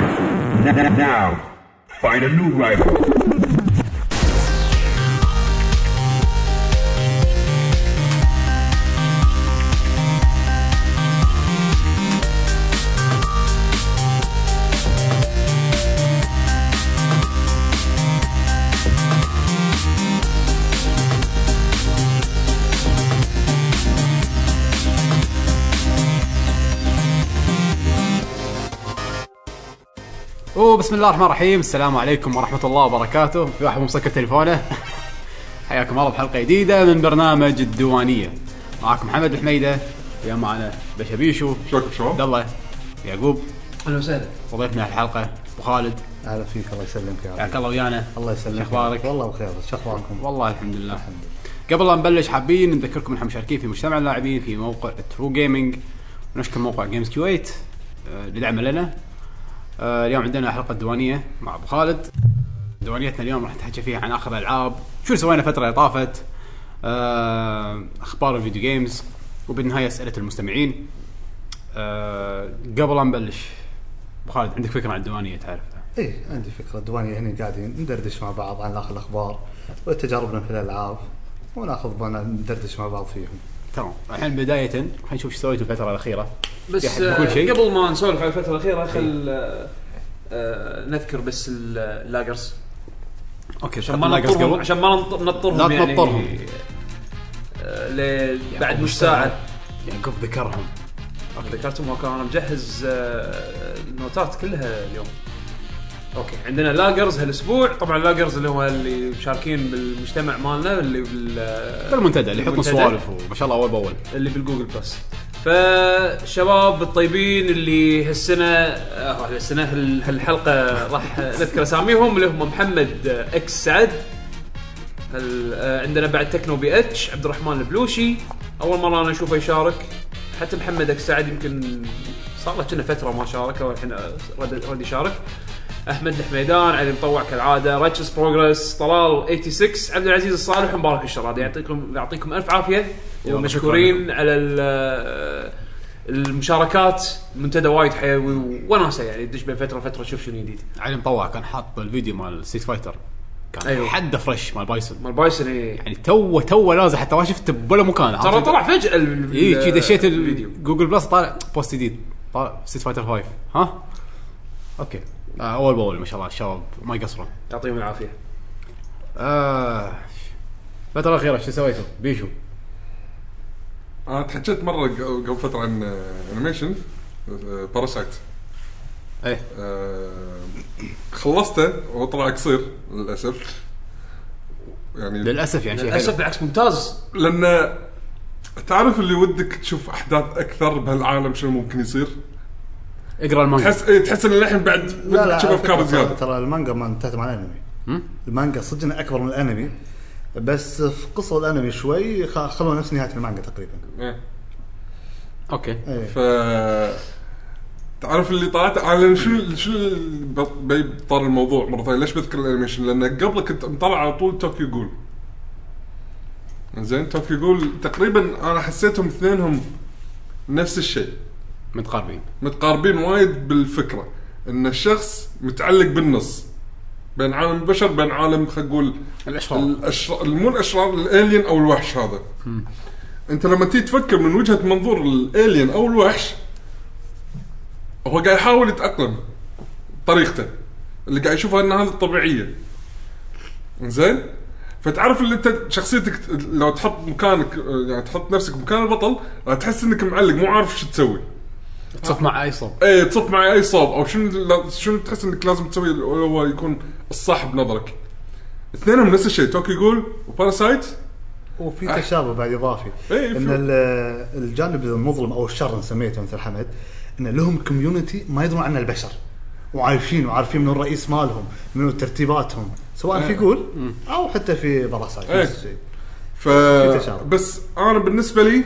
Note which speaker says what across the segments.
Speaker 1: N- Now, find a new rival.
Speaker 2: وبسم الله الرحمن الرحيم السلام عليكم ورحمة الله وبركاته في واحد مو مسكر تليفونه حياكم الله بحلقة جديدة من برنامج الديوانية معاكم محمد الحميدة ويا معنا بشبيشو
Speaker 1: شلونك
Speaker 2: عبد
Speaker 1: شلون؟
Speaker 2: الله يعقوب
Speaker 3: اهلا وسهلا
Speaker 2: وضيفنا الحلقة ابو خالد
Speaker 4: اهلا فيك الله يسلمك يا رب
Speaker 2: حياك الله ويانا
Speaker 4: الله يسلمك
Speaker 2: شخبارك؟
Speaker 4: والله بخير شو اخباركم؟
Speaker 2: والله الحمد لله قبل لا نبلش حابين نذكركم ان احنا مشاركين في مجتمع اللاعبين في موقع ترو جيمنج ونشكر موقع جيمز كويت آه، لدعمه لنا آه، اليوم عندنا حلقه ديوانيه مع ابو خالد ديوانيتنا اليوم راح نتحكي فيها عن اخر الالعاب شو سوينا فتره اللي طافت آه، اخبار الفيديو جيمز وبالنهايه اسئله المستمعين آه، قبل لا نبلش ابو خالد عندك فكره عن الديوانيه تعرف
Speaker 4: ايه عندي فكره الديوانيه هنا قاعدين ندردش مع بعض عن اخر الاخبار وتجاربنا في الالعاب وناخذ بالنا ندردش مع بعض فيهم
Speaker 2: تمام الحين بدايه خلينا نشوف ايش سويت الفتره الاخيره
Speaker 3: بس
Speaker 2: يحب كل شيء. إيه.
Speaker 3: آه، قبل ما نسولف على الفتره الاخيره خل آه، آه، نذكر بس ال- اللاجرز
Speaker 2: اوكي
Speaker 3: عشان ما نطرهم عشان ما نط- نطرهم
Speaker 2: لا
Speaker 3: يعني
Speaker 2: تنطرهم.
Speaker 3: آه، ل- بعد
Speaker 2: يعني
Speaker 3: نص ساعه
Speaker 2: يعقوب ذكرهم
Speaker 3: ذكرتهم وكان انا مجهز آه، النوتات كلها اليوم اوكي عندنا لاجرز هالاسبوع طبعا اللاجرز اللي هو اللي مشاركين بالمجتمع مالنا اللي بال آه،
Speaker 2: المنتدى اللي يحطون
Speaker 3: المنتدى.
Speaker 2: سوالف وما شاء الله اول باول
Speaker 3: اللي بالجوجل بلس فشباب الطيبين اللي هالسنه آه هالسنه هال- هالحلقه راح نذكر اساميهم اللي هم محمد آه، اكس سعد هال آه، عندنا بعد تكنو بي اتش عبد الرحمن البلوشي اول مره انا اشوفه يشارك حتى محمد اكس سعد يمكن صار له كنا فتره ما شارك او الحين آه، رد رد يشارك احمد الحميدان علي مطوع كالعاده راتشس بروجرس طلال 86 عبد العزيز الصالح ومبارك الشرادي يعطيكم يعطيكم الف عافيه ومشكورين على ال- آه، المشاركات منتدى وايد حيوي وناسه يعني تدش بين فتره وفتره تشوف شنو جديد
Speaker 2: علي مطوع كان حاط الفيديو مال سيت فايتر كان أيوه.
Speaker 3: أيوه.
Speaker 2: حد فريش مال بايسون
Speaker 3: مال بايسون إيه.
Speaker 2: يعني تو تو لازم حتى ما شفته بولا مكان
Speaker 3: ترى طلع فجاه ال-
Speaker 2: اي
Speaker 3: إيه، ال-
Speaker 2: شي دشيت
Speaker 3: الفيديو
Speaker 2: ال- جوجل بلس طالع بوست جديد طالع سيت فايتر 5 ها اوكي آه اول باول ما شاء الله الشباب ما يقصرون
Speaker 3: يعطيهم العافيه
Speaker 2: آه الفترة الأخيرة شو سويتوا؟ بيشو
Speaker 5: انا تحكيت مره ق- قبل فتره عن آه، انيميشن آه، باراسايت
Speaker 2: ايه
Speaker 5: آه، خلصته وطلع قصير للاسف يعني
Speaker 2: للأسف يعني شيء
Speaker 3: للاسف
Speaker 2: حلو
Speaker 3: بالعكس ممتاز
Speaker 5: لان تعرف اللي ودك تشوف احداث اكثر بهالعالم شنو ممكن يصير
Speaker 2: اقرا المانجا
Speaker 5: تحس إيه، تحس ان الحين بعد بدك تشوف
Speaker 4: على فكرة
Speaker 5: افكار زياده
Speaker 4: ترى المانجا ما انتهت مع الانمي المانجا صدقنا اكبر من الانمي بس في قصه الانمي شوي خ- خلوها نفس نهايه المانجا تقريبا
Speaker 5: إيه.
Speaker 2: اوكي
Speaker 4: ايه
Speaker 5: ف تعرف اللي طلعت على شو شو ال- ب- بي- طار الموضوع مره ثانيه ليش بذكر الانيميشن؟ لان قبل كنت مطلع على طول توكيو جول. زين توكيو جول تقريبا انا حسيتهم اثنينهم نفس الشيء
Speaker 2: متقاربين
Speaker 5: متقاربين وايد بالفكره ان الشخص متعلق بالنص بين عالم البشر بين عالم خلينا نقول
Speaker 2: الاشرار
Speaker 5: الاشرار مو الاشرار الالين او الوحش هذا انت لما تيجي تفكر من وجهه منظور الالين او الوحش هو قاعد يحاول يتاقلم طريقته اللي قاعد يشوفها ان هذه الطبيعيه زين فتعرف اللي انت شخصيتك لو تحط مكانك يعني تحط نفسك مكان البطل راح تحس انك معلق مو عارف شو تسوي
Speaker 2: تصف مع اي صوب
Speaker 5: ايه تصف مع اي صوب او شنو لا- شنو تحس انك لازم تسوي اللي هو يكون الصح بنظرك. اثنينهم نفس الشيء توكي جول وباراسايت
Speaker 4: وفي
Speaker 5: أح-
Speaker 4: تشابه بعد اضافي
Speaker 5: آه. إيه،
Speaker 4: ان
Speaker 5: في-
Speaker 4: ال- الجانب المظلم او الشر نسميته مثل حمد ان لهم كوميونتي ما يدرون عنه البشر وعايشين وعارفين من الرئيس مالهم من ترتيباتهم سواء في جول او حتى في باراسايت
Speaker 5: إيه.
Speaker 4: نفس الشيء
Speaker 5: ف
Speaker 4: تشابه.
Speaker 5: بس انا بالنسبه لي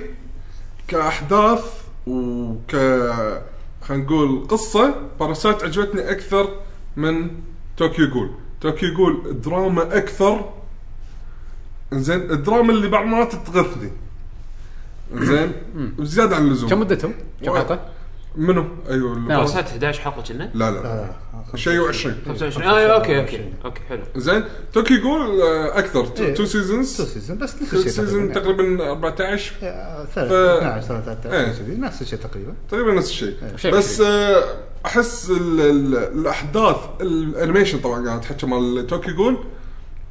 Speaker 5: كاحداث وك خلينا نقول قصه باراسايت عجبتني اكثر من توكيو جول توكيو جول دراما اكثر زين الدراما اللي بعض مرات تغثني زين وزياده عن اللزوم
Speaker 2: كم مدتهم؟ كم
Speaker 5: وايد.
Speaker 2: حلقة؟
Speaker 5: منو؟ ايوه
Speaker 2: لا.
Speaker 5: لا
Speaker 3: وصلت 11 حلقه كنا
Speaker 5: لا,
Speaker 4: نعم. لا،
Speaker 5: لا.
Speaker 4: لا، لا.
Speaker 5: شيء و20
Speaker 3: 25 اه اوكي اوكي اوكي حلو
Speaker 5: زين توكي جول آه، اكثر
Speaker 4: إيه.
Speaker 5: تو
Speaker 4: تو
Speaker 5: سيزونز
Speaker 4: سيزون بس نفس
Speaker 5: تو
Speaker 4: الشيء
Speaker 5: سيزون
Speaker 4: تقريبا
Speaker 5: تقريبا 14
Speaker 2: إيه.
Speaker 4: آه،
Speaker 5: ف-
Speaker 4: ثلاثة، 12
Speaker 5: إيه.
Speaker 4: 13 كذي، نفس الشيء تقريبا
Speaker 5: تقريبا نفس الشيء
Speaker 2: إيه. شيء
Speaker 5: بس
Speaker 2: بسيط.
Speaker 5: آه، احس ال- ال- الاحداث الانيميشن طبعا قاعد تحكي مال توكي جول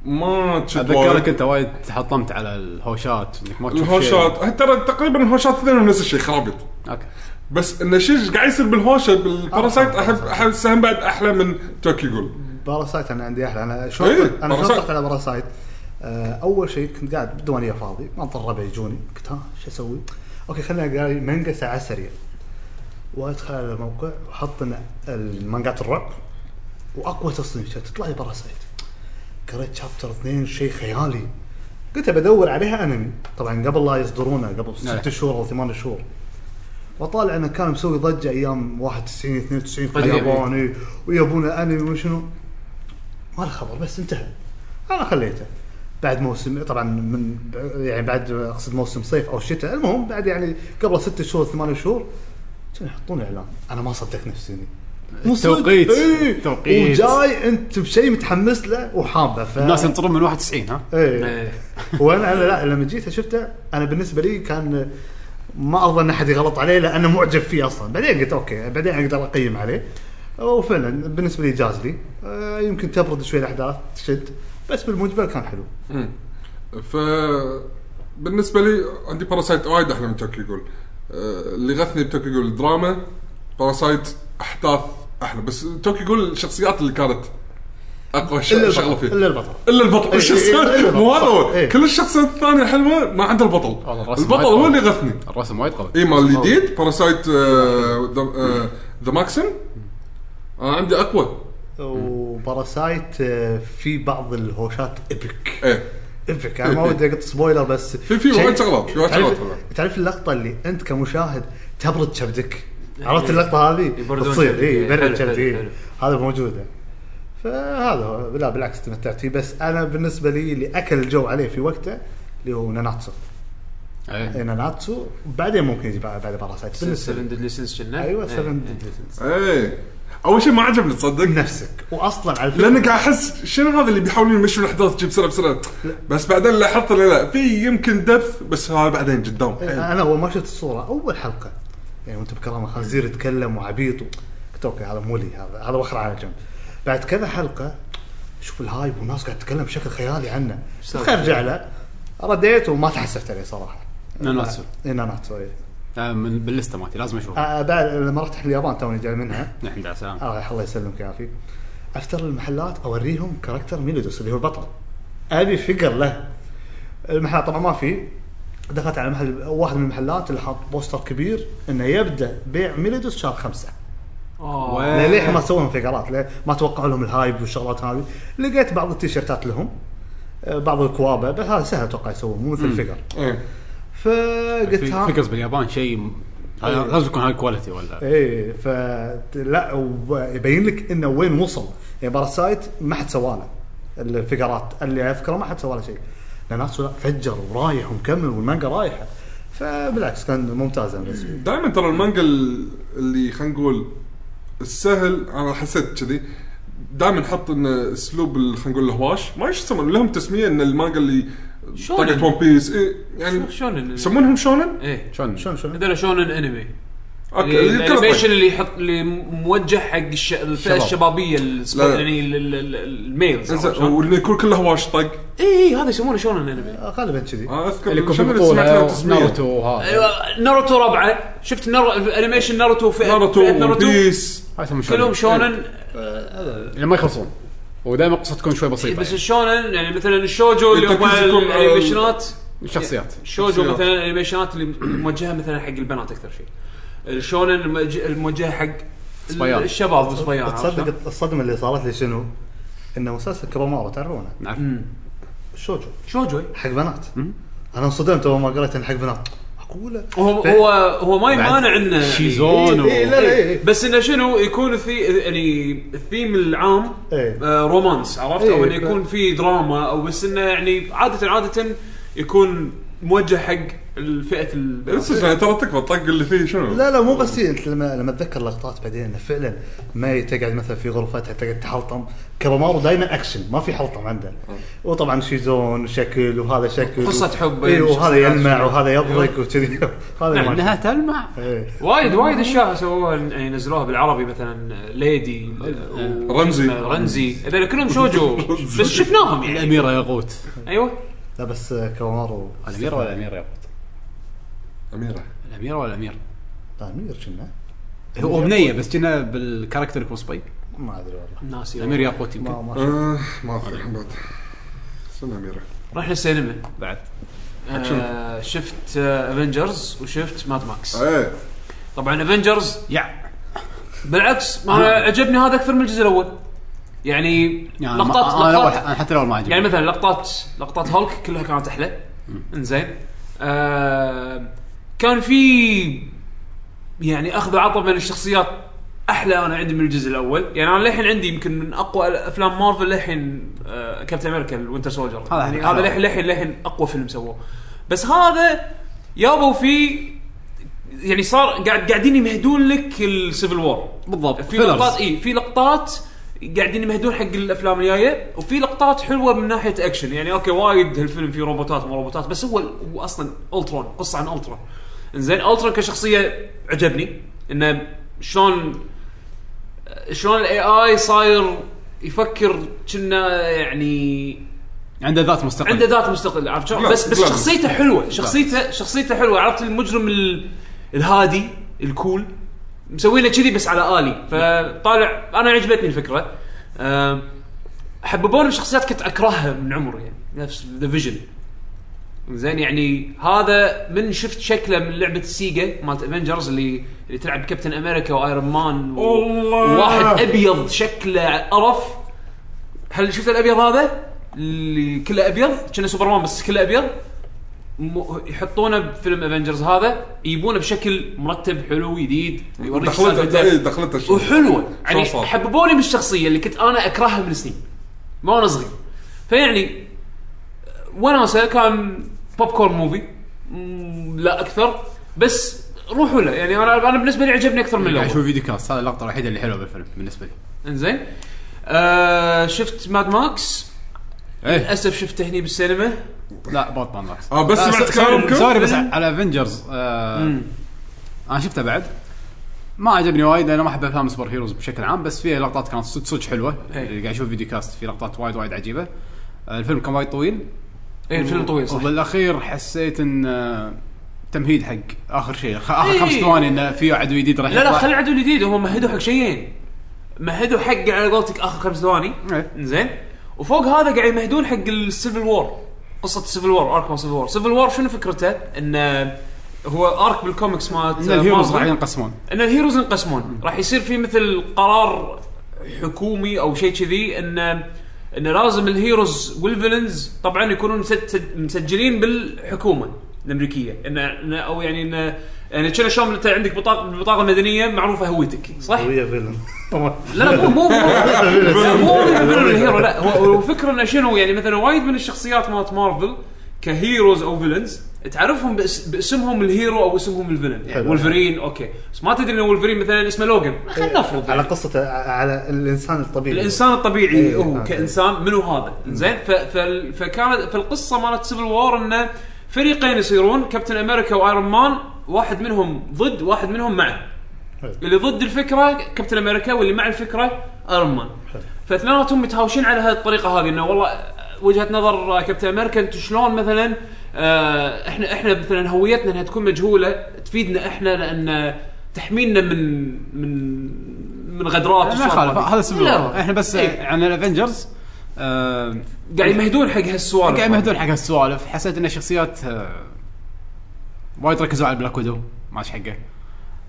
Speaker 5: ما تشد وايد.
Speaker 2: اتذكرك انت وايد تحطمت على الهوشات انك ما تشوف شيء.
Speaker 5: الهوشات هي ترى تقريبا الهوشات اثنينهم نفس الشيء خرابيط
Speaker 2: اوكي
Speaker 5: بس انه شيء إيش قاعد يصير بالهوشه بالباراسايت احب احب سهم بعد احلى من توكي جول
Speaker 4: باراسايت انا عندي احلى انا شلون
Speaker 5: إيه،
Speaker 4: انا شلون
Speaker 5: باراسايت.
Speaker 4: طلعت على باراسايت آه، اول شيء كنت قاعد بالديوانيه فاضي انطر ربع يجوني قلت ها شو اسوي؟ اوكي خليني اقرا لي مانجا ساعه سريع وادخل على الموقع واحط إن المانجات الرعب واقوى تصميم شفت تطلع لي باراسايت قريت شابتر اثنين شيء خيالي قلت بدور عليها انمي طبعا قبل لا يصدرونه قبل
Speaker 2: نعم.
Speaker 4: ست شهور او ثمان شهور وطالع انه كان مسوي ضجه ايام 91 92 في
Speaker 3: قديم.
Speaker 4: اليابان إي، ويبون انمي وشنو ما له خبر بس انتهى انا خليته بعد موسم طبعا من يعني بعد اقصد موسم صيف او شتاء المهم بعد يعني قبل ست شهور ثمان شهور كانوا يحطون اعلان انا ما صدقت نفسي إيه. مو صدق.
Speaker 2: توقيت.
Speaker 4: إي.
Speaker 2: توقيت.
Speaker 4: وجاي انت بشيء متحمس له وحابه ف...
Speaker 2: الناس ينطرون من 91 ها
Speaker 4: ايه
Speaker 3: إيه.
Speaker 4: وانا انا لا لما جيت شفته انا بالنسبه لي كان ما اظن احد يغلط عليه لانه معجب فيه اصلا بعدين قلت اوكي بعدين اقدر اقيم عليه وفعلا بالنسبه لي جاز لي آه، يمكن تبرد شوي الاحداث تشد بس بالمجمل كان حلو
Speaker 5: ف بالنسبه لي عندي باراسايت وايد احلى من توكي جول آه، اللي غثني بتوكي جول دراما باراسايت احداث احلى بس توكي جول الشخصيات اللي كانت اقوى ش- شغله
Speaker 4: البطل
Speaker 5: فيه
Speaker 4: الا البطل
Speaker 5: الا البطل
Speaker 4: إيه، إيه، إلا
Speaker 5: الشخصيات
Speaker 4: البطل.
Speaker 5: مو هذا
Speaker 4: إيه.
Speaker 5: هو كل الشخصيات الثانيه حلوه ما عدا البطل
Speaker 2: والله الرسم
Speaker 5: البطل
Speaker 2: وايد
Speaker 5: هو
Speaker 2: قوي.
Speaker 5: اللي غثني
Speaker 2: الرسم وايد قوي
Speaker 5: اي مال الجديد آه، باراسايت ذا ماكسن انا آه، عندي اقوى
Speaker 4: وباراسايت آه، في بعض الهوشات ايبك
Speaker 5: ايه
Speaker 4: ايبك انا ما ودي اقط سبويلر بس
Speaker 5: في- في
Speaker 4: شيء-
Speaker 5: وايد شغلات، في وايد
Speaker 4: تعرف-
Speaker 5: شغلات والله.
Speaker 4: تعرف اللقطه اللي انت كمشاهد تبرد كبدك عرفت اللقطه هذه؟
Speaker 3: إيه. يبردون
Speaker 4: تصير
Speaker 3: كبدك،
Speaker 4: اي
Speaker 3: إيه،
Speaker 4: يبرد
Speaker 3: حلو، حلو،
Speaker 4: كبدي
Speaker 3: حلو.
Speaker 4: هذا موجوده فهذا هو لا بالعكس تمتعت فيه بس انا بالنسبه لي اللي اكل الجو عليه في وقته اللي هو ناناتسو إيه،
Speaker 2: إيه.
Speaker 4: ناناتسو بعدين ممكن يجي بعد بعد باراسايت بالنسبه لي
Speaker 3: 7 ديدلي سينز كنا
Speaker 4: ايوه
Speaker 3: إيه.
Speaker 4: 7
Speaker 5: ايه اول شيء ما عجبني تصدق
Speaker 4: نفسك واصلا على
Speaker 5: لان قاعد احس شنو هذا اللي بيحاولون يمشون الاحداث تجي بسرعه بسرعه بس بعدين لاحظت إنه لا في يمكن دبث بس هذا بعدين قدام إيه.
Speaker 4: انا اول ما شفت الصوره اول حلقه يعني وانت بكرامه خنزير يتكلم وعبيط و- قلت اوكي هذا مو لي هذا هذا وخر على جنب بعد كذا حلقه شوف الهايب والناس قاعد تتكلم بشكل خيالي عنه
Speaker 3: سالفة؟
Speaker 4: خير ارجع له رديت وما تحسفت عليه صراحه
Speaker 2: ناناتسو.
Speaker 4: اي ناناتسو إيه.
Speaker 2: آه، من باللسته مالتي لازم اشوفها
Speaker 4: آه، بعد لما رحت اليابان توني جاي منها
Speaker 2: الحمد لله سلام
Speaker 4: آه، الله الله يسلمك يعافيك افتر المحلات اوريهم كاركتر ميلودوس اللي هو البطل ابي فقر له المحلات طبعا ما في دخلت على محل واحد من المحلات اللي حاط بوستر كبير انه يبدا بيع ميلودوس شهر خمسه
Speaker 3: آه.
Speaker 2: وين؟
Speaker 4: لأ- للحين ما سووا فقرات ليه؟ ما توقعوا لهم الهايب والشغلات هذه لقيت بعض التيشيرتات لهم آه، بعض الكوابه بس هذا سهل اتوقع يسووه مو مثل الفقر
Speaker 5: إيه.
Speaker 4: فقلت ها-
Speaker 2: فكرز باليابان شيء م- هذا لازم يكون هاي كواليتي ولا
Speaker 4: ايه ف لا ويبين لك انه وين وصل يعني باراسايت ما حد سواله الفقرات اللي اذكره ما حد سواله شيء لاناتسو لا فجر ورايح ومكمل والمانجا رايحه فبالعكس كان ممتاز انا بالنسبه لي
Speaker 5: دائما ترى المانجا ال- اللي خلينا نقول السهل انا حسيت كذي دائما نحط ان اسلوب ال- خلينا نقول الهواش ما إيش يسمون لهم تسميه ان المانجا اللي
Speaker 3: شونن.
Speaker 5: طقت ون بيس إيه يعني
Speaker 3: شو- شونن.
Speaker 5: يسمونهم شونن؟
Speaker 3: ايه
Speaker 2: شلون
Speaker 4: شلون شلون؟
Speaker 3: هذول شونن انمي
Speaker 5: اوكي
Speaker 3: اللي-
Speaker 5: اللي كله
Speaker 3: الانيميشن
Speaker 5: طق.
Speaker 3: اللي يحط اللي موجه حق الش... الفئه
Speaker 2: الشباب.
Speaker 3: الشبابيه السبو-
Speaker 5: لا.
Speaker 3: يعني ال- ال- ال- الميلز عرفت
Speaker 5: إنزين،
Speaker 3: شلون؟
Speaker 5: واللي يكون كله هواش طق
Speaker 3: اي اي هذا يسمونه شونن انمي
Speaker 4: غالبا كذي
Speaker 5: انا اذكر
Speaker 2: اللي يكون في
Speaker 5: شنو اللي سمعت له
Speaker 2: بطوله
Speaker 5: تسميه
Speaker 2: ناروتو وهذا
Speaker 3: ايوه ناروتو ربعه شفت نارو... انيميشن ناروتو فئه
Speaker 5: ناروتو
Speaker 3: فئة
Speaker 5: ون بيس
Speaker 2: هاي يسمون شلون
Speaker 3: كلهم شونن
Speaker 2: اللي ما يخلصون ودائما القصه تكون شوي بسيطه
Speaker 3: بس
Speaker 2: يعني.
Speaker 3: الشونن يعني مثلا الشوجو اللي هم
Speaker 5: التركيز يكون على
Speaker 3: الانيميشنات
Speaker 2: الشخصيات
Speaker 3: الشوجو
Speaker 5: شخصيات.
Speaker 3: مثلا الانيميشنات إيه، اللي موجهه مثلا حق البنات اكثر شيء الشونن المج- الموجهه حق
Speaker 2: صبيان.
Speaker 3: الشباب والصبيان عرفت شلون؟
Speaker 4: تصدق الصدمه اللي صارت لي شنو؟ انه مسلسل كرامارو تعرفونه
Speaker 2: نعرف
Speaker 4: شوجو
Speaker 3: شوجو
Speaker 4: حق بنات انا انصدمت اول ما قريت انه حق بنات معقوله؟
Speaker 3: هو
Speaker 4: ف-
Speaker 3: هو هو ما
Speaker 2: بعد
Speaker 3: يمانع انه
Speaker 2: شيزون
Speaker 4: إيه،
Speaker 2: و-
Speaker 4: لا لا إيه.
Speaker 3: بس انه شنو يكون في يعني الثيم العام
Speaker 4: إيه.
Speaker 3: آه رومانس عرفت
Speaker 4: إيه،
Speaker 3: او انه
Speaker 4: ف-
Speaker 3: يكون في دراما او بس انه يعني عاده عاده يكون موجه حق الفئه البيضاء
Speaker 5: بس يعني ترى تكفى الطق اللي فيه شنو؟
Speaker 4: لا لا مو بس هي، انت لما لما اتذكر لقطات بعدين انه فعلا ما تقعد مثلا في غرفتها تقعد تحلطم كابامارو دائما اكشن ما في حلطم عنده وطبعا شيزون شكل وهذا شكل
Speaker 3: قصة حب أيوه.
Speaker 4: اي
Speaker 3: بين
Speaker 4: وهذا
Speaker 3: الشخصيات.
Speaker 4: يلمع وهذا يبرق وكذي
Speaker 3: نعم،
Speaker 4: هذا ما
Speaker 2: انها تلمع
Speaker 4: إيه.
Speaker 3: وايد وايد اشياء سووها يعني نزلوها بالعربي مثلا ليدي و-
Speaker 5: رمزي.
Speaker 3: رمزي هذول كلهم شوجو بس شفناهم يعني
Speaker 2: الاميره ياقوت
Speaker 3: ايوه
Speaker 4: لا بس كابامارو
Speaker 2: الاميره ولا الامير ياقوت
Speaker 5: اميره
Speaker 2: الاميره ولا الامير
Speaker 4: لا امير كنا
Speaker 2: هو بنيه بس كنا بالكاركتر يكون صبي
Speaker 4: ما ادري والله
Speaker 3: ناسي
Speaker 2: الامير ياقوت
Speaker 4: ما
Speaker 2: يمكن
Speaker 4: ما
Speaker 5: آه، ما ادري بعد استنى اميره
Speaker 3: رحنا السينما
Speaker 2: بعد
Speaker 3: آه شفت افنجرز وشفت ماد ماكس
Speaker 5: ايه
Speaker 3: طبعا افنجرز
Speaker 2: يع
Speaker 3: بالعكس ما أنا عجبني هذا اكثر من الجزء الاول يعني
Speaker 2: يعني
Speaker 3: لقطات
Speaker 2: ما- انا الاول
Speaker 3: لقطات
Speaker 2: انا حتى الاول ما عجبني
Speaker 3: يعني مثلا لقطات لقطات هولك كلها كانت احلى انزين آه كان في يعني اخذ وعطى بين الشخصيات احلى انا عندي من الجزء الاول يعني انا للحين عندي يمكن من اقوى افلام مارفل للحين آه كابتن امريكا الوينتر سولجر
Speaker 2: هذا
Speaker 3: يعني
Speaker 2: حلو.
Speaker 3: هذا للحين للحين للحين اقوى فيلم سووه بس هذا يابوا فيه يعني صار قاعد قاعدين يمهدون لك السيفل وور
Speaker 2: بالضبط
Speaker 3: في
Speaker 2: fillers.
Speaker 3: لقطات اي في لقطات قاعدين يمهدون حق الافلام الجايه وفي لقطات حلوه من ناحيه اكشن يعني اوكي وايد هالفيلم فيه روبوتات وما روبوتات بس هو هو اصلا الترون قصه عن الترون انزين الترون كشخصيه عجبني انه شلون شلون الاي اي صاير يفكر كنا يعني
Speaker 2: عنده ذات مستقل
Speaker 3: عنده ذات مستقل عرفت شلون؟
Speaker 5: لا،
Speaker 3: بس بس
Speaker 5: لا.
Speaker 3: شخصيته حلوه شخصيته شخصيته حلوه عرفت المجرم ال- الهادي الكول مسوينه كذي بس على الي فطالع انا عجبتني الفكره أم، حببوني بشخصيات كنت اكرهها من عمري يعني نفس ذا فيجن زين يعني هذا من شفت شكله من لعبه سيجا مالت افنجرز اللي اللي تلعب كابتن امريكا وايرون مان و-
Speaker 5: الله.
Speaker 3: وواحد ابيض شكله قرف هل شفت الابيض هذا اللي كله ابيض كنا سوبرمان بس كله ابيض م- يحطونه بفيلم افنجرز هذا يجيبونه بشكل مرتب حلو جديد يوريك
Speaker 5: دخلته
Speaker 3: سالفته.
Speaker 5: ايه دخلته شنو؟
Speaker 3: وحلوه يعني
Speaker 5: شلون صار؟
Speaker 3: حببوني بالشخصيه اللي كنت انا اكرهها من سنين ما وانا صغير فيعني وناسه كان بوب كورن موفي مم، لا اكثر بس روحوا له يعني انا انا بالنسبه لي عجبني اكثر من
Speaker 2: قاعد
Speaker 3: الاول
Speaker 2: اشوف فيديو كاست هذا اللقطه الوحيده اللي حلوه بالفيلم بالنسبه لي
Speaker 3: انزين آه شفت ماد ماكس
Speaker 2: ايه
Speaker 3: للاسف شفته هني بالسينما
Speaker 2: لا باتمان ماكس
Speaker 5: اه بس
Speaker 2: آه،
Speaker 5: سمعت
Speaker 2: س-
Speaker 5: كلامكم؟
Speaker 2: سوري بس على افنجرز آه انا شفته بعد ما عجبني وايد انا ما احب افلام سوبر هيروز بشكل عام بس فيها لقطات كانت صدق صدق حلوه
Speaker 3: إيه.
Speaker 2: اللي قاعد اشوف فيديو كاست في لقطات وايد وايد عجيبه آه، الفيلم كان وايد طويل
Speaker 3: اي إيه، الفيلم طويل صح
Speaker 2: وبالاخير حسيت ان آه، تمهيد حق اخر شيء خ- اخر
Speaker 3: إيه.
Speaker 2: خمس ثواني انه في عدو جديد راح
Speaker 3: لا لا
Speaker 2: يطلع.
Speaker 3: خلي العدو الجديد هم مهدوا حق شيئين مهدوا حق على قولتك اخر خمس ثواني
Speaker 2: إيه.
Speaker 3: زين وفوق هذا قاعد يمهدون حق السيفل وور قصه السيفل وور ارك مال السيفل وور سيفل وور شنو فكرته انه هو ارك بالكوميكس مالت
Speaker 2: ان الهيروز
Speaker 3: مارفل.
Speaker 2: راح ينقسمون
Speaker 3: ان الهيروز ينقسمون راح يصير في مثل قرار حكومي او شيء كذي ان ان لازم الهيروز والفيلنز طبعا يكونون مسجل- مسجلين بالحكومه الامريكيه ان إن- او يعني ان يعني كنا شلون انت عندك بطاقه البطاقه المدنيه معروفه هويتك صح؟
Speaker 4: هوية فيلن
Speaker 3: لا لا مو مو مو- مو فيلن الهيرو لا هو هو الفكره انه شنو يعني مثلا وايد من الشخصيات مالت مارفل كهيروز او فيلنز تعرفهم بأس باسمهم الهيرو او اسمهم الفيلن يعني
Speaker 4: حلو.
Speaker 3: ولفرين اوكي بس ما تدري ان ولفرين مثلا اسمه لوجن خلينا نفرض
Speaker 4: إيه، على
Speaker 3: يعني.
Speaker 4: قصة على الانسان الطبيعي
Speaker 3: الانسان الطبيعي
Speaker 4: إيه،
Speaker 3: هو
Speaker 4: هذا.
Speaker 3: كانسان منو هذا زين ف- فال- فكانت فالقصه مالت سيفل وور انه فريقين يصيرون كابتن امريكا وايرون مان واحد منهم ضد واحد منهم معه
Speaker 4: حلو.
Speaker 3: اللي ضد الفكره كابتن امريكا واللي مع الفكره ايرون مان فاثنيناتهم متهاوشين على هذه الطريقه هذه انه والله وجهه نظر كابتن امريكا انتم شلون مثلا آه، احنا احنا مثلا هويتنا انها تكون مجهوله تفيدنا احنا لان تحمينا من من من غدرات
Speaker 2: ما
Speaker 3: والسوالف
Speaker 2: يخالف
Speaker 3: هذه.
Speaker 2: هذا السبب
Speaker 3: لا.
Speaker 2: احنا بس
Speaker 3: إيه.
Speaker 2: عن الافنجرز آه،
Speaker 3: قاعد يمهدون حق هالسوالف
Speaker 2: قاعد يمهدون حق هالسوالف حسيت ان الشخصيات آه، وايد ركزوا على بلاك ويدو ما عادش حقه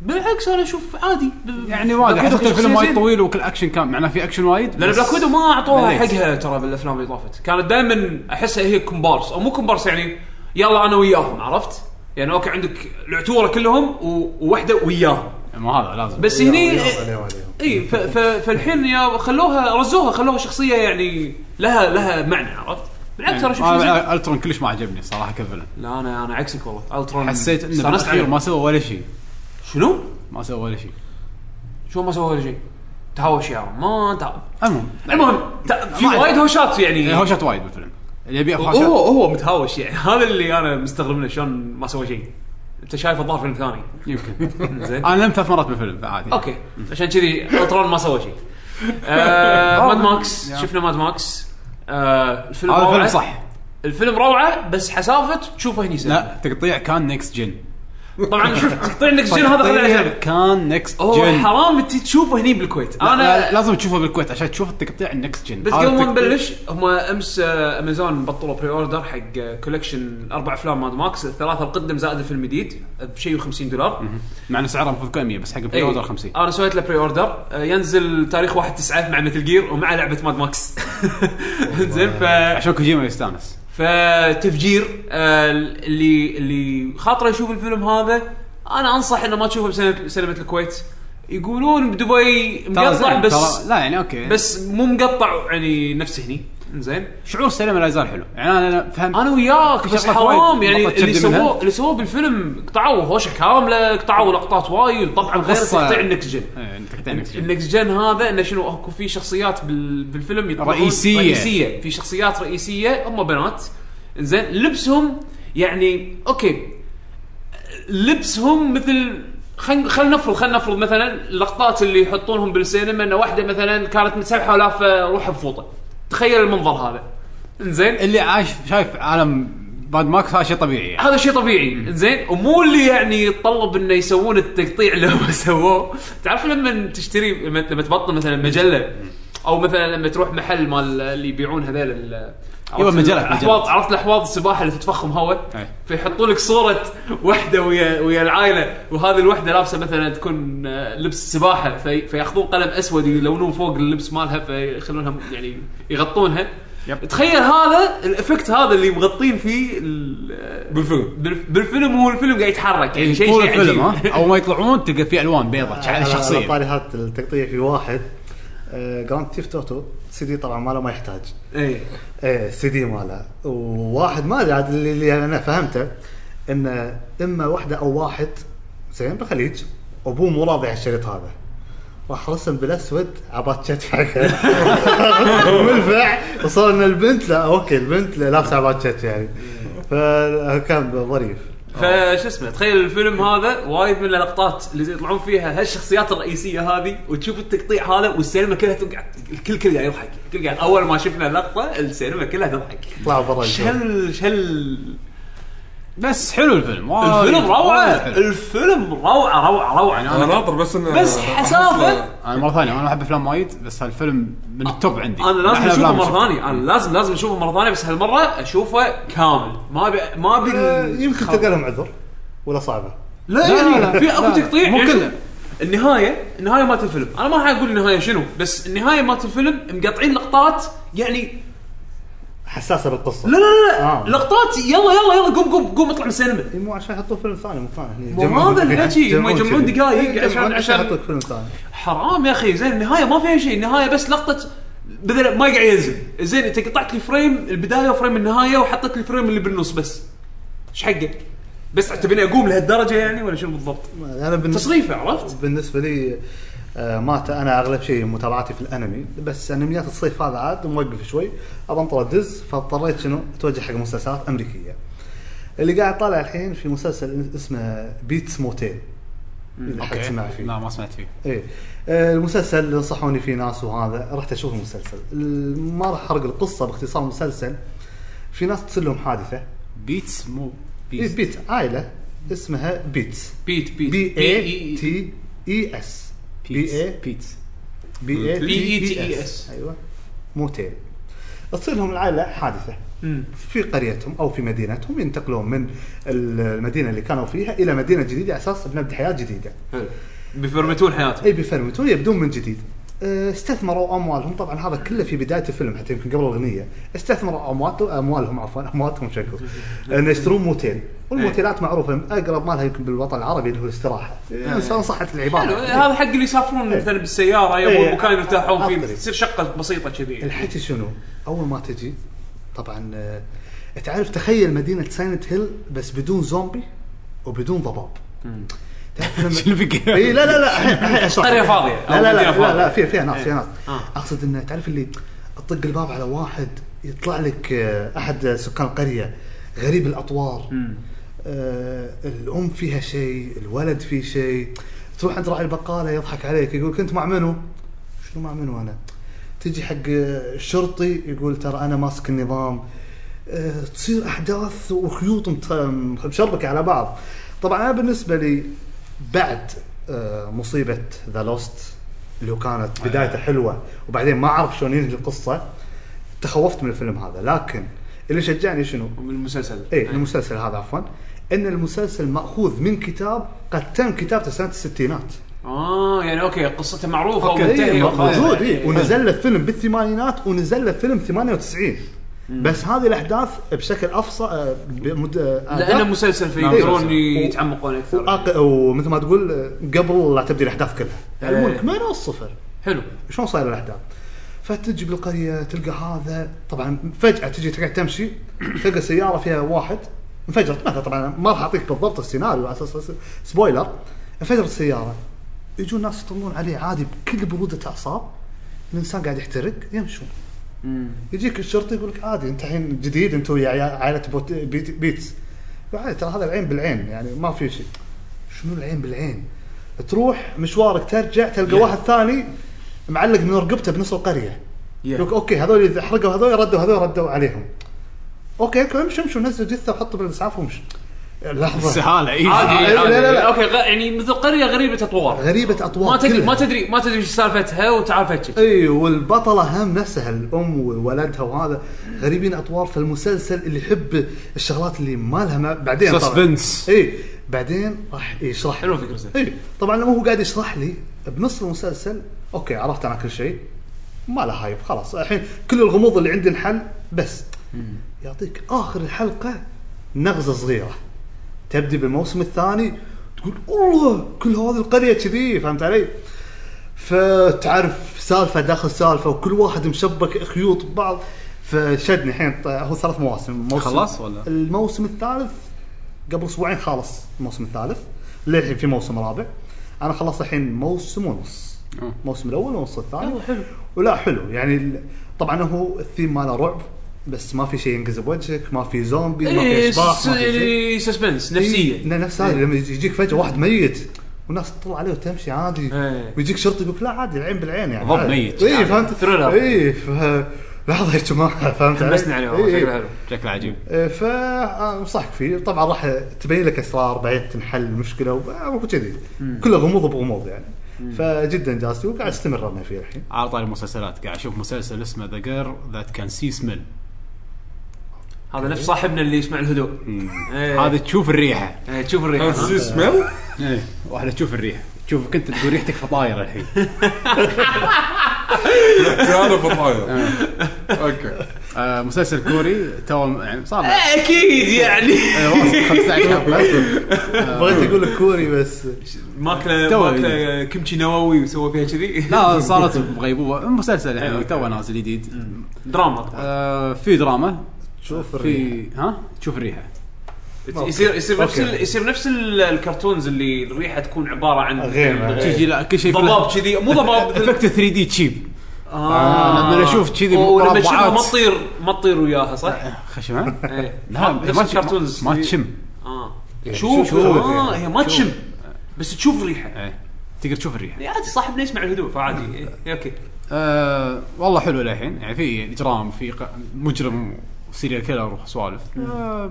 Speaker 3: بالعكس انا اشوف عادي ب-
Speaker 2: يعني وايد
Speaker 3: بلاك ويدو
Speaker 2: حسيت الفيلم وايد
Speaker 3: زين.
Speaker 2: طويل وكل اكشن كان معناه في اكشن وايد
Speaker 3: لان
Speaker 2: بس-
Speaker 3: بلاك ويدو ما اعطوها
Speaker 2: مليت.
Speaker 3: حقها ترى بالافلام اللي طافت كانت دائما احسها هي كومبارس او مو كومبارس يعني يلا انا وياهم عرفت يعني اوكي عندك العتوره كلهم و- ووحده وياهم
Speaker 2: ما هذا لازم
Speaker 3: بس
Speaker 4: هني
Speaker 3: هني اي ف- ف- فالحين يا خلوها رزوها خلوها شخصيه يعني لها لها معنى عرفت بالعكس ترى شوف
Speaker 2: آه،
Speaker 3: شو زين.
Speaker 2: أنا الترون كلش ما عجبني صراحه كفيلن
Speaker 3: لا انا انا عكسك والله الترون
Speaker 2: حسيت انه
Speaker 3: استانست
Speaker 2: بالاخير
Speaker 3: عليه
Speaker 2: ما سوى ولا شيء
Speaker 3: شنو؟
Speaker 2: ما سوى ولا شيء
Speaker 3: شو ما سوى ولا شيء تهاوش يا عم. ما انت
Speaker 2: المهم
Speaker 3: المهم ت- في
Speaker 2: ما
Speaker 3: وايد هوشات يعني
Speaker 2: إيه، هوشات وايد بالفيلم اللي يبي
Speaker 3: هو
Speaker 2: هوشات
Speaker 3: هو متهاوش يعني هذا اللي انا مستغرب منه شلون ما سوى شيء انت شايف الظاهر فيلم ثاني
Speaker 2: يمكن
Speaker 3: زين
Speaker 2: انا لم ثلاث مرات بالفيلم عادي
Speaker 3: اوكي عشان كذي الترون ما سوى شيء آه ماد ماكس
Speaker 2: يا.
Speaker 3: شفنا ماد ماكس آه الفيلم
Speaker 2: هذا
Speaker 3: روعه
Speaker 2: الفيلم صح
Speaker 3: الفيلم روعه بس حسافه تشوفه هني سنة.
Speaker 2: لا تقطيع كان نكست جن
Speaker 3: طبعا شوف تقطيع انك جن هذا خليه على
Speaker 2: تقطيع
Speaker 3: جنب
Speaker 2: كان نكست
Speaker 3: هو
Speaker 2: طيب. جن
Speaker 3: حرام تي- تشوفه هني بالكويت
Speaker 2: انا لا لا
Speaker 3: انا
Speaker 2: لازم تشوفه بالكويت عشان تشوف التقطيع النكست جن
Speaker 3: بس
Speaker 2: هذا
Speaker 3: قبل ما
Speaker 2: التقطيع-
Speaker 3: نبلش هم امس آه، امازون بطلوا بري اوردر حق آه، كولكشن اربع افلام ماد ماكس الثلاثه القدم زائد الفيلم الجديد بشيء 50 دولار
Speaker 2: مع ان سعره المفروض كان 100 بس حق البري
Speaker 3: إيه.
Speaker 2: اوردر 50
Speaker 3: انا سويت له بري اوردر ينزل تاريخ 1 9 مع مثل جير ومع لعبه ماد ماكس زين ف
Speaker 2: عشان كوجيما يستانس
Speaker 3: فتفجير آه، اللي اللي خاطره يشوف الفيلم هذا انا انصح انه ما تشوفه بسينما سينما الكويت يقولون بدبي
Speaker 2: ترى
Speaker 3: مقطع
Speaker 2: زين،
Speaker 3: بس
Speaker 2: ترى- لا يعني اوكي بس
Speaker 3: بس مو مقطع يعني نفس هني زين
Speaker 2: شعور السينما لا يزال حلو يعني انا أنا فهمت
Speaker 3: انا وياك
Speaker 2: في
Speaker 3: بس
Speaker 2: شغلات
Speaker 3: حرام
Speaker 2: وايد
Speaker 3: يعني
Speaker 2: مرات
Speaker 3: اللي
Speaker 2: تشد منها.
Speaker 3: سووه اللي سووه بالفيلم قطعوا هوشه كامله قطعوا لقطات وايد طبعا غير
Speaker 2: قصة.
Speaker 3: تقطيع النكس جن
Speaker 2: إيه، يعني تقطيع نكست جن
Speaker 3: النكس جن هذا انه شنو اكو في شخصيات بال... بالفيلم يطلعون
Speaker 2: رئيسية.
Speaker 3: رئيسيه في شخصيات رئيسيه هم بنات زين لبسهم يعني اوكي لبسهم مثل خلينا خلينا نفرض خلينا نفرض مثلا اللقطات اللي يحطونهم بالسينما ان واحده مثلا كانت متسبحه ولافه روح بفوطه تخيل المنظر هذا زين
Speaker 2: اللي عايش شايف عالم باد ماكس هذا شيء طبيعي يعني
Speaker 3: هذا شيء طبيعي زين ومو اللي يعني يتطلب انه يسوون التقطيع اللي هم سووه تعرف لما تشتري لما لما تبطل مثلا مجله او مثلا لما تروح محل مال اللي يبيعون هذول ال- عرفت
Speaker 2: ايوه، مجلة،
Speaker 3: الاحواض
Speaker 2: مجلة. إيه.
Speaker 3: عرفت الاحواض السباحه اللي تتفخم هواء
Speaker 2: أي.
Speaker 3: فيحطوا لك صوره وحده ويا ويا العائله وهذه الوحده لابسه مثلا تكون آه، لبس سباحه في فياخذون قلم اسود يلونون فوق اللبس مالها فيخلونها يعني يغطونها
Speaker 2: يب.
Speaker 3: تخيل هذا الافكت هذا اللي مغطين فيه ال-
Speaker 5: بالفيلم
Speaker 3: بالف- بالفيلم هو الفيلم قاعد يتحرك يعني شيء
Speaker 2: إيه، طول
Speaker 3: شيء
Speaker 2: الفيلم
Speaker 3: عجيب.
Speaker 2: ها اول ما يطلعون تلقى فيه الوان بيضة
Speaker 4: على- على
Speaker 2: شخصيه
Speaker 4: طاري هذا التقطيع في واحد آه، جراند تيف توتو سي دي طبعا ماله ما يحتاج
Speaker 3: ايه
Speaker 4: ايه سي دي ماله وواحد ما ادري عاد اللي, اللي انا فهمته انه اما واحده او واحد زين بالخليج ابوه مو راضي على الشريط هذا راح رسم بالاسود عبات كتفه بالفع وصار ان البنت لا اوكي البنت لا لابسه عبات كتف يعني فكان ظريف
Speaker 3: فشو اسمه تخيل الفيلم هذا وايد من اللقطات اللي يطلعون فيها هالشخصيات الرئيسيه هذه وتشوف التقطيع هذا والسينما كلها تقعد الكل كل قاعد يضحك الكل قاعد اول ما شفنا اللقطه السينما كلها تضحك
Speaker 4: طلع برا الجو.
Speaker 3: شل شل
Speaker 2: بس حلو الفيلم وايد-
Speaker 3: الفيلم روعه
Speaker 2: وايد حلو.
Speaker 3: الفيلم روعه روعه روعه
Speaker 5: انا ناطر بس انه
Speaker 3: آه. بس حسافة.
Speaker 5: أحس-
Speaker 2: انا مره ثانيه انا احب افلام وايد بس هالفيلم من التوب عندي
Speaker 3: انا لازم
Speaker 2: أحلى
Speaker 3: اشوفه
Speaker 2: أفلام
Speaker 3: مره
Speaker 2: شفتها.
Speaker 3: ثانيه انا لازم لازم اشوفه مره ثانيه بس هالمره اشوفه كامل ما ابي ما ابي
Speaker 4: آه، يمكن
Speaker 3: الخلط.
Speaker 4: تلقى لهم عذر ولا صعبه
Speaker 3: لا
Speaker 2: لا،
Speaker 3: يعني
Speaker 2: لا، لا.
Speaker 3: في اكو
Speaker 2: لا،
Speaker 3: تقطيع
Speaker 2: مو
Speaker 3: يعني
Speaker 2: كله.
Speaker 3: النهايه النهايه مالت الفيلم انا ما حقول النهايه شنو بس النهايه مالت الفيلم مقطعين لقطات يعني
Speaker 4: حساسه بالقصه
Speaker 3: لا لا لا
Speaker 4: آه.
Speaker 3: آه. لقطات يلا يلا يلا قم قم قم اطلع من السينما
Speaker 4: إيه، مو عشان يحطون فيلم ثاني مكانه هني.
Speaker 3: مو
Speaker 4: يجمعون-
Speaker 3: هذا الحكي، هم
Speaker 4: يجمعون
Speaker 3: يجمعون
Speaker 4: كذي.
Speaker 3: دقايق
Speaker 4: إيه،
Speaker 3: عشان-
Speaker 4: يجمعون
Speaker 3: عشان-
Speaker 4: يحطون فيلم ثاني
Speaker 3: حرام يا اخي زين النهايه ما فيها شيء النهايه بس لقطه بدل ما قاعد ينزل زين انت قطعت لي فريم البدايه وفريم النهايه وحطيت لي فريم اللي بالنص بس ايش حقه؟ بس تبيني اقوم لهالدرجه يعني ولا شنو بالضبط؟
Speaker 4: انا بالنسبه
Speaker 3: تصريفه عرفت؟
Speaker 4: بالنسبه لي آه، مات انا اغلب شيء متابعتي في الانمي بس انميات الصيف هذا عاد موقف شوي ابى انطر ادز فاضطريت شنو اتوجه حق مسلسلات امريكيه اللي قاعد طالع الحين في مسلسل اسمه بيتس موتيل اذا
Speaker 2: أوكي.
Speaker 4: حد
Speaker 2: نعم.
Speaker 4: سمع فيه
Speaker 2: لا ما سمعت فيه
Speaker 4: ايه آه، المسلسل اللي نصحوني فيه ناس وهذا رحت اشوف المسلسل ال- ما راح احرق القصه باختصار المسلسل في ناس تصير لهم حادثه
Speaker 2: بيتس مو
Speaker 4: إيه، بيت عائله اسمها بيتس
Speaker 2: إيه،
Speaker 3: بيت بيت
Speaker 4: بي
Speaker 3: إيه،
Speaker 4: اي تي اي اس بي اي
Speaker 2: بيتس
Speaker 4: بي اي
Speaker 3: B-E-T-E-S.
Speaker 4: ايوه E موتين تصير لهم العائله حادثه في قريتهم او في مدينتهم ينتقلون من المدينه اللي كانوا فيها الى مدينه جديده على اساس بنبدا حياه جديده.
Speaker 3: حلو. بيفرمتون حياتهم
Speaker 4: اي بيفرمتون طيب، يبدون من جديد. أه، استثمروا اموالهم طبعا هذا كله في بدايه الفيلم حتى يمكن قبل الاغنيه استثمروا اموالهم اموالهم عفوا اموالهم شكو ان يشترون موتيل والموتيلات معروفه اقرب مالها يمكن بالوطن العربي اللي هو الاستراحه. يعني صحت
Speaker 3: إيه. حلو إيه،
Speaker 4: العباره.
Speaker 3: هذا حق اللي يسافرون مثلا بالسياره يبون
Speaker 4: إيه.
Speaker 3: مكان يرتاحون
Speaker 4: عطري.
Speaker 3: فيه تصير شقه بسيطه كذي
Speaker 4: الحكي شنو؟ اول ما تجي طبعا آه، تعرف تخيل مدينه ساينت هيل بس بدون زومبي وبدون ضباب تعرف لما-
Speaker 2: شنو فيك؟
Speaker 4: اي لا لا لا الحين- الحين اشرح
Speaker 3: قرية فاضية أو
Speaker 4: لا لا
Speaker 3: مدينة
Speaker 4: لا لا,
Speaker 3: فاضية.
Speaker 4: لا فيها فيها ناس فيها ناس
Speaker 3: آه.
Speaker 4: اقصد انه تعرف اللي تطق الباب على واحد يطلع لك آه، احد سكان القريه غريب الاطوار آه الام فيها شيء الولد فيه شيء تروح عند راعي البقاله يضحك عليك يقول كنت مع منو؟ شنو مع منو انا؟ تجي حق آه، الشرطي يقول ترى انا ماسك النظام آه، تصير احداث وخيوط مت- مشبكه على بعض طبعا انا بالنسبه لي بعد آه، مصيبه ذا لوست اللي هو كانت بدايته حلوه وبعدين ما اعرف شلون ينهي القصه تخوفت من الفيلم هذا لكن اللي شجعني شنو؟
Speaker 3: من المسلسل
Speaker 4: اي المسلسل هذا عفوا ان المسلسل ماخوذ من كتاب قد تم كتابته سنه الستينات
Speaker 3: اه يعني اوكي قصته معروفه
Speaker 4: إيه،
Speaker 3: ومنتهيه وخلاص.
Speaker 4: موجود اي
Speaker 3: إيه.
Speaker 4: ونزل له فيلم بالثمانينات ونزل له فيلم 98 بس هذه الاحداث بشكل افصل آه، بمد... آه،
Speaker 3: لانه
Speaker 4: آداء.
Speaker 3: مسلسل
Speaker 4: نعم، آه.
Speaker 3: فيقدرون
Speaker 4: مسلسل.
Speaker 3: يتعمقون اكثر
Speaker 4: وأق- ومثل ما تقول آه، قبل لا تبدي الاحداث كلها
Speaker 3: إيه.
Speaker 4: يعلمونك من الصفر
Speaker 3: حلو
Speaker 4: شلون صاير الاحداث فتجي بالقريه تلقى هذا طبعا فجاه تجي تقعد تمشي تلقى سياره فيها واحد انفجرت مثلا طبعا ما راح اعطيك بالضبط السيناريو على اساس سبويلر انفجرت السياره يجون ناس يطلون عليه عادي بكل بروده اعصاب الانسان قاعد يحترق يمشون يجيك الشرطي يقول لك عادي انت الحين جديد انت ويا عيا- عائله بوت- بيت- بيتس يقول عادي ترى هذا العين بالعين يعني ما في شيء شنو العين بالعين؟ تروح مشوارك ترجع تلقى واحد ثاني معلق من رقبته بنص القريه يقول لك اوكي هذول اذا حرقوا هذول ردوا هذول ردوا عليهم اوكي اوكي امشوا امشوا نزلوا جثه وحطوا بالاسعاف وامشوا لحظه
Speaker 2: سهاله اي
Speaker 3: عادي
Speaker 4: آه، لا،
Speaker 3: عادي.
Speaker 4: لا، لا.
Speaker 3: اوكي غ- يعني مثل قريه غريبه اطوار
Speaker 4: غريبه اطوار
Speaker 3: ما تدري
Speaker 4: كلها. إيه.
Speaker 3: ما تدري ما تدري ايش سالفتها وتعال فتشك
Speaker 4: اي والبطله هم نفسها الام وولدها وهذا غريبين اطوار فالمسلسل اللي يحب الشغلات اللي ما لها ما بعدين طبعاً.
Speaker 2: Suspense.
Speaker 4: اي إيه، بعدين راح يشرح
Speaker 3: حلوة فكرة زين.
Speaker 4: اي طبعا لما هو قاعد يشرح لي بنص المسلسل اوكي عرفت انا كل شيء ما له هايب خلاص الحين كل الغموض اللي عندي انحل بس يعطيك اخر الحلقه نغزه صغيره تبدي بالموسم الثاني تقول الله كل هذه القريه كذي فهمت علي؟ فتعرف سالفه داخل سالفه وكل واحد مشبك خيوط ببعض فشدني الحين ط- هو ثلاث مواسم موسم
Speaker 2: خلاص ولا؟
Speaker 4: الموسم الثالث قبل اسبوعين خالص الموسم الثالث للحين في موسم رابع انا خلصت الحين موسم ونص
Speaker 3: آه.
Speaker 2: أوه.
Speaker 4: الموسم الاول والموسم الثاني حلو ولا حلو يعني ال- طبعا هو الثيم ماله رعب بس ما في شيء ينقز بوجهك ما في زومبي ما في
Speaker 3: إيه،
Speaker 4: اشباح
Speaker 3: س-
Speaker 4: ما في شيء
Speaker 3: يعني سسبنس
Speaker 4: إيه،
Speaker 3: نفسيه
Speaker 4: لا، نفس هذا لما يجي- يجيك فجاه واحد ميت والناس تطلع عليه وتمشي عادي
Speaker 3: إيه.
Speaker 4: ويجيك شرطي يقول لك لا عادي العين بالعين يعني
Speaker 2: ضب
Speaker 4: عادي.
Speaker 2: ميت.
Speaker 4: اي فهمت
Speaker 3: Thriller.
Speaker 4: اي ف- لحظه يا جماعه فهمت علي؟
Speaker 3: حمسني عليه والله،
Speaker 4: إيه، إيه.
Speaker 3: شكله حلو
Speaker 2: شكله عجيب
Speaker 4: إيه، فانصحك فيه طبعا راح تبين لك اسرار بعدين تنحل المشكله وب- وكذي كله غموض بغموض يعني فجدا جاستي وقاعد استمر انا فيه الحين
Speaker 2: على طاري المسلسلات قاعد اشوف مسلسل اسمه ذا جير ذات كان سي سميل
Speaker 3: هذا نفس صاحبنا اللي يسمع الهدوء إيه.
Speaker 2: هذا تشوف الريحه
Speaker 3: إيه، تشوف الريحه
Speaker 5: هذا
Speaker 3: ها؟
Speaker 5: سي سميل
Speaker 2: ايه واحده تشوف الريحه تشوف كنت تقول ريحتك فطايره الحين
Speaker 5: هذا بطاير اوكي
Speaker 2: آه، مسلسل كوري تو يعني صار له
Speaker 3: إيه، اكيد يعني
Speaker 4: إيه،
Speaker 2: آه، واصل 15 حلقه
Speaker 4: بغيت اقول لك كوري بس
Speaker 3: ماكله
Speaker 2: تو-
Speaker 3: ماكله كمشي نووي وسوى فيها كذي
Speaker 2: لا صارت بغيبوبه مسلسل يعني تو نازل جديد
Speaker 3: دراما طبعاً.
Speaker 2: آه، في دراما
Speaker 4: تشوف الريحه
Speaker 2: في ها تشوف الريحه
Speaker 3: يصير يصير نفس
Speaker 4: أوكي.
Speaker 3: ال- يصير نفس ال- الكرتونز اللي الريحه تكون عباره عن
Speaker 4: غير-
Speaker 2: تجي لا كل شيء
Speaker 3: ضباب كذي مو ضباب
Speaker 2: افكت 3 دي تشيب
Speaker 3: آه.
Speaker 2: لما اشوف كذي
Speaker 3: ولما تشمها ما
Speaker 2: مربعات.
Speaker 3: تطير ما تطير وياها صح؟
Speaker 2: خشمه
Speaker 3: إيه.
Speaker 2: لا
Speaker 3: نفس
Speaker 2: ما
Speaker 3: الكرتونز
Speaker 2: تشم ما
Speaker 3: اللي-
Speaker 2: تشم يعني
Speaker 3: اه شوف
Speaker 4: شوف.
Speaker 3: اه هي ما تشم بس تشوف الريحه
Speaker 2: إيه. تقدر تشوف الريحه
Speaker 3: يعني عادي صاحبنا يسمع الهدوء فعادي
Speaker 2: آه.
Speaker 3: إيه، اوكي
Speaker 2: أه والله حلو للحين يعني في اجرام في ق- مجرم وسيريال كيلر وسوالف أه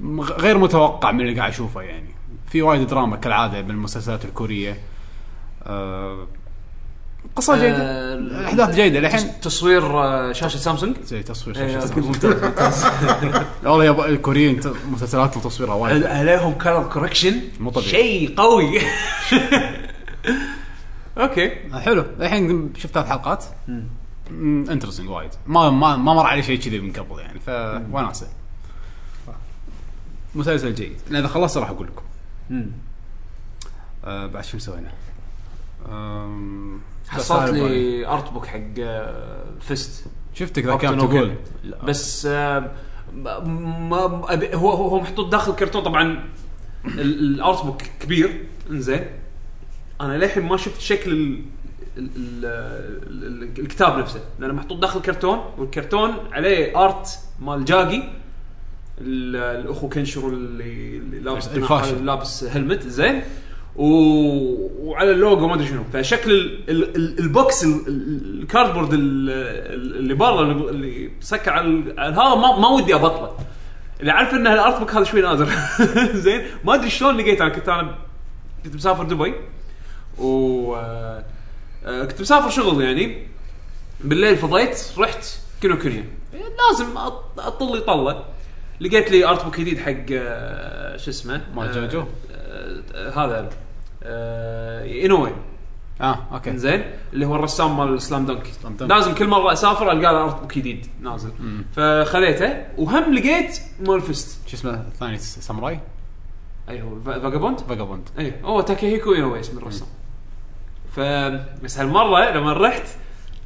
Speaker 2: م- غير متوقع من اللي قاعد اشوفه يعني في وايد دراما كالعاده بالمسلسلات الكوريه أه قصه جيده
Speaker 3: آه،
Speaker 2: الاحداث جيده للحين
Speaker 3: تصوير آه، شاشه سامسونج
Speaker 2: زي تصوير
Speaker 3: إيه،
Speaker 2: شاشة
Speaker 3: أوكي، ممتاز ممتاز
Speaker 2: والله يا أبو- الكوريين ت- مسلسلاتهم تصويرها وايد
Speaker 3: عليهم كلر كوركشن
Speaker 2: مو طبيعي.
Speaker 3: شيء قوي اوكي
Speaker 2: حلو الحين شفت ثلاث حلقات انترستنج وايد ما ما ما مر علي شيء كذي من قبل يعني فوناسه مسلسل جيد أنا اذا خلصت راح اقول لكم آه بعد شو مسوينا؟ آم،
Speaker 3: حصلت
Speaker 2: بس هاي
Speaker 3: لي ارت بوك حق آه، فيست
Speaker 2: شفتك ذا كان
Speaker 3: كابتن
Speaker 2: تقول
Speaker 3: أوكي. بس آه، ما ما- أبي- هو هو هو محطوط داخل كرتون طبعا ال- الارت بوك كبير انزين انا للحين ما شفت شكل ال ال ال ال الكتاب نفسه لانه محطوط داخل كرتون والكرتون عليه ارت مال جاكي ال- الاخو كنشرو اللي اللي لابس
Speaker 2: الفاشل.
Speaker 3: جناح- لابس هلمت زين و... وعلى اللوجو ما ادري شنو فشكل ال... ال... ال- البوكس ال... ال- الكاردبورد ال... ال- اللي برا اللي- اللي مسكر على, ال- على هذا ما... ما ودي ابطله اللي عارف ان الارت بوك هذا شوي نادر زين ما ادري شلون لقيت انا كنت انا كنت مسافر دبي و آه، آه، كنت مسافر شغل يعني بالليل فضيت رحت كينو كونيا لازم أط- اطل لي طله لقيت لي ارت بوك جديد حق آه، شو اسمه
Speaker 2: مال
Speaker 3: آه،
Speaker 2: جوجو؟
Speaker 3: آه، آه، هذا آه، انوي
Speaker 2: اه اوكي
Speaker 3: زين اللي هو الرسام مال سلام دنك
Speaker 2: سلام دنك.
Speaker 3: لازم كل مره اسافر القى له ارت بوك جديد نازل فخليته وهم لقيت مال فيست
Speaker 2: شو اسمه الثاني س- ساموراي
Speaker 3: اي هو فا- فاجابوند
Speaker 2: فاجابوند
Speaker 3: اي إيه هو تاكاهيكو اينوي اسم الرسام ف بس هالمره لما رحت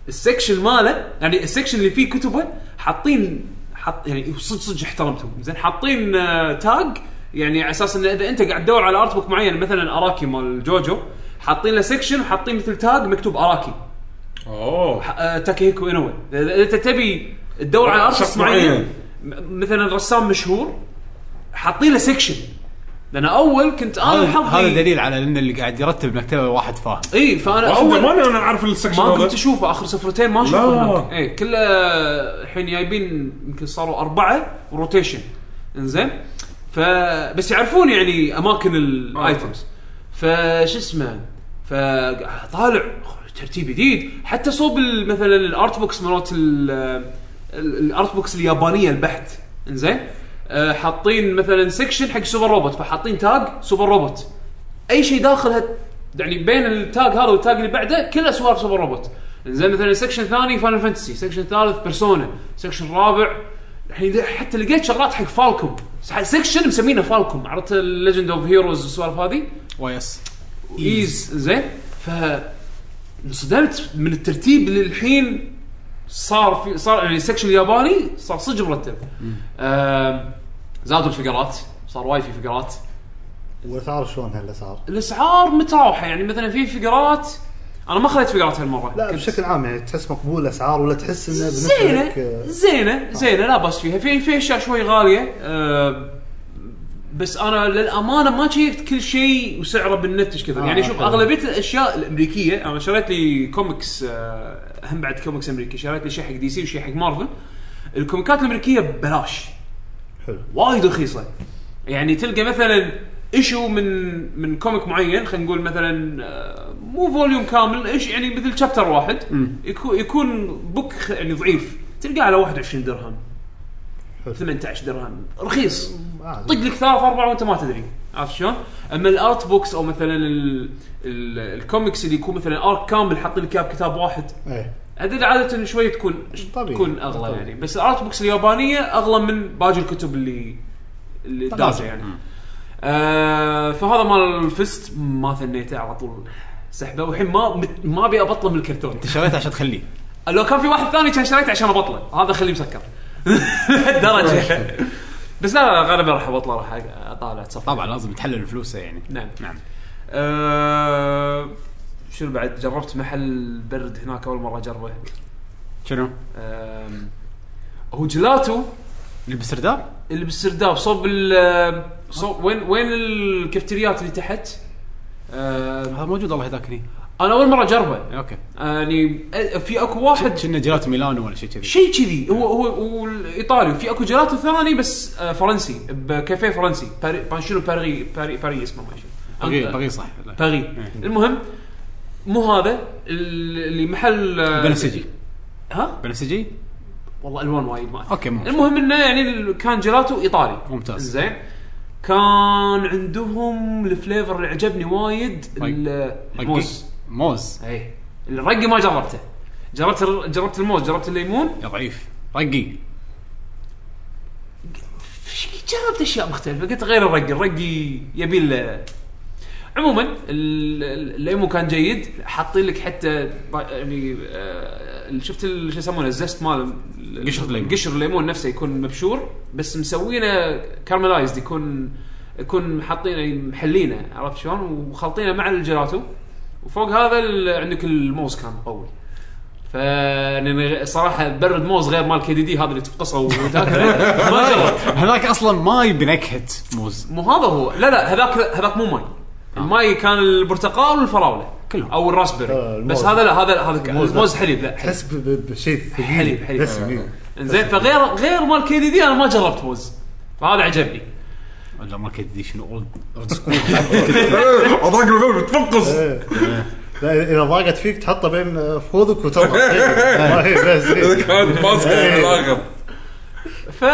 Speaker 3: السكشن ماله يعني السكشن اللي فيه كتبه حاطين حط يعني صدق صدق احترمتهم زين حاطين آه، تاج يعني على اساس انه اذا انت قاعد تدور على ارت بوك معين مثلا اراكي مال جوجو حاطين له سكشن وحاطين مثل تاج مكتوب اراكي
Speaker 5: اوه
Speaker 3: آه، تاكيهيكو انوي اذا انت تبي تدور على ارتست
Speaker 5: شخص
Speaker 3: معين
Speaker 5: معين.
Speaker 3: م- مثلا رسام مشهور حاطين له سكشن لان اول كنت انا
Speaker 2: هذا
Speaker 3: حظي
Speaker 2: هذا دليل على ان اللي قاعد يرتب مكتبه واحد فاهم
Speaker 3: اي فانا
Speaker 5: اول
Speaker 3: اول
Speaker 5: ما انا اعرف السكشن
Speaker 3: ما كنت
Speaker 5: هذا
Speaker 3: اشوفه اخر سفرتين ما
Speaker 5: لا.
Speaker 3: اشوفه هناك اي كله الحين جايبين يمكن صاروا اربعه روتيشن انزين فبس يعرفون يعني اماكن
Speaker 5: آه.
Speaker 3: الايتمز فش اسمه فطالع ترتيب جديد حتى صوب ال- مثلا الارت بوكس مرات ال- ال- الارت بوكس اليابانيه البحت انزين آه، حاطين مثلا سكشن حق سوبر روبوت فحاطين تاج سوبر روبوت اي شيء داخل هت... يعني بين التاج هذا والتاج اللي بعده كله سوالف سوبر روبوت زين مثلا سكشن ثاني فاينل فانتسي سكشن ثالث بيرسونا سكشن رابع الحين حتى لقيت شغلات حق فالكوم سكشن مسمينه فالكوم عرفت الليجند اوف هيروز والسوالف هذه
Speaker 2: واي اس
Speaker 3: ايز زين ف انصدمت من الترتيب اللي الحين صار في صار يعني السكشن الياباني صار صدق مرتب آم، زادوا الفقرات صار وايد في فقرات
Speaker 4: والاسعار شلون هلا صار؟
Speaker 3: الاسعار متراوحه يعني مثلا في فقرات انا ما خذيت فقرات هالمره
Speaker 4: لا
Speaker 3: كنت-
Speaker 4: بشكل عام يعني تحس مقبول الاسعار ولا تحس انه بالنسبه
Speaker 3: زينه
Speaker 4: لك آه،
Speaker 3: زينه زينه لا باس فيها في في اشياء شوي غاليه آه، بس انا للامانه ما شيكت كل شيء وسعره بالنت ايش كثر
Speaker 4: آه،
Speaker 3: يعني شوف
Speaker 4: حلو.
Speaker 3: اغلبيه الاشياء الامريكيه انا شريت لي كوميكس آه، هم بعد كوميكس امريكي شريت لي شيء حق دي سي وشيء حق مارفل الكوميكات الامريكيه ببلاش
Speaker 4: حلو.
Speaker 3: وايد رخيصه يعني تلقى مثلا ايشو من من كوميك معين خلينا نقول مثلا آه، مو فوليوم كامل ايش يعني مثل شابتر واحد يكون يكون بوك خ- يعني ضعيف تلقاه على 21 درهم
Speaker 4: حلو.
Speaker 3: 18 درهم رخيص
Speaker 4: عادي.
Speaker 3: طق لك ثلاث اربع وانت ما تدري عرفت شلون؟ اما الارت بوكس او مثلا ال- ال- الكوميكس اللي يكون مثلا ارك كامل حاطين لك اياه بكتاب واحد
Speaker 4: ايه
Speaker 3: هذه عاده شوي تكون
Speaker 4: طبيعي.
Speaker 3: تكون اغلى
Speaker 4: طبيعي.
Speaker 3: يعني بس الارت بوكس اليابانيه اغلى من باقي الكتب اللي اللي دازه يعني آه فهذا مال الفست ما ثنيته على طول سحبه والحين ما مت- ما ابي ابطله من الكرتون
Speaker 2: انت شريته عشان تخليه
Speaker 3: لو كان في واحد ثاني كان شريته عشان ابطله هذا خليه مسكر لهالدرجه بس لا لا غالبا راح ابطله راح اطالع تصفح
Speaker 2: طبعا لازم تحلل فلوسه يعني
Speaker 3: نعم
Speaker 2: نعم
Speaker 3: آه شنو بعد جربت محل برد هناك اول مره اجربه
Speaker 2: شنو؟
Speaker 3: آم، أه، هو جيلاتو
Speaker 2: اللي بستردار؟
Speaker 3: اللي بالسرداب صوب ال صوب وين وين الكافتريات اللي تحت؟ أه، آم،
Speaker 2: هذا موجود والله هذاك هني
Speaker 3: انا اول مره اجربه
Speaker 2: اوكي
Speaker 3: يعني أ- في اكو واحد
Speaker 2: كنا جيلاتو ميلانو ولا شيء كذي
Speaker 3: شيء كذي هو هو هو الايطالي في اكو جيلاتو ثاني بس آه، فرنسي بكافيه فرنسي باري بانشينو باري باري باري اسمه ما
Speaker 2: بغي
Speaker 3: شنو
Speaker 2: بغي صح لا.
Speaker 3: باري
Speaker 2: إيه.
Speaker 3: المهم مو هذا ال- اللي محل آه،
Speaker 2: بنفسجي
Speaker 3: ها
Speaker 2: بنفسجي؟
Speaker 3: والله الوان وايد ما أذكر.
Speaker 2: اوكي مو
Speaker 3: المهم انه يعني ال- كان جيلاتو ايطالي
Speaker 2: ممتاز.
Speaker 3: زين كان عندهم الفليفر اللي عجبني وايد
Speaker 2: طيب.
Speaker 3: ال-
Speaker 2: رقي.
Speaker 3: الموز
Speaker 2: موز
Speaker 3: اي الرقي ما جربته جربت الر- جربت الموز جربت الليمون
Speaker 2: يا ضعيف رقي
Speaker 3: جربت اشياء مختلفه قلت غير الرقي الرقي يبي له عموما ال- ال- الايمو كان جيد حاطين لك حتى ط- يعني آه، ال- شفت ال- شو يسمونه الزست مال ال-
Speaker 2: قشر الليمون.
Speaker 3: قشر الليمون نفسه يكون مبشور بس مسوينه كارملايزد يكون يكون حاطينه يعني محلينه عرفت شلون وخلطينه مع الجيلاتو وفوق هذا ال- عندك الموز كان قوي ف يعني صراحه برد موز غير مال كي دي دي هذا اللي تفقصه وتاكله ما جربت
Speaker 2: هذاك اصلا ماي بنكهه موز
Speaker 3: مو هذا هو لا لا هذاك هذاك مو ماي الماي كان البرتقال والفراوله
Speaker 2: كلهم.
Speaker 3: او الراسبري
Speaker 4: آه، الموز.
Speaker 3: بس هذا لا هذا هذا
Speaker 4: الموز لا.
Speaker 3: الموز حليب لا حليب.
Speaker 4: تحس ب- ب- بشيء ثقيل
Speaker 3: حليب- حليب.
Speaker 4: دسم، إيه.
Speaker 3: زين فغير غير مال كي دي دي انا ما جربت موز فهذا عجبني
Speaker 2: ولا ما كنت أدري شنو اولد
Speaker 5: اضاق الباب إيه. تفقص
Speaker 4: إيه. لا اذا ضاقت فيك تحطه بين آه، فخوذك وتضغط ما هي بس
Speaker 5: اذا
Speaker 4: إيه.
Speaker 5: كانت ماسكه
Speaker 4: إيه.
Speaker 5: الاخر
Speaker 3: ف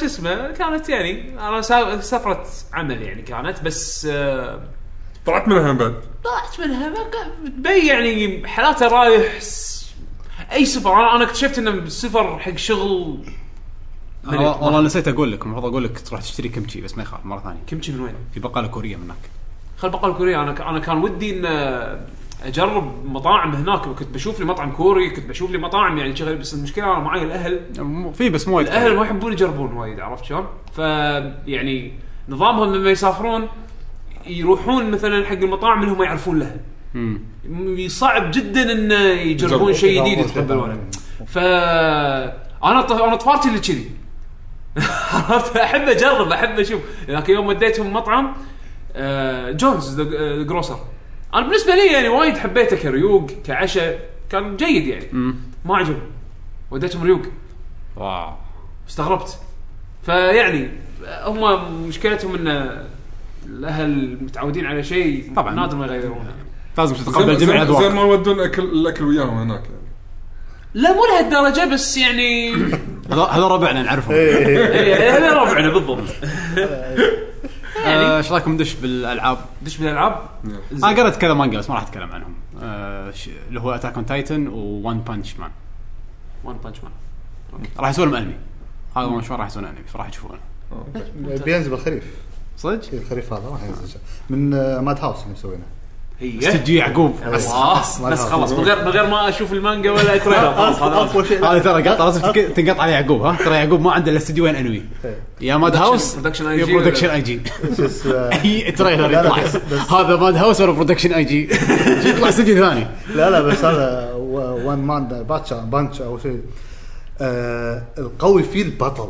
Speaker 3: شو اسمه كانت يعني انا سا- سفره عمل يعني كانت بس آه،
Speaker 5: طلعت منها بعد
Speaker 3: طلعت منها ما كان- بتبين يعني حالاته رايح س- اي سفر انا انا اكتشفت انه السفر حق شغل
Speaker 2: والله والله نسيت اقول لك المفروض اقول لك تروح تشتري كمتشي بس ما يخاف مره ثانيه
Speaker 3: كمشي من وين؟
Speaker 2: في بقاله كوريه من هناك
Speaker 3: خل بقال كوريا انا ك- انا كان ودي ان آه، اجرب مطاعم هناك كنت بشوف لي مطعم كوري كنت بشوف لي مطاعم يعني شغل بس المشكله انا معي الاهل
Speaker 2: مو- في بس مو وايد
Speaker 3: الاهل ما يحبون يجربون وايد عرفت شلون؟ ف يعني نظامهم لما يسافرون يروحون مثلا حق المطاعم اللي هم يعرفون لها
Speaker 2: مم.
Speaker 3: م- صعب جدا ان يجربون
Speaker 5: يجربون.
Speaker 3: شيء جديد يتقبلونه ف انا ط- انا طفارتي اللي كذي عرفت احب اجرب احب اشوف لكن يوم وديتهم مطعم آه، جونز ذا ذا جروسر انا بالنسبه لي يعني وايد حبيته كريوق كعشاء كان جيد يعني ما عجبني وديتهم ريوق
Speaker 2: واو
Speaker 3: استغربت فيعني هم مشكلتهم ان الاهل متعودين على شيء
Speaker 2: طبعاً.
Speaker 3: نادر ما يغيرونه
Speaker 2: لازم
Speaker 5: زين-
Speaker 2: تتقبل جميع
Speaker 5: زين- زين
Speaker 2: الاذواق
Speaker 5: ما يودون اكل الاكل وياهم هناك يعني
Speaker 3: لا مو لهالدرجه بس يعني
Speaker 2: هذا هذا ربعنا نعرفهم
Speaker 4: إيه، إيه.
Speaker 3: إيه، هذا ربعنا بالضبط
Speaker 2: آه، ايش رايكم ندش بالالعاب؟
Speaker 3: دش بالالعاب
Speaker 2: انا قريت كذا مانجا بس ما راح اتكلم عنهم آه، ش- اللي هو اتاك اون تايتن وون بانش مان
Speaker 3: وان بانش مان
Speaker 2: راح يسوون لهم انمي هذا وان شلون راح يسوون انمي فراح تشوفونه
Speaker 4: بينزل بالخريف
Speaker 2: صدق؟
Speaker 4: إيه، الخريف هذا راح ينزل من آه، ماد هاوس اللي مسوينه
Speaker 3: هي
Speaker 2: استديو يعقوب
Speaker 4: أيوة.
Speaker 3: خلاص
Speaker 4: ما
Speaker 3: بس
Speaker 4: نعرف.
Speaker 3: خلاص من غير من غير ما اشوف المانجا ولا تريلر خلاص هذا
Speaker 4: اقوى شيء
Speaker 2: هذه ترى قطع لازم تك- تنقطع على يعقوب ها ترى يعقوب ما عنده الا استديو وين انمي
Speaker 4: إيه.
Speaker 2: يا ماد هاوس
Speaker 3: برودكشن
Speaker 2: يا
Speaker 3: IG
Speaker 2: برودكشن اي جي
Speaker 4: شو اسمه؟
Speaker 2: اي تريلر
Speaker 4: لا، لا،
Speaker 2: يطلع
Speaker 4: بس- بس-
Speaker 2: هذا ماد هاوس ولا برودكشن اي جي يطلع استديو ثاني
Speaker 4: لا لا بس هذا و- وان مان باتشا بانش او شيء آه القوي فيه البطل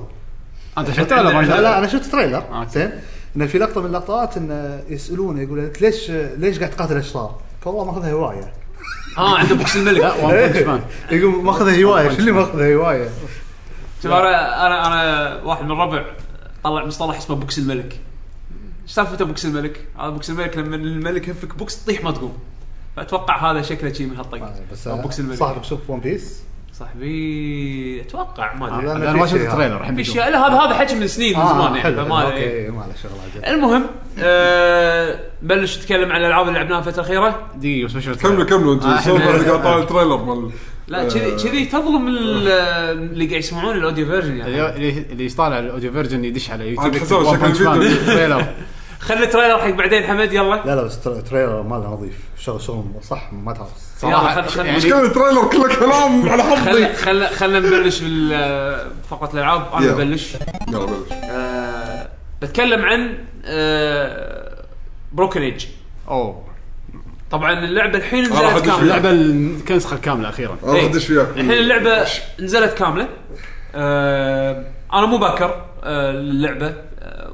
Speaker 2: انت شفته ولا ما
Speaker 4: لا لا
Speaker 2: شفته؟
Speaker 4: انا شفت تريلر
Speaker 2: أوكي.
Speaker 4: زين انه في لقطه من اللقطات انه يسالونه يقول انت ليش ليش قاعد تقاتل اشرار؟ قال والله ماخذها هوايه
Speaker 3: اه عنده بوكس الملك
Speaker 2: لا وان بانش مان
Speaker 4: يقول ماخذها هوايه شو اللي ماخذها هوايه؟
Speaker 3: شوف انا انا انا واحد من الربع طلع مصطلح اسمه بوكس الملك ايش سالفته بوكس الملك؟ هذا بوكس الملك لما الملك ينفك بوكس تطيح ما تقوم فاتوقع هذا شكله شيء من هالطق
Speaker 4: بس
Speaker 3: أو بوكس الملك
Speaker 4: صاحبك شوف ون بيس
Speaker 3: صاحبي اتوقع ما ادري
Speaker 4: لا، آه،
Speaker 2: انا ما شفت التريلر الحين
Speaker 3: في
Speaker 2: بشوف.
Speaker 3: اشياء لا هذا هذا حكي من سنين
Speaker 4: Ah,
Speaker 3: من زمان يعني
Speaker 4: حلو
Speaker 3: فما
Speaker 4: اوكي إيه، ما له شغل
Speaker 3: المهم آه بلش نتكلم عن الالعاب اللي لعبناها الفتره الاخيره
Speaker 2: دقيقه بس ما شفت
Speaker 5: كملوا كملوا انتم
Speaker 2: آه، إحنا-
Speaker 5: سولفة اللي قاعد طالع التريلر مال
Speaker 4: آه.
Speaker 3: لا كذي كذي تظلم ال- اللي قاعد يسمعون الاوديو فيرجن يعني
Speaker 2: اللي اللي يطالع الاوديو فيرجن يدش على يوتيوب
Speaker 5: عاد حساب
Speaker 2: يكتب One
Speaker 5: شكل
Speaker 2: Punch Man
Speaker 5: الفيديو.
Speaker 2: تريلر.
Speaker 3: خلي التريلر حق بعدين حمد يلا
Speaker 4: لا لا بس تر- تريلر ماله نظيف شغل شغل صح ما تهوس
Speaker 2: صراحة
Speaker 3: يلا، خل- خل-
Speaker 2: يعني-
Speaker 5: مشكلة التريلر كله كلام على
Speaker 3: خل
Speaker 5: حظي
Speaker 3: خل خلنا نبلش بال- آه، فقره الالعاب انا
Speaker 5: طيب. يلا.
Speaker 3: ببلش
Speaker 5: يلا بلش
Speaker 3: آه بتكلم عن آه بروكن ايج
Speaker 2: اوه طبعا
Speaker 3: طبعا اللعبه الحين
Speaker 5: راح
Speaker 3: نزلت
Speaker 5: أدش
Speaker 3: كامله
Speaker 2: اللعبه النسخه الكامله اخيرا
Speaker 5: انا
Speaker 3: إيه.
Speaker 5: ادش وياك
Speaker 3: الحين اللعبه نزلت كامله آه انا مو باكر آه اللعبه آه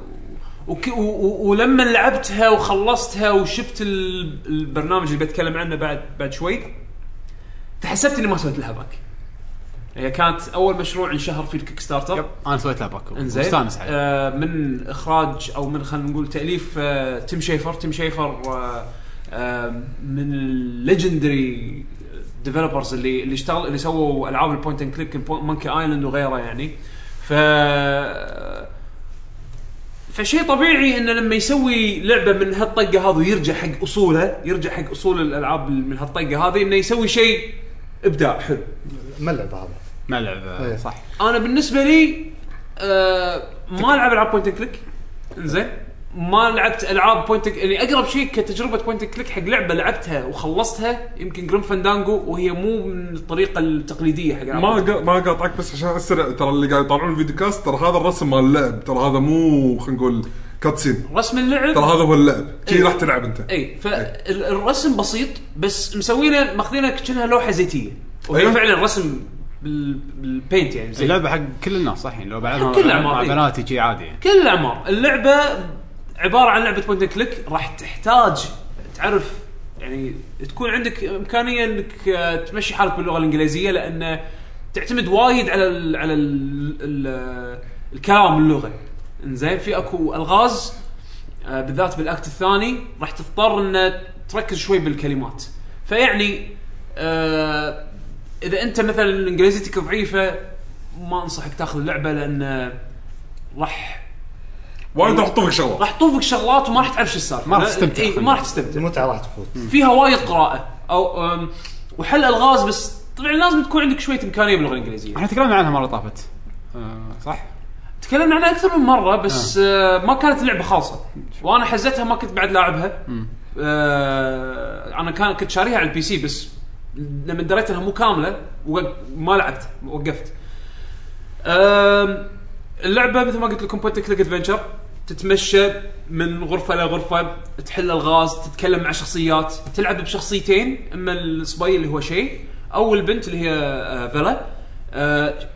Speaker 3: وك و و ولما لعبتها وخلصتها وشفت ال- البرنامج اللي بتكلم عنه بعد بعد شوي تحسبت اني ما سويت لها باك هي كانت اول مشروع انشهر فيه الكيك ستارتر
Speaker 2: انا سويت لها باك
Speaker 3: انزين
Speaker 2: مستانس عليها
Speaker 3: آه من اخراج او من خلينا نقول تاليف آه تيم شيفر تيم شيفر آه آه من الليجندري ديفلوبرز اللي اللي اشتغل اللي سووا العاب البوينت اند كليك مونكي ايلاند وغيره يعني ف فشيء طبيعي انه لما يسوي لعبه من هالطقه هذه ويرجع حق اصوله يرجع حق اصول الالعاب من هالطقه هذه انه يسوي شيء ابداع حلو
Speaker 4: ما اللعبه هذا
Speaker 2: ما لعب
Speaker 4: إيه.
Speaker 2: صح
Speaker 3: انا بالنسبه لي آه ما العب العاب بوينت كليك انزين ما لعبت العاب بوينت يعني اقرب شيء كتجربه بوينت كليك حق لعبه لعبتها وخلصتها يمكن جريم فاندانجو وهي مو من الطريقه التقليديه حق
Speaker 5: ما
Speaker 3: العاب
Speaker 5: قا- ما قاطعك بس عشان اسرع ترى اللي قاعد يطالعون الفيديو كاست ترى هذا الرسم مال اللعب ترى هذا مو خلينا نقول كاتسين
Speaker 3: رسم اللعب
Speaker 5: ترى هذا هو اللعب كذي
Speaker 3: إيه.
Speaker 5: راح تلعب انت
Speaker 3: اي فالرسم بسيط بس مسوينه ماخذينه كأنها لوحه زيتيه وهي
Speaker 5: أيوة.
Speaker 3: فعلا رسم بال- بالبينت يعني زين
Speaker 2: اللعبه حق كل الناس صح يعني لو بعدها
Speaker 3: كل
Speaker 2: مع- مع
Speaker 3: الأعمار، إيه.
Speaker 2: بناتي شي عادي يعني
Speaker 3: كل الاعمار اللعبه عباره عن لعبه بوينت كليك راح تحتاج تعرف يعني تكون عندك امكانيه انك آه، تمشي حالك باللغه الانجليزيه لان تعتمد وايد على ال على ال ال الكلام اللغه زين في اكو الغاز آه، بالذات بالاكت الثاني راح تضطر ان تركز شوي بالكلمات فيعني آه، اذا انت مثلا انجليزيتك ضعيفه ما انصحك تاخذ اللعبه لان آه، راح
Speaker 5: وايد راح تطوفك شغله
Speaker 3: راح تطوفك شغلات وما راح تعرف شو السالفه
Speaker 2: ما راح تستمتع.
Speaker 3: إيه ما راح تستمتع
Speaker 4: المتعه راح تفوت
Speaker 3: فيها وايد قراءه او أم، وحل الغاز بس طبعا لازم تكون عندك شويه امكانيه باللغه الانجليزيه
Speaker 2: احنا تكلمنا عنها مره طافت آه، صح؟
Speaker 3: تكلمنا عنها اكثر من مره بس آه. ما كانت اللعبه خالصه وانا حزتها ما كنت بعد لاعبها آه انا كان كنت شاريها على البي سي بس لما دريت انها مو كامله وق- ما لعبت وقفت آم، اللعبه مثل ما قلت لكم بوينت كليك ادفنشر تتمشى من غرفه لغرفه تحل الغاز تتكلم مع شخصيات تلعب بشخصيتين اما الصبي اللي هو شيء او البنت اللي هي آه، فيلا آه،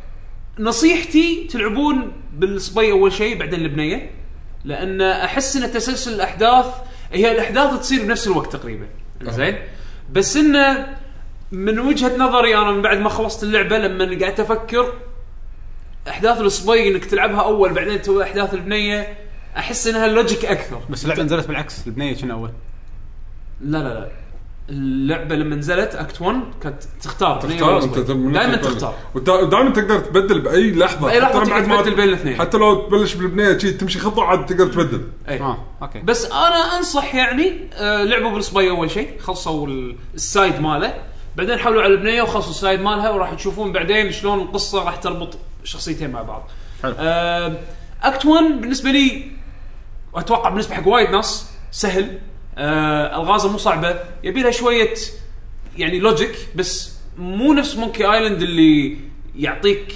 Speaker 3: نصيحتي تلعبون بالصبي اول شيء بعدين البنيه لان احس ان تسلسل الاحداث هي الاحداث تصير بنفس الوقت تقريبا زين بس انه من وجهه نظري انا من بعد ما خلصت اللعبه لما قعدت افكر احداث الصبي انك تلعبها اول بعدين تسوي احداث البنيه احس انها اللوجيك اكثر
Speaker 2: بس اللعبه نزلت بالعكس البنيه كنا اول
Speaker 3: لا لا لا اللعبه لما نزلت اكت 1 كانت تختار
Speaker 5: تختار انت من-
Speaker 3: دائما تختار
Speaker 5: ودا- ودائما تقدر تبدل باي لحظه
Speaker 3: بأي لحظة
Speaker 5: حتى
Speaker 3: تقدر
Speaker 5: بعد ما-
Speaker 3: تبدل بين الاثنين.
Speaker 5: حتى لو تبلش بالبنيه شي تمشي خطوه عاد تقدر تبدل
Speaker 3: اي
Speaker 2: اه اوكي بس
Speaker 3: إيه. بس انا انصح يعني آه، لعبوا بالصبي اول شيء خلصوا ال- السايد ماله بعدين حولوا على البنيه وخلصوا السايد مالها وراح تشوفون بعدين شلون القصه راح تربط شخصيتين مع بعض.
Speaker 2: حلو.
Speaker 3: آه، اكت 1 بالنسبه لي واتوقع بالنسبه حق وايد ناس سهل آه، الغازه مو صعبه يبي لها شويه يعني لوجيك بس مو نفس مونكي ايلاند اللي يعطيك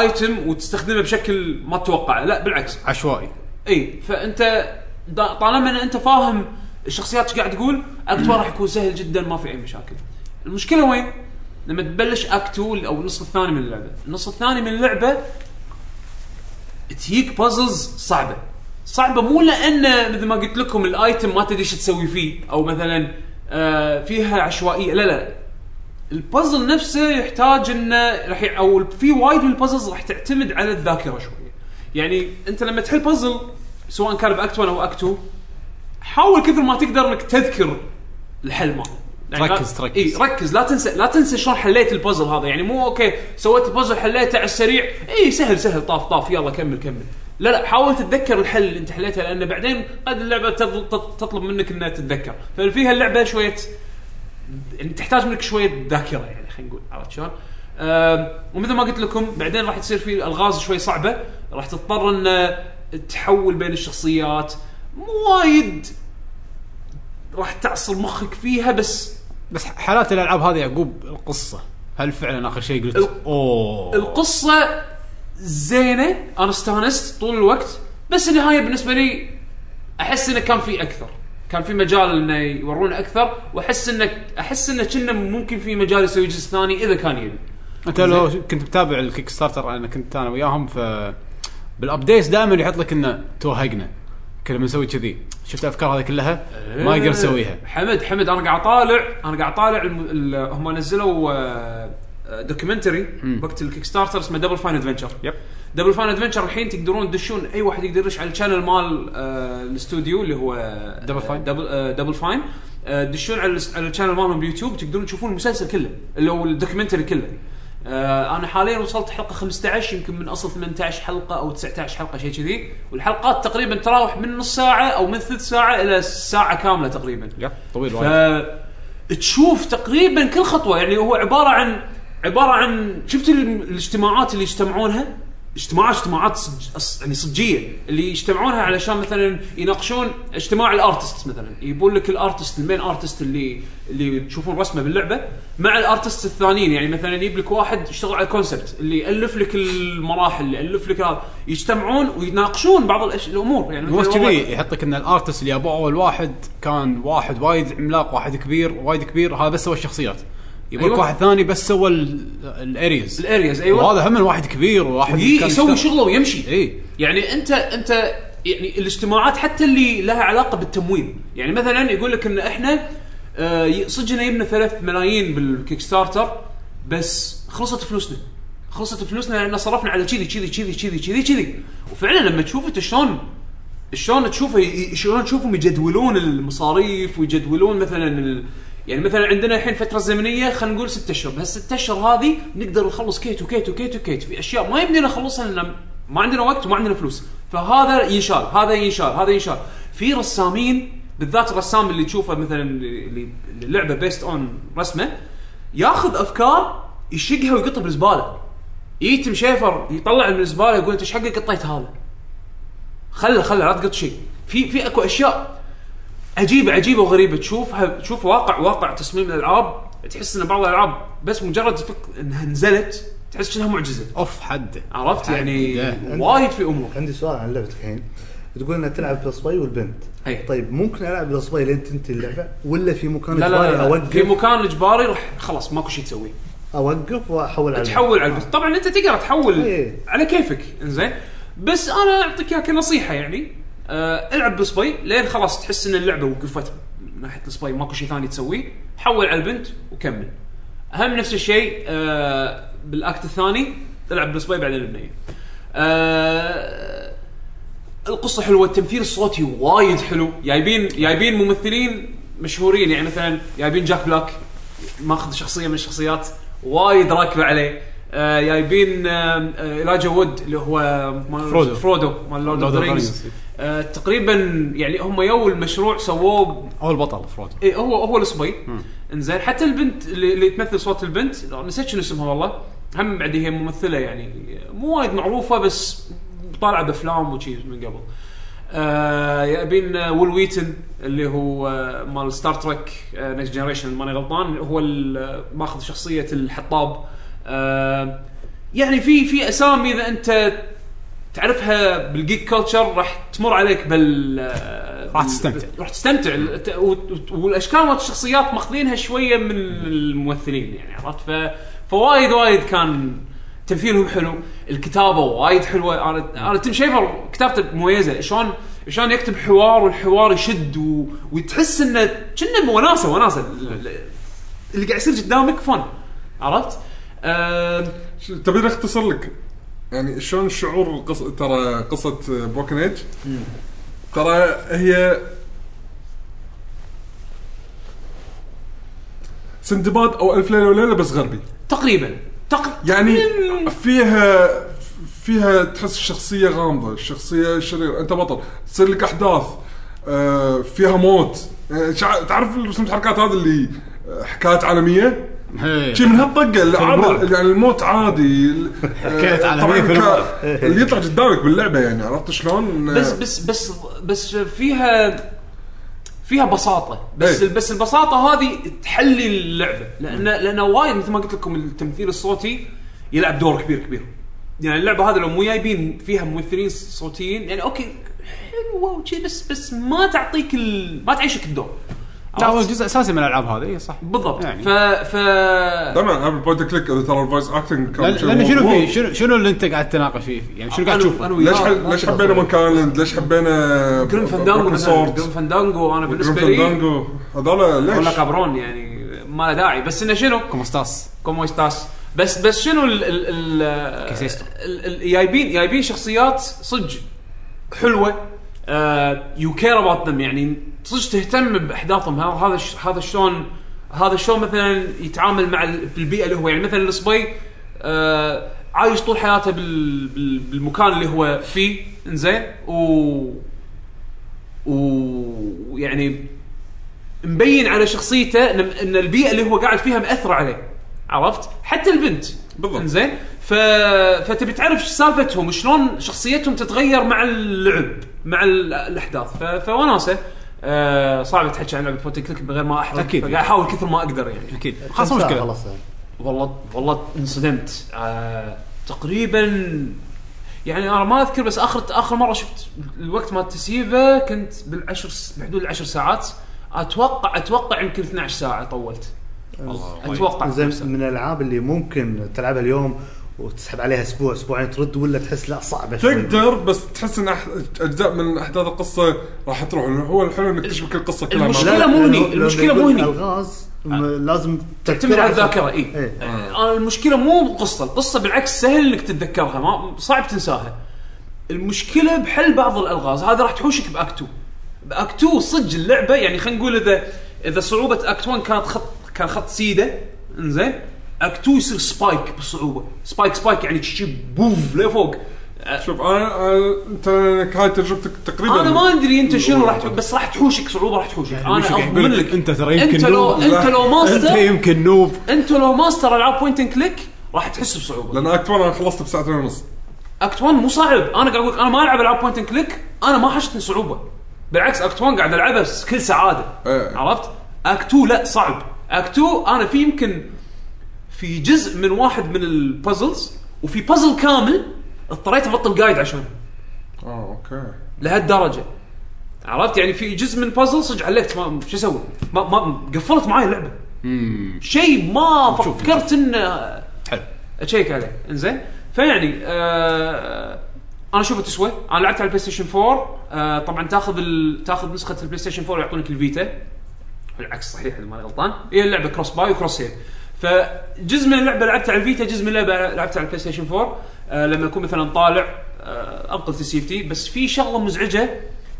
Speaker 3: ايتم وتستخدمه بشكل ما تتوقعه لا بالعكس
Speaker 2: عشوائي
Speaker 3: اي فانت دا- طالما ان انت فاهم الشخصيات ايش قاعد تقول اكت 1 راح يكون سهل جدا ما في اي مشاكل. المشكله وين؟ لما تبلش اكت 2 او النص الثاني من اللعبه، النص الثاني من اللعبه تجيك بازلز صعبه. صعبه مو لان مثل ما قلت لكم الايتم ما تدري ايش تسوي فيه او مثلا آه فيها عشوائيه لا لا البازل نفسه يحتاج انه راح ي- او في وايد من البازلز راح تعتمد على الذاكره شويه. يعني انت لما تحل بازل سواء كان باكت 1 او اكت 2 حاول كثر ما تقدر انك تذكر الحل ماله. يعني
Speaker 2: ركز-
Speaker 3: لا-
Speaker 2: ركز.
Speaker 3: اي ركز لا تنسى لا تنسى شلون حليت البازل هذا يعني مو اوكي سويت البازل حليته على السريع اي سهل سهل طاف طاف يلا كمل كمل لا لا حاول تتذكر الحل اللي انت حليته لان بعدين قد اللعبه تض- تط- تطلب منك انها تتذكر ففيها اللعبه شويه يعني تحتاج منك شويه ذاكره يعني خلينا نقول عرفت شلون؟ آم، ومثل ما قلت لكم بعدين راح تصير في الغاز شوي صعبه راح تضطر ان تحول بين الشخصيات مو وايد راح تعصر مخك فيها بس
Speaker 2: بس حالات الالعاب هذه يعقوب القصه هل فعلا اخر شيء قلت
Speaker 3: ال-
Speaker 2: اوه
Speaker 3: القصه زينه انا استانست طول الوقت بس النهايه بالنسبه لي احس انه كان في اكثر كان في مجال انه يورونا اكثر واحس انه احس انه كنا ممكن في مجال يسوي جزء ثاني اذا كان يبي
Speaker 2: انت لو كنت متابع الكيك ستارتر انا كنت انا وياهم ف بالابديتس دائما يحط لك انه توهقنا كل ما نسوي كذي شفت الافكار هذه كلها
Speaker 3: إيه.
Speaker 2: ما يقدر يسويها
Speaker 3: حمد حمد انا قاعد طالع انا قاعد طالع الم... ال... هم نزلوا آه، آه، دوكيومنتري وقت الكيك ستارتر اسمه دبل فاين ادفنشر
Speaker 2: يب.
Speaker 3: دبل فاين ادفنشر الحين تقدرون تدشون اي واحد يقدر يدش على الشانل مال آه، الاستوديو اللي هو آه،
Speaker 2: دبل فاين.
Speaker 3: دبل آه، دبل فاين آه، تدشون على الس- على الشانل مالهم باليوتيوب تقدرون تشوفون المسلسل كله اللي هو الدوكيومنتري كله آه، انا حاليا وصلت حلقه 15 يمكن من اصل 18 حلقه او 19 حلقه شيء كذي والحلقات تقريبا تراوح من نص ساعه او من ثلث ساعه الى ساعه كامله تقريبا
Speaker 2: يب، طويل وايد
Speaker 3: فتشوف تقريبا كل خطوه يعني هو عباره عن عباره عن شفت ال- الاجتماعات اللي يجتمعونها اجتماع اجتماعات صج... أص- يعني صجيه اللي يجتمعونها علشان مثلا يناقشون اجتماع الارتست مثلا يبون لك الارتست المين ارتست اللي اللي تشوفون رسمه باللعبه مع الارتست الثانيين يعني مثلا يجيب لك واحد يشتغل على الكونسبت اللي الف لك المراحل اللي الف لك هذا يجتمعون ويناقشون بعض الأش... الامور يعني
Speaker 2: مو بس
Speaker 3: مثلاً والله-
Speaker 2: كذي يحط لك ان الارتست اللي ابوه اول واحد كان واحد وايد عملاق واحد كبير وايد كبير هذا بس سوى الشخصيات يقول لك
Speaker 3: أيوة.
Speaker 2: واحد ثاني بس سوى الاريز
Speaker 3: الارياز ايوه
Speaker 2: وهذا هم واحد كبير وواحد
Speaker 3: يي-
Speaker 2: كان
Speaker 3: إيه،
Speaker 2: إيه.
Speaker 3: يسوي
Speaker 2: يشتغل.
Speaker 3: شغله ويمشي
Speaker 2: اي
Speaker 3: يعني انت انت يعني الاجتماعات حتى اللي لها علاقه بالتمويل يعني مثلا يقول لك ان احنا آه، ي- صجنا يبنا 3 ملايين بالكيك ستارتر بس خلصت فلوسنا خلصت فلوسنا لان صرفنا على كذي كذي كذي كذي كذي كذي وفعلا لما تشوف انت شلون شلون تشوفه ي- شلون تشوفهم يجدولون المصاريف ويجدولون مثلا ال... يعني مثلا عندنا الحين فتره زمنيه خلينا نقول ست اشهر بهالست اشهر هذه نقدر نخلص كيت وكيت وكيت وكيت في اشياء ما يبني نخلصها لان ما عندنا وقت وما عندنا فلوس فهذا ينشال هذا ينشال هذا ينشال في رسامين بالذات الرسام اللي تشوفه مثلا اللي اللي اللعبه بيست اون رسمه ياخذ افكار يشقها ويقطها بالزباله يتم شيفر يطلع من الزباله يقول انت ايش حقك قطيت هذا خله خله لا تقط شيء في في اكو اشياء عجيبه عجيبه وغريبه تشوفها تشوف واقع واقع تصميم الالعاب تحس ان بعض الالعاب بس مجرد فك انها نزلت تحس انها معجزه
Speaker 2: اوف حد
Speaker 3: عرفت يعني
Speaker 2: ده.
Speaker 3: وايد في امور
Speaker 4: عندي سؤال عن لعبتك الحين تقول انها تلعب بالصبي والبنت
Speaker 3: أي.
Speaker 4: طيب ممكن العب بالصبي لين تنتهي اللعبه ولا في مكان
Speaker 3: لا لا,
Speaker 4: إجباري
Speaker 3: لا, لا.
Speaker 4: اوقف
Speaker 3: في مكان اجباري راح خلاص ماكو شيء تسويه
Speaker 4: اوقف واحول على
Speaker 3: تحول على البث طبعا انت تقدر تحول
Speaker 4: إيه.
Speaker 3: على كيفك انزين بس انا اعطيك اياها كنصيحه يعني آه العب بسباي لين خلاص تحس ان اللعبه وقفت من ناحيه السباي ماكو شيء ثاني تسويه حول على البنت وكمل اهم نفس الشيء آه بالاكت الثاني العب بالسباي بعدين البنيه آه القصه حلوه التمثيل الصوتي وايد حلو جايبين جايبين ممثلين مشهورين يعني مثلا جايبين جاك بلاك ماخذ شخصيه من الشخصيات وايد راكبه عليه آه، جايبين آه، آه، إلاجا وود اللي هو مال-
Speaker 2: فرودو.
Speaker 3: فرودو مال لورد اوف
Speaker 2: Lord of the
Speaker 3: رينجز تقريبا آه، يعني هم يو المشروع سووه
Speaker 2: هو البطل فرودو
Speaker 3: اي إيه، هو هو الصبي انزين حتى البنت اللي, اللي تمثل صوت البنت نسيت شنو اسمها والله هم بعد هي ممثله يعني مو وايد معروفه بس طالعه بافلام وشي من قبل آه يبين آه، ويل ويتن اللي هو آه مال ستار ترek نكست جنريشن ماني غلطان هو ال- ماخذ شخصيه الحطاب آه يعني في في اسامي اذا انت تعرفها بالجيك كلتشر راح تمر عليك بال
Speaker 2: راح تستمتع.
Speaker 3: راح تستمتع الت- وت- والاشكال مالت الشخصيات ماخذينها شويه من الممثلين يعني عرفت ف... فوايد وايد كان تمثيلهم حلو الكتابه وايد حلوه انا انا تيم شيفر كتابته مميزه شلون شلون يكتب حوار والحوار يشد و... وتحس انه كنا بوناسه وناسه ال- ال- اللي قاعد يصير قدامك فن عرفت؟ أه...
Speaker 5: ش- تبي اختصر لك يعني شلون شعور القص... ترى قصه بوكن ايج ترى هي سندباد او الف ليله وليله بس غربي
Speaker 3: تقريبا تق...
Speaker 5: يعني
Speaker 3: تقريباً.
Speaker 5: فيها فيها تحس الشخصيه غامضه الشخصيه شرير انت بطل تصير لك احداث آه، فيها موت آه، شع- تعرف رسم الحركات هذه اللي آه، حكايات عالميه
Speaker 2: إيه.
Speaker 5: شي من هالطقه اللي
Speaker 2: الرعب.
Speaker 5: عادة يعني الموت عادي ال-
Speaker 2: حكايات
Speaker 5: آه،
Speaker 2: عالمية
Speaker 5: طبعاً
Speaker 2: في
Speaker 5: ك-
Speaker 2: الرعب.
Speaker 5: اللي يطلع قدامك باللعبه يعني عرفت شلون آه،
Speaker 3: بس
Speaker 2: نعم.
Speaker 3: بس بس بس فيها فيها بساطه بس
Speaker 5: إيه.
Speaker 3: بس البساطه هذه تحلي اللعبه لان لان وايد مثل ما قلت لكم التمثيل الصوتي يلعب دور كبير كبير يعني اللعبه هذه لو مو جايبين فيها ممثلين صوتيين يعني اوكي حلوه وشي بس بس ما تعطيك ال... ما تعيشك الدور
Speaker 2: لا هو
Speaker 3: عرفت؟
Speaker 2: جزء اساسي من الالعاب هذه اي صح
Speaker 3: بالضبط
Speaker 2: يعني.
Speaker 3: ف ف
Speaker 5: طبعا هذا البوينت كليك اذا ترى الفويس اكتنج
Speaker 2: لأن- لان شنو في شنو شنو اللي انت قاعد تناقش فيه يعني شنو قاعد
Speaker 3: أنا-
Speaker 2: تشوفه
Speaker 3: أنا
Speaker 5: ليش
Speaker 3: وياه.
Speaker 5: حل- ليش حبينا مونكايلاند ليش حبينا
Speaker 3: جرين فاندانجو
Speaker 5: بروكن
Speaker 3: مثلا
Speaker 5: سورد؟
Speaker 3: جرين فاندانجو انا
Speaker 5: جرين
Speaker 3: بالنسبه لي
Speaker 5: فاندانجو هذول
Speaker 3: ولا
Speaker 5: ليش؟
Speaker 3: كابرون يعني ما له داعي بس انه شنو
Speaker 2: كومستاس
Speaker 3: كومو استاس بس بس شنو ال ال ال
Speaker 2: كيسيستو.
Speaker 3: ال- ال- جايبين جايبين شخصيات صدق آه، حلوه يو كير اباوت ذم يعني صدق تهتم باحداثهم ها- هذا ش- هذا شلون هذا شلون مثلا يتعامل مع ال- في البيئه اللي هو يعني مثلا الصبي آه، عايش طول حياته بال بال- بالمكان اللي هو فيه انزين و ويعني يعني مبين على شخصيته ان إن البيئه اللي هو قاعد فيها مأثره عليه عرفت؟ حتى البنت
Speaker 5: بالضبط.
Speaker 3: زين ف... فتبي تعرف شو سالفتهم شلون شخصيتهم تتغير مع اللعب مع ال... الاحداث ف... فوناسه آه صعب تحكي عن لعبه بوتي كليك من غير ما احرق
Speaker 2: أكيد.
Speaker 3: فقاعد احاول كثر ما اقدر يعني
Speaker 2: اكيد خلاص مو مشكله
Speaker 4: خلاص يعني.
Speaker 3: والله والله انصدمت آه تقريبا يعني انا ما اذكر بس اخر اخر مره شفت الوقت مال تسييفه كنت بالعشر س- بحدود العشر ساعات اتوقع اتوقع يمكن 12 ساعه طولت اتوقع
Speaker 4: زين من الالعاب اللي ممكن تلعبها اليوم وتسحب عليها اسبوع اسبوعين ترد ولا تحس لا صعبه شوي.
Speaker 5: تقدر بس تحس ان أح- اجزاء من احداث القصه راح تروح هو الحلو انك تشبك القصه كلها مع
Speaker 3: المشكلة-
Speaker 5: بعض.
Speaker 4: لا، لا،
Speaker 3: مو هني،
Speaker 4: لو- لو
Speaker 3: المشكلة مو
Speaker 4: بيقول
Speaker 3: هني.
Speaker 4: الغاز م- لازم
Speaker 3: تعتمد على
Speaker 4: عشان-
Speaker 3: الذاكره اي
Speaker 4: إيه.
Speaker 3: آه. المشكله مو بالقصه، القصه بالعكس سهل انك تتذكرها ما صعب تنساها. المشكله بحل بعض الالغاز، هذا راح تحوشك باكت 2. باكت 2 صدق اللعبه يعني خلينا نقول اذا اذا صعوبه اكت 1 كانت خط كان خط سيده انزين اكت 2 يصير سبايك بالصعوبه، سبايك سبايك يعني تشي بوف لفوق. آه،
Speaker 5: شوف انا أنا- انت لك هاي تجربتك تقريبا
Speaker 3: انا ما ادري انت شنو راح تحوش بس راح تحوشك صعوبه راح تحوشك انا
Speaker 2: مش قاعد
Speaker 3: اضمن
Speaker 2: يعني يقول
Speaker 3: لك
Speaker 2: انت ترى
Speaker 3: انت
Speaker 2: يمكن
Speaker 3: لو
Speaker 2: نوب
Speaker 3: انت لو
Speaker 2: انت
Speaker 3: ماستر
Speaker 2: يمكن نوب
Speaker 3: انت لو ماستر العاب بوينت اند كليك راح تحس بصعوبه
Speaker 5: لان اكت 1 انا خلصت بساعتين ونص
Speaker 3: اكت 1 مو صعب انا قاعد اقول لك انا ما العب العاب بوينت اند كليك انا ما حشتني صعوبه بالعكس اكت 1 قاعد العبها بكل سعاده
Speaker 5: إيه.
Speaker 3: عرفت اكت 2 لا صعب اكت 2 انا في يمكن في جزء من واحد من البازلز وفي بازل كامل اضطريت ابطل قايد عشان
Speaker 5: اه اوكي
Speaker 3: لهالدرجه عرفت يعني في جزء من بازل صدق علقت ما شو اسوي ما ما قفلت معي اللعبه شيء ما
Speaker 2: نشوف-
Speaker 3: فكرت انه
Speaker 2: حلو
Speaker 3: اشيك عليه انزين فيعني آه انا اشوفها تسوى انا لعبت على البلاي ستيشن 4 آه طبعا تاخذ ال... تاخذ نسخه البلاي ستيشن 4 يعطونك الفيتا العكس صحيح اذا ماني غلطان هي اللعبه كروس باي وكروس سيف فجزء من اللعبه لعبتها على الفيتا جزء من اللعبه لعبتها على البلاي ستيشن 4 آه لما اكون مثلا طالع آه انقل تسيفتي بس في شغله مزعجه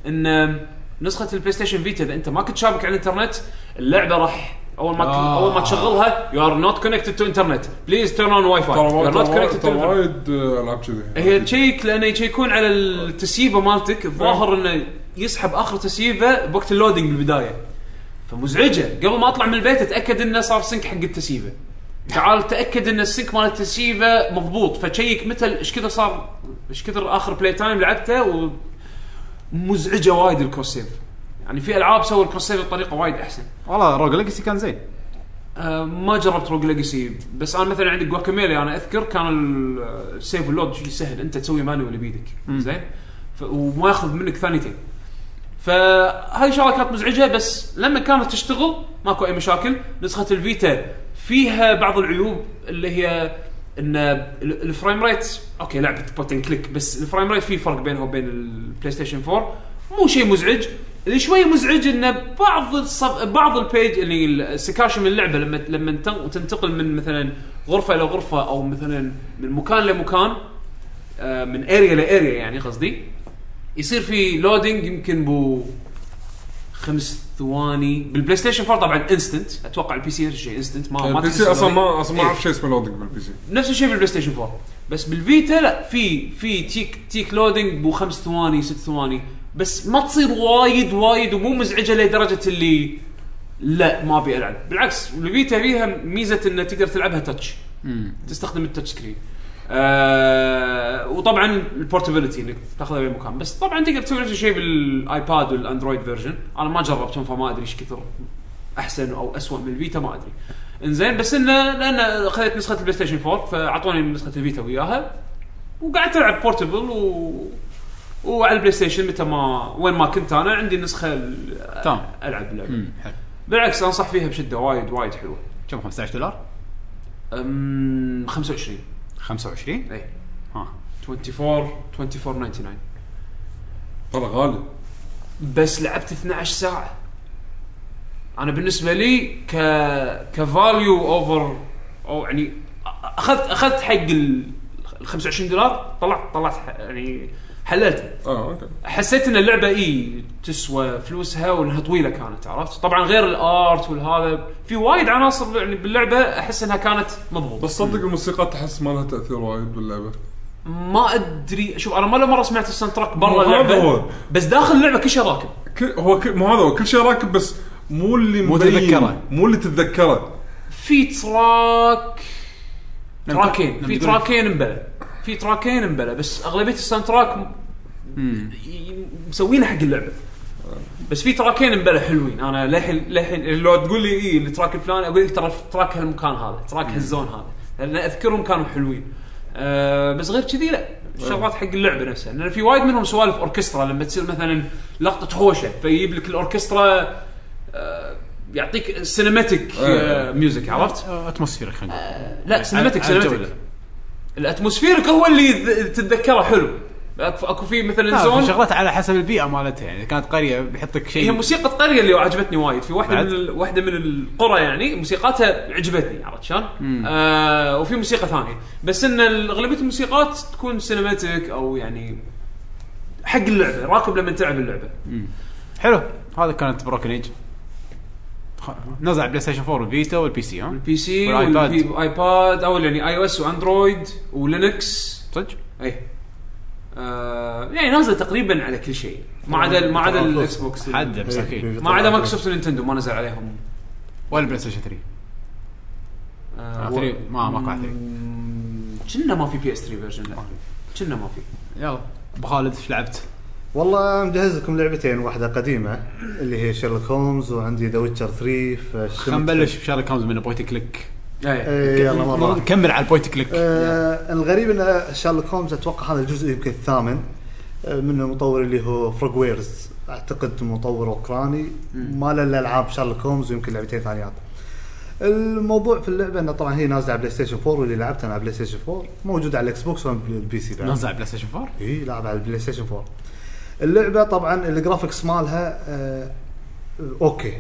Speaker 3: ان آه، نسخه البلاي ستيشن فيتا اذا انت ما كنت شابك على الانترنت اللعبه راح اول ما
Speaker 2: آه.
Speaker 3: اول ما تشغلها يو ار نوت كونكتد تو انترنت بليز تيرن اون واي فاي
Speaker 5: ترى
Speaker 3: You're
Speaker 5: وايد-
Speaker 3: not
Speaker 5: ترى وايد-
Speaker 3: connected to
Speaker 5: ترى
Speaker 3: the-
Speaker 5: وايد آه، العاب كذي
Speaker 3: هي تشيك لانه يشيكون على التسييفه مالتك الظاهر انه يسحب اخر تسييفه بوقت اللودينج بالبدايه فمزعجه قبل ما اطلع من البيت اتاكد انه صار سنك حق التسييفه تعال تاكد ان السنك مال التسييفه مضبوط فتشيك متى ايش كثر صار ايش كثر اخر بلاي تايم لعبته ومزعجه وايد الكروس سيف يعني في العاب سووا الكروس سيف بطريقه وايد احسن
Speaker 2: والله روج ليجسي كان زين
Speaker 3: أه، ما جربت روج ليجسي بس انا مثلا عندي جواكاميلي انا اذكر كان ال- آه، السيف واللود شيء سهل انت تسوي مانوال بيدك زين ف- وما ياخذ منك ثانيتين فهاي شغله كانت مزعجه بس لما كانت تشتغل ماكو اي مشاكل نسخه الفيتا فيها بعض العيوب اللي هي ان ال- الفريم ريت اوكي لعبه بوت اند كليك بس الفريم ريت في فرق بينها وبين البلاي ستيشن 4 مو شيء مزعج اللي شوي مزعج ان بعض الصف بعض البيج اللي السكاشن من اللعبه لما لما تن- تنتقل من مثلا غرفه الى غرفه او مثلا من مكان لمكان آه، من اريا لاريا يعني قصدي يصير في لودينج يمكن بو خمس ثواني بالبلاي ستيشن 4 طبعا انستنت اتوقع البي سي نفس الشيء انستنت ما ما
Speaker 5: البي
Speaker 3: تحس
Speaker 5: سي اصلا
Speaker 3: اللودينج.
Speaker 5: يعني ما اصلا ما
Speaker 3: إيه.
Speaker 5: اعرف شيء اسمه لودنج بالبي سي
Speaker 3: نفس الشيء بالبلاي ستيشن 4 بس بالفيتا لا في في تيك تيك لودينج بو خمس ثواني ست ثواني بس ما تصير وايد وايد ومو مزعجه لدرجه اللي لا ما ابي العب بالعكس الفيتا فيها ميزه انه تقدر تلعبها تاتش تستخدم التاتش سكرين آه وطبعا البورتابيلتي انك تاخذها باي مكان بس طبعا تقدر تسوي نفس الشيء بالايباد والاندرويد فيرجن انا ما جربتهم فما ادري ايش كثر احسن او اسوء من الفيتا ما ادري انزين بس انه لان خذيت نسخه البلاي ستيشن 4 فاعطوني نسخه الفيتا وياها وقعدت العب بورتبل و وعلى البلاي ستيشن متى ما وين ما كنت انا عندي نسخه ال-
Speaker 2: تمام.
Speaker 3: العب اللعبه
Speaker 2: مم، حلو
Speaker 3: بالعكس انصح فيها بشده وايد وايد حلوه
Speaker 2: كم 15 دولار؟
Speaker 3: أم، إيه. 25
Speaker 2: 25
Speaker 3: اي
Speaker 2: ها
Speaker 3: 24 24.99
Speaker 5: ترى غالي
Speaker 3: بس لعبت 12 ساعه انا بالنسبه لي ك كفاليو اوفر او يعني أ- اخذت اخذت حق ال ال 25 دولار طلعت طلعت ح- يعني حللتها
Speaker 5: اه اوكي
Speaker 3: حسيت ان اللعبه اي تسوى فلوسها وانها طويله كانت عرفت طبعا غير الارت والهذا في وايد عناصر يعني باللعبه احس انها كانت مضبوطه
Speaker 5: بس صدق الموسيقى تحس ما لها تاثير وايد باللعبه
Speaker 3: ما ادري شوف انا ما ولا مره سمعت الساوند تراك
Speaker 5: مو
Speaker 3: برا
Speaker 5: هذا
Speaker 3: اللعبه
Speaker 5: هو.
Speaker 3: بس داخل اللعبه كل شيء راكب
Speaker 5: كل هو كل مو هذا هو كل شيء راكب بس مو اللي
Speaker 2: مو
Speaker 5: مبين،
Speaker 2: تتذكره.
Speaker 5: مو اللي تتذكره
Speaker 3: في تراك
Speaker 2: لما تق-
Speaker 3: تراكين
Speaker 2: لما تقول-
Speaker 3: في تراكين مبلى في تراكين مبلى بس اغلبيه الساوند تراك م- ي- مسوينه حق اللعبه بس في تراكين مبلى حلوين انا للحين للحين لو تقول لي اي التراك الفلاني اقول لك ترى تراك هالمكان هذا تراك هالزون هذا لان اذكرهم كانوا حلوين أه بس غير كذي لا الشغلات حق اللعبه نفسها لان في وايد منهم سوالف اوركسترا لما تصير مثلا لقطه هوشه فيجيب لك الاوركسترا أه يعطيك سينماتيك
Speaker 5: إيه.
Speaker 3: ميوزك عرفت؟
Speaker 2: اتموسفيرك خلينا نقول.
Speaker 3: لا سينماتيك
Speaker 2: على- على الجو
Speaker 3: سينماتيك الاتموسفيرك هو اللي ذ- تتذكره حلو أك- اكو في مثلا
Speaker 2: لا، في
Speaker 3: زون
Speaker 2: شغلات على حسب البيئه مالتها يعني اذا كانت قريه بيحطك
Speaker 3: هي
Speaker 2: شيء
Speaker 3: موسيقى القريه اللي عجبتني وايد في واحده
Speaker 2: بعد؟
Speaker 3: من ال- واحده من القرى يعني موسيقاتها عجبتني عرفت شلون؟ آه وفي موسيقى ثانيه بس ان ال- اغلبيه الموسيقات تكون سينماتيك او يعني حق اللعبه راكب لما تلعب اللعبه
Speaker 2: حلو هذا كانت بروكن ايج خ- نزل على بلاي ستيشن 4 والفيتا والبي سي ها
Speaker 3: البي سي
Speaker 2: والآيباد.
Speaker 3: والايباد او يعني اي او اس واندرويد ولينكس
Speaker 2: صدق؟
Speaker 3: اي آه يعني نازله تقريبا على كل شيء ما عدا ما عدا الاكس بوكس
Speaker 2: حد مساكين
Speaker 3: ما عدا مايكروسوفت ونينتندو ما نزل عليهم
Speaker 2: ولا بلاي ستيشن 3
Speaker 3: آه،
Speaker 2: آه، 3 ما- ماكو على 3.
Speaker 3: مم، كنا ما في بي اس 3 فيرجن لا كنا ما في
Speaker 2: يلا ابو خالد ايش لعبت؟
Speaker 4: والله مجهز لكم لعبتين واحده قديمه اللي هي شيرلوك هومز وعندي ذا ويتشر 3 فالشمت-
Speaker 2: خلينا نبلش بشارك هومز من بوينت كليك
Speaker 3: ايه
Speaker 4: إيه، يلا مره
Speaker 2: كمل على البوينت كليك
Speaker 4: آه الغريب ان شارلوك هومز اتوقع هذا الجزء يمكن الثامن آه، من المطور اللي هو فروغ ويرز اعتقد مطور اوكراني ما له الا العاب شارلوك هومز ويمكن لعبتين ثانيات الموضوع في اللعبه انه طبعا هي نازله على بلاي ستيشن 4 واللي لعبتها انا على بلاي ستيشن 4 موجوده على الاكس بوكس والبي سي بعد
Speaker 2: نزل على بلاي ستيشن 4
Speaker 4: اي لعب إيه، على البلاي ستيشن 4 اللعبه طبعا الجرافكس مالها آه اوكي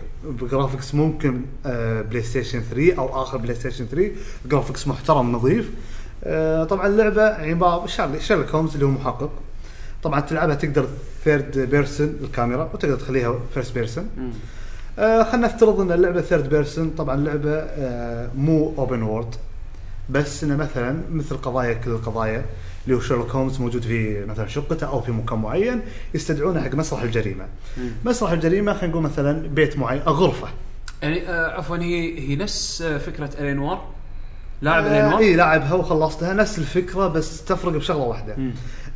Speaker 4: جرافكس ممكن آه بلاي ستيشن 3 او اخر بلاي ستيشن 3 جرافكس محترم نظيف آه طبعا اللعبه عباره شارل- شارلوك هومز اللي هو محقق طبعا تلعبها تقدر ثيرد بيرسون الكاميرا وتقدر تخليها فيرست بيرسون آه خلينا نفترض ان اللعبه ثيرد بيرسون طبعا لعبه آه مو اوبن وورد بس انه مثلا مثل قضايا كل القضايا اللي هو شيرلوك هومز موجود في مثلا شقته او في مكان معين يستدعونه حق مسرح الجريمه. مسرح الجريمه خلينا نقول مثلا بيت معين أو غرفه.
Speaker 3: يعني آه عفوا هي هي نفس آه، فكره الينوار لاعب
Speaker 4: آه اي
Speaker 3: الينوار
Speaker 4: لاعبها وخلصتها نفس الفكره بس تفرق بشغله واحده.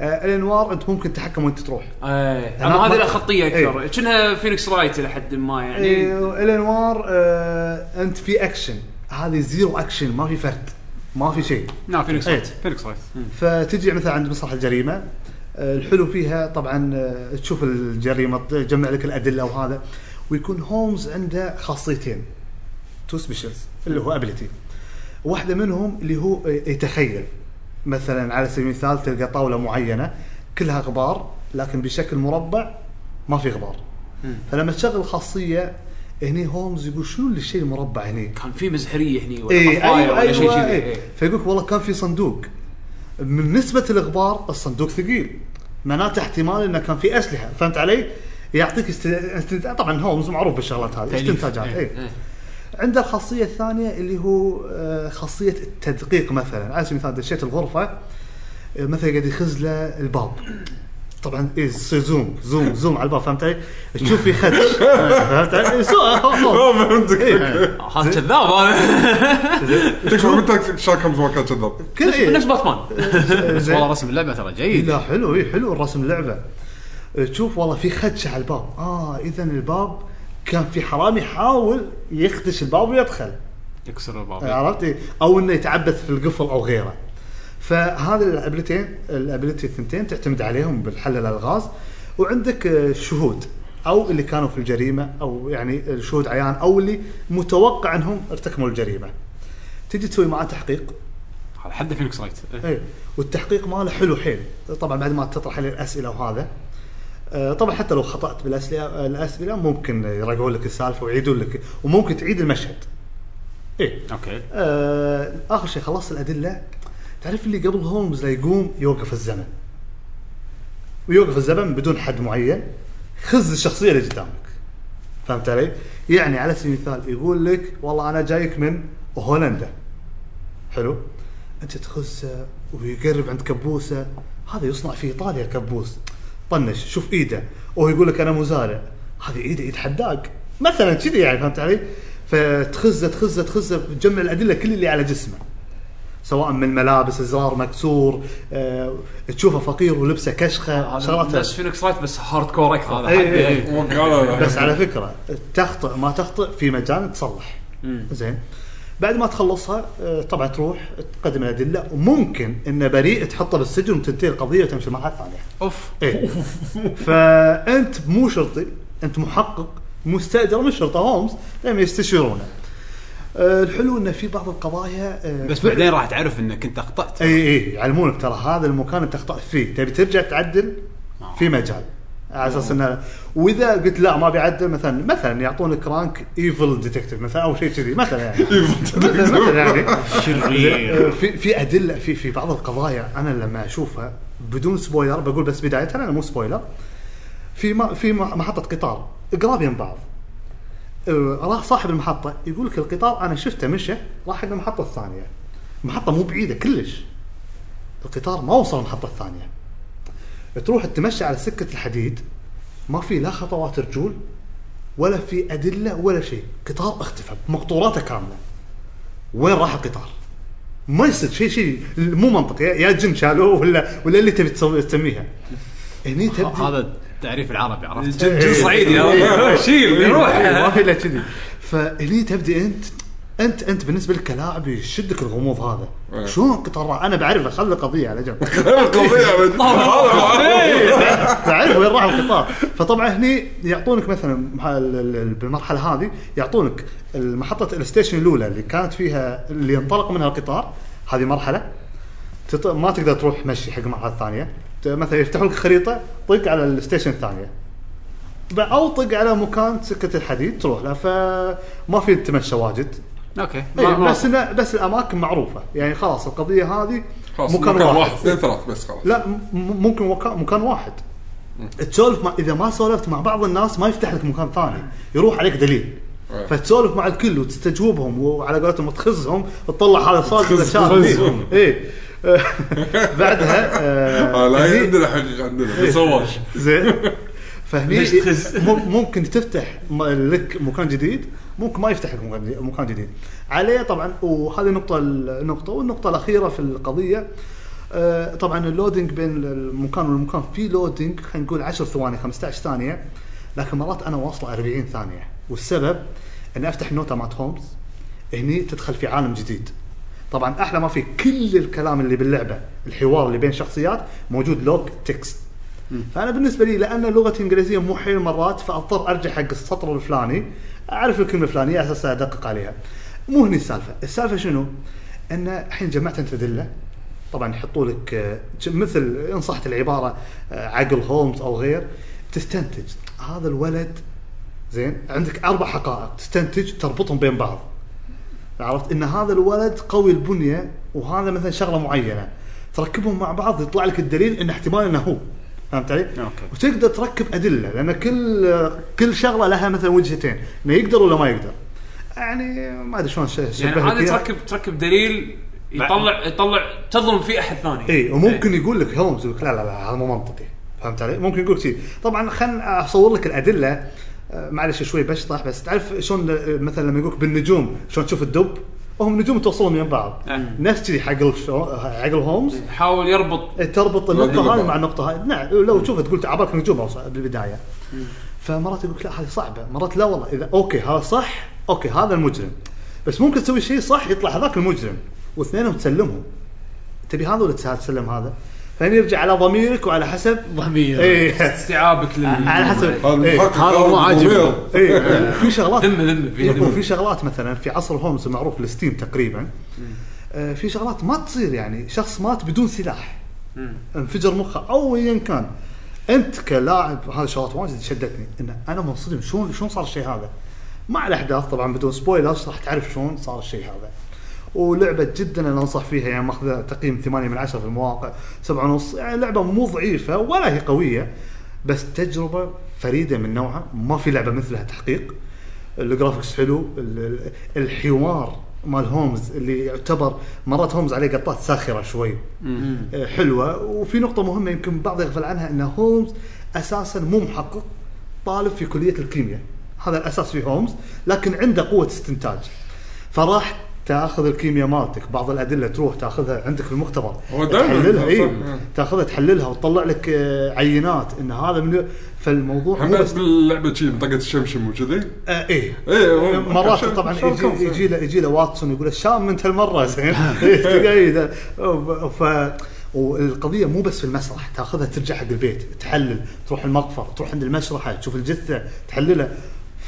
Speaker 4: آه الانوار انت ممكن تتحكم وانت تروح.
Speaker 3: ايه
Speaker 4: أنا
Speaker 3: اما هذه
Speaker 4: ما-
Speaker 3: لا خطيه اكثر
Speaker 4: إيه.
Speaker 3: كأنها فينيكس رايت الى حد ما يعني
Speaker 4: إيه الانوار آه انت في اكشن هذه زيرو اكشن ما في فرد ما في شيء.
Speaker 2: نعم فينيكس رايت
Speaker 4: إيه.
Speaker 2: فينيكس رايت
Speaker 4: فتجي مثلا عند مسرح الجريمه آه، الحلو فيها طبعا آه، تشوف الجريمه تجمع لك الادله وهذا ويكون هومز عنده خاصيتين تو سبيشلز اللي هو ابيلتي واحده منهم اللي هو آه، يتخيل مثلا على سبيل المثال تلقى طاوله معينه كلها غبار لكن بشكل مربع ما في غبار فلما تشغل الخاصيه هني هومز يقول شنو الشيء المربع هني
Speaker 3: كان في مزهريه هني ولا
Speaker 4: اي
Speaker 3: قفاية
Speaker 4: ايوه
Speaker 3: ولا شيء
Speaker 4: ايوه
Speaker 3: كذي
Speaker 4: اي
Speaker 3: إيه.
Speaker 4: فيقول والله كان في صندوق من نسبه الغبار الصندوق ثقيل معناته احتمال انه كان في اسلحه فهمت علي؟ يعطيك است... است... طبعا هومز معروف بالشغلات هذه
Speaker 2: تأليف.
Speaker 4: استنتاجات
Speaker 2: إيه،
Speaker 4: اي
Speaker 3: إيه.
Speaker 4: عنده الخاصيه الثانيه اللي هو آه، خاصيه التدقيق مثلا على سبيل المثال دشيت الغرفه آه، مثلا قاعد يخز له الباب طبعا إيه، يصير زوم زوم زوم على الباب فهمت علي؟ تشوف في خدش فهمت علي؟
Speaker 5: ما
Speaker 4: سو-
Speaker 5: آه، فهمتك
Speaker 4: إيه.
Speaker 3: هذا كذاب هذا
Speaker 5: تكفى من تك- شارك هومز ما كان كذاب
Speaker 4: كل إيه.
Speaker 3: نفس باتمان
Speaker 2: بس والله رسم اللعبه ترى جيد
Speaker 4: لا حلو اي حلو الرسم اللعبه أه، تشوف والله في خدشه على الباب اه اذا الباب كان في حرامي يحاول يخدش الباب ويدخل
Speaker 2: يكسر الباب
Speaker 4: عرفت إيه؟ او انه يتعبث في القفل او غيره فهذه الابيلتين الابيلتي الثنتين تعتمد عليهم بالحل الالغاز وعندك آه، شهود او اللي كانوا في الجريمه او يعني الشهود عيان او اللي متوقع انهم ارتكبوا الجريمه تجي تسوي معاه تحقيق
Speaker 2: هذا حد فينيكس رايت إيه.
Speaker 4: اي والتحقيق ماله حلو حيل طبعا بعد ما تطرح عليه الاسئله وهذا آه، طبعا حتى لو خطات بالاسئله الاسئله ممكن يراجعون لك السالفه ويعيدون لك وممكن تعيد المشهد اي
Speaker 2: اوكي
Speaker 4: آه اخر شيء خلصت الادله تعرف اللي قبل هولمز لا يقوم يوقف الزمن ويوقف الزمن بدون حد معين خز الشخصيه اللي قدامك فهمت علي؟ يعني على سبيل المثال يقول لك والله انا جايك من هولندا حلو؟ انت تخزه ويقرب عند كبوسه هذا يصنع في ايطاليا الكبوس طنش شوف ايده وهو يقول لك انا مزارع هذه ايده ايد حداق مثلا كذي يعني فهمت علي؟ فتخزه تخزه تخزه تجمع الادله كل اللي على جسمه سواء من ملابس زرار مكسور آه، تشوفه فقير ولبسه كشخه شغلات إيه،
Speaker 3: بس فينيكس رايت بس هارد كور اكثر هذا
Speaker 4: إي
Speaker 3: حد
Speaker 4: إي إي.
Speaker 3: إي.
Speaker 5: وقالوا
Speaker 4: بس على فكره تخطئ ما تخطئ في مجال تصلح زين بعد ما تخلصها آه، طبعا تروح تقدم الادله وممكن ان بريء تحطه بالسجن وتنتهي القضيه وتمشي المرحله الثانيه
Speaker 2: اوف
Speaker 4: ايه فانت مو شرطي انت محقق مستاجر من الشرطه هومز لما يستشيرونه آه، الحلو انه في بعض القضايا آه،
Speaker 2: بس بعدين راح تعرف انك انت اخطات
Speaker 4: اي اي إيه، يعلمونك ترى هذا المكان انت اخطات فيه تبي ترجع تعدل في مجال على اساس انه واذا قلت لا ما بيعدل مثلا مثلا يعطونك رانك ايفل ديتكتيف مثلا او شيء كذي مثلا يعني مثلا يعني
Speaker 2: شرير
Speaker 4: آه، في في ادله في في بعض القضايا انا لما اشوفها بدون سبويلر بقول بس بدايتها انا مو سبويلر في ما في ما- محطه قطار قراب يم بعض آه، راح صاحب المحطه يقول لك القطار انا شفته مشى راح حق المحطه الثانيه المحطه مو بعيده كلش القطار ما وصل المحطه الثانيه تروح تمشي على سكه الحديد ما في لا خطوات رجول ولا في ادله ولا شيء قطار اختفى مقطوراته كامله وين راح القطار ما يصير شيء شيء مو منطقي يا- يا جن شالوه ولا ولا اللي تبي تسوي تسميها هني إيه. تبدي
Speaker 2: هذا التعريف العربي عرفت
Speaker 3: جن جن صعيدي هذا. شيل
Speaker 4: إيه. ما
Speaker 3: يروح
Speaker 4: في الا كذي فهني تبدي انت انت انت بالنسبه لك كلاعب يشدك الغموض هذا
Speaker 5: إيه.
Speaker 4: شلون القطار راح؟ انا بعرفه خلي القضيه على جنب
Speaker 5: القضيه
Speaker 4: إيه. بعرف وين راح القطار فطبعا هني يعطونك مثلا مح- ال- ال- ال- بالمرحله هذه يعطونك محطه الستيشن الاولى اللي كانت فيها اللي انطلق منها القطار هذه مرحله تط... ما تقدر تروح مشي حق المرحله الثانيه ت- مثلا يفتحوا لك خريطه طق على الستيشن الثانيه ب- او طق على مكان سكه الحديد تروح له فما في تمشى واجد
Speaker 2: اوكي ما-
Speaker 4: إيه
Speaker 2: ما-
Speaker 4: بس إنه- بس الاماكن معروفه يعني خلاص القضيه هذه
Speaker 5: خلاص مكان واحد اثنين ثلاث بس خلاص
Speaker 4: لا م- ممكن وكا- مكان واحد تسولف مع اذا ما سولفت مع بعض الناس ما يفتح لك مكان ثاني يروح عليك دليل
Speaker 5: أي.
Speaker 4: فتسولف مع الكل وتستجوبهم وعلى قولتهم تخزهم تطلع هذا صادق ولا
Speaker 5: تخز-
Speaker 4: شاذ.
Speaker 5: تخزهم.
Speaker 4: اي إيه. بعدها آه،
Speaker 5: آه، لا
Speaker 4: هني-
Speaker 5: عندنا حقيقه
Speaker 4: إيه.
Speaker 5: عندنا بسواش
Speaker 4: زين فهني
Speaker 3: ليش تخز؟
Speaker 4: مم- ممكن تفتح م- لك مكان جديد ممكن ما يفتح لك مكان- مكان جديد عليه طبعا وهذه النقطة النقطة والنقطة الأخيرة في القضية آه، طبعا اللودينج بين المكان والمكان في لودينج خلينا نقول 10 ثواني 15 ثانية لكن مرات أنا واصلة 40 ثانية والسبب إني أفتح النوتة مات هومز هني تدخل في عالم جديد طبعا احلى ما في كل الكلام اللي باللعبه الحوار اللي بين شخصيات موجود لوج تكست فانا بالنسبه لي لان لغتي الانجليزيه مو حيل مرات فاضطر ارجع حق السطر الفلاني اعرف الكلمه الفلانيه على اساس ادقق عليها مو هني السالفه السالفه شنو ان الحين جمعت انت ادله طبعا يحطوا لك آه، مثل ان صحت العباره آه، عقل هولمز او غير تستنتج هذا الولد زين عندك اربع حقائق تستنتج تربطهم بين بعض عرفت ان هذا الولد قوي البنيه وهذا مثلا شغله معينه تركبهم مع بعض يطلع لك الدليل ان احتمال انه هو فهمت علي؟
Speaker 2: أوكي.
Speaker 4: وتقدر تركب ادله لان كل كل شغله لها مثلا وجهتين انه يقدر ولا ما يقدر. يعني ما ادري شلون ش-
Speaker 3: يعني
Speaker 4: شبهت
Speaker 3: عادي
Speaker 4: إياها.
Speaker 3: تركب تركب دليل يطلع يطلع تظلم فيه احد ثاني
Speaker 4: اي إيه، وممكن يقول لك هولمز يقول لك لا لا لا هذا مو منطقي فهمت علي؟ ممكن يقول لك شيء طبعا خلنا اصور لك الادله آه، معلش شوي بشطح بس تعرف شلون آه، مثلا لما يقول لك بالنجوم شلون تشوف الدب هم نجوم توصلون من بعض
Speaker 3: أه.
Speaker 4: نفس كذي حق الشو- حق الهومز
Speaker 3: حاول يربط
Speaker 4: تربط
Speaker 5: يقول
Speaker 4: النقطه هذه
Speaker 5: بعض.
Speaker 4: مع النقطه هذه نعم لو تشوف تقول عبالك نجوم أوصل بالبدايه فمرات يقول لك لا هذه صعبه مرات لا والله اذا اوكي هذا صح اوكي هذا المجرم بس ممكن تسوي شيء صح يطلع هذاك المجرم واثنينهم تسلمهم تبي هذا ولا تسا- تسلم هذا؟ فنرجع على ضميرك وعلى حسب
Speaker 2: ضمير.
Speaker 4: ايه
Speaker 3: استيعابك لل
Speaker 4: على حسب
Speaker 5: هذا
Speaker 4: إيه.
Speaker 5: المحقق
Speaker 2: هذا مو عاجبني.
Speaker 5: الضمير.
Speaker 4: ايه في شغلات
Speaker 3: ذمه ذمه فيها
Speaker 4: يكون
Speaker 3: ذمه
Speaker 4: في شغلات مثلا في عصر هومز المعروف الستيم تقريبا آه، في شغلات ما تصير يعني شخص مات بدون سلاح انفجر مخه او ايا كان انت كلاعب هذه شغلات واجد شدتني ان انا منصدم شلون شلون صار الشيء هذا مع الاحداث طبعا بدون سبويلرز راح تعرف شلون صار الشيء هذا ولعبه جدا انا انصح فيها يعني ماخذه تقييم 8 من 10 في المواقع 7 ونص يعني لعبه مو ضعيفه ولا هي قويه بس تجربه فريده من نوعها ما في لعبه مثلها تحقيق الجرافكس حلو ال- ال- الحوار مال هومز اللي يعتبر مرات هومز عليه قطات ساخره شوي آه، حلوه وفي نقطه مهمه يمكن بعض يغفل عنها ان هومز اساسا مو محقق طالب في كليه الكيمياء هذا الاساس في هومز لكن عنده قوه استنتاج فراح تاخذ الكيمياء مالتك بعض الادله تروح تاخذها عندك في المختبر
Speaker 5: هو دايماً
Speaker 4: تحللها اي
Speaker 5: صح. نعم.
Speaker 4: تاخذها تحللها وتطلع لك آه، عينات ان هذا من فالموضوع مو
Speaker 5: هم
Speaker 4: بس
Speaker 5: بعد باللعبه شي منطقه الشمشم وكذي
Speaker 4: آه ايه
Speaker 5: إيه، هو
Speaker 4: مرات
Speaker 5: شو-
Speaker 4: طبعا
Speaker 5: شو
Speaker 4: يجي
Speaker 5: الكونسيبت؟
Speaker 4: يجي له يجي له واتسون يقول له شام انت المره زين تلقى إيه، ف والقضيه مو بس في المسرح تاخذها ترجع حق البيت تحلل تروح المقفر تروح عند المشرحه تشوف الجثه تحللها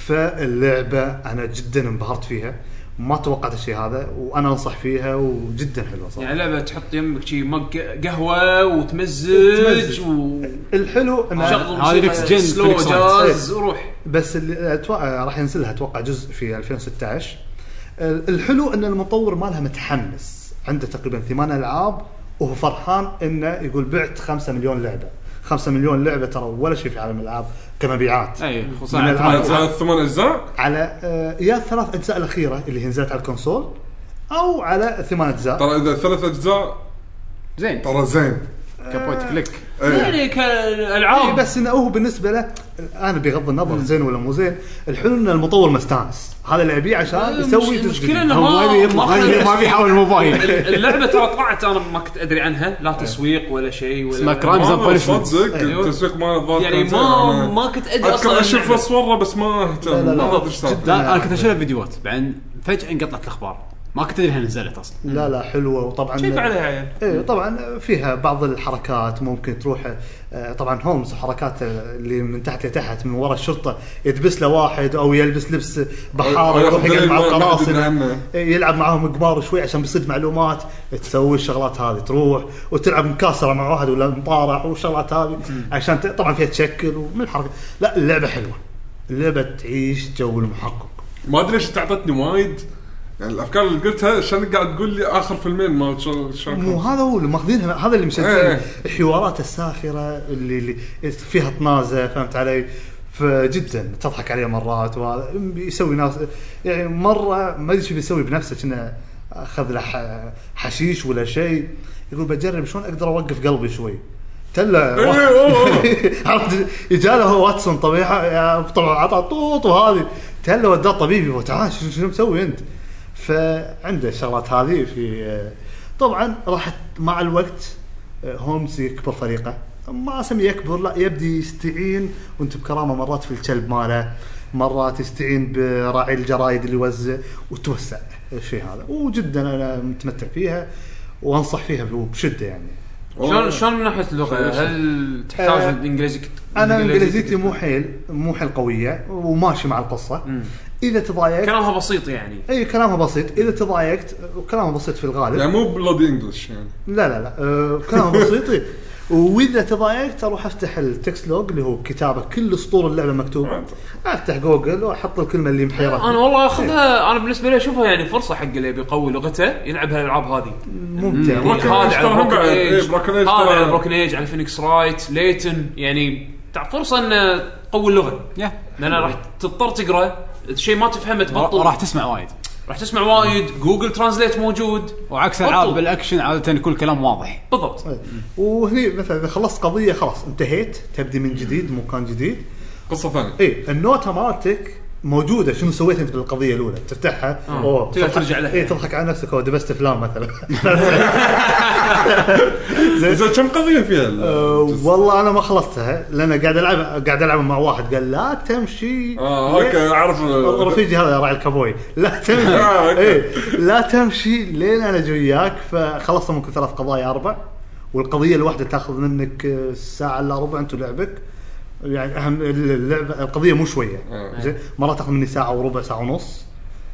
Speaker 4: فاللعبه انا جدا انبهرت فيها ما توقعت الشيء هذا وانا انصح فيها وجدا حلوه صراحه
Speaker 3: يعني لعبه تحط يمك شي مج قهوه وتمزج
Speaker 4: تمزج.
Speaker 3: و
Speaker 4: الحلو
Speaker 3: شغل
Speaker 4: انه
Speaker 2: هذه
Speaker 3: موسيقى
Speaker 2: next gen
Speaker 3: سلو
Speaker 2: Phoenix Wright.
Speaker 3: جاز وروح
Speaker 4: بس اللي اتوقع راح ينزلها اتوقع جزء في 2016 آه، الحلو ان المطور مالها متحمس عنده تقريبا ثمان العاب وهو فرحان انه يقول بعت 5 مليون لعبه 5 مليون لعبه ترى ولا شيء في عالم الالعاب كمبيعات
Speaker 2: اي خصوصا
Speaker 4: من
Speaker 2: على
Speaker 4: الألعاب.
Speaker 2: ثمان-
Speaker 5: آه، أجزاء الثمان اجزاء
Speaker 4: على آه، يا الثلاث اجزاء الاخيره اللي هي نزلت على الكونسول او على ثمان اجزاء
Speaker 5: ترى اذا ثلاث اجزاء
Speaker 2: زين
Speaker 5: ترى زين
Speaker 2: كبوينت كليك
Speaker 5: ايه
Speaker 3: يعني
Speaker 4: إي
Speaker 3: كالعاب
Speaker 4: إيه، بس انه هو بالنسبه له انا بغض النظر زين ولا مو زين الحلو ان المطور مستانس هذا اللي ابيه عشان يسوي جزء
Speaker 3: المشكله
Speaker 4: جديد.
Speaker 3: انه
Speaker 2: هو ما
Speaker 3: ما
Speaker 2: بي- ما بي- ما بيحاول الموبايل
Speaker 3: اللعبه ترى طلعت انا ما كنت ادري عنها لا تسويق ولا شيء ولا
Speaker 2: اسمها كرايمز اند
Speaker 5: والله
Speaker 2: بانشمنت
Speaker 5: صدق
Speaker 4: أيوه.
Speaker 3: أيوة.
Speaker 5: التسويق ما الظاهر
Speaker 3: يعني
Speaker 5: كان زين.
Speaker 3: ما-
Speaker 5: أنا
Speaker 3: ما كنت أدري
Speaker 5: أذكر
Speaker 3: أصلاً عن
Speaker 5: اشوف
Speaker 3: اللعبة.
Speaker 5: الصوره بس ما
Speaker 4: لا،
Speaker 5: اهتم
Speaker 4: لا،
Speaker 5: ما
Speaker 4: لا.
Speaker 5: ادري ايش صار.
Speaker 4: جداً.
Speaker 2: لا انا كنت اشوف فيديوهات بعدين فجاه انقطعت الاخبار ما كنت ادري انها نزلت اصلا
Speaker 4: لا لا حلوه وطبعا
Speaker 3: شيك عليها عيل
Speaker 4: ايه طبعا فيها بعض الحركات ممكن تروح آه، طبعا هومز حركات آه، اللي من تحت لتحت من ورا الشرطه يدبس له واحد او يلبس لبس
Speaker 5: أو
Speaker 4: بحاره يروح
Speaker 5: ياخذ
Speaker 4: يقعد مع
Speaker 5: ما- ما أدري
Speaker 4: القراصنه
Speaker 5: عنه.
Speaker 4: إيه، يلعب معاهم كبار شوي عشان بيصيد معلومات تسوي الشغلات هذه تروح وتلعب مكاسره مع واحد ولا مطارع والشغلات هذه عشان ت- طبعا فيها تشكل ومن الحركه لا اللعبه حلوه اللعبه تعيش جو المحقق
Speaker 5: ما ادري ايش تعطتني وايد يعني الافكار اللي قلتها عشان قاعد تقول لي اخر فيلمين ما شلون
Speaker 4: مو
Speaker 5: شلون
Speaker 4: هذا هو اللي ماخذينها هذا اللي مشجعين
Speaker 5: إيه.
Speaker 4: الحوارات الساخره اللي, اللي فيها طنازه فهمت علي؟ فجدا تضحك عليه مرات وهذا يسوي ناس يعني مره ما ادري شو بيسوي بنفسه كنا اخذ له ح- حشيش ولا شيء يقول بجرب شلون اقدر اوقف قلبي شوي تلا
Speaker 5: إيه، أوه، أوه.
Speaker 4: عرفت اجاله هو واتسون طبيعه طبعا عطى طوط وهذه تهلا وداه طبيبي هو تعال شنو شنو مسوي انت؟ فعنده الشغلات هذه في طبعا راح مع الوقت هومز يكبر فريقه ما اسمي يكبر لا يبدي يستعين وانت بكرامه مرات في الكلب ماله مرات يستعين براعي الجرايد اللي يوزع وتوسع الشيء هذا وجدا انا متمتع فيها وانصح فيها بشده يعني
Speaker 3: شلون شلون من ناحيه اللغه هل تحتاج
Speaker 4: آه،
Speaker 3: انجليزي كت-
Speaker 4: انا انجليزيتي
Speaker 3: كت-
Speaker 4: مو حيل مو حيل قويه وماشي مع القصه اذا تضايقت
Speaker 3: كلامها بسيط يعني
Speaker 4: اي كلامها بسيط اذا تضايقت وكلامها بسيط في الغالب
Speaker 5: يعني مو بلودي انجلش يعني
Speaker 4: لا لا لا أه كلامها بسيط إي. واذا تضايقت اروح افتح التكست لوج اللي هو كتابه كل سطور اللعبه مكتوب افتح جوجل واحط الكلمه اللي محيرتني
Speaker 3: انا والله اخذها انا بالنسبه لي اشوفها يعني فرصه حق اللي بيقوي لغته يلعب هالالعاب هذه
Speaker 4: ممتع
Speaker 5: ممكن.
Speaker 4: ممتع.
Speaker 3: هذا على
Speaker 5: ترى هم
Speaker 3: بروكن
Speaker 5: بعد- إيه،
Speaker 3: ايج
Speaker 5: Broken Age
Speaker 3: هذا
Speaker 5: ترى-
Speaker 3: على بروكن ايج على فينيكس رايت ليتن يعني تع- فرصه انه تقوي اللغه
Speaker 2: يا
Speaker 3: لان راح تضطر تقرا شيء ما تفهمه تبطل
Speaker 2: راح تسمع وايد
Speaker 3: راح تسمع وايد جوجل ترانزليت موجود
Speaker 2: وعكس
Speaker 3: بطل. يعني
Speaker 2: العاب الاكشن عاده كل كلام واضح
Speaker 3: بالضبط
Speaker 5: طيب.
Speaker 4: وهني مثلا اذا خلصت قضيه خلاص انتهيت تبدي من جديد مكان جديد
Speaker 5: قصه ثانيه
Speaker 4: اي إيه، النوتة مالتك موجوده شنو سويت انت بالقضيه الاولى تفتحها اوه
Speaker 3: آه. تقدر
Speaker 4: تضحك-
Speaker 3: ترجع لها.
Speaker 4: اي تضحك على نفسك او دبست فلان مثلا
Speaker 5: زين كم قضيه فيها ال-
Speaker 4: أه، والله انا ما خلصتها لان قاعد العب قاعد العب مع واحد قال لا تمشي
Speaker 3: آه،
Speaker 5: اه اوكي اعرف
Speaker 4: رفيجي هذا راعي الكابوي لا تمشي
Speaker 5: آه، أوكي.
Speaker 4: اي لا تمشي لين انا جاي وياك فخلصنا ممكن ثلاث قضايا اربع والقضيه الواحده تاخذ منك آه، ساعه الا ربع انت لعبك يعني اهم اللعبه القضيه مو شويه
Speaker 5: آه.
Speaker 4: زين مرات تاخذ مني ساعه وربع ساعه ونص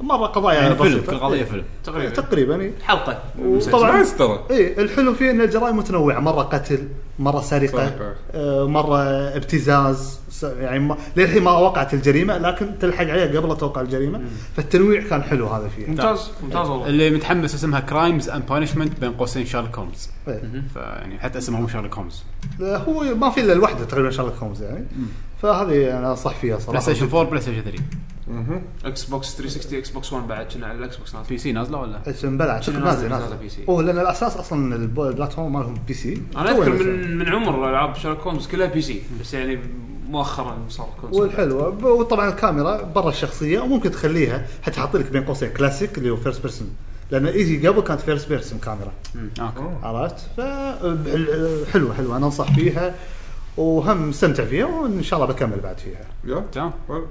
Speaker 4: مره قضايا
Speaker 2: يعني
Speaker 4: يعني
Speaker 2: فيلم
Speaker 4: بسيطه
Speaker 2: كل قضيه
Speaker 4: إيه.
Speaker 2: فيلم
Speaker 3: تقريبا
Speaker 4: تقريبا إيه.
Speaker 3: حلقه
Speaker 4: وطبعا
Speaker 5: نايس ترى
Speaker 4: اي إيه، الحلو فيه ان الجرائم متنوعه مره قتل مره سرقه
Speaker 5: صحيح.
Speaker 4: آه، مره ابتزاز س- يعني ما للحين ما وقعت الجريمه لكن تلحق عليها قبل لا توقع الجريمه فالتنويع كان حلو هذا فيه
Speaker 3: ممتاز
Speaker 5: نعم.
Speaker 3: ممتاز والله
Speaker 2: اللي متحمس اسمها كرايمز اند بانشمنت بين قوسين شارلوك هومز
Speaker 4: إيه.
Speaker 2: فيعني يعني حتى اسمها مو شارلوك هومز
Speaker 4: آه، هو ما في الا الوحده تقريبا شارلوك هومز يعني فهذه انا انصح فيها
Speaker 2: بلاي
Speaker 4: صراحه
Speaker 2: ستيشن 4 بلاي ستيشن 3
Speaker 3: اكس بوكس 360 اكس بوكس 1 بعد كنا على الاكس بوكس نازل
Speaker 2: بي سي نازله ولا؟
Speaker 4: بلى اعتقد
Speaker 3: شنو
Speaker 4: نازل
Speaker 3: نازل-
Speaker 4: نازل
Speaker 3: نازل بي سي.
Speaker 4: اوه لان الاساس اصلا الب- البلاتفورم مالهم بي سي
Speaker 3: انا اذكر
Speaker 4: تو نزل.
Speaker 3: من من عمر العاب شارلوك هومز كلها بي سي بس يعني مؤخرا صار كونسول
Speaker 4: والحلوه ب- وطبعا الكاميرا برا الشخصيه وممكن تخليها حتى حاط لك بين قوسين كلاسيك اللي هو فيرست بيرسون لان ايزي قبل كانت فيرست بيرسون كاميرا
Speaker 2: اوكي
Speaker 4: عرفت ف حلوه حلوه انا انصح فيها وهم مستمتع فيها وان شاء الله بكمل بعد فيها
Speaker 5: يا
Speaker 2: تمام
Speaker 5: حلو.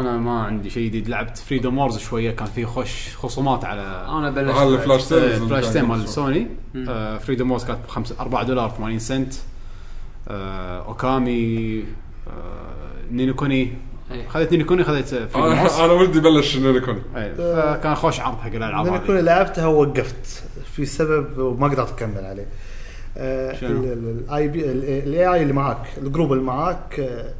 Speaker 2: انا ما عندي شيء جديد لعبت فريدوم وورز شويه كان فيه خوش خصومات على
Speaker 3: انا بلشت
Speaker 5: على الفلاش
Speaker 2: آه،
Speaker 5: سيلز
Speaker 2: فلاش تيم مال سوني آه، فريدوم وورز كانت ب 4 دولار 80 سنت آه، اوكامي آه، نينوكوني
Speaker 3: إيه.
Speaker 2: خذيت نينوكوني خذيت آه، فريدوم
Speaker 5: انا
Speaker 2: وورز
Speaker 5: أنا ولدي بلش نيركون
Speaker 2: إيه، فكان خوش عرض حق الالعاب
Speaker 4: لما كنت
Speaker 2: هذه
Speaker 4: لعبتها ووقفت في سبب وما قدرت اكمل عليه آه،
Speaker 2: شنو؟
Speaker 4: الاي بي الاي اي اللي معاك الجروب اللي معاك آه،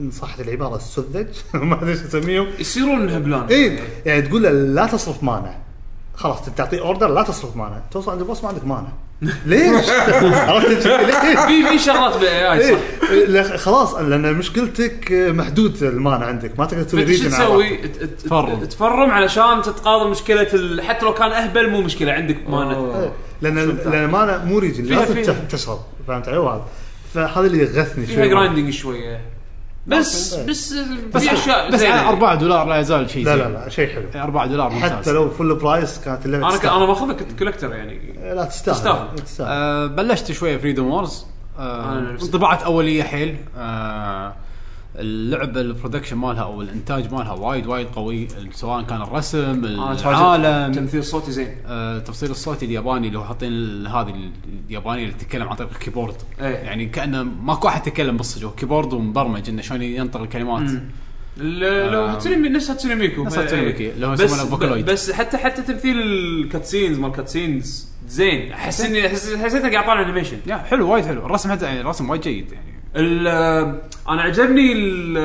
Speaker 4: ان صحت العباره السذج ما ادري شو اسميهم
Speaker 3: يصيرون هبلان
Speaker 4: اي يعني تقول له لا تصرف مانع خلاص انت تعطيه اوردر لا تصرف مانع توصل عند البوس ما عندك مانع ليش؟ عرفت ليش؟
Speaker 3: في في شغلات بالاي اي صح
Speaker 4: إيه، لا، خلاص لان مشكلتك محدود المانع عندك ما تقدر تسوي
Speaker 3: فانت شو
Speaker 4: region على بعض.
Speaker 3: تسوي؟ ت- ت-
Speaker 2: تفرم.
Speaker 3: تفرم علشان تتقاضى مشكله ال- حتى لو كان اهبل مو مشكله عندك مانع
Speaker 4: إيه، لان لان ما أنا مو ريجن
Speaker 3: فيها-
Speaker 4: لازم
Speaker 3: فيها.
Speaker 4: تش- تشرب فهمت علي وهذا فهذا اللي يغثني
Speaker 3: فيها
Speaker 4: شوي
Speaker 3: جرايندنج شويه بس
Speaker 4: أوكي.
Speaker 3: بس
Speaker 2: بس
Speaker 3: في اشياء
Speaker 2: بس
Speaker 3: زينة. يعني.
Speaker 2: على 4 دولار لا يزال شيء
Speaker 4: لا لا
Speaker 2: زين.
Speaker 4: لا شيء حلو
Speaker 2: 4 دولار إيه، ممتاز
Speaker 4: حتى لو فل برايس كانت اللعبه
Speaker 3: انا ك-
Speaker 4: تستاهل.
Speaker 3: انا ماخذها كنت كولكتر يعني
Speaker 4: لا تستاهل
Speaker 3: تستاهل.
Speaker 4: تستاهل
Speaker 2: آه، بلشت شويه فريدوم وورز
Speaker 3: أنا نفسي.
Speaker 2: آه، انطباعات اوليه حيل آه، اللعبه البرودكشن مالها او الانتاج مالها وايد وايد قوي سواء كان الرسم
Speaker 3: انا
Speaker 2: العالم
Speaker 3: تعجب تمثيل صوتي زين
Speaker 2: آه، التفصيل الصوتي الياباني اللي هو حاطين ال- هذه ال- الياباني اللي تتكلم عن طريق الكيبورد
Speaker 3: إيه.
Speaker 2: يعني كانه ماكو احد يتكلم بالصج هو كيبورد ومبرمج انه شلون ينطق الكلمات
Speaker 3: ل- لو
Speaker 2: آم.
Speaker 3: تسلمي نفس هاتسوني ميكو
Speaker 2: نفس هاتسوني ميكو، اللي هو
Speaker 3: بس-
Speaker 2: يسمونه فوكالويد.
Speaker 3: ب- بس حتى حتى تمثيل الكاتسينز مال كاتسينز زين احس اني احس حسيتك قاعد طالع انيميشن
Speaker 2: يا حلو وايد حلو الرسم حتى يعني الرسم وايد جيد يعني
Speaker 3: ال- انا عجبني ال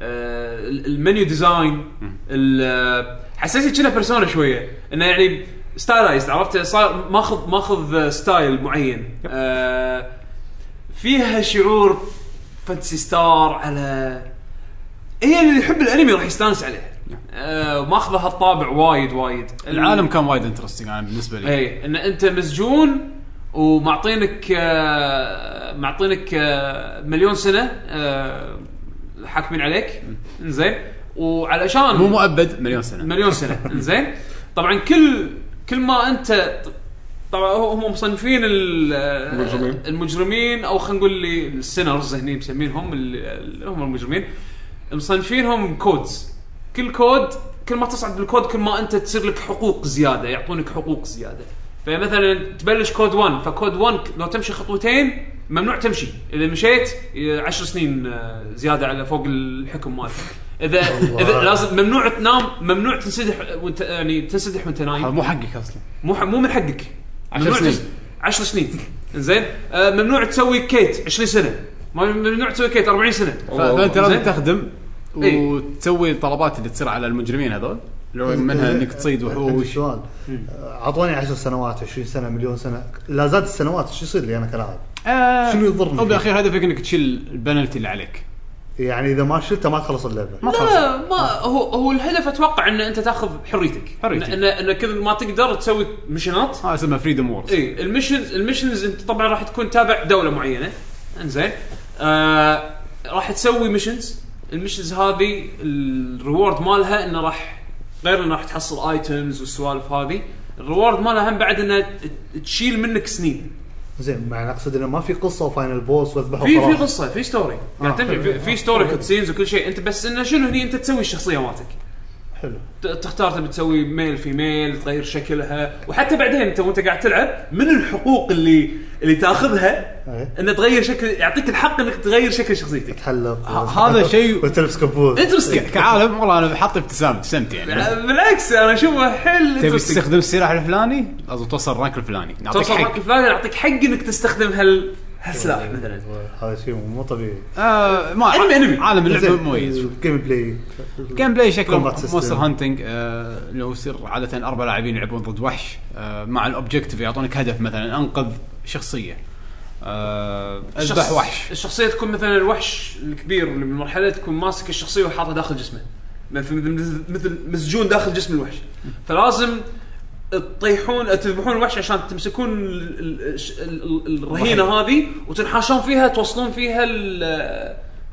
Speaker 3: آه، المنيو ديزاين ال- آه، حسيت كنا بيرسونا شويه انه يعني ستايلايزد عرفت صار ماخذ ماخذ ستايل معين آه، فيها شعور فانتسي ستار على هي اللي يحب الانمي راح يستانس عليه آه، ماخذه هالطابع وايد وايد
Speaker 2: العالم كان وايد انترستنج انا بالنسبه لي
Speaker 3: اي ان انت إيه. مسجون ومعطينك آه، معطينك آه، مليون سنه آه، حاكمين عليك زين وعلشان
Speaker 2: مو مؤبد مليون سنه
Speaker 3: مليون سنه زين طبعا كل كل ما انت طبعا هو- هم مصنفين ال-
Speaker 5: المجرمين.
Speaker 3: المجرمين او خلينا نقول اللي السينرز هني مسمينهم اللي اللي هم المجرمين مصنفينهم كودز كل كود كل ما تصعد بالكود كل ما انت تصير لك حقوق زياده يعطونك حقوق زياده فمثلا تبلش كود 1 فكود 1 لو تمشي خطوتين ممنوع تمشي اذا مشيت ي- عشر سنين آه، زياده على فوق الحكم مالك اذا اذا لازم ممنوع تنام ممنوع تنسدح وانت يعني تنسدح وانت
Speaker 2: هذا
Speaker 3: نايم
Speaker 2: مو حقك اصلا
Speaker 3: مو ح- مو من حقك
Speaker 2: عشر
Speaker 3: ممنوع
Speaker 2: سنين.
Speaker 3: تس- عشر سنين زين آه، ممنوع تسوي كيت 20 سنه ما- ممنوع تسوي كيت 40 سنه
Speaker 2: ف- فانت لازم
Speaker 3: زين.
Speaker 2: تخدم
Speaker 3: إي.
Speaker 2: وتسوي الطلبات اللي تصير على المجرمين هذول اللي هو
Speaker 4: إيه.
Speaker 2: منها انك تصيد
Speaker 4: عندي
Speaker 2: وحوش
Speaker 4: سؤال اعطوني 10 سنوات 20 سنه مليون سنه لا زاد السنوات شو يصير لي انا كلاعب؟
Speaker 2: آه،
Speaker 4: شنو يضرني؟
Speaker 2: هو بالاخير هدفك انك تشيل البنالتي اللي عليك
Speaker 4: يعني اذا ما شلته ما تخلص اللعبه
Speaker 2: ما خلص
Speaker 3: لا ما هو هو الهدف اتوقع ان انت تاخذ حريتك
Speaker 2: حريتك.
Speaker 3: ان ان كذا ما تقدر تسوي مشنات
Speaker 2: ها اسمها فريدم وورز
Speaker 3: اي إيه، المشنز المشنز انت طبعا راح تكون تابع دوله معينه انزين آه راح تسوي مشنز المشنز هذه الريورد مالها انه راح غير انه راح تحصل ايتمز والسوالف هذه الريورد مالها هم بعد انها ت- تشيل منك سنين
Speaker 4: زين معنى اقصد انه ما في قصه وفاينل بوس واذبحه
Speaker 3: في في
Speaker 4: وخلاص.
Speaker 3: قصه في ستوري قاعد
Speaker 4: آه،
Speaker 3: تمشي
Speaker 4: حلو.
Speaker 3: في, في ستوري كوتسينز وكل شيء انت بس انه شنو هني انت تسوي الشخصيه مالتك
Speaker 4: حلو
Speaker 3: ت- تختار تبي تسوي ميل في ميل تغير شكلها وحتى بعدين انت وانت قاعد تلعب من الحقوق اللي اللي تاخذها
Speaker 4: إيه.
Speaker 3: ان تغير شكل يعطيك الحق انك تغير شكل شخصيتك
Speaker 4: تحلق
Speaker 2: ه- هذا شيء-
Speaker 4: وتلبس كبوت
Speaker 2: ك- كعالم والله انا حاط ابتسامه ابتسمت يعني
Speaker 3: بالعكس انا اشوفه حل
Speaker 2: تبي
Speaker 3: interesting.
Speaker 2: تستخدم السلاح الفلاني لازم توصل الرانك الفلاني نعطيك
Speaker 3: توصل
Speaker 2: حق
Speaker 3: حق فلان يعطيك حق انك تستخدم هال هالسلاح مثلا
Speaker 4: هذا شيء مو طبيعي
Speaker 2: آه ما
Speaker 3: انمي انمي
Speaker 2: عالم اللعبه
Speaker 4: زين،
Speaker 2: مميز
Speaker 4: الجيم بلاي
Speaker 2: جيم بلاي شكله
Speaker 4: Combat system.
Speaker 2: مونستر هانتنج آه، اللي هو يصير عاده اربع لاعبين يلعبون ضد وحش آه، مع الاوبجيكتيف يعطونك هدف مثلا انقذ شخصيه آه، اذبح
Speaker 3: الشخص-
Speaker 2: وحش
Speaker 3: الشخصيه تكون مثلا الوحش الكبير اللي بالمرحله تكون ماسك الشخصيه وحاطها داخل جسمه مثل مثل- مثل مسجون داخل جسم الوحش فلازم تطيحون تذبحون الوحش عشان تمسكون ال- ال- الش- ال- ال- الرهينه هذه وتنحاشون فيها توصلون فيها ال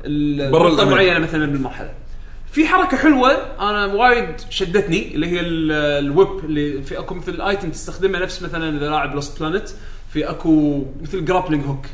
Speaker 3: ال-
Speaker 5: برا
Speaker 3: نقطه
Speaker 5: الأمان.
Speaker 3: معينه مثلا بالمرحله في حركه حلوه انا وايد شدتني اللي هي ال- الويب اللي في اكو مثل ايتم تستخدمه نفس مثلا اذا لاعب لوست بلانت في اكو مثل جرابلينج هوك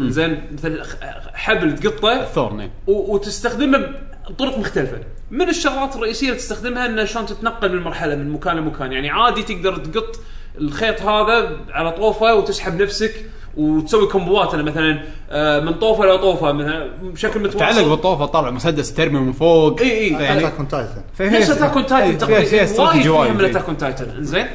Speaker 3: زين مثل خ- حبل تقطه
Speaker 2: الثورن إيه.
Speaker 3: و- وتستخدمه بطرق مختلفة. من الشغلات الرئيسية اللي تستخدمها انه شلون تتنقل من مرحلة من مكان لمكان، يعني عادي تقدر تقط الخيط هذا على طوفة وتسحب نفسك وتسوي كومبوات انا مثلا آه، من طوفة لطوفة مثلا بشكل متواصل
Speaker 2: تعلق بالطوفه طالع مسدس ترمي من فوق
Speaker 3: اي اي
Speaker 2: يعني-
Speaker 4: اتاك اون تايتن
Speaker 2: فهي-
Speaker 3: إيه. نفس اتاك اون
Speaker 2: إيه،
Speaker 3: تايتن
Speaker 2: فيها-
Speaker 3: تقريبا
Speaker 2: فيها
Speaker 3: وايد
Speaker 2: استراتيجي
Speaker 3: فيها من
Speaker 2: وايد
Speaker 3: اتاك
Speaker 2: إيه.
Speaker 3: اون تايتن انزين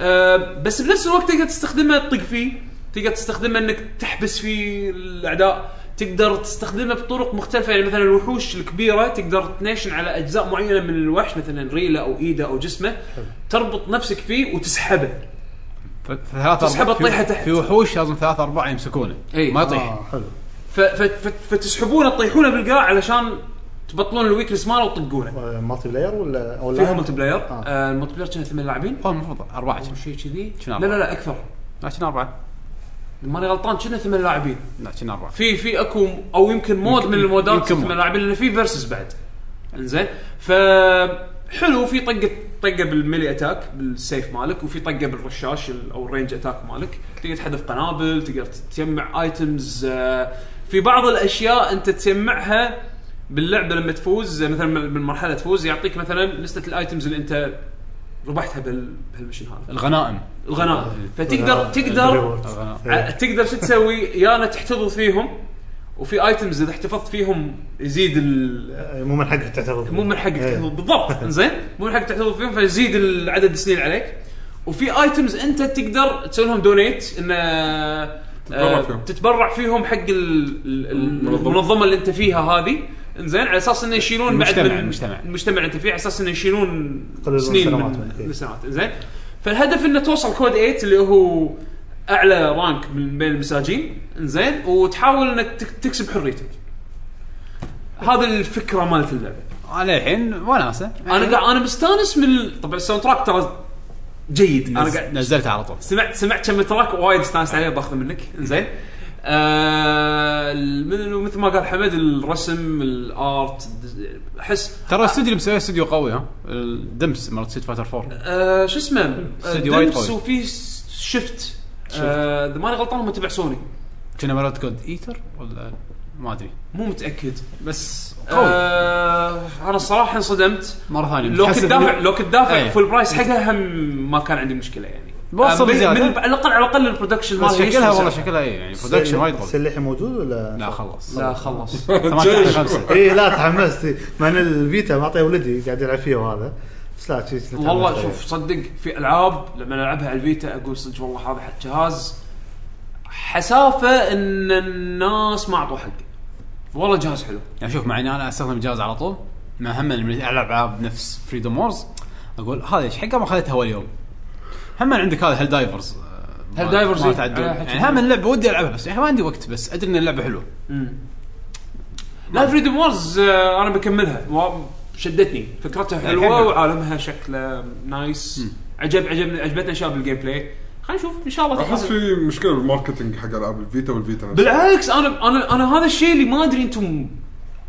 Speaker 3: آه، بس بنفس الوقت تقدر تستخدمه تطق فيه تقدر تستخدمه انك تحبس فيه الاعداء تقدر تستخدمه بطرق مختلفه يعني مثلا الوحوش الكبيره تقدر تنيشن على اجزاء معينه من الوحش مثلا ريله او ايده او جسمه تربط نفسك فيه وتسحبه
Speaker 2: ف- ثلاث أربع-
Speaker 3: تسحبه
Speaker 2: في-
Speaker 3: تطيحه تحت.
Speaker 2: في وحوش لازم ثلاث اربعه يمسكونه
Speaker 3: إيه.
Speaker 2: ما يطيح
Speaker 4: اه حلو
Speaker 3: ف- ف- ف- فتسحبونه تطيحونه بالقاع علشان تبطلون الويكنس ماله وتطقونه
Speaker 4: آه، مالتي بلاير ولا او
Speaker 3: فيها
Speaker 4: لا؟
Speaker 3: ملتي بلاير
Speaker 4: آه.
Speaker 3: آه، الملتي بلاير كان ثمان لاعبين
Speaker 2: هو المفروض اربعه كنا.
Speaker 3: شيء كذي
Speaker 2: شنو
Speaker 3: لا لا لا اكثر
Speaker 2: لا كنا اربعه
Speaker 3: ماني غلطان كنا ثمان لاعبين
Speaker 2: لا كنا اربعه
Speaker 3: في في اكو او يمكن مود من المودات
Speaker 2: يمكن مود.
Speaker 3: ثمان لاعبين لان في فيرسز بعد انزين ف حلو في طقه طقه بالميلي اتاك بالسيف مالك وفي طقه بالرشاش ال- او الرينج اتاك مالك تقدر تحذف قنابل تقدر تجمع ايتمز في بعض الاشياء انت تجمعها باللعبه لما تفوز زي مثلا بالمرحله تفوز يعطيك مثلا لسته الايتمز اللي انت ربحتها بال- بهالمشن هذا
Speaker 2: الغنائم
Speaker 3: الغنائم فتقدر
Speaker 4: آه،
Speaker 3: تقدر آه.
Speaker 4: الريورد.
Speaker 3: ع- تقدر شو تسوي يا انا تحتفظ فيهم وفي ايتمز اذا احتفظت فيهم يزيد ال-
Speaker 4: آه، مو من حقك تعترض
Speaker 3: مو من حقك
Speaker 4: إيه.
Speaker 3: تحتفظ بالضبط زين مو من حقك تحتفظ فيهم فيزيد ال- عدد السنين عليك وفي ايتمز انت تقدر تسوي لهم دونيت ان آه،
Speaker 5: تتبرع فيهم.
Speaker 3: تتبرع فيهم حق ال- ال- ال-
Speaker 5: المنظمة.
Speaker 3: المنظمه اللي انت فيها هذه انزين على اساس انه يشيلون بعد
Speaker 2: المجتمع-
Speaker 3: من-
Speaker 2: المجتمع.
Speaker 3: المجتمع اللي انت فيه على اساس انه يشيلون
Speaker 4: يقللون
Speaker 3: سنين
Speaker 4: سنواتهم،
Speaker 3: من
Speaker 4: إيه.
Speaker 3: السنوات زين فالهدف انه توصل كود 8 اللي هو اعلى رانك من بين المساجين زين وتحاول انك تك- تكسب حريتك هذا الفكره مالت اللعبه
Speaker 2: انا الحين وناسه
Speaker 3: انا قاعد انا مستانس من ال- طبعا الساوند تراك ترى جيد انا
Speaker 2: نز-
Speaker 3: قاعد
Speaker 2: نزلتها على طول
Speaker 3: سمعت سمعت كم تراك وايد استانست عليه باخذه منك زين آه ال- مثل ما قال حمد الرسم الارت الدز- احس
Speaker 2: ترى الاستوديو اللي مسويه استوديو قوي ها الدمس مالت سيت فايتر 4
Speaker 3: آه، شو اسمه
Speaker 2: استوديو وايد
Speaker 3: دمس
Speaker 2: قوي.
Speaker 3: وفي س- شفت آه، اذا ماني غلطان هم تبع سوني
Speaker 2: كنا مالت جود ايتر ولا ما ادري
Speaker 3: مو متاكد
Speaker 2: بس قوي
Speaker 3: آه انا الصراحه انصدمت
Speaker 2: مره ثانيه
Speaker 3: لو كنت
Speaker 2: متحسف
Speaker 3: دافع
Speaker 2: إنه-
Speaker 3: لو كنت دافع
Speaker 2: إيه.
Speaker 3: فول برايس حقها هم ما كان عندي مشكله يعني
Speaker 2: بوصل
Speaker 3: آه، من-
Speaker 2: زيادة.
Speaker 3: من- على الاقل على الاقل البرودكشن
Speaker 2: بس
Speaker 3: مالها ليش
Speaker 2: شكلها
Speaker 3: مزعج؟
Speaker 2: والله شكلها اي يعني برودكشن وايد قوي
Speaker 4: سلاحي موجود ولا
Speaker 2: لا خلص
Speaker 3: لا خلص
Speaker 2: 18 5
Speaker 4: اي لا تحمست إي. مع ان الفيتا معطيه ولدي قاعد يلعب فيها وهذا بس لا شي- شي- تحمست
Speaker 3: والله
Speaker 4: عليه.
Speaker 3: شوف صدق في العاب لما العبها على الفيتا اقول صدق والله هذا حق جهاز حسافه ان الناس ما اعطوه حقه والله جهاز حلو
Speaker 2: يعني شوف مع اني انا استخدم الجهاز على طول مع هم لما العب العاب نفس فريدوم وورز اقول هذا ايش حقه ما اخذتها اول يوم هم عندك هذا هيل دايفرز آه،
Speaker 3: هيل
Speaker 2: ما-
Speaker 3: دايفرز
Speaker 2: ما
Speaker 3: إيه.
Speaker 2: تعدون
Speaker 3: عليها حكي.
Speaker 2: يعني هم اللعبه ودي العبها بس يعني ما عندي وقت بس ادري ان اللعبه حلوه نعم.
Speaker 3: لا فريدم وورز آه، انا بكملها و- شدتني فكرتها
Speaker 2: الحين
Speaker 3: حلوه
Speaker 2: حلو.
Speaker 3: وعالمها شكله نايس عجب عجبني عجبتنا اشياء بالجيم بلاي خلينا نشوف ان شاء الله
Speaker 5: احس
Speaker 3: تنزل.
Speaker 5: في مشكله بالماركتنج حق العاب الفيتا والفيتا نفسها.
Speaker 3: بالعكس انا انا انا هذا الشيء اللي ما ادري انتم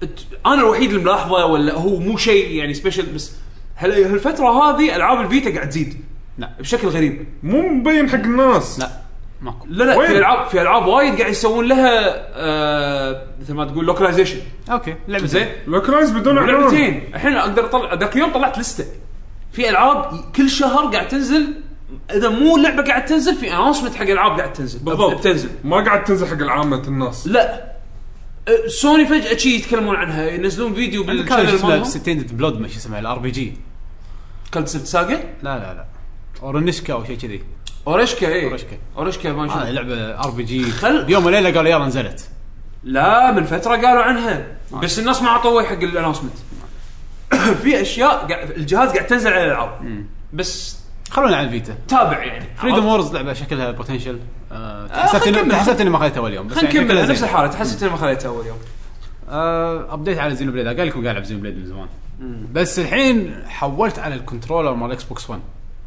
Speaker 3: ات- انا الوحيد اللي ملاحظه ولا هو مو شيء يعني سبيشل بس هل هالفتره هذه العاب الفيتا قاعد تزيد
Speaker 2: لا.
Speaker 3: بشكل غريب
Speaker 5: مو مبين حق الناس
Speaker 2: لا ماكو
Speaker 3: لا لا
Speaker 5: وين؟
Speaker 3: في العاب في العاب وايد قاعد يسوون لها آه مثل ما تقول لوكلايزيشن
Speaker 2: اوكي لعبه
Speaker 3: زين
Speaker 2: زين
Speaker 5: لوكلايز بدون اعلان
Speaker 3: لعبتين الحين اقدر اطلع ذاك اليوم طلعت لسته في العاب كل شهر قاعد تنزل اذا مو لعبه قاعد تنزل في اناونسمنت حق العاب قاعد تنزل
Speaker 5: بالضبط
Speaker 3: بتنزل
Speaker 5: ما قاعد تنزل حق عامه الناس
Speaker 3: لا أه، سوني فجاه شي يتكلمون عنها ينزلون فيديو
Speaker 2: كان
Speaker 3: بالشانل
Speaker 2: اسمه
Speaker 3: مالهم
Speaker 2: ستيند بلود ما شو اسمه الار بي جي
Speaker 3: كلت سبت ساقه
Speaker 2: لا لا لا اورنشكا او شيء كذي
Speaker 3: اوريشكا اي
Speaker 2: أوريشكا. آه، إيه.
Speaker 3: اوريشكا ما
Speaker 2: هذه
Speaker 3: شاء
Speaker 2: لعبه ار بي جي
Speaker 3: خل-
Speaker 2: بيوم وليله قالوا يلا نزلت
Speaker 3: لا من فتره قالوا عنها بس الناس ما عطوا وجه حق الاناونسمنت في اشياء قاعد الجهاز قاعد تنزل على الالعاب بس
Speaker 2: خلونا على الفيتا
Speaker 3: تابع يعني
Speaker 2: فريدوم وورز لعبه شكلها بوتنشل آه، تحسبت
Speaker 3: خلينا
Speaker 2: اني
Speaker 3: نكمل.
Speaker 2: تحسبت اني ما خذيتها اول يوم بس
Speaker 3: خلينا
Speaker 2: يعني شكلها
Speaker 3: نكمل نفس
Speaker 2: زين.
Speaker 3: الحاله تحسست اني ما خذيتها اول يوم
Speaker 2: آه، ابديت على زينو بليد قال لكم قاعد العب زينو بليد من زمان بس الحين حولت على الكنترولر مال اكس بوكس 1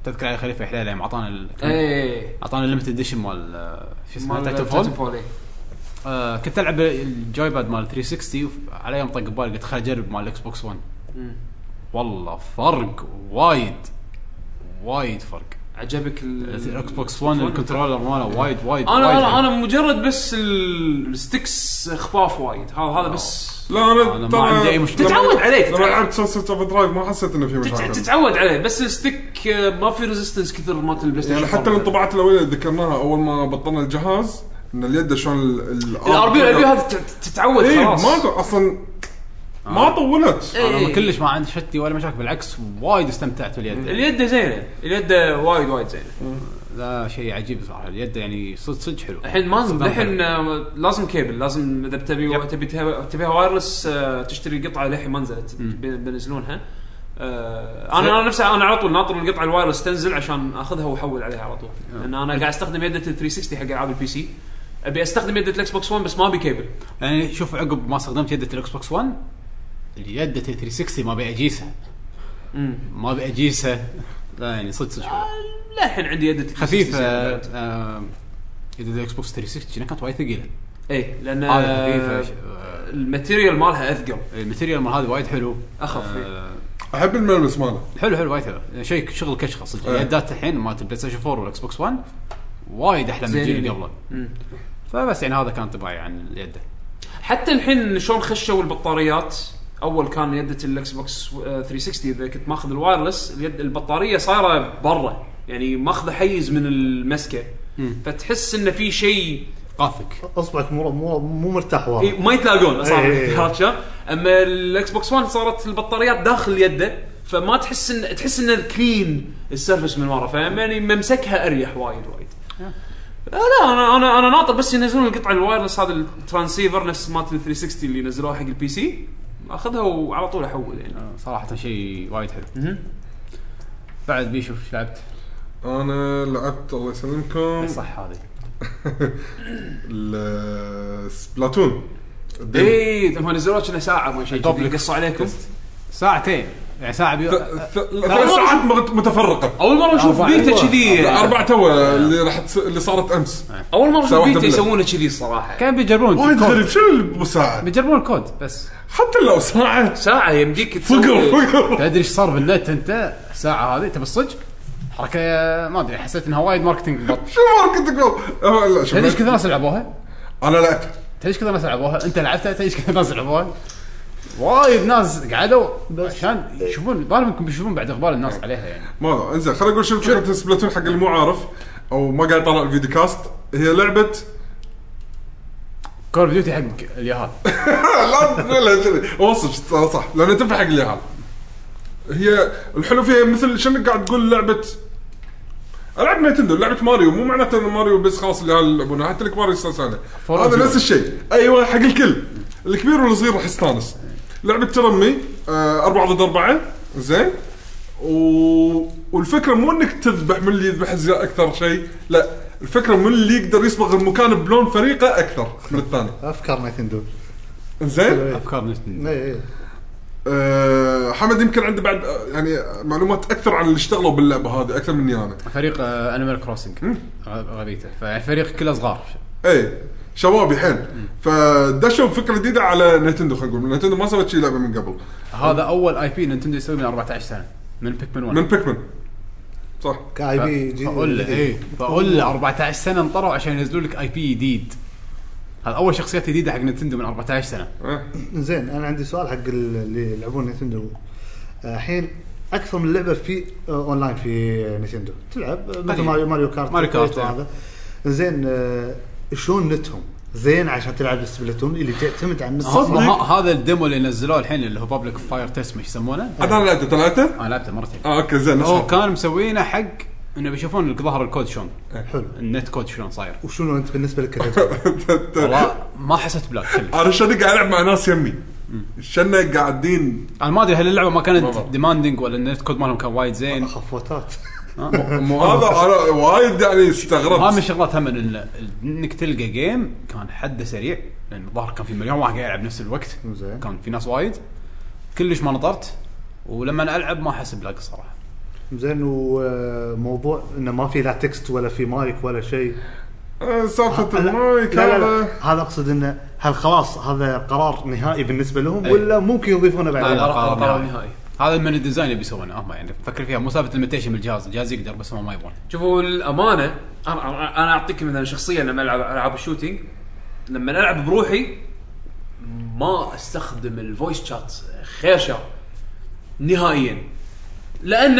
Speaker 2: تذكر علي خليفه حليله يوم اعطانا ال-
Speaker 3: ايه
Speaker 2: اعطانا الليمتد اديشن إيه. مال آه، شو اسمه تايتن فول
Speaker 3: تايتن إيه.
Speaker 2: آه كنت العب الجوي باد مال 360 وف- على يوم طق ببالي قلت خل اجرب مال اكس بوكس 1 والله فرق وايد وايد فرق
Speaker 3: عجبك
Speaker 2: الاكس بوكس 1 الكنترولر ماله وايد وايد
Speaker 3: انا
Speaker 2: وايد يعني.
Speaker 3: انا
Speaker 2: حلو.
Speaker 3: انا مجرد بس ال- الستكس خفاف وايد هذا
Speaker 2: آه.
Speaker 3: هذا بس
Speaker 5: لا انا
Speaker 2: أنا ما
Speaker 5: ترى-
Speaker 2: عندي أي مشكلة.
Speaker 5: لما-
Speaker 3: تتعود عليه،
Speaker 5: لما
Speaker 3: تتعود.
Speaker 5: لعبت سلسله اوفر درايف ما حسيت انه في
Speaker 3: تتع-
Speaker 5: مشاكل
Speaker 3: تتعود عليه بس الستيك آه، ما في ريزيستنس كثر مالت البلاي ستيشن
Speaker 5: يعني حتى
Speaker 3: الار
Speaker 5: الانطباعات الاوليه اللي ذكرناها اول ما بطلنا الجهاز ان اليد شلون
Speaker 3: بي الار بي هذا تت- تتعود
Speaker 5: اي
Speaker 3: خلاص
Speaker 5: إيه، ما ت- اصلا ما طولت
Speaker 2: انا ما
Speaker 3: إيه.
Speaker 2: كلش ما عندي شتي ولا مشاكل بالعكس وايد استمتعت باليد
Speaker 3: اليد زينه اليد وايد وايد زينه
Speaker 2: لا شيء عجيب صراحه اليد يعني صدق صدق حلو
Speaker 3: الحين ما
Speaker 2: صدق
Speaker 3: الحين آه، لازم كيبل لازم اذا بتبي تبي تها- تبيها وايرلس آه، تشتري قطعه للحين ما نزلت بي- بينزلونها آه، انا انا نفسي انا على طول ناطر القطعه الوايرلس تنزل عشان اخذها واحول عليها على طول لان انا قاعد استخدم يده ال 360 حق العاب البي سي ابي استخدم يده الاكس بوكس 1 بس ما ابي كيبل
Speaker 2: يعني شوف عقب ما استخدمت يدة الاكس بوكس 1 اليد 360 ما ابي اجيسها ما ابي اجيسها لا يعني صدق صدق حلو
Speaker 3: للحين عندي يده
Speaker 2: خفيفه آه، يدة الاكس بوكس 360 شنو كانت وايد ثقيله
Speaker 3: اي لان
Speaker 2: هذه
Speaker 3: آه،
Speaker 2: خفيفه آه،
Speaker 3: إيه، الماتيريال مالها اثقل
Speaker 2: الماتيريال مال هذا وايد حلو
Speaker 3: أخف، إيه.
Speaker 2: آه،
Speaker 5: احب الملمس ماله
Speaker 2: حلو حلو وايد حلو شيء شغل كشخه صدق
Speaker 3: آه.
Speaker 5: إيه.
Speaker 2: اليدات الحين مالت البلاي ستيشن 4 والاكس بوكس 1 وايد احلى من الجيل اللي
Speaker 3: زينين.
Speaker 2: قبله
Speaker 3: مم.
Speaker 2: فبس يعني هذا كان انطباعي عن اليد
Speaker 3: حتى الحين شلون خشوا البطاريات اول كان يده الاكس بوكس آه، 360 اذا كنت ماخذ الوايرلس اليد البطاريه صايره برا يعني ماخذه حيز من المسكه فتحس انه في شيء
Speaker 2: قافك
Speaker 4: اصبعك مو مو مو مرتاح ورا
Speaker 3: إي، ما يتلاقون صار
Speaker 4: إي.
Speaker 3: عرفت شلون؟ اما الاكس بوكس 1 صارت البطاريات داخل يده فما تحس ان تحس ان كلين السيرفس من ورا فيعني ممسكها اريح وايد وايد. آه، لا انا انا انا ناطر بس ينزلون القطعه الوايرلس هذا الترانسيفر نفس مالت ال 360 اللي نزلوها حق البي سي اخذها وعلى طول احول يعني.
Speaker 2: صراحه شيء وايد حلو
Speaker 3: مهم.
Speaker 2: بعد بيشوف ايش لعبت
Speaker 5: انا لعبت الله يسلمكم
Speaker 2: صح هذه
Speaker 5: ال- سبلاتون الديمو.
Speaker 3: اي هم نزلوها كنا ساعه ما شيء كذي،
Speaker 2: دوبلك.
Speaker 3: قصوا عليكم
Speaker 2: ساعتين يعني ساعه بيو...
Speaker 5: ث- ث- ثلاث ساعات مت- متفرقه
Speaker 3: اول مره اشوف
Speaker 2: أربعة.
Speaker 3: بيتا كذي
Speaker 5: اربع تو اللي راح تس- اللي صارت امس
Speaker 3: اول مره
Speaker 5: ساعة
Speaker 3: اشوف بيتا
Speaker 5: واحدة بالليل.
Speaker 3: يسوونه كذي الصراحه
Speaker 2: كان بيجربون
Speaker 5: وايد غريب
Speaker 2: الكود
Speaker 5: شنو اللي مساعد
Speaker 2: بيجربون الكود بس
Speaker 5: حتى لو ساعه
Speaker 3: ساعه يمديك تسوي-
Speaker 5: فقر فقر
Speaker 2: تدري ايش صار بالنت انت الساعه هذه تبي الصج حركه ما ادري حسيت انها وايد ماركتنج بط
Speaker 5: شو ما كنت تقول أه، لا شوف
Speaker 2: تدري ايش كثر ناس لعبوها؟
Speaker 5: انا لعبت
Speaker 2: تدري ايش كثر ناس لعبوها؟ انت لعبتها تدري ايش كثر ناس لعبوها؟ وايد ناس قعدوا عشان يشوفون بالهم بيشوفون بعد اقبال الناس عليها يعني
Speaker 5: ما انزين خليني اقول شنو فكره سبلاتون حق اللي مو عارف او ما قاعد يطلع الفيديو كاست هي لعبه
Speaker 2: كول اوف ديوتي حق اليهال
Speaker 5: آه، لا تقولها كذي اوصف ترى صح لان تنفع حق اليهال هي الحلو فيها مثل شنو قاعد تقول لعبه العاب نينتندو لعبه ماريو مو معناته انه ماريو بس خلاص اليهال يلعبونها حتى الكبار يستانسون عليه.
Speaker 2: فور
Speaker 5: هذا
Speaker 2: زيرو.
Speaker 5: نفس الشيء ايوه حق الكل الكبير والصغير راح يستانس لعبه ترمي آه، أربعة ضد أربعة زين و... والفكره مو انك تذبح من اللي يذبح زيادة اكثر شيء لا الفكره من اللي يقدر يصبغ المكان بلون فريقه اكثر من الثاني
Speaker 4: افكار نينتندو
Speaker 5: زين
Speaker 2: افكار نينتندو.
Speaker 4: اي اي
Speaker 5: أه، حمد يمكن عنده بعد أه، يعني أه، معلومات اكثر عن اللي اشتغلوا باللعبه هذه اكثر مني انا.
Speaker 2: فريق آه، انيمال كروسنج غبيته فالفريق كله صغار
Speaker 5: اي إيه، شبابي حيل فدشوا بفكره جديده على نينتندو خلينا نقول، نينتندو ما سوت شيء لعبه من قبل
Speaker 2: هذا اول اي بي نينتندو يسوي من 14 سنه من بيكمن 1
Speaker 5: من بيكمان. صح
Speaker 4: كاي بي جي-
Speaker 2: بقول له
Speaker 4: جديد.
Speaker 2: ايه بقول له 14 سنه انطروا عشان ينزلوا لك اي بي جديد هذا اول شخصيات جديده حق نينتندو من 14 سنه
Speaker 5: أه.
Speaker 4: زين انا عندي سؤال حق ال- اللي يلعبون نينتندو آه، الحين اكثر من لعبه في آه، اونلاين في نينتندو تلعب آه، مثل
Speaker 2: قليل.
Speaker 4: ماريو ماريو كارت
Speaker 2: ماريو كارت، آه.
Speaker 4: وهذا زين آه، شلون نتهم زين عشان تلعب سبلاتون اللي تعتمد على النت
Speaker 2: ما ه- هذا الديمو اللي نزلوه الحين اللي هو بابليك فاير تيست ما يسمونه
Speaker 5: انا لعبته أنت لعبته؟
Speaker 2: انا لعبته مرتين
Speaker 5: اه اوكي
Speaker 4: آه،
Speaker 5: زين
Speaker 2: هو
Speaker 5: أسحب.
Speaker 2: كان مسوينه حق انه بيشوفون لك ظهر الكود شلون
Speaker 4: حلو
Speaker 2: النت كود شلون صاير
Speaker 4: وشنو انت بالنسبه لك كتبت؟
Speaker 2: والله ما حسيت بلاك كلش
Speaker 5: انا شنو قاعد العب مع ناس يمي شنا قاعدين
Speaker 2: انا ما ادري هل اللعبه ما كانت
Speaker 5: والله.
Speaker 2: ديماندنج ولا النت كود مالهم كان وايد زين
Speaker 4: خفوتات
Speaker 5: هذا انا وايد يعني
Speaker 2: ما من
Speaker 5: استغربت
Speaker 2: شغلات هم إن- انك تلقى جيم كان حده سريع لان الظاهر كان في مليون واحد قاعد يلعب نفس الوقت
Speaker 4: زين.
Speaker 2: كان في ناس وايد كلش ما نطرت ولما أنا العب ما احس بلاق الصراحه
Speaker 4: آه، زين وموضوع انه ما في لا تكست ولا في مايك ولا شيء
Speaker 5: آه، سالفه
Speaker 4: أه، لا-
Speaker 5: المايك
Speaker 4: لا لا لا
Speaker 5: هذا
Speaker 4: هذا اقصد انه هل خلاص هذا قرار نهائي بالنسبه لهم ولا ممكن يضيفونه
Speaker 2: إيه. لا، لا،
Speaker 4: بعدين؟
Speaker 2: قرار
Speaker 3: قرار
Speaker 2: نهائي.
Speaker 3: نهائي
Speaker 2: هذا من الديزاين اللي بيسوونه هم يعني فكر فيها مو سالفه الميتيشن بالجهاز الجهاز يقدر بس هم ما يبون
Speaker 3: شوفوا الامانه أنا- انا انا اعطيك مثلا شخصيا لما العب العاب الشوتينج لما العب بروحي ما استخدم الفويس شات خير شر نهائيا لان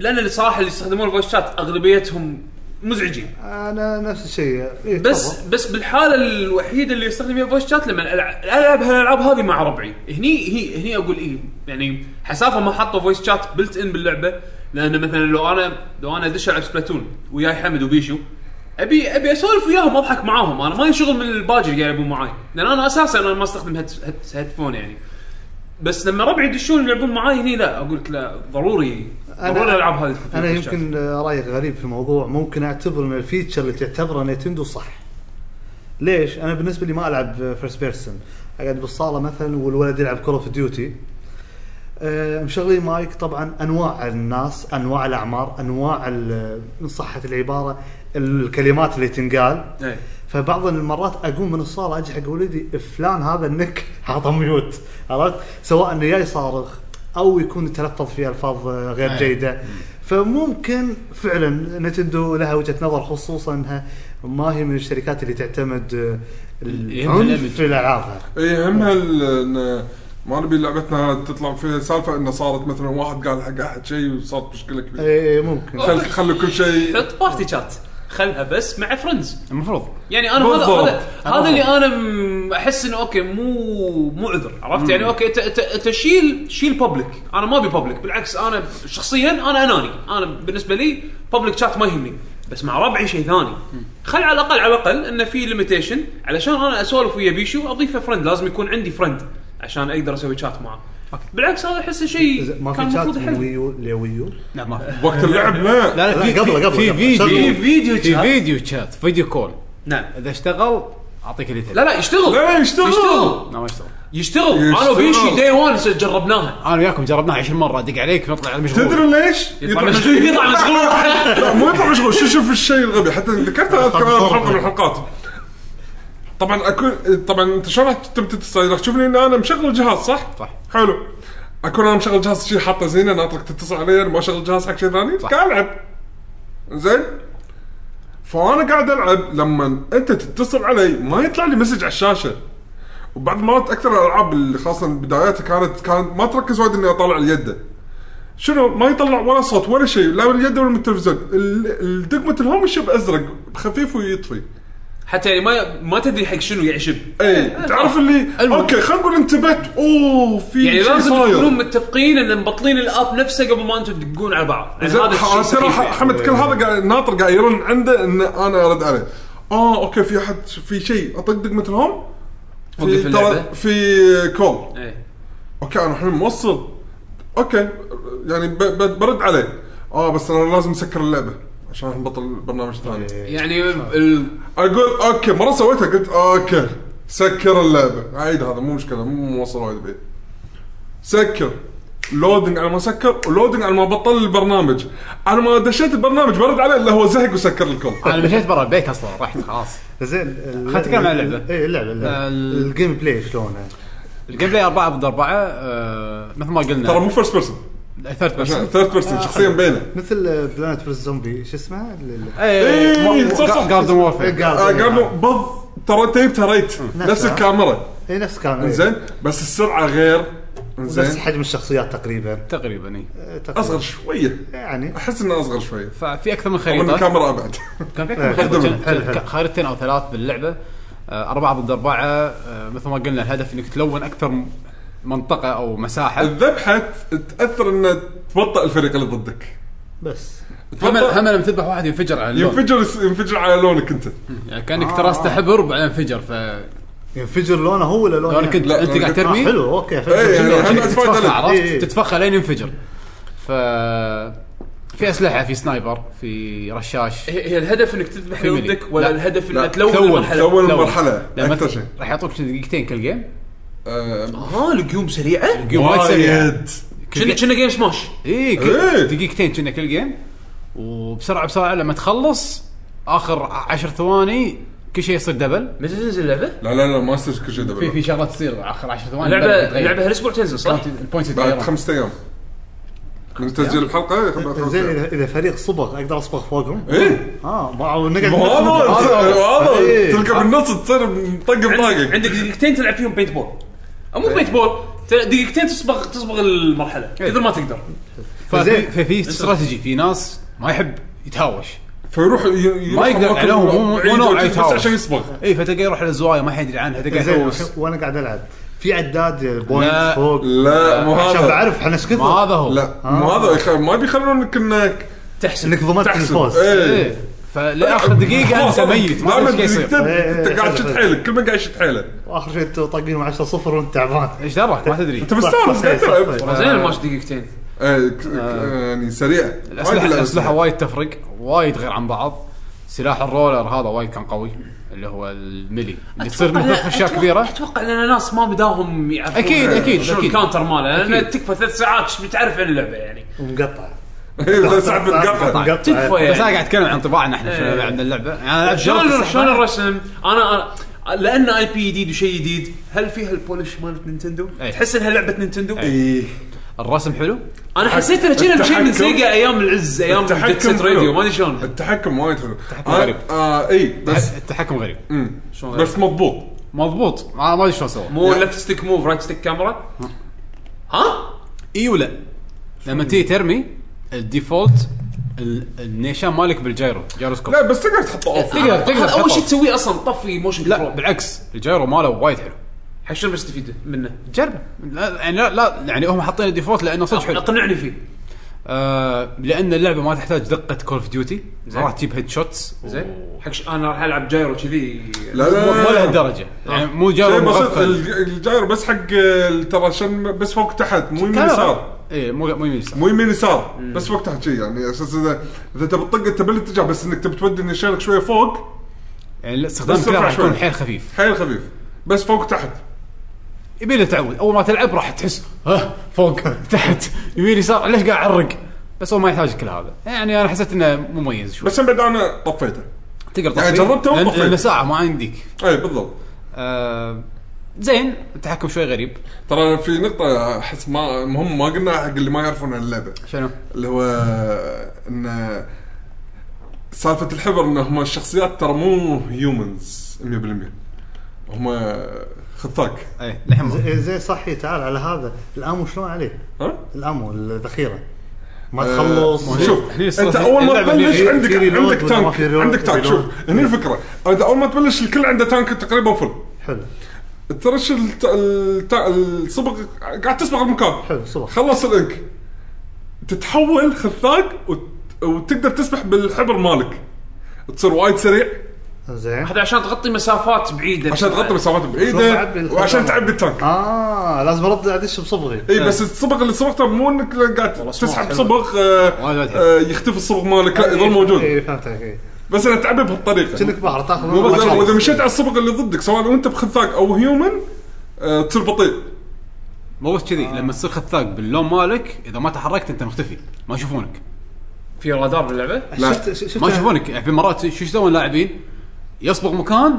Speaker 3: لان الصراحه اللي يستخدمون الفويس شات اغلبيتهم مزعجين
Speaker 4: انا نفس الشيء إيه،
Speaker 3: بس
Speaker 4: تفضل.
Speaker 3: بس بالحاله الوحيده اللي يستخدم فيها فويس شات لما العب العب هالالعاب هذه مع ربعي هني هي هني اقول اي يعني حسافه ما حطوا فويس شات بلت ان باللعبه لان مثلا لو انا لو انا ادش العب سبلاتون وياي حمد وبيشو ابي ابي اسولف وياهم واضحك معاهم انا ما شغل من الباجي اللي قاعد يبون معاي لان انا اساسا انا ما استخدم هيد- هيد- هيدفون يعني بس لما ربعي يدشون يلعبون معاي هني لا اقول لك لا ضروري ضروري الالعاب هذه تكون فيها
Speaker 4: انا
Speaker 3: فويس شات.
Speaker 4: يمكن آه، رايي غريب في الموضوع ممكن اعتبر ان الفيتشر اللي تعتبره نينتندو صح ليش؟ انا بالنسبه لي ما العب فيرست بيرسون اقعد بالصاله مثلا والولد يلعب كول اوف ديوتي آه، مشغلين مايك طبعا انواع الناس انواع الاعمار انواع ال- ان صحت العباره الكلمات اللي تنقال
Speaker 3: إيه.
Speaker 4: فبعض المرات اقوم من الصاله اجي حق ولدي فلان هذا النك حاطه ميوت عرفت؟ سواء انه جاي صارخ او يكون يتلفظ في الفاظ آه، غير
Speaker 2: أي.
Speaker 4: جيده فممكن فعلا نتندو لها وجهه نظر خصوصا انها ما هي من الشركات اللي تعتمد آه،
Speaker 2: يهمها
Speaker 4: العنف
Speaker 2: الإيمج.
Speaker 4: في العابها
Speaker 5: اي يهمها إيه، ال- إن ما نبي لعبتنا تطلع فيها سالفه انه صارت مثلا واحد قال حق احد شيء وصارت مشكله كبيره
Speaker 4: اي إيه، ممكن
Speaker 5: خل خلوا كل شيء
Speaker 3: حط بارتي شات خلها بس مع فريندز
Speaker 2: المفروض
Speaker 3: يعني انا هذا
Speaker 5: بالضبط.
Speaker 3: هذا هذا اللي انا م- احس انه اوكي مو مو عذر عرفت يعني اوكي انت انت انت شيل شيل بابليك انا ما ابي بابليك بالعكس انا شخصيا انا اناني انا بالنسبه لي بابليك شات ما يهمني بس مع ربعي شيء ثاني خل على الاقل على الاقل انه في ليميتيشن علشان انا اسولف ويا بيشو اضيفه فرند لازم يكون عندي فرند عشان اقدر اسوي شات معه بالعكس هذا احسه شيء
Speaker 4: ما
Speaker 3: كان
Speaker 4: في شات
Speaker 3: المفروض
Speaker 4: من
Speaker 3: حل
Speaker 4: ويو لويو
Speaker 2: لا ما في.
Speaker 5: وقت اللعب
Speaker 2: لا
Speaker 5: لا
Speaker 4: لا، قبل- قبل-
Speaker 2: في
Speaker 4: قبل.
Speaker 2: فيديو
Speaker 4: شغل.
Speaker 2: في فيديو
Speaker 3: شات.
Speaker 2: في فيديو شات فيديو كول
Speaker 3: نعم
Speaker 2: اذا اشتغل اعطيك الديتيل
Speaker 3: لا لا يشتغل
Speaker 5: لا، يشتغل.
Speaker 3: يشتغل
Speaker 2: لا نعم، ما اشتغل
Speaker 3: يشتغل انا وبيشي دي 1 جربناها
Speaker 2: انا وياكم جربناها 20 مره ادق عليك نطلع على مشغول
Speaker 5: تدري ليش؟
Speaker 3: يطلع مشغول يطلع مشغول
Speaker 5: لا مو يطلع مشغول شو شوف الشيء الغبي حتى ذكرته اذكر أنا بحلقه من الحلقات طبعا اكون طبعا انت شلون راح تتم تتصل راح تشوفني ان انا مشغل الجهاز صح؟
Speaker 2: صح.
Speaker 5: حلو اكون انا مشغل الجهاز شيء حاطه زينه ناطرك تتصل علي أنا ما اشغل الجهاز حق شيء ثاني قاعد العب زين فانا قاعد العب لما انت تتصل علي ما يطلع لي مسج على الشاشه وبعض المرات اكثر الالعاب اللي خاصه بداياتها كانت كانت ما تركز وايد اني اطلع اليده شنو ما يطلع ولا صوت ولا شيء لا من اليد ولا من التلفزيون ال- الدقمة الهوم يشب ازرق خفيف ويطفي
Speaker 3: حتى يعني ما ما تدري حق شنو يعشب
Speaker 5: اي إيه،
Speaker 3: إيه.
Speaker 5: تعرف اللي اوكي خلينا نقول انتبهت اوه في
Speaker 3: يعني
Speaker 5: شيء
Speaker 3: لازم
Speaker 5: صاير.
Speaker 3: تكونون متفقين ان مبطلين الاب نفسه قبل ما انتم تدقون على بعض يعني
Speaker 5: زين،
Speaker 3: هذا
Speaker 5: ح-
Speaker 3: الشيء
Speaker 5: ترى
Speaker 3: سخيف
Speaker 5: ح-
Speaker 3: يعني.
Speaker 5: حمد كل هذا قاعد ناطر قاعد يرن عنده ان انا ارد عليه اه اوكي في احد في شيء اطق دقمة الهوم في
Speaker 3: وقف اللعبة.
Speaker 5: ترى في كول
Speaker 3: إيه.
Speaker 5: اوكي انا الحين موصل اوكي يعني ب- ب- برد عليه اه بس انا لازم اسكر اللعبه عشان نبطل برنامج ثاني
Speaker 3: يعني ال...
Speaker 5: اقول اوكي مره سويتها قلت اوكي سكر اللعبه عيد هذا مو مشكله مو موصل وايد بعيد سكر لودنج على ما سكر ولودنج على ما بطل البرنامج انا ما دشيت البرنامج برد عليه الا هو زهق وسكر الكل
Speaker 2: انا مشيت برا البيت اصلا رحت خلاص
Speaker 4: زين
Speaker 2: خلنا نتكلم عن اللعبة.
Speaker 4: اي اللعبه
Speaker 2: آه،
Speaker 4: اللعبة.
Speaker 2: ال-
Speaker 4: الجيم بلاي شلونه؟
Speaker 2: الجيم بلاي 4 ضد 4 آه مثل ما قلنا
Speaker 5: ترى مو فيرست بيرسون
Speaker 2: ثيرد بيرسون
Speaker 5: ثيرد بيرسون شخصيا بينه
Speaker 4: مثل بلانت فيرس زومبي شو اسمها؟
Speaker 5: إيه، صح، صح.
Speaker 2: جاردن وورفير
Speaker 5: آه، قال له
Speaker 4: قالوا
Speaker 5: بض ترى جبتها ريت نفس
Speaker 4: نفسها.
Speaker 5: الكاميرا
Speaker 4: اي نفس كان إيه.
Speaker 5: انزين بس السرعه غير
Speaker 4: نفس
Speaker 5: انزين
Speaker 4: حجم الشخصيات تقريبا
Speaker 2: تقريبا اي
Speaker 4: آه، تقريباً.
Speaker 5: اصغر شويه
Speaker 4: يعني
Speaker 5: احس انه اصغر شويه
Speaker 2: إيه. ففي اكثر من
Speaker 5: رغم ان
Speaker 2: خريطه
Speaker 5: الكاميرا ابعد
Speaker 2: كان في اكثر من
Speaker 4: إيه،
Speaker 2: خريطه كان-
Speaker 4: حلو، حلو،
Speaker 2: كان
Speaker 4: حلو.
Speaker 2: خريطتين او ثلاث باللعبه آه، أربعة ضد أربعة آه، مثل ما قلنا الهدف إنك تلون أكثر م- منطقة أو
Speaker 5: إيه،
Speaker 2: مساحة
Speaker 5: الذبحه ت- تاثر انه تبطئ الفريق اللي ضدك
Speaker 4: بس
Speaker 2: هم هم لما تذبح واحد ينفجر على اللون
Speaker 5: ينفجر ينفجر على لونك انت
Speaker 2: يعني كأنك تراسته حبر بعدين انفجر ف
Speaker 4: ينفجر لونه هو ولا لونه
Speaker 2: لو أنا كنت
Speaker 5: لا،
Speaker 2: أنت قاعد
Speaker 5: لونك-
Speaker 4: آه
Speaker 2: ترمي
Speaker 4: حلو اوكي
Speaker 5: إيه، يعني
Speaker 4: حلو.
Speaker 5: أنا
Speaker 2: كأنك
Speaker 5: أتفاعل
Speaker 2: تتفخى
Speaker 5: عليه.
Speaker 4: إيه.
Speaker 2: عرفت تتفخى لين ينفجر ف في أسلحة في سنايبر في رشاش
Speaker 3: هي هي الهدف انك تذبح اللي
Speaker 2: فيميلي.
Speaker 3: ضدك ولا
Speaker 2: لا.
Speaker 3: الهدف
Speaker 5: لا.
Speaker 3: انك تلون
Speaker 2: تلون.
Speaker 3: المرحله
Speaker 5: اول
Speaker 2: لون.
Speaker 5: مرحله
Speaker 2: لما
Speaker 5: اكثر
Speaker 2: ت-
Speaker 5: شيء
Speaker 2: راح يعطوك دقيقتين كل جيم
Speaker 5: آه،
Speaker 3: ها القيوم سريعه
Speaker 2: جيم وايد سريع
Speaker 5: وايد
Speaker 3: كنا كنا جيم سماش
Speaker 2: اي
Speaker 5: إيه.
Speaker 2: دقيقتين كنا كل جيم وبسرعه بسرعه لما تخلص اخر عشر ثواني كل شيء يصير دبل
Speaker 3: متى تنزل اللعبه؟
Speaker 5: لا لا لا ما استوعب كل شيء
Speaker 2: في في
Speaker 5: دبل
Speaker 2: شغلات تصير اخر عشر ثواني بدل
Speaker 3: اللعبه
Speaker 2: يتغير.
Speaker 3: اللعبه هالاسبوع تنزل صح؟
Speaker 2: البوينت- البوينت
Speaker 5: بعد
Speaker 2: يتغيرون
Speaker 5: خمسة ايام من تسجيل الحلقه بعد خمسة
Speaker 4: زين
Speaker 5: ايام
Speaker 4: اذا اذا فريق صبغ اقدر اصبغ فوقهم
Speaker 5: ايه
Speaker 4: اه ما نقعد
Speaker 5: ما هذا هذا
Speaker 4: إيه.
Speaker 5: تلقى بالنص تصير مطق
Speaker 3: عندك
Speaker 5: بطاقك
Speaker 3: عندك دقيقتين تلعب فيهم بينت بول او مو بينت بول ت- دقيقتين تصبغ تصبغ المرحله
Speaker 2: إيه.
Speaker 3: قدر ما تقدر
Speaker 2: ففي في- في استراتيجي في ناس ما يحب يتهاوش
Speaker 5: فيروح ي- يروح
Speaker 2: يقدر
Speaker 5: أماكن
Speaker 2: عليهم، مو- مو
Speaker 5: بعيدة
Speaker 2: نوع
Speaker 5: بس
Speaker 2: يتهاوش.
Speaker 5: عشان يصبغ
Speaker 2: اي فتلقى إيه، يروح للزوايا ما حد يدري عنها تلقى
Speaker 4: زين
Speaker 2: يتهوش
Speaker 4: وانا قاعد العب في عداد آه، بوينت
Speaker 2: لا.
Speaker 4: فوق
Speaker 5: لا مو
Speaker 4: عشان
Speaker 5: هذا
Speaker 4: بعرف احنا ايش
Speaker 2: ما
Speaker 4: كثر
Speaker 2: هذا هو
Speaker 5: لا مو
Speaker 4: آه.
Speaker 5: هذا يخ- ما بيخلونك انك
Speaker 3: تحسن
Speaker 4: انك ضمنت
Speaker 5: تحسب.
Speaker 4: الفوز
Speaker 5: إيه.
Speaker 2: ايه فلاخر دقيقه انت ميت ما
Speaker 5: دائما
Speaker 2: ادري ايش قاعد
Speaker 5: دقيقتين
Speaker 2: يصير
Speaker 4: إيه،
Speaker 5: انت
Speaker 4: إيه،
Speaker 5: قاعد
Speaker 4: حلو،
Speaker 5: تشد
Speaker 4: حلو.
Speaker 5: حيلك كل من قاعد يشد حيله
Speaker 4: واخر شيء انتوا طاقين 10 0 وانت تعبان
Speaker 2: ايش درك ما تدري
Speaker 5: انت مستانس قاعد تلعب
Speaker 4: صح.
Speaker 3: زين الماتش دقيقتين
Speaker 5: إيه، طيب. ك- ك- يعني سريع
Speaker 2: الاسلحه الاسلحه وايد تفرق وايد غير عن بعض سلاح الرولر هذا وايد كان قوي اللي هو الملي اللي تصير مثل خشاة كبيره
Speaker 3: اتوقع ان ناس ما بداهم يعرفون
Speaker 2: أكيد، أكيد،
Speaker 3: شنو
Speaker 2: أكيد.
Speaker 3: الكاونتر ماله لان
Speaker 2: أكيد.
Speaker 3: تكفى ثلاث ساعات ايش بتعرف عن اللعبه يعني
Speaker 4: ومقطع
Speaker 5: إيه، ساعات بتقطع
Speaker 3: تكفى
Speaker 2: بس انا
Speaker 3: يعني
Speaker 2: قاعد اتكلم عن طباعنا احنا شلون
Speaker 3: إيه.
Speaker 2: لعبنا اللعبه يعني انا لعبت جربت
Speaker 3: شلون شلون
Speaker 2: السحبة.
Speaker 3: الرسم انا أنا- لان اي بي جديد وشيء جديد هل فيها البولش مالت نينتندو؟
Speaker 2: إيه.
Speaker 3: تحس انها لعبه نينتندو؟
Speaker 5: إيه.
Speaker 2: الرسم حلو
Speaker 3: انا حسيت انها كنا بشيء من
Speaker 5: التحكم-
Speaker 3: سيجا ايام العز ايام جيت
Speaker 5: التحكم
Speaker 3: سيت راديو
Speaker 5: حلو.
Speaker 3: ما ادري شلون
Speaker 5: التحكم وايد حلو التحكم
Speaker 2: غريب.
Speaker 5: آه اي بس
Speaker 2: التحكم غريب
Speaker 5: مم.
Speaker 3: شلون
Speaker 5: بس مضبوط
Speaker 2: مضبوط ما ما ادري شلون سوى
Speaker 3: مو لفت ستيك موف رايت ستيك كاميرا ها؟
Speaker 2: اي ولا لما تيجي ترمي الديفولت ال- النيشان مالك بالجايرو جايروسكوب
Speaker 5: لا بس تقدر تحط اوف
Speaker 2: تقدر تقدر
Speaker 3: هذا اول
Speaker 2: تحطه.
Speaker 3: شيء تسويه اصلا طفي موشن
Speaker 2: لا
Speaker 3: كنترول
Speaker 2: بالعكس الجايرو ماله وايد حلو
Speaker 3: حق شنو بستفيد منه؟
Speaker 2: جربه لا يعني لا, لا يعني هم حاطين الديفولت لانه صدق حلو
Speaker 3: اقنعني فيه
Speaker 2: آه لان اللعبه ما تحتاج دقه كول اوف ديوتي
Speaker 3: زين.
Speaker 2: راح تجيب هيد شوتس
Speaker 3: زين حق ش- انا راح العب جايرو كذي
Speaker 5: لا
Speaker 2: مو مو
Speaker 5: لا لا
Speaker 2: لهالدرجه يعني مو جايرو
Speaker 5: آه. شيء بسيط
Speaker 2: مغفل
Speaker 5: الج- الجاير بس حق ال- ترى عشان بس فوق تحت مو يمين يسار
Speaker 2: اي إيه، مو مو يمين يسار
Speaker 5: مو يمين يسار بس فوق تحت شي يعني اساس اذا اذا تبي تطق انت بالاتجاه بس انك تبي تودي نشانك شويه فوق
Speaker 2: يعني الاستخدام
Speaker 5: بس
Speaker 2: كذا
Speaker 5: ارفع
Speaker 2: راح يكون
Speaker 5: شوي.
Speaker 2: حيل خفيف
Speaker 5: حيل خفيف بس فوق تحت
Speaker 2: يبي له تعود اول ما تلعب راح تحس ها فوق تحت يمين يسار ليش قاعد اعرق بس هو ما يحتاج كل هذا يعني انا حسيت انه مميز شوي
Speaker 5: بس من بعد انا طفيته
Speaker 2: تقدر
Speaker 5: يعني
Speaker 2: تطفيه.
Speaker 5: جربته
Speaker 2: لأن-
Speaker 5: وطفيت.
Speaker 2: لأن ساعه ما عندك
Speaker 5: اي بالضبط
Speaker 2: آه زين التحكم شوي غريب
Speaker 5: ترى في نقطة احس ما مهم ما قلنا حق اللي ما يعرفون عن اللعبة
Speaker 2: شنو؟
Speaker 5: اللي هو ان سالفة الحبر ان هم الشخصيات ترى مو هيومنز 100% هم خثاك
Speaker 2: اي لحم
Speaker 4: إيه، زين زي صحي تعال على هذا الامو شلون عليه؟
Speaker 5: ها؟
Speaker 4: الامو الذخيره ما تخلص
Speaker 5: آه، شوف
Speaker 2: هني
Speaker 5: انت
Speaker 2: الصراحة
Speaker 5: اول ما
Speaker 2: اللعبة
Speaker 5: تبلش
Speaker 2: اللي-
Speaker 5: عندك
Speaker 4: في ريلود ولا
Speaker 5: عندك
Speaker 4: ما
Speaker 5: تانك
Speaker 4: في ريلود؟
Speaker 5: عندك تانك شوف
Speaker 4: ريلود.
Speaker 5: هني الفكرة انت اول ما تبلش الكل عنده تانك تقريبا فل
Speaker 4: حلو
Speaker 5: ترش الت... الت... الصبغ قاعد تصبغ المكان
Speaker 4: حلو، صبغ.
Speaker 5: خلص الانك تتحول خثاق وت... وتقدر تسبح بالحبر مالك تصير وايد سريع
Speaker 4: زين
Speaker 3: هذا عشان تغطي مسافات بعيده
Speaker 5: عشان تغطي مسافات بعيده
Speaker 4: بعد بالخثاق.
Speaker 5: وعشان تعبي التانك
Speaker 4: اه لازم ارد ادش بصبغي
Speaker 5: اي بس الصبغ اللي صبغته مو انك قاعد تسحب صبغ آه،
Speaker 2: وايد وايد حلو.
Speaker 5: آه، يختفي الصبغ مالك لا
Speaker 4: إيه،
Speaker 5: يظل موجود
Speaker 4: اي فهمت عليك
Speaker 5: بس انا تعبي بهالطريقه
Speaker 4: كأنك إيه. بحر تاخذ
Speaker 5: مو بس
Speaker 4: مكان.
Speaker 5: اذا مشيت على الصبغ اللي ضدك سواء وانت بخثاق او هيومن آه، تصير بطيء
Speaker 2: مو بس كذي لما تصير خثاق باللون مالك اذا ما تحركت انت مختفي ما يشوفونك
Speaker 3: في رادار باللعبه
Speaker 5: لا.
Speaker 4: شفت شفت
Speaker 2: ما يشوفونك يعني في مرات شو يسوون اللاعبين يصبغ مكان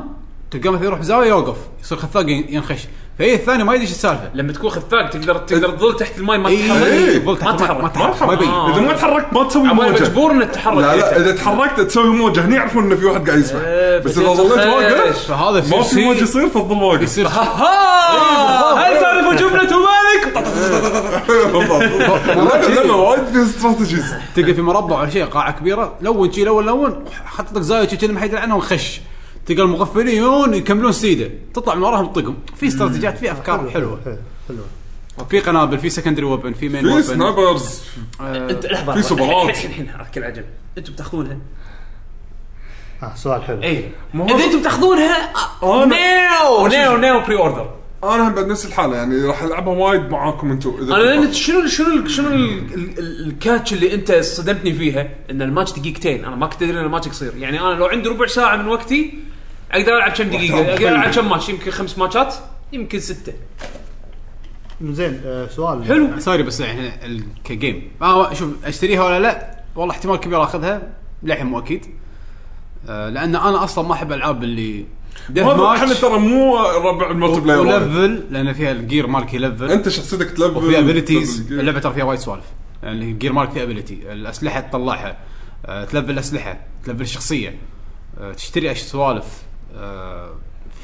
Speaker 2: تلقاه مثلا يروح بزاويه يوقف يصير خثاق ين- ينخش فاي الثاني ما يدري ايش السالفه
Speaker 3: لما تكون خفاق تقدر تقدر تظل تحت الماي ما
Speaker 5: إيه.
Speaker 3: تتحرك
Speaker 2: يظل تحت
Speaker 3: ما تحرك.
Speaker 2: ما
Speaker 5: ما
Speaker 2: تحرك ما
Speaker 5: تحرك
Speaker 2: يبين
Speaker 3: آه.
Speaker 5: اذا ما تحركت ما تسوي
Speaker 3: عمال
Speaker 5: موجه
Speaker 3: مجبور انك تتحرك
Speaker 5: لا لا
Speaker 3: إيه.
Speaker 5: اذا تحركت تسوي موجه هني يعرفون انه في واحد قاعد يسبح
Speaker 3: إيه،
Speaker 5: بس
Speaker 3: بس
Speaker 5: اذا
Speaker 3: يتخش.
Speaker 5: ظليت واقف
Speaker 2: فهذا يصير
Speaker 5: ما في
Speaker 2: شيء-
Speaker 5: موجه يصير تظل واقف
Speaker 2: يصير
Speaker 5: إيه،
Speaker 3: ها إيه، هل تعرف جملة مالك؟
Speaker 5: لا، لا، لا، وايد في استراتيجيز
Speaker 2: تلقى في مربع ولا شيء قاعه كبيره لون شي لون لون حط لك زاويه شي كأنه ما حد يدري عنها ونخش تلقى المغفلين يجون يكملون سيده تطلع من وراهم تطقهم في استراتيجيات في افكار حلوه
Speaker 4: حلو حلو
Speaker 2: في قنابل في سكندري ويبن في مين
Speaker 5: في
Speaker 2: ويبن
Speaker 5: سنايبرز
Speaker 3: انت لحظة
Speaker 5: إيه.
Speaker 3: إيه،
Speaker 5: في سوبرات.
Speaker 3: الحين الحين اكل عجب انتم بتاخذونها
Speaker 4: اه سؤال حلو
Speaker 5: إيه.
Speaker 3: اي اذا انتم إيه. بتاخذونها
Speaker 5: أنا-
Speaker 3: نيو نيو نيو بري اوردر
Speaker 5: انا هم بعد نفس الحاله يعني راح العبها وايد معاكم انتم اذا
Speaker 3: انا لان شنو شنو شنو ال- ال- ال- الكاتش اللي انت صدمتني فيها ان الماتش دقيقتين انا ما كنت ادري ان الماتش قصير يعني انا لو عندي ربع ساعه من وقتي اقدر العب كم دقيقه اقدر العب كم ماتش يمكن خمس ماتشات يمكن سته
Speaker 4: زين آه، سؤال
Speaker 3: حلو
Speaker 2: سوري بس يعني ال- كجيم آه شوف اشتريها ولا لا والله احتمال كبير اخذها للحين مو اكيد آه، لان انا اصلا ما احب العاب اللي ديث
Speaker 5: هذا احنا
Speaker 2: ماتش
Speaker 5: ترى مو ربع الملتي بلاير وايد.
Speaker 2: ولفل لان فيها الجير مالك يلفل
Speaker 5: انت شخصيتك تلفل
Speaker 2: وفي ابيلتيز
Speaker 5: تلفل.
Speaker 2: اللعبه ترى فيها وايد سوالف يعني الجير مارك فيها ابيلتي الاسلحه تطلعها آه، تلفل الاسلحه تلفل الشخصيه آه، تشتري أش- سوالف آه،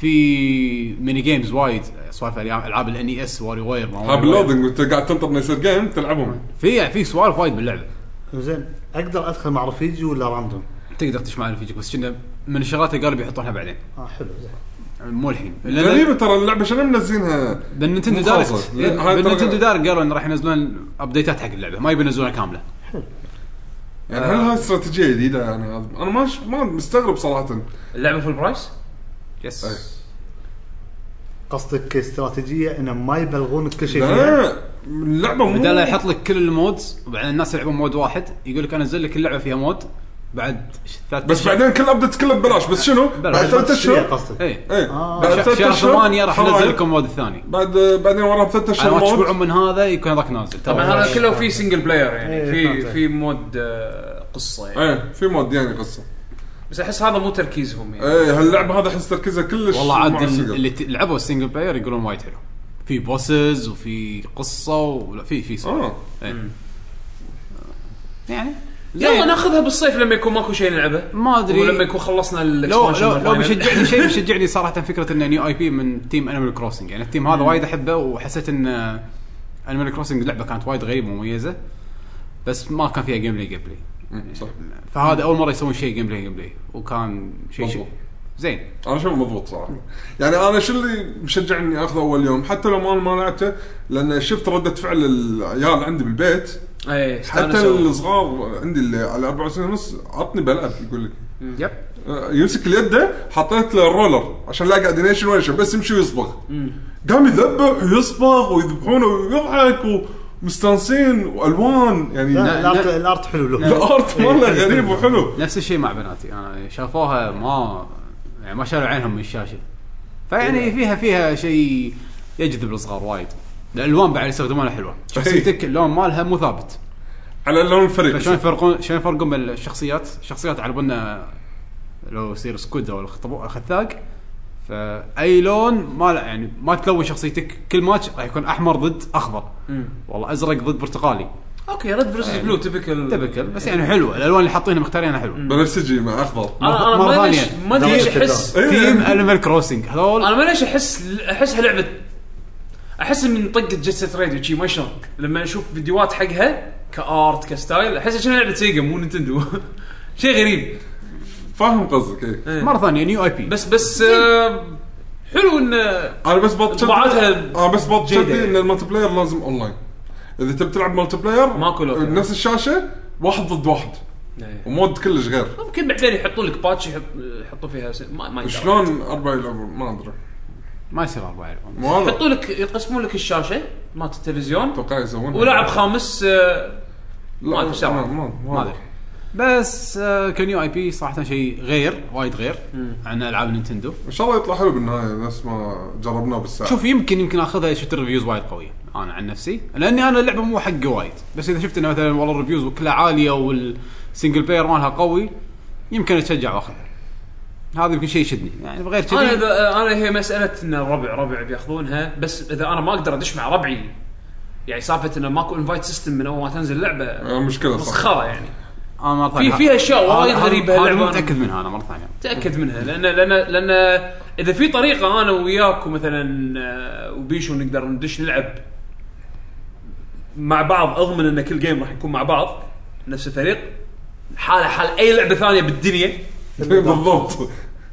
Speaker 2: في ميني جيمز وايد سوالف العاب العاب الان اي اس واري واير ما
Speaker 5: ها
Speaker 2: واري واير.
Speaker 5: باللودنج وانت قاعد تنطر انه يصير جيم تلعبهم
Speaker 2: في في سوالف وايد باللعبه
Speaker 4: زين اقدر ادخل مع رفيجي ولا راندوم؟
Speaker 2: تقدر تجمع رفيجك بس كنا من الشغلات اللي قالوا بيحطونها بعدين
Speaker 4: اه حلو زين
Speaker 2: مو الحين
Speaker 5: غريبه ترى اللعبه شنو منزينها
Speaker 2: بالنينتندو
Speaker 5: مو خالصة.
Speaker 2: دايركت
Speaker 5: لا، هاي ترى-
Speaker 2: بالنينتندو دايركت قالوا انه راح ينزلون ابديتات حق اللعبه ما يبي ينزلونها كامله
Speaker 5: يعني هل هاي استراتيجيه جديده يعني انا ما ش- ما مستغرب صراحه
Speaker 3: اللعبه فول برايس؟
Speaker 2: يس
Speaker 5: أي.
Speaker 4: قصدك استراتيجيه انه ما يبلغونك كل شيء فيها
Speaker 5: لا اللعبه مو
Speaker 2: يعني؟ بدل يحط لك كل المودز وبعدين الناس يلعبون مود واحد يقول لك انزل لك اللعبه فيها مود بعد ش- ثلاث
Speaker 5: بس
Speaker 2: أشهر.
Speaker 5: بعدين كل ابديت كله ببلاش بس شنو؟ بعد
Speaker 4: ما
Speaker 5: ثلاث
Speaker 4: تشتريها
Speaker 5: اشهر
Speaker 4: قصدك
Speaker 2: اي
Speaker 5: ايه
Speaker 4: آه.
Speaker 5: بعد
Speaker 2: ش-
Speaker 5: ثلاث
Speaker 2: إيه. شهر
Speaker 5: أشهر
Speaker 2: ثمانية راح
Speaker 5: خلاص.
Speaker 2: انزل لكم مود الثاني
Speaker 5: بعد بعدين وراها ثلاث
Speaker 2: على
Speaker 5: اشهر
Speaker 2: ما
Speaker 5: موت.
Speaker 2: تشبعون من هذا يكون هذاك نازل
Speaker 3: طبعا هذا كله في سنجل بلاير يعني
Speaker 4: إيه،
Speaker 3: في
Speaker 4: فهمت.
Speaker 3: في مود آه، قصه
Speaker 2: إيه.
Speaker 3: يعني
Speaker 5: ايه في مود يعني قصه
Speaker 3: بس احس هذا مو تركيزهم يعني
Speaker 2: إيه.
Speaker 5: ايه هاللعبه هذا احس تركيزها كلش
Speaker 2: والله
Speaker 5: مع
Speaker 2: عاد ال-
Speaker 5: السيجار.
Speaker 2: اللي ت- لعبوا السنجل بلاير يقولون وايد حلو في بوسز وفي قصه ولا في في سوالف.
Speaker 5: اه
Speaker 2: إيه. يعني
Speaker 3: يلا
Speaker 2: زين.
Speaker 3: ناخذها بالصيف لما يكون ماكو شيء نلعبه
Speaker 2: ما أدري.
Speaker 3: ولما يكون خلصنا
Speaker 2: لو
Speaker 3: الاكسبانشن
Speaker 2: لو, لو
Speaker 3: والفاينل.
Speaker 2: بيشجعني شيء بيشجعني صراحه فكره انه نيو اي بي من تيم انيمال كروسنج يعني التيم هذا وايد احبه وحسيت آه، ان انيمال كروسنج لعبه كانت وايد غريبه ومميزه بس ما كان فيها جيم بلاي جيم بلاي
Speaker 5: أمم، صح
Speaker 2: فهذا اول مره يسوون شيء جيم بلاي جيم بلاي وكان شيء شيء
Speaker 5: مضبوط.
Speaker 2: زين
Speaker 5: انا شوفه مضبوط صراحه يعني انا شو اللي مشجعني اخذه اول يوم حتى لو ما ما لعبته لان شفت رده فعل العيال عندي بالبيت
Speaker 3: ايه
Speaker 5: حتى
Speaker 3: استانسوا.
Speaker 5: الصغار عندي اللي على 24 ونص عطني بلعب يقول لك
Speaker 2: يب
Speaker 5: آه، يمسك اليده حطيت له الرولر عشان لا قاعد ينيشن ولا شيء بس يمشي ويصبغ قام يذبح ويصبغ ويذبحونه ويضحك ومستانسين والوان يعني
Speaker 4: لا،
Speaker 2: لا-
Speaker 4: إيه. الارت الارت حلو له
Speaker 5: الارت ماله غريب وحلو
Speaker 2: نفس الشيء مع بناتي انا شافوها ما يعني ما شالوا عينهم من الشاشه فيعني فيها فيها شيء يجذب الصغار وايد الالوان بعد يستخدمونها حلوه شخصيتك اللون مالها مو ثابت
Speaker 5: على لون الفريق
Speaker 2: فشلون يفرقون شلون يفرقون بين الشخصيات؟ الشخصيات على بالنا لو يصير سكود او الخطبو- الخثاق فاي لون ما لا يعني ما تلون شخصيتك كل ماتش راح يكون احمر ضد اخضر والله ازرق ضد برتقالي
Speaker 3: اوكي ريد فيرسز بلو تبكل
Speaker 2: تبكل إيه. بس يعني حلوه الالوان اللي حاطينها مختارينها حلوه
Speaker 5: بنفسجي مع اخضر
Speaker 4: آه.
Speaker 3: انا انا
Speaker 2: مرة
Speaker 3: ما ليش
Speaker 2: ثانية.
Speaker 3: ما ادري ليش
Speaker 4: دورة
Speaker 3: احس
Speaker 5: إيه.
Speaker 2: تيم انيمال كروسنج هذول
Speaker 3: انا ما ليش احس احسها لعبه احس من طقه جيت سيت راديو شي ما شلون لما اشوف فيديوهات حقها كارت كستايل احسها شنو لعبه سيجا مو نينتندو شيء غريب
Speaker 5: فاهم قصدك ايه
Speaker 2: مره ثانيه نيو اي بي
Speaker 3: بس بس آه، حلو انه
Speaker 5: انا بس بطلت
Speaker 3: طباعتها
Speaker 5: انا بس بطلت
Speaker 3: جيدة
Speaker 5: ان
Speaker 3: يعني.
Speaker 5: الملتي بلاير لازم اونلاين اذا تبي تلعب ملتي بلاير
Speaker 3: ماكو لوكل.
Speaker 5: نفس الشاشه واحد ضد واحد
Speaker 2: إيه.
Speaker 5: ومود كلش غير
Speaker 3: ممكن بعدين يحطون لك باتش يحط- يحطوا فيها س- ما ما يدري.
Speaker 5: شلون اربع يلعبون ما ادري
Speaker 2: ما يصير اربعه يلعبون
Speaker 5: مو هذا
Speaker 3: يحطوا لك يقسمون لك الشاشه مالت التلفزيون
Speaker 5: اتوقع يسوون
Speaker 3: ولاعب خامس آه، ما أدري شلون.
Speaker 2: ما ادري بس آه، كنيو اي بي صراحه شيء غير وايد غير عن العاب نينتندو
Speaker 5: ان شاء الله يطلع حلو بالنهايه نفس ما جربناه بالساعه
Speaker 2: شوف يمكن يمكن اخذها شفت الريفيوز وايد قويه انا عن نفسي لاني انا اللعبه مو حقي وايد بس اذا شفت انه مثلا والله الريفيوز وكلها عاليه والسنجل بلاير مالها قوي يمكن اتشجع واخذها هذا يمكن شيء يشدني يعني غير كذي
Speaker 3: انا اذا انا هي مساله ان الربع ربع بياخذونها بس اذا انا ما اقدر ادش مع ربعي يعني سالفه انه ماكو انفايت سيستم من اول ما تنزل اللعبه
Speaker 5: آه، مشكله صح
Speaker 3: مسخره يعني
Speaker 2: انا مره ثانية-
Speaker 3: في- في أشياء
Speaker 2: هذا-
Speaker 3: وايد
Speaker 2: هذا-
Speaker 3: غريبة
Speaker 2: هذا
Speaker 3: هاللعبة.
Speaker 2: مو متاكد منها انا مره ثانيه
Speaker 3: تاكد منها لان لان لان اذا في طريقه انا وياك ومثلا آه، وبيشو نقدر ندش نلعب مع بعض اضمن ان كل جيم راح يكون مع بعض نفس الفريق حاله حال اي لعبه ثانيه بالدنيا
Speaker 5: بالضبط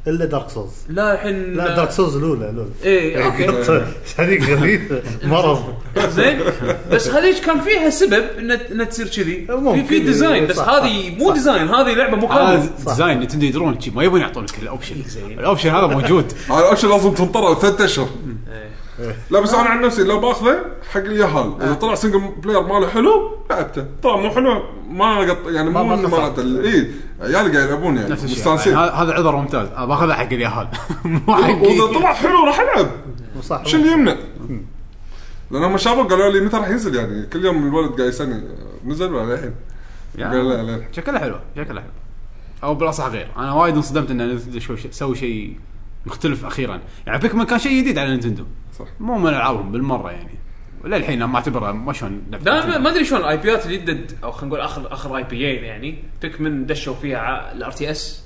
Speaker 4: الا دارك سولز
Speaker 3: لا الحين
Speaker 4: لا يعني دارك سولز الاولى الاولى
Speaker 5: إيه،
Speaker 3: ايه اوكي
Speaker 4: هذيك غريبه مرض
Speaker 3: زين بس هذيك كان فيها سبب ان ان تصير كذي في
Speaker 4: ممكن.
Speaker 3: في ديزاين بس
Speaker 4: صح،
Speaker 3: هذه مو
Speaker 4: صح.
Speaker 3: ديزاين هذه لعبه مو كامله
Speaker 2: هذا ديزاين نتندو يدرون شي، ما يبون يعطونك الاوبشن الاوبشن هذا موجود
Speaker 5: على الاوبشن لازم تنطره ثلاث اشهر
Speaker 3: إيه.
Speaker 5: لا بس انا عن نفسي لو باخذه حق اليهال
Speaker 3: آه.
Speaker 5: اذا طلع سنجل بلاير ماله حلو لعبته طلع مو حلو ما قط يعني
Speaker 4: ما-
Speaker 5: مو
Speaker 4: ما
Speaker 5: انه ما
Speaker 4: خسرت.
Speaker 5: لعبته اي عيال قاعد يلعبون يعني
Speaker 2: نفس الشيء يعني
Speaker 5: مستانسين
Speaker 2: هذا هذا عذر ممتاز أنا باخذها حق اليهال مو حقي
Speaker 5: واذا طلع حلو راح العب
Speaker 4: صح
Speaker 5: شو اللي يمنع؟ لان هم شافوا قالوا لي متى راح ينزل يعني كل يوم الولد قاعد يسالني نزل ولا الحين؟
Speaker 2: يا.
Speaker 5: قال لا الحين
Speaker 2: شكلها حلو شكلها حلو او بالاصح غير انا وايد انصدمت ان نينتندو شو- سووا شيء مختلف اخيرا يعني بيكمان كان شيء جديد على نينتندو
Speaker 5: صح.
Speaker 2: مو من العابهم بالمره يعني للحين أنا ما اعتبرها ما شلون لعبة
Speaker 3: لا ما-
Speaker 2: نينتندو.
Speaker 3: ما ادري شلون الاي بيات الجدد او خلينا نقول اخر اخر اي بيين يعني بيكمن دشوا فيها الار تي اس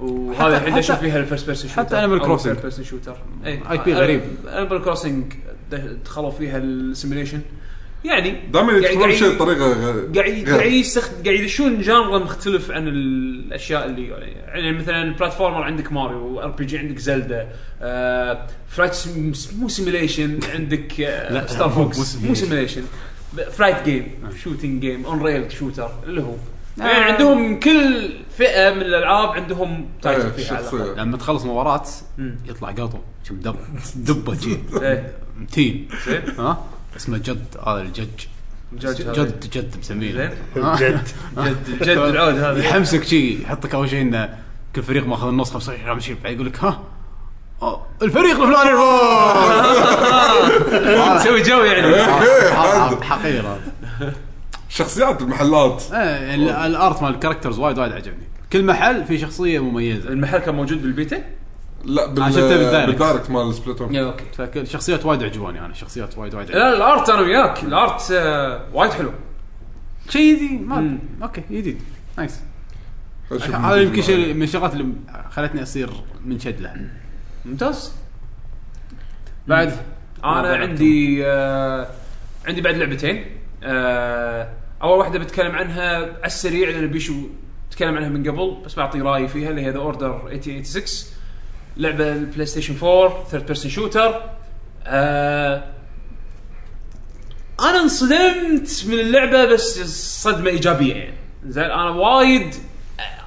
Speaker 3: وهذا
Speaker 2: حتى-
Speaker 3: الحين دشوا
Speaker 2: حتى-
Speaker 3: فيها الفيرست بيرسون شوتر
Speaker 2: حتى Animal Crossing.
Speaker 3: بيرسون شوتر
Speaker 2: IP غريب.
Speaker 3: انيمال كروسنج دخلوا فيها السيميليشن يعني
Speaker 5: دائما
Speaker 3: قاعد-
Speaker 5: يتبعون شيء
Speaker 3: قاعد-
Speaker 5: بطريقه غ-
Speaker 3: قاعد
Speaker 5: غير.
Speaker 3: قاعد يستخد... قاعد يدشون جانرا مختلف عن الاشياء اللي يعني مثلا بلاتفورمر عندك ماريو ار بي جي عندك زلدا آه... فلايت سم... مو سيميليشن عندك آه...
Speaker 2: لا،
Speaker 3: ستار
Speaker 2: مو-
Speaker 3: فوكس
Speaker 2: مو
Speaker 3: مو سيميليشن فلايت جيم شوتنج جيم اون ريل شوتر اللي هو
Speaker 2: آه.
Speaker 3: يعني عندهم كل فئه من الالعاب عندهم
Speaker 5: إيه،
Speaker 3: تايتل فيها على الأقل.
Speaker 5: شخصيه
Speaker 2: لما تخلص مباراه
Speaker 3: مم.
Speaker 2: يطلع قطو شم دب دبه جي
Speaker 3: إيه،
Speaker 2: متين
Speaker 3: زين
Speaker 2: ها اسمه جد هذا الجج
Speaker 3: جد هذا.
Speaker 2: جد جد مسميه
Speaker 3: زين
Speaker 2: ها؟
Speaker 4: جد
Speaker 3: جد جد العود هذا
Speaker 2: يحمسك شي يحطك اول شيء انه كل فريق ماخذ النص 25 شيء بعدين يقول لك ها آه، الفريق الفلاني فوز
Speaker 3: مسوي جو يعني
Speaker 2: آه، حقيره
Speaker 5: شخصيات المحلات
Speaker 2: إيه، ال- الارت مال الكاركترز وايد وايد عجبني كل محل في شخصيه مميزه
Speaker 3: المحل كان موجود بالبيتا؟
Speaker 5: لا
Speaker 2: أنا شفته بالدايركت.
Speaker 5: بال... بالدايركت مال سبلاتون
Speaker 2: يعني
Speaker 3: اوكي
Speaker 2: فكل شخصيات وايد عجبوني انا شخصيات وايد وايد
Speaker 3: لا
Speaker 2: عجبوني.
Speaker 3: الارت انا وياك الارت آه، وايد حلو
Speaker 2: شيء جديد ما
Speaker 3: مم.
Speaker 2: اوكي جديد نايس
Speaker 5: خلنا نشوف
Speaker 2: هذا يمكن
Speaker 5: مين
Speaker 2: شيء من الشغلات اللي خلتني اصير منشد لها
Speaker 3: ممتاز
Speaker 2: بعد
Speaker 3: انا عندي آه عندي بعد لعبتين آه اول واحده بتكلم عنها على السريع لان بيشو تكلم عنها من قبل بس بعطي رايي فيها اللي هي ذا اوردر 1886 لعبه البلاي ستيشن 4 ثيرد بيرسون شوتر آه انا انصدمت من اللعبه بس صدمه ايجابيه يعني زين انا وايد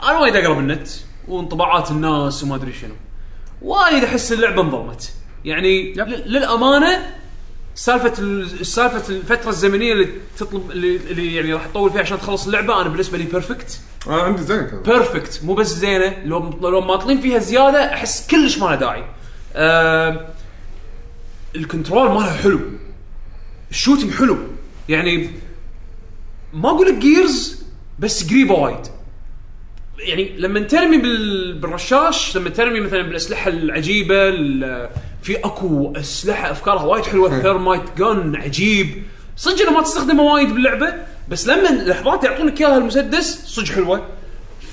Speaker 3: انا وايد اقرب النت وانطباعات الناس وما ادري شنو وايد احس اللعبه انظلمت يعني ل- للامانه سالفه ال- سالفه الفتره الزمنيه اللي تطلب اللي, اللي يعني راح تطول فيها عشان تخلص اللعبه انا بالنسبه لي بيرفكت
Speaker 5: انا عندي زين كذا
Speaker 3: بيرفكت مو بس زينه لو لو ماطلين فيها زياده احس كلش ما لها داعي آه الكنترول مالها حلو الشوتنج حلو يعني ما اقول لك جيرز بس قريبه وايد يعني لما ترمي بال... بالرشاش لما ترمي مثلا بالاسلحه العجيبه ال... في اكو اسلحه افكارها وايد حلوه الثيرمايت جن عجيب صدق انه ما تستخدمه وايد باللعبه بس لما لحظات يعطونك اياها المسدس صدق حلوه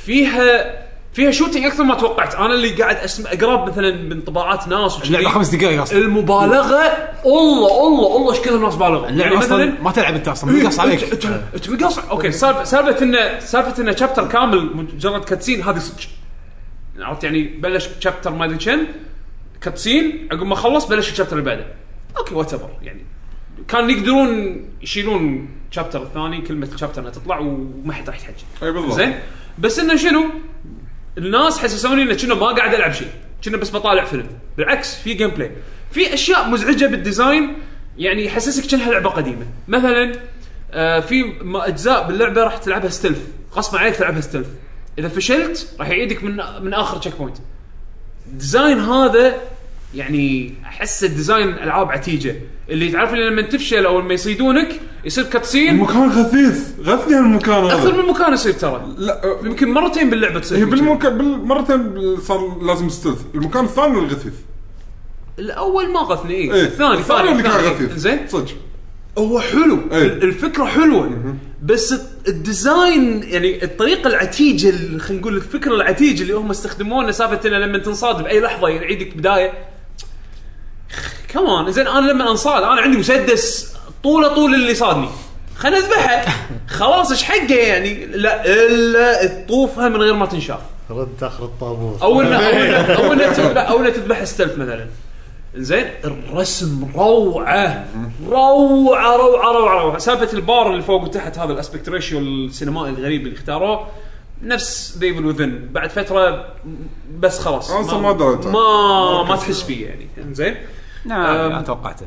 Speaker 3: فيها فيها شوتنج اكثر ما توقعت انا اللي قاعد اسمع اقرب مثلا من طباعات ناس وشذي.
Speaker 2: اللعبه خمس دقائق اصلا
Speaker 3: المبالغه الله الله الله ايش كثر الناس بالغوا
Speaker 2: اللعبه اصلا يعني ما تلعب انت اصلا مقص عليك
Speaker 3: يعني إيه، أنت- أنت مقص اوكي سالفه سالفه انه سالفه انه شابتر كامل مجرد كاتسين هذه صدق عرفت يعني بلش شابتر ما ادري كم كاتسين عقب ما خلص بلش الشابتر اللي بعده اوكي وات يعني كان يقدرون يشيلون شابتر الثاني كلمه شابتر انها تطلع وما حد راح يتحجج
Speaker 5: اي بالضبط
Speaker 3: زين بس انه شنو؟ الناس حسسوني انه كنا ما قاعد العب شيء، كنا بس بطالع فيلم، بالعكس في جيم بلاي، في اشياء مزعجه بالديزاين يعني يحسسك كانها لعبه قديمه، مثلا آه في م- اجزاء باللعبه راح تلعبها ستلف، غصبا عليك تلعبها ستلف، اذا فشلت راح يعيدك من من اخر تشيك بوينت. الديزاين هذا يعني احس الديزاين العاب عتيجه اللي تعرف اللي لما تفشل او لما يصيدونك يصير كاتسين
Speaker 5: المكان غثيث غثني هالمكان
Speaker 3: اكثر
Speaker 5: هذا
Speaker 3: من مكان يصير ترى
Speaker 5: لا آه،
Speaker 3: يمكن مرتين باللعبه تصير
Speaker 5: هي
Speaker 3: فيه كذي.
Speaker 5: بالمكان بالمرتين بال- صار لازم ستيلث المكان الثاني الغثيث
Speaker 3: الاول ما غثني إيه.
Speaker 5: إيه.
Speaker 3: الثاني الثاني
Speaker 5: اللي كان
Speaker 3: الثاني،
Speaker 5: غثيث
Speaker 3: زين
Speaker 5: صدق
Speaker 3: هو حلو
Speaker 5: إيه.
Speaker 3: ال- الفكره حلوه بس الت- الديزاين يعني الطريقه العتيجه اللي- خلينا نقول الفكره العتيجه اللي هم استخدموها سالفه انه لما تنصاد باي لحظه يعيدك بدايه كمان زين انا لما انصاد انا عندي مسدس طوله طول اللي صادني خلنا اذبحه خلاص ايش حقه يعني لا الا تطوفها من غير ما تنشاف
Speaker 4: رد اخر الطابور
Speaker 3: او انه او انه او انه تذبح او انه تذبح ستلف مثلا زين الرسم روعه روعه روعه روعه روعه سالفه البار اللي فوق وتحت هذا الاسبكت ريشيو السينمائي الغريب اللي اختاروه نفس ديفل وذن بعد فتره بس خلاص
Speaker 5: أنا أصلاً ما دريت.
Speaker 3: آه، ما ما تحس فيه يعني زين
Speaker 2: آه، لا
Speaker 3: أم.
Speaker 2: توقعته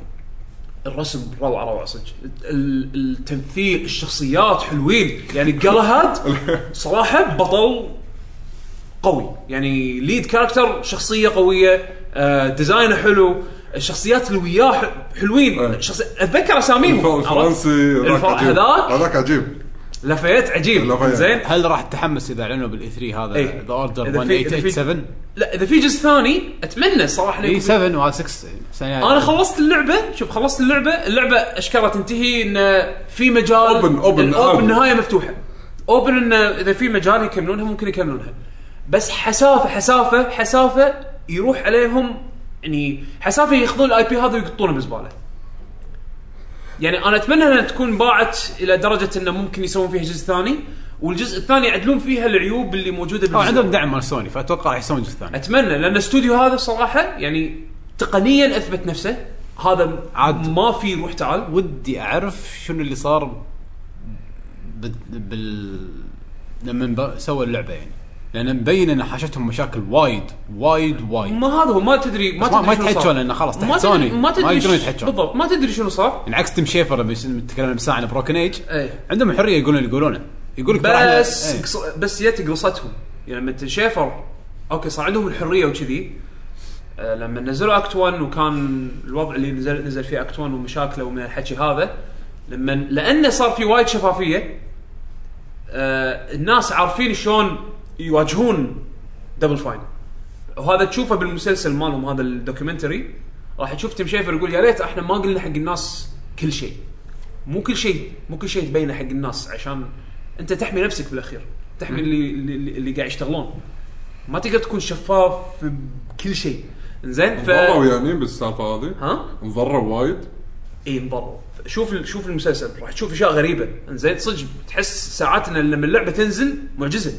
Speaker 3: الرسم روعه روعه صدق ال- التمثيل الشخصيات حلوين يعني جالهاد صراحه بطل قوي يعني ليد كاركتر شخصيه قويه آه ديزاينه حلو الشخصيات اللي وياه ح- حلوين
Speaker 5: أي.
Speaker 3: شخصي... اتذكر اساميهم
Speaker 5: الف-
Speaker 3: إيوه. عرفت؟
Speaker 5: الفرنسي هذاك
Speaker 3: الفر-
Speaker 5: عجيب
Speaker 3: هذاك
Speaker 5: هذاك عجيب
Speaker 3: لفيت عجيب
Speaker 5: لفيت.
Speaker 3: زين
Speaker 2: هل راح تتحمس اذا اعلنوا بالاي 3 هذا
Speaker 3: إيه.
Speaker 2: ذا اوردر
Speaker 3: إذا في- إذا في- إيه.
Speaker 2: 1887
Speaker 3: لا اذا في جزء ثاني اتمنى صراحه إنه
Speaker 2: اي
Speaker 3: يكون
Speaker 2: 7 وهذا 6 سنة
Speaker 3: انا خلصت اللعبه شوف خلصت اللعبه اللعبه اشكالها تنتهي ان في مجال
Speaker 5: Open- open.
Speaker 3: الاوبن نهايه مفتوحه اوبن ان اذا في مجال يكملونها ممكن يكملونها بس حسافه حسافه حسافه يروح عليهم يعني حسافه ياخذون الاي بي هذا ويقطونه بالزباله يعني انا اتمنى انها تكون باعت الى درجه انه ممكن يسوون فيها جزء ثاني والجزء الثاني يعدلون فيها العيوب اللي موجوده
Speaker 2: أو
Speaker 3: بالجزء
Speaker 2: آه، عندهم دعم مال سوني فاتوقع راح يسوون جزء ثاني
Speaker 3: اتمنى لان الاستوديو هذا صراحه يعني تقنيا اثبت نفسه هذا
Speaker 2: عاد.
Speaker 3: عاد ما في روح تعال
Speaker 2: ودي اعرف شنو اللي صار بال, بال... لما ب- سووا اللعبه يعني لان مبين ان حاشتهم مشاكل وايد وايد وايد
Speaker 3: ما هذا هو ما تدري ما
Speaker 2: بس ما- ما
Speaker 3: تدري شنو صار.
Speaker 2: يتحجون لأنه خلاص تحت
Speaker 3: ما تدري-
Speaker 2: سوني.
Speaker 3: ما تدري
Speaker 2: ما يقدرون
Speaker 3: ش-
Speaker 2: يتحجون.
Speaker 3: بالضبط ما تدري شنو صار
Speaker 2: يعني عكس تيم شيفر لما يس- تكلمنا بالساعه عن بروكن ايج
Speaker 3: إيه.
Speaker 2: عندهم الحريه يقولون اللي يقولونه يقول لك ترى إحنا-
Speaker 3: بس
Speaker 2: إيه.
Speaker 3: قص- بس جت قصتهم يعني لما تنشيفر اوكي صار عندهم الحريه وكذي آه، لما نزلوا اكت 1 وكان الوضع اللي نزل نزل فيه اكت 1 ومشاكله ومن الحكي هذا لما لانه صار في وايد شفافيه آه، الناس عارفين شلون يواجهون دبل فاين وهذا تشوفه بالمسلسل مالهم هذا الدوكيومنتري راح تشوف تيم شيفر يقول يا ريت احنا ما قلنا حق الناس كل شيء مو كل شيء مو كل شيء تبينه حق الناس عشان انت تحمي نفسك بالاخير تحمي اللي اللي, اللي- اللي قاعد يشتغلون ما تقدر تكون شفاف في كل شيء زين ف
Speaker 5: انضروا يعني بالسالفه هذه
Speaker 3: ها
Speaker 5: انضروا وايد
Speaker 3: اي انضروا شوف شوف المسلسل راح تشوف اشياء غريبه زين صدق تحس ساعات ان لما اللعبه تنزل معجزه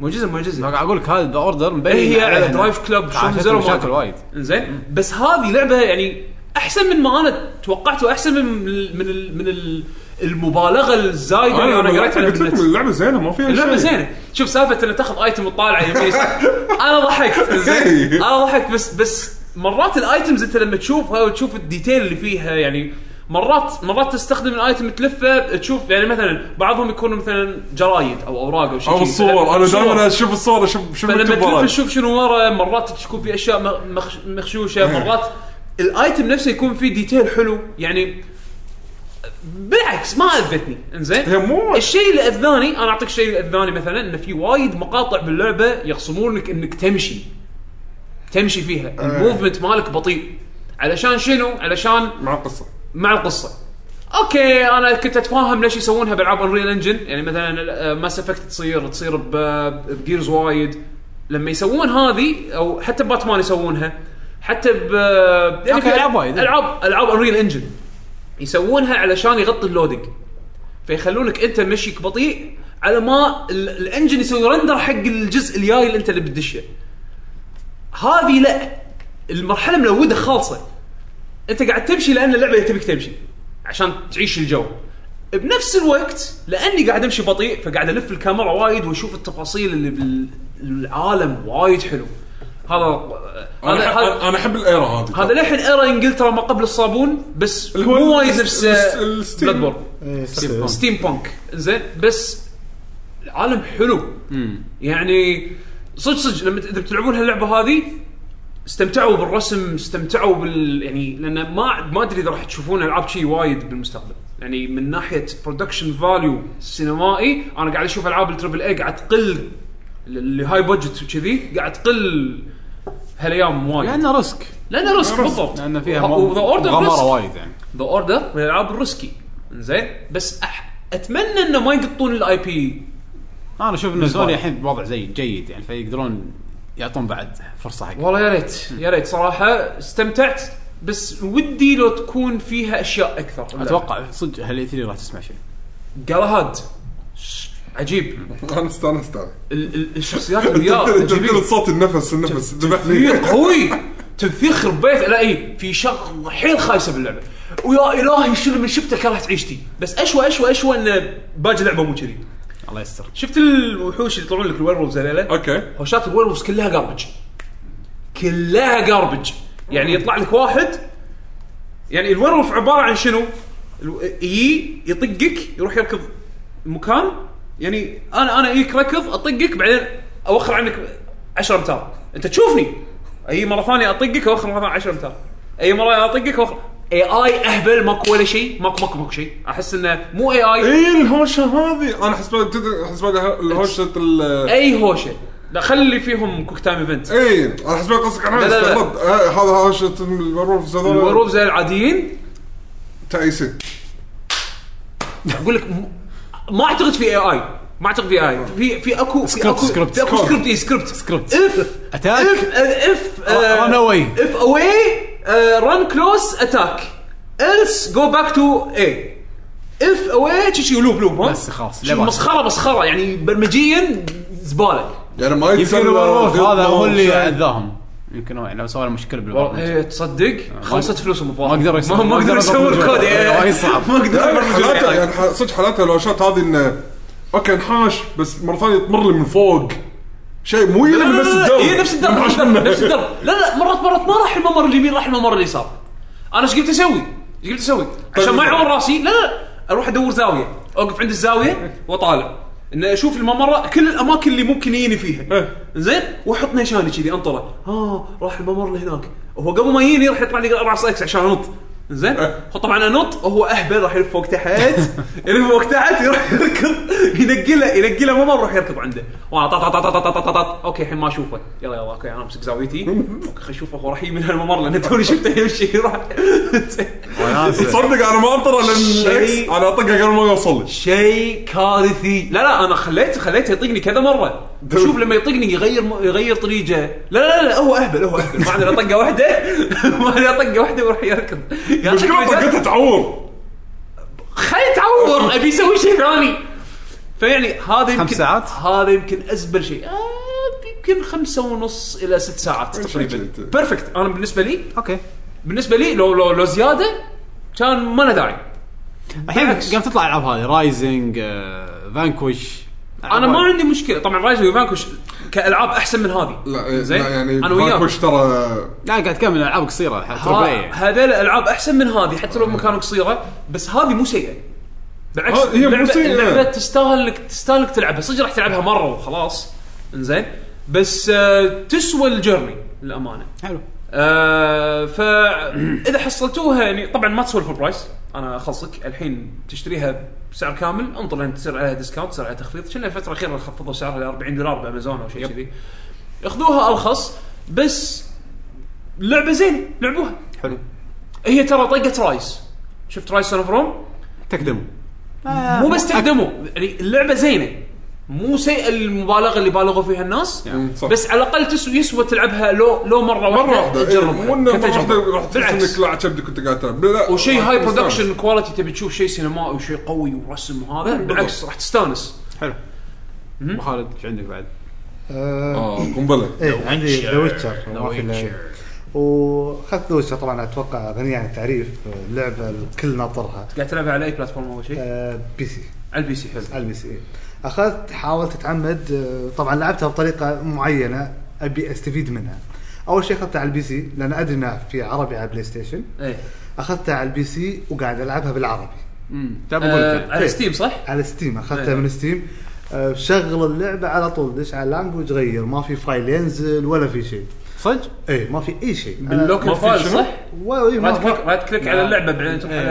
Speaker 3: معجزه معجزه
Speaker 2: قاعد اقول لك هذا ذا اوردر مبين
Speaker 3: إيه هي على
Speaker 2: إن
Speaker 3: درايف كلب شلون
Speaker 2: حاشتهم
Speaker 3: نزلوا
Speaker 2: مشاكل
Speaker 3: مرة.
Speaker 2: وايد
Speaker 3: زين بس هذه لعبه يعني احسن من ما انا توقعته احسن من من ال- من ال- المبالغه الزايده اللي انا قريتها على
Speaker 5: قلت لكم
Speaker 3: النت.
Speaker 5: اللعبه زينه ما فيها شيء
Speaker 3: اللعبه زينه شوف سالفه انه تاخذ ايتم وتطالعه يمين يسار. انا ضحكت زين انا ضحكت بس بس مرات الايتمز انت لما تشوفها وتشوف الديتيل اللي فيها يعني مرات مرات تستخدم الايتم تلفه تشوف يعني مثلا بعضهم يكونوا مثلا جرايد او اوراق او شيء
Speaker 5: او
Speaker 3: شي.
Speaker 5: الصور انا
Speaker 3: صور.
Speaker 5: دائما اشوف الصور اشوف شوف
Speaker 3: فلما
Speaker 5: مكتوب
Speaker 3: تلف
Speaker 5: وراي.
Speaker 3: تشوف شنو ورا مرات تكون في اشياء مخش- مخشوشه
Speaker 5: إيه.
Speaker 3: مرات الايتم نفسه يكون فيه ديتيل حلو يعني بالعكس ما اذتني انزين
Speaker 5: هي مو-
Speaker 3: الشيء اللي اذاني انا اعطيك الشيء اللي اذاني مثلا ان في وايد مقاطع باللعبه يخصمونك انك تمشي تمشي فيها
Speaker 5: إيه.
Speaker 3: الموفمنت مالك بطيء علشان شنو؟ علشان
Speaker 5: مع القصه
Speaker 3: مع القصه اوكي انا كنت اتفاهم ليش يسوونها بالعاب انريل انجن يعني مثلا ماس افكت تصير تصير ب- بجيرز وايد لما يسوون هذه او حتى باتمان يسوونها حتى ب يعني
Speaker 2: أوكي، ألعاب وايد.
Speaker 3: العاب العاب انريل انجن يسوونها علشان يغطي اللودنج فيخلونك انت مشيك بطيء على ما ال- الانجن يسوي رندر حق الجزء الجاي اللي انت اللي بتدشه هذه لا المرحله ملوده خالصه انت قاعد تمشي لان اللعبه تبيك تمشي عشان تعيش الجو بنفس الوقت لاني قاعد امشي بطيء فقاعد الف الكاميرا وايد واشوف التفاصيل اللي بالعالم وايد حلو هذا
Speaker 5: انا
Speaker 3: هذا
Speaker 5: أحب-
Speaker 3: هذا
Speaker 5: انا احب الايرا هذه
Speaker 3: هذا للحين ارى انجلترا ما قبل الصابون بس
Speaker 5: اللي هو
Speaker 3: مو
Speaker 5: ال-
Speaker 3: وايد نفس
Speaker 5: ال- الستيم.
Speaker 3: بلاد بورن
Speaker 4: إيه،
Speaker 2: ستيم بونك.
Speaker 3: ستيم بانك زين بس العالم حلو يعني صدق صدق لما ت- اذا بتلعبون هاللعبه هذه استمتعوا بالرسم استمتعوا بال يعني لان ما ما ادري اذا راح تشوفون العاب شيء وايد بالمستقبل يعني من ناحيه برودكشن فاليو سينمائي انا قاعد اشوف العاب التربل اي قاعد تقل اللي هاي بادجت وكذي قاعد تقل هالايام وايد
Speaker 2: لانه ريسك
Speaker 3: لان ريسك بالضبط
Speaker 2: لان فيها
Speaker 3: وذا اوردر
Speaker 2: غمره وايد يعني
Speaker 3: ذا اوردر من الالعاب الروسكي زين بس أح... اتمنى انه ما يقطون الاي بي
Speaker 2: انا اشوف ان سوني الحين بوضع زي جيد يعني فيقدرون يعطون بعد فرصه حق
Speaker 3: والله يا ريت يا ريت صراحه استمتعت بس ودي لو تكون فيها اشياء اكثر
Speaker 2: اتوقع صدق هالاي 3 راح تسمع شيء
Speaker 3: جالهاد عجيب
Speaker 5: انا استانست عليه.
Speaker 3: ال- ال- الشخصيات الرياض
Speaker 5: تمثيل تمثيل
Speaker 3: عجيبين
Speaker 5: الصوت النفس النفس ذبحني
Speaker 3: تمثيل قوي تمثيل خرب بيت لا اي في شغله حيل خايسه باللعبه ويا الهي شنو من شفته كرهت عيشتي بس اشوى اشوى اشوى ان باقي لعبه مو كذي
Speaker 2: الله يستر
Speaker 3: شفت الوحوش اللي يطلعون لك الويرولفز هذيلا
Speaker 5: اوكي
Speaker 3: هوشات الويرولفز كلها جاربج كلها جاربج يعني يطلع لك واحد يعني الويرولف عباره عن شنو؟ الو- يجي يطقك يروح يركض مكان يعني انا انا اجيك ركض اطقك بعدين اوخر عنك 10 امتار انت تشوفني اي مره ثانيه اطقك اوخر مره ثانيه 10 امتار اي مره اطقك اوخر اي اي اهبل ماكو ولا شيء ماكو ماكو ماكو شيء احس انه مو اي اي
Speaker 5: اي الهوشه إيه هذه انا حسبت تدري- حسبت الهوشه ال
Speaker 3: اي هوشه لا خلي فيهم كوك تايم ايفنت
Speaker 5: اي انا حسبت قصدك عن
Speaker 3: لا، لا، لا.
Speaker 5: استغربت. آه، هذا هوشه المعروف هذول
Speaker 3: الوروف زي العاديين
Speaker 5: تعيسين
Speaker 3: اقول لك م- ما اعتقد في اي اي ما اعتقد في اي في في اكو في
Speaker 2: سكريبت،
Speaker 3: اكو
Speaker 2: سكريبت،
Speaker 3: في اكو
Speaker 5: سكريبت.
Speaker 3: سكريبت اي سكريبت
Speaker 2: سكريبت.
Speaker 3: اف
Speaker 2: Attack.
Speaker 3: اف اف
Speaker 2: Run away.
Speaker 3: اف اواي رن كلوز اتاك الس جو باك تو اي اف اواي تشي لوب لوب ها
Speaker 2: بس خلاص، لا
Speaker 3: شي
Speaker 2: بأس.
Speaker 3: مسخره مسخره يعني برمجيا زباله
Speaker 5: يعني ما
Speaker 2: يمكن
Speaker 5: يتسلى
Speaker 2: الوروث
Speaker 5: غير
Speaker 2: هذا هو اللي
Speaker 5: شيء.
Speaker 3: يعني
Speaker 2: اذاهم يمكن هو يعني لو سوى مشكله بالبرمجه
Speaker 3: ايه تصدق خلصت فلوسهم الظاهر.
Speaker 2: آه، ما أقدر يسوي-
Speaker 3: ما- ما
Speaker 2: ما
Speaker 3: اقدر
Speaker 2: أقدر
Speaker 3: اسوي
Speaker 2: أبرمج
Speaker 3: الكود
Speaker 2: وايد.
Speaker 3: إيه.
Speaker 2: وايد صعب.
Speaker 3: ما اقدر
Speaker 5: يعني
Speaker 3: أبرمج
Speaker 5: حالاتها
Speaker 3: وايد.
Speaker 5: يعني ح- صدق حالاتها الهوشات هذه انه اوكي انحاش بس مره ثانيه تمر لي من فوق شيء مو
Speaker 3: لا، لا،
Speaker 5: يلي بس
Speaker 3: لا، لا،
Speaker 5: الدرب
Speaker 3: هي نفس الدرب نفس
Speaker 5: منحاش
Speaker 3: الدرب
Speaker 5: منه.
Speaker 3: نفس الدرب لا لا مرات مرات ما راح الممر اليمين راح الممر اليسار انا ايش قلت اسوي؟ ايش قلت اسوي؟ عشان ما يعور راسي لا لا اروح ادور زاويه اوقف عند الزاويه واطالع ان اشوف الممر كل الاماكن اللي ممكن يجيني فيها
Speaker 5: إيه.
Speaker 3: زين واحط نيشاني كذي انطره ها راح الممر لهناك هو قبل ما يجيني راح يطلع لي اربع سايكس عشان انط زين
Speaker 5: إيه.
Speaker 3: هو طبعا انط هو اهبل راح يلف فوق تحت يلف فوق تحت يروح يركض ينقله ينقله ماما ويروح يركض عنده وانا طط طط طط طط طط طط اوكي الحين ما اشوفه يلا يلا اوكي انا امسك زاويتي اوكي خل اشوفه هو راح يجي من هالممر لان توني شفته يمشي يروح
Speaker 5: تصدق انا ما انطر على الاكس
Speaker 3: شيء.
Speaker 5: انا اطقه قبل ما يوصل لي
Speaker 3: شيء كارثي لا لا انا خليته خليته يطقني كذا مره شوف لما يطقني يغير يغير طريقه لا لا لا, لا هو اهبل هو اهبل ما عنده إلا طقه واحده ما عنده إلا طقه واحده ويروح يركض يا أخي
Speaker 5: المشكله
Speaker 3: مجال-
Speaker 5: طقتها تعور
Speaker 3: خلي تعور ابي اسوي شيء ثاني فيعني هذا يمكن
Speaker 2: خمس ساعات؟
Speaker 3: هذا يمكن ازبل شيء آه، يمكن خمسة ونص الى ست ساعات تقريبا
Speaker 5: شيء.
Speaker 3: بيرفكت انا بالنسبه لي
Speaker 2: اوكي
Speaker 3: بالنسبه لي لو لو لو زياده كان ما له داعي
Speaker 2: الحين
Speaker 3: بالعكس.
Speaker 2: قام تطلع العاب هذه آه، رايزنج فانكوش
Speaker 3: انا ما عندي مشكله طبعا رايز وفانكوش كالعاب احسن من هذه
Speaker 5: لا
Speaker 3: زين
Speaker 5: لا يعني
Speaker 3: انا وياك
Speaker 5: فانكوش ترى
Speaker 2: لا قاعد تكمل العاب قصيره
Speaker 3: ها-
Speaker 2: تروبيه
Speaker 3: هذيل الالعاب احسن من هذه حتى لو مكان قصيره بس هذه مو سيئه بالعكس
Speaker 5: ها- هي مو
Speaker 3: اللعبة-
Speaker 5: سيئة.
Speaker 3: اللعبه تستاهل انك تستاهل انك تلعبها صدق راح تلعبها مره وخلاص انزين بس آه، تسوى الجيرني للامانه
Speaker 2: حلو
Speaker 3: آه فاذا حصلتوها يعني طبعا ما تسولف البرايس انا اخلصك الحين تشتريها بسعر كامل انطر لين تصير عليها ديسكاونت تصير عليها تخفيض كنا الفتره الاخيره خفضوا سعرها ل 40 دولار بامازون او شيء كذي اخذوها ارخص بس لعبه زينه لعبوها
Speaker 2: حلو
Speaker 3: هي ترى طقه رايس شفت رايس اوف روم
Speaker 2: تقدمه
Speaker 3: مو بس تقدموا يعني اللعبه زينه مو سيئه المبالغه اللي بالغوا فيها الناس
Speaker 5: مم، صح.
Speaker 3: يعني بس على الاقل تسوى يسوى تلعبها لو لو مره واحده
Speaker 5: مره واحده إيه،
Speaker 3: تجربها
Speaker 5: مو انه مره
Speaker 3: كتجربة.
Speaker 5: واحده راح تحس
Speaker 3: بالعكس
Speaker 5: انك لا عجبتك كنت قاعد تلعب لا،
Speaker 3: وشيء
Speaker 5: راح
Speaker 3: هاي
Speaker 5: تستانس.
Speaker 3: برودكشن كواليتي تبي تشوف شيء سينمائي وشيء قوي ورسم
Speaker 5: إيه،
Speaker 3: وهذا بالعكس راح تستانس
Speaker 2: حلو أبو خالد ايش عندك بعد؟
Speaker 4: آه،
Speaker 5: اه قنبله
Speaker 4: ايه عندي ذا
Speaker 2: Witcher.
Speaker 4: ويتشر واخذت ذا ويتشر طبعا اتوقع غنيه عن التعريف آه، لعبه الكل ناطرها
Speaker 3: قاعد تلعبها على اي بلاتفورم اول شيء؟
Speaker 4: آه، بي سي
Speaker 3: على البي سي حلو
Speaker 4: على البي سي إيه. اخذت حاولت اتعمد آه، طبعا لعبتها بطريقه معينه ابي استفيد منها اول شيء اخذتها على البي سي لان ادري انها في عربي على بلاي ستيشن
Speaker 3: ايه
Speaker 4: اخذتها على البي سي وقاعد العبها بالعربي
Speaker 2: امم تبغى
Speaker 3: آه،
Speaker 2: أه
Speaker 3: على
Speaker 4: إيه.
Speaker 3: ستيم صح؟
Speaker 4: على ستيم
Speaker 3: إيه.
Speaker 4: اخذتها من ستيم آه، شغل اللعبه على طول دش على لانجوج غير ما في فايل ينزل ولا في شيء
Speaker 2: صدق؟
Speaker 4: اي إيه، ما في اي شيء
Speaker 3: باللوكل فايل صح؟ رايت كليك
Speaker 4: لا إيه.
Speaker 3: رايت كليك على اللعبه بعدين تروح على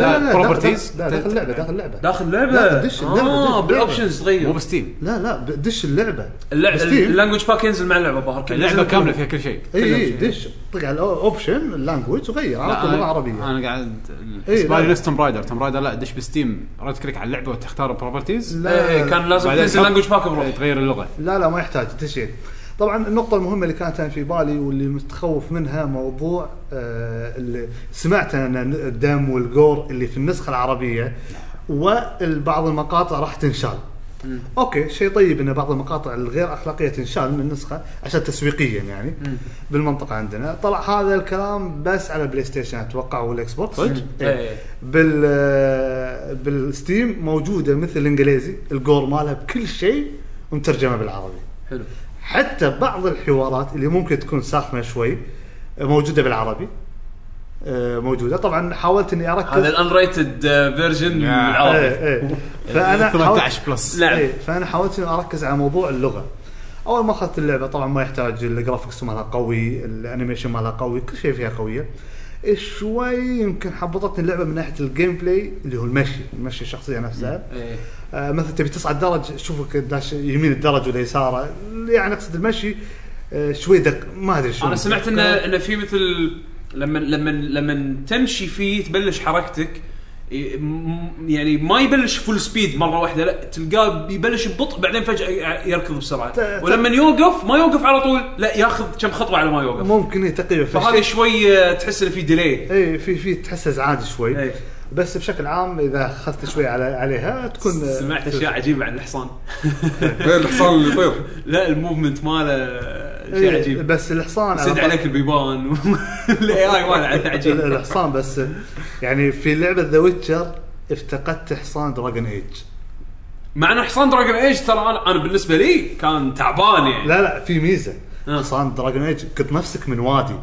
Speaker 4: لا لا
Speaker 2: Properties.
Speaker 4: داخل- لا داخل اللعبه داخل اللعبه
Speaker 3: داخل
Speaker 4: لا،
Speaker 3: اللعبه
Speaker 4: دش اللعبة، دش
Speaker 3: اه
Speaker 4: اللعبة.
Speaker 3: بالاوبشنز
Speaker 2: مو
Speaker 3: تغير
Speaker 2: بستيم
Speaker 4: لا لا ب- دش اللعبه
Speaker 3: اللعبه
Speaker 4: بستيم.
Speaker 3: اللانجوج باك ينزل مع اللعبه ظاهر
Speaker 2: اللعبه كامله فيها كل شيء
Speaker 4: اي اي
Speaker 2: كل شيء.
Speaker 4: إيه، دش طق على اوبشن اللانجوج وغير
Speaker 2: لا،
Speaker 4: على طول
Speaker 2: أنا-
Speaker 4: لغه عربيه
Speaker 2: انا قاعد
Speaker 4: إيه، لا.
Speaker 2: بالي نفس توم رايدر توم رايدر لا دش بستيم رايت كليك على اللعبه وتختار بروبرتيز
Speaker 4: لا،
Speaker 3: ايه كان لازم
Speaker 2: بعدين
Speaker 3: تنزل
Speaker 2: تحط-
Speaker 3: لانجوج باك
Speaker 4: إيه.
Speaker 3: بروح
Speaker 2: تغير اللغه
Speaker 4: لا لا ما يحتاج تشيل طبعا النقطة المهمة اللي كانت أنا في بالي واللي متخوف منها موضوع آه اللي سمعت أنا إن الدم والجور اللي في النسخة العربية وبعض المقاطع راح تنشال. اوكي شيء طيب ان بعض المقاطع الغير اخلاقيه تنشال من النسخه عشان تسويقيا يعني بالمنطقه عندنا طلع هذا الكلام بس على بلاي ستيشن اتوقع والاكس بوكس
Speaker 2: صدق؟
Speaker 4: إيه.
Speaker 3: إيه.
Speaker 4: بال آه، بالستيم موجوده مثل الانجليزي الجور مالها بكل شيء ومترجمه بالعربي
Speaker 3: حلو
Speaker 4: حتى بعض الحوارات اللي ممكن تكون ساخنه شوي آه، موجوده بالعربي آه، موجوده طبعا حاولت اني اركز
Speaker 3: هذا آه، الانريتد فيرجن
Speaker 2: يا.
Speaker 3: بالعربي
Speaker 4: إيه، إيه. فانا حاولت
Speaker 2: 18 بلس
Speaker 3: نعم.
Speaker 4: اي فانا إيه، حاولت اني اركز على موضوع اللغه اول ما اخذت اللعبه طبعا ما يحتاج الجرافكس مالها قوي الانيميشن مالها قوي كل شيء فيها قويه شوي يمكن حبطتني اللعبه من ناحيه الجيم بلاي اللي هو المشي المشي الشخصيه نفسها
Speaker 3: ايه
Speaker 4: آه، مثلا تبي تصعد درج شوفك داش يمين الدرج ولا يساره يعني اقصد المشي آه، شوي دق ما ادري شو
Speaker 3: انا سمعت انه انه في مثل لما لما لما تمشي فيه تبلش حركتك ي- م- يعني ما يبلش فول سبيد مره واحده لا تلقاه بيبلش ببطء بعدين فجاه ي- يركض بسرعه
Speaker 4: ت-
Speaker 3: ولما يوقف ما يوقف على طول لا ياخذ كم خطوه على ما يوقف
Speaker 4: ممكن هي تقريبا
Speaker 3: فهذا شوي آه، تحس انه في ديلي
Speaker 4: اي إيه، في في تحس ازعاج شوي
Speaker 3: إيه.
Speaker 4: بس بشكل عام اذا اخذت شوي على عليها تكون آه،
Speaker 3: سمعت
Speaker 4: تكون-
Speaker 3: اشياء عجيبه عن الحصان
Speaker 5: غير إيه، الحصان اللي يطير
Speaker 3: لا الموفمنت ماله آه، شيء
Speaker 4: إيه،
Speaker 3: عجيب يعني
Speaker 4: بس الحصان
Speaker 3: سد
Speaker 4: طول-
Speaker 3: عليك البيبان الاي اي ماله
Speaker 4: ال-
Speaker 3: عجيب
Speaker 4: الحصان بس يعني في لعبه ذا ويتشر افتقدت حصان دراجون ايج
Speaker 3: مع انه حصان دراجون ايج ترى انا انا بالنسبه لي كان تعبان يعني
Speaker 4: لا لا في ميزه
Speaker 3: آه.
Speaker 4: حصان دراجون ايج قط نفسك من وادي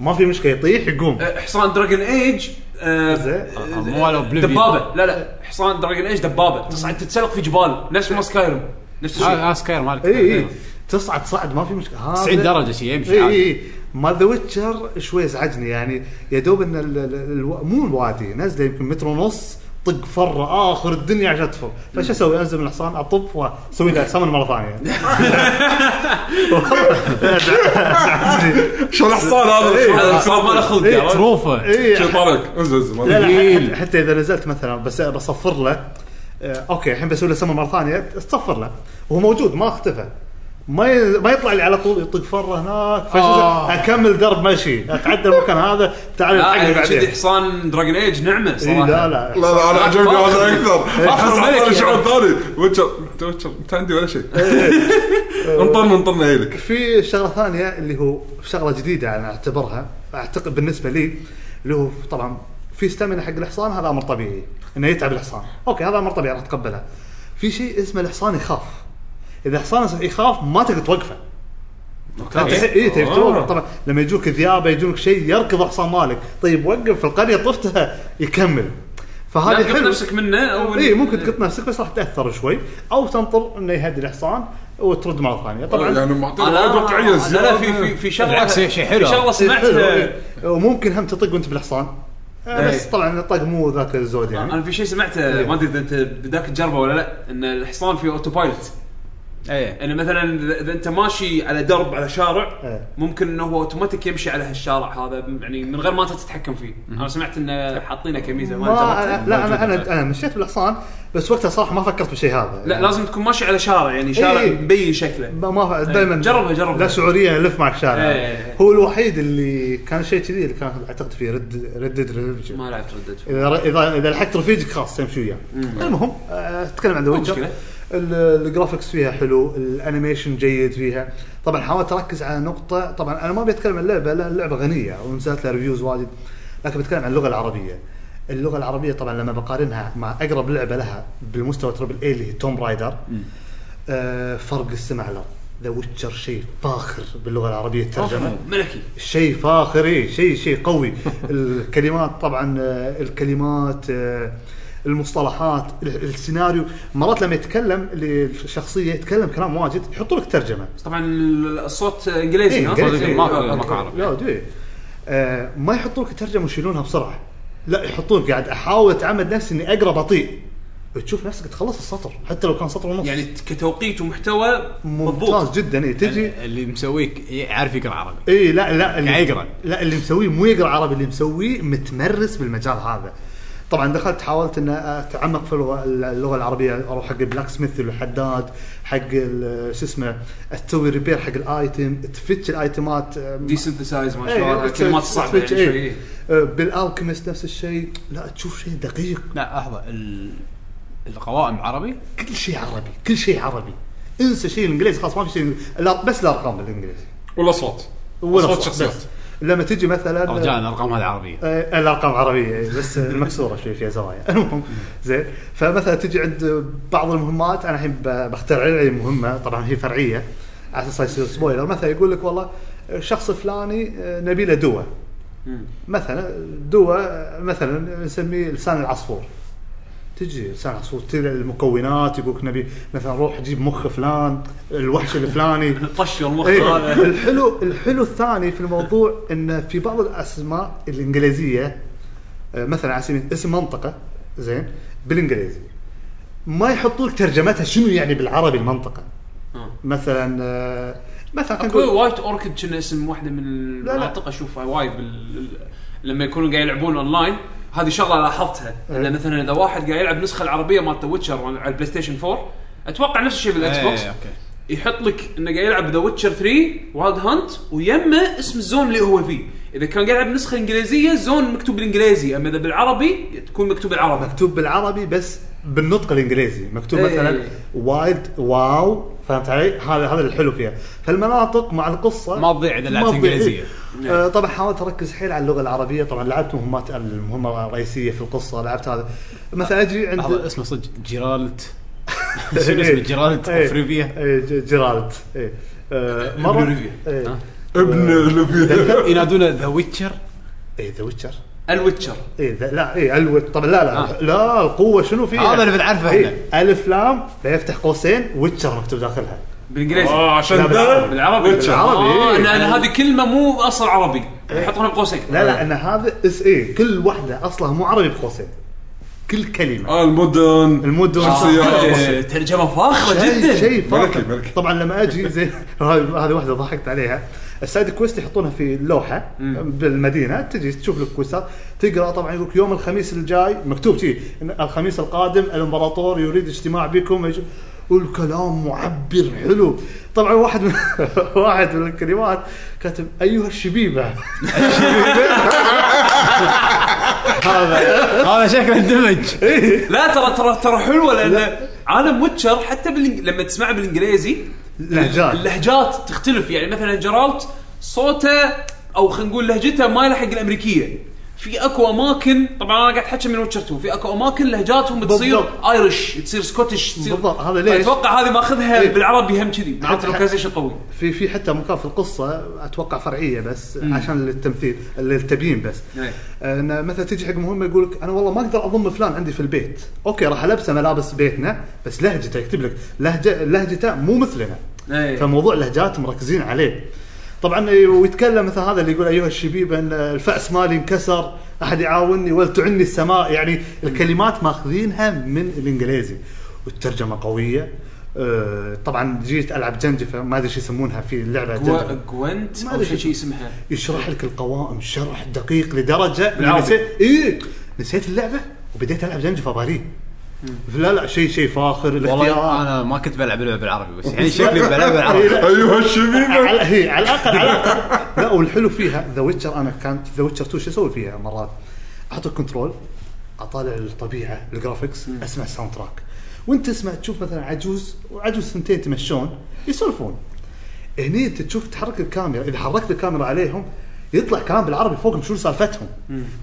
Speaker 4: ما في مشكله يطيح يقوم
Speaker 3: حصان دراجون ايج آه،
Speaker 4: زين.
Speaker 3: آه،
Speaker 2: مو على Oblivion.
Speaker 3: دبابه لا لا حصان دراجون ايج دبابه تصعد تتسلق في جبال نفس ما سكايرم نفس
Speaker 4: إيه،
Speaker 3: الشيء
Speaker 2: ها سكاير آه، مالك
Speaker 4: اي اي إيه. تصعد صعد ما في مشكله هذا
Speaker 2: 90 درجه شيء يمشي
Speaker 4: اي
Speaker 2: عادي.
Speaker 4: اي مال إيه، ذا ويتشر شوي ازعجني يعني يا دوب ان ال ال ال مو الوادي نزله يمكن متر ونص طق فره اخر الدنيا عشان تفر فش اسوي انزل من الحصان اطب واسوي له سمن مره ثانيه والله أزعجني.
Speaker 5: شو الحصان
Speaker 3: هذا
Speaker 5: هذا
Speaker 3: الحصان آه، ما له خلق
Speaker 4: إيه،
Speaker 3: عرفت؟
Speaker 2: تروفه
Speaker 4: اي
Speaker 5: شو طارق انزل انزل ما
Speaker 4: لا
Speaker 5: أدري.
Speaker 4: لا حتى- حتى اذا نزلت مثلا بس بصفر له آه، اوكي الحين بسوي له سمن مره ثانيه اصفر له وهو موجود ما اختفى ما ي... ما يطلع لي على طول يطق فره هناك فش
Speaker 2: آه.
Speaker 4: اكمل درب مشي اتعدى المكان هذا تعال
Speaker 3: لا
Speaker 4: الحقني
Speaker 3: يعني كذي
Speaker 4: بعدين
Speaker 3: حصان دراجون ايج نعمه
Speaker 4: إيه،
Speaker 3: صراحه
Speaker 4: لا لا
Speaker 5: لا لا انا عجبني هذا اكثر احس
Speaker 3: فخر عليك
Speaker 5: اعطاني شعور
Speaker 3: يعني.
Speaker 5: ثاني ويتشر انت ويتشر انت عندي ولا شيء انطرنا انطرنا هيلك
Speaker 4: في شغله ثانيه اللي هو شغله جديده انا اعتبرها اعتقد بالنسبه لي اللي هو طبعا في ستامنا حق الحصان هذا امر طبيعي انه يتعب الحصان اوكي هذا امر طبيعي راح اتقبله في شيء اسمه الحصان يخاف اذا حصان يخاف ما تقدر توقفه اي تبي
Speaker 3: آه.
Speaker 4: توقف طبعا لما يجوك ذئابه يجوك شيء يركض الحصان مالك طيب وقف في القريه طفتها يكمل
Speaker 3: لا
Speaker 4: فهذه
Speaker 3: تقط
Speaker 4: حلو
Speaker 3: نفسك منه او
Speaker 4: اي إيه، ممكن تقط نفسك بس راح تاثر شوي او تنطر انه يهدي الحصان وترد مره ثانيه طبعا
Speaker 5: يعني
Speaker 3: آه،
Speaker 5: معطينا
Speaker 3: لا
Speaker 5: وايد واقعيه
Speaker 3: لا لا
Speaker 5: زيادة.
Speaker 3: في في في شغله
Speaker 2: بالعكس، هي شيء حلو.
Speaker 3: في
Speaker 4: إيه،
Speaker 3: شغله سمعتها
Speaker 4: حلو، إيه. وممكن هم تطق وانت بالحصان آه، بس
Speaker 3: إيه.
Speaker 4: طبعا الطق مو ذاك الزود يعني
Speaker 3: انا في شيء سمعته ما ادري اذا انت بداك تجربه ولا لا ان الحصان فيه اوتو بايلوت
Speaker 2: اي
Speaker 3: انه مثلا إذا- اذا انت ماشي على درب على شارع
Speaker 4: إيه.
Speaker 3: ممكن انه هو اوتوماتيك يمشي على هالشارع هذا يعني من غير ما انت تتحكم فيه انا سمعت انه حاطينه كميزه ما
Speaker 4: ما
Speaker 3: جربت
Speaker 4: لا انا
Speaker 3: موجودة.
Speaker 4: انا انا مشيت بالحصان بس وقتها صراحه ما فكرت بالشيء هذا
Speaker 3: لا لازم تكون ماشي على شارع يعني شارع
Speaker 4: إيه.
Speaker 3: مبين شكله
Speaker 4: ما- ما دائما
Speaker 3: جربها- جربها.
Speaker 4: لا شعوريا الف مع الشارع
Speaker 3: إيه، إيه، إيه.
Speaker 4: هو الوحيد اللي كان شيء كذي اللي كان اعتقد فيه رد ريد ديد
Speaker 3: ما لعبت ردد
Speaker 4: اذا اذا اذا لحقت رفيجك خلاص تمشي وياه المهم آه، اتكلم عن ذا ويتشر
Speaker 3: مشكلة.
Speaker 4: الجرافكس فيها حلو الانيميشن جيد فيها طبعا حاولت اركز على نقطه طبعا انا ما بتكلم عن اللعبه لان اللعبه غنيه ونزلت لها ريفيوز واجد لكن بتكلم عن اللغه العربيه اللغه العربيه طبعا لما بقارنها مع اقرب لعبه لها بالمستوى تربل اي اللي هي توم رايدر آه فرق السمع على ذا ويتشر شيء فاخر باللغه العربيه الترجمه
Speaker 3: ملكي
Speaker 4: شيء فاخر إيه شيء شيء قوي الكلمات طبعا آه، الكلمات آه، المصطلحات ال- السيناريو مرات لما يتكلم اللي الشخصيه يتكلم كلام واجد يحطوا لك ترجمه
Speaker 3: طبعا ال- الصوت انجليزي
Speaker 4: إيه،
Speaker 3: ها؟
Speaker 4: إنجليزي.
Speaker 3: إيه،
Speaker 2: ما-
Speaker 3: أوكي.
Speaker 2: ما كان. عربي.
Speaker 4: لا ادري آه ما يحطوا لك ترجمه ويشيلونها بسرعه لا يحطون قاعد احاول اتعمد نفسي اني اقرا بطيء تشوف نفسك تخلص السطر حتى لو كان سطر ونص
Speaker 3: يعني كتوقيت ومحتوى
Speaker 4: ممتاز
Speaker 3: مضبوط يعني
Speaker 4: جدا إيه تجي
Speaker 2: اللي مسويك يعرف يقرا عربي
Speaker 4: اي إيه، لا لا
Speaker 2: يعني يقرأ.
Speaker 4: لا اللي مسويه مو يقرا عربي اللي مسويه متمرس بالمجال هذا طبعا دخلت حاولت ان اتعمق في اللغه اللغه العربيه اروح حق البلاك سميث الحداد حق ال- شو اسمه تسوي ريبير حق الايتم تفتش الايتمات
Speaker 3: دي سنتسايز ما شاء
Speaker 4: إيه،
Speaker 3: الله الكلمات
Speaker 4: تفتش-
Speaker 3: الصعبه يعني
Speaker 4: تفتش، إيه.
Speaker 3: شوي
Speaker 4: آه، بالالكيميست نفس الشيء لا تشوف شيء دقيق
Speaker 2: لا لحظه ال- القوائم عربي
Speaker 4: كل شيء عربي كل شيء عربي انسى شيء الانجليزي خلاص ما في شيء لا- بس الارقام بالانجليزي
Speaker 5: ولا صوت
Speaker 4: ولا
Speaker 5: أصوات
Speaker 4: صوت،
Speaker 5: شخصيات.
Speaker 4: بس. لما تجي مثلا آه،
Speaker 2: رجال الارقام هذه عربيه
Speaker 4: آه، الارقام عربيه إيه، بس مكسوره شوي فيها زوايا المهم زين فمثلا تجي عند بعض المهمات انا الحين ب- بخترع لي مهمه طبعا هي فرعيه على اساس يصير سبويلر مثلا يقول لك والله شخص فلاني آه، نبي له دواء مثلا دواء آه، مثلا نسميه لسان العصفور تجي سانس وتبدا المكونات يقولك نبي مثلا روح جيب مخ فلان الوحش الفلاني
Speaker 3: طش المخ
Speaker 4: إيه،
Speaker 3: هذا
Speaker 4: الحلو الحلو الثاني في الموضوع ان في بعض الاسماء الانجليزيه آه، مثلا على سبيل اسم منطقه زين بالانجليزي ما يحطوا لك ترجمتها شنو يعني بالعربي المنطقه مثلا آه، مثلا خلينا
Speaker 3: اكو
Speaker 4: نقول-
Speaker 3: وايت اوركيد كنا اسم واحده من
Speaker 4: لا.
Speaker 3: المناطق اشوفها وايد بال... ال- لما يكونوا قاعد يلعبون اونلاين هذه شغله لاحظتها
Speaker 4: إيه.
Speaker 3: ان مثلا اذا واحد قاعد يلعب نسخه العربيه مالت ويتشر على البلاي ستيشن 4 اتوقع نفس الشيء بالاكس بوكس
Speaker 2: إيه، اوكي
Speaker 3: يحط لك انه قاعد يلعب ذا ويتشر 3 وايلد هانت ويمه اسم الزون اللي هو فيه اذا كان قاعد يلعب نسخه انجليزيه زون مكتوب بالانجليزي اما اذا بالعربي تكون مكتوب بالعربي
Speaker 4: مكتوب بالعربي بس بالنطق الانجليزي مكتوب
Speaker 3: إيه.
Speaker 4: مثلا وايد واو فهمت علي؟ هذا هذا الحلو فيها، فالمناطق مع القصه
Speaker 2: ما تضيع اذا لعبت
Speaker 4: ما تضيع.
Speaker 2: انجليزيه
Speaker 4: آه، طبعا حاولت اركز حيل على اللغه العربيه طبعا لعبت مهمات المهمه الرئيسيه في القصه لعبت هذا مثلا اجي
Speaker 2: لحظه
Speaker 4: عند
Speaker 2: اسمه صدق جيرالت شنو اسمه جيرالت
Speaker 4: إيه.
Speaker 2: اوف ريفيا
Speaker 4: إيه، ج- جيرالت إيه. آه، مره
Speaker 2: ريفيا.
Speaker 4: إيه.
Speaker 2: ها؟
Speaker 5: ابن لبيا
Speaker 2: ينادونه ذا ويتشر
Speaker 4: ايه ذا ويتشر
Speaker 3: الويتشر
Speaker 4: ايه ذا- لا ايه الوت طبعا لا لا لا القوه شنو فيها
Speaker 2: هذا اللي بنعرفه
Speaker 4: إيه، الف لام لا يفتح قوسين ويتشر مكتوب داخلها
Speaker 3: بالانجليزي
Speaker 2: آه،
Speaker 5: اه عشان
Speaker 4: لا،
Speaker 5: ده
Speaker 4: بالعربي.
Speaker 3: بالعربي
Speaker 4: بالعربي،
Speaker 3: آه
Speaker 4: إيه.
Speaker 3: انا انا هذه كلمه مو اصل عربي يحطونها بقوسين
Speaker 4: لا لا ان هذا اس ايه كل واحده اصلها مو عربي بقوسين كل كلمه
Speaker 5: اه المدن
Speaker 4: المدن
Speaker 5: شخصيات.
Speaker 3: إيه، ترجمه فاخره
Speaker 4: آه. شيء
Speaker 3: جدا
Speaker 4: شيء فاخر.
Speaker 5: آه. ملكي- ملكي.
Speaker 4: طبعا لما اجي زي هذه هذه واحده ضحكت عليها السايد كويست يحطونها في لوحه بالمدينه تجي تشوف الكويستات تقرا طبعا يقول يوم الخميس الجاي مكتوب شيء الخميس القادم الامبراطور يريد اجتماع بكم يج- والكلام معبر حلو طبعا واحد من واحد من الكلمات كاتب ايها الشبيبه إيه.
Speaker 2: هذا شكله اندمج
Speaker 3: لا ترى ترى ترى حلوه لان عالم ويتشر حتى بالإنج... لما تسمعه بالانجليزي
Speaker 4: لهجات
Speaker 3: اللهجات تختلف يعني مثلا جرالت صوته او خلينا نقول لهجته ما يلحق الامريكيه في اكو اماكن طبعا انا قاعد احكي من ويتشر 2 في اكو اماكن لهجاتهم تصير
Speaker 4: بالضبط.
Speaker 3: ايرش تصير سكوتش تصير
Speaker 4: بالضبط، هذا ليش؟
Speaker 3: اتوقع هذه ماخذها
Speaker 4: إيه.
Speaker 3: بالعربي هم كذي مع
Speaker 4: حتى-
Speaker 3: اللوكايزيشن قوي
Speaker 4: في في حتى مكان في القصه اتوقع فرعيه بس عشان التمثيل التبيين بس
Speaker 3: إيه.
Speaker 4: ان مثلا تجي حق مهمه يقول لك انا والله ما اقدر اضم فلان عندي في البيت اوكي راح البسه ملابس بيتنا بس لهجته يكتب لك لهجه لهجته مو مثلنا
Speaker 3: إيه.
Speaker 4: فموضوع لهجات مركزين عليه طبعا ويتكلم مثل هذا اللي يقول ايها الشبيبه ان الفاس مالي انكسر احد يعاوني ولتعني السماء يعني الكلمات ماخذينها من الانجليزي والترجمه قويه آه، طبعا جيت العب جنجفه ما ادري شو يسمونها في اللعبه جنجفة.
Speaker 3: جو- جوينت
Speaker 4: ما
Speaker 3: او
Speaker 4: أدري
Speaker 3: شيء
Speaker 4: شو
Speaker 3: شي اسمها
Speaker 4: يشرح لك القوائم شرح دقيق لدرجه إني
Speaker 3: بالعربي.
Speaker 4: نسيت ايه نسيت اللعبه وبديت العب جنجفة باري لا لا شيء شيء فاخر
Speaker 2: والله
Speaker 4: الاختيار
Speaker 2: انا ما كنت بلعب اللعبه بالعربي بس يعني شكلي بلعب بالعربي
Speaker 5: ايها الشبيبه
Speaker 4: على هي على الاقل على الاقل لا والحلو فيها ذا ويتشر انا كانت ذا ويتشر 2 شو اسوي فيها مرات؟ احط الكنترول اطالع الطبيعه الجرافكس اسمع الساوند تراك وانت تسمع تشوف مثلا عجوز وعجوز ثنتين يتمشون يسولفون هني انت تشوف تحرك الكاميرا اذا حركت الكاميرا عليهم يطلع كلام بالعربي فوقهم شو سالفتهم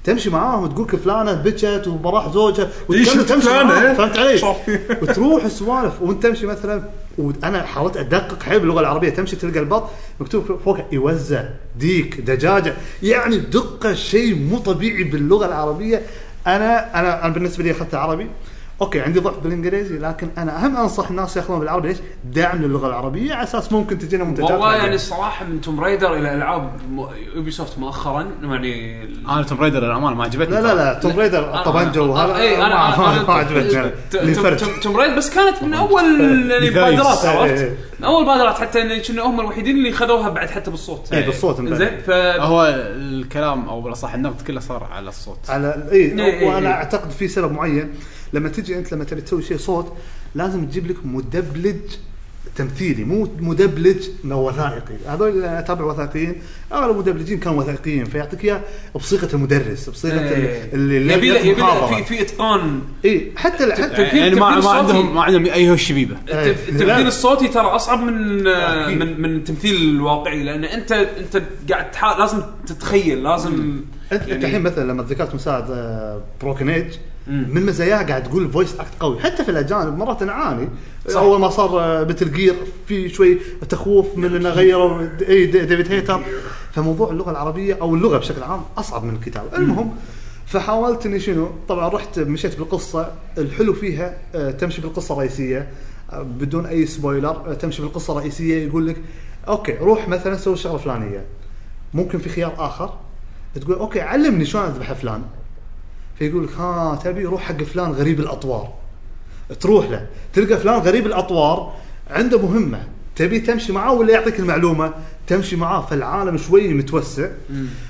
Speaker 4: تمشي معاهم تقول لك فلانه بكت وراح زوجها
Speaker 5: إيش
Speaker 4: وتكلم- تمشي
Speaker 5: فلانة؟
Speaker 4: معاهم، فهمت علي؟
Speaker 5: صافي.
Speaker 4: وتروح السوالف وانت تمشي مثلا وانا حاولت ادقق حيل باللغه العربيه تمشي تلقى البط مكتوب فوق يوزع ديك دجاجه يعني دقه شيء مو طبيعي باللغه العربيه انا انا, أنا بالنسبه لي اخذت عربي اوكي عندي ضعف بالانجليزي لكن انا اهم انصح الناس ياخذون بالعربي ليش؟ دعم للغه العربيه على اساس ممكن تجينا منتجات
Speaker 3: والله
Speaker 4: بعدين.
Speaker 3: يعني الصراحه من توم رايدر الى العاب يوبي سوفت مؤخرا يعني
Speaker 2: انا توم رايدر للامانه ما عجبتني
Speaker 4: أيوه. لا لا لا توم ريدر طبنجه وهذا
Speaker 3: اي انا
Speaker 4: ما- ما-
Speaker 3: إيه، أنا-
Speaker 4: ما عجبتني
Speaker 3: توم-
Speaker 4: لفرد.
Speaker 3: توم- توم رايد بس كانت من اول يعني
Speaker 2: لفايز.
Speaker 3: بادرات عرفت
Speaker 4: إيه.
Speaker 3: من اول بادرات حتى ان كنا هم الوحيدين اللي خذوها بعد حتى بالصوت
Speaker 4: إيه، بالصوت من بعد.
Speaker 3: زين ف
Speaker 2: هو الكلام او بالاصح النقد كله صار على الصوت
Speaker 4: على
Speaker 3: إيه،
Speaker 4: اي
Speaker 3: إيه، إيه.
Speaker 4: وانا اعتقد في سبب معين لما تجي انت لما تبي تسوي شيء صوت لازم تجيب لك مدبلج تمثيلي مو مدبلج إنه وثائقي هذول اللي انا اتابع وثائقيين اغلب المدبلجين كانوا وثائقيين فيعطيك اياه بصيغه المدرس بصيغه
Speaker 3: إيه.
Speaker 4: ال- اللي اللي
Speaker 3: يبي له يبي له
Speaker 4: المحاضرة.
Speaker 3: في في اتقان
Speaker 4: اي حتى حتى
Speaker 2: يعني ما
Speaker 3: التمثيل
Speaker 2: ما
Speaker 3: الصوتي.
Speaker 2: عندهم ما عندهم اي هوش شبيبه
Speaker 4: إيه.
Speaker 3: التف- التمثيل
Speaker 4: لا.
Speaker 3: الصوتي ترى اصعب من
Speaker 4: أكيد.
Speaker 3: من من التمثيل الواقعي لان انت انت قاعد تحا- لازم تتخيل لازم
Speaker 4: انت يعني الحين مثلا لما ذكرت مساعد آه، بروكن ايج من مزاياه قاعد تقول فويس اكت قوي حتى في الاجانب مرات انا اعاني
Speaker 3: صح.
Speaker 4: اول ما صار مثل جير في شوي تخوف من انه غيروا إيه، د- اي د- ديفيد هيتر فموضوع اللغه العربيه او اللغه بشكل عام اصعب من الكتابه المهم فحاولت اني شنو طبعا رحت مشيت بالقصه الحلو فيها آه، تمشي بالقصه الرئيسيه آه، بدون اي سبويلر آه، تمشي بالقصه الرئيسيه يقول لك اوكي روح مثلا سوي الشغله الفلانيه ممكن في خيار اخر تقول اوكي علمني شلون اذبح فلان فيقول لك ها تبي روح حق فلان غريب الاطوار تروح له تلقى فلان غريب الاطوار عنده مهمه تبي تمشي معاه ولا يعطيك المعلومه تمشي معاه فالعالم شوي متوسع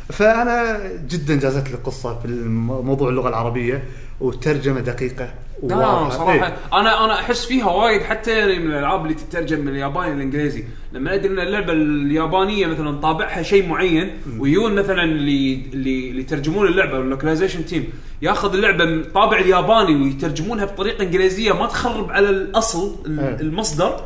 Speaker 4: فانا جدا جازت لي القصه في الم- موضوع اللغه العربيه والترجمه دقيقه
Speaker 3: لا
Speaker 4: وواضحة.
Speaker 3: صراحه
Speaker 4: إيه.
Speaker 3: انا انا احس فيها وايد حتى يعني من الالعاب اللي تترجم من الياباني للانجليزي لما ادري ان اللعبه اليابانيه مثلا طابعها شيء معين ويون مثلا اللي اللي اللي يترجمون اللعبه اللوكلايزيشن تيم ياخذ اللعبه من طابع الياباني ويترجمونها بطريقه انجليزيه ما تخرب على الاصل ال-
Speaker 4: إيه.
Speaker 3: المصدر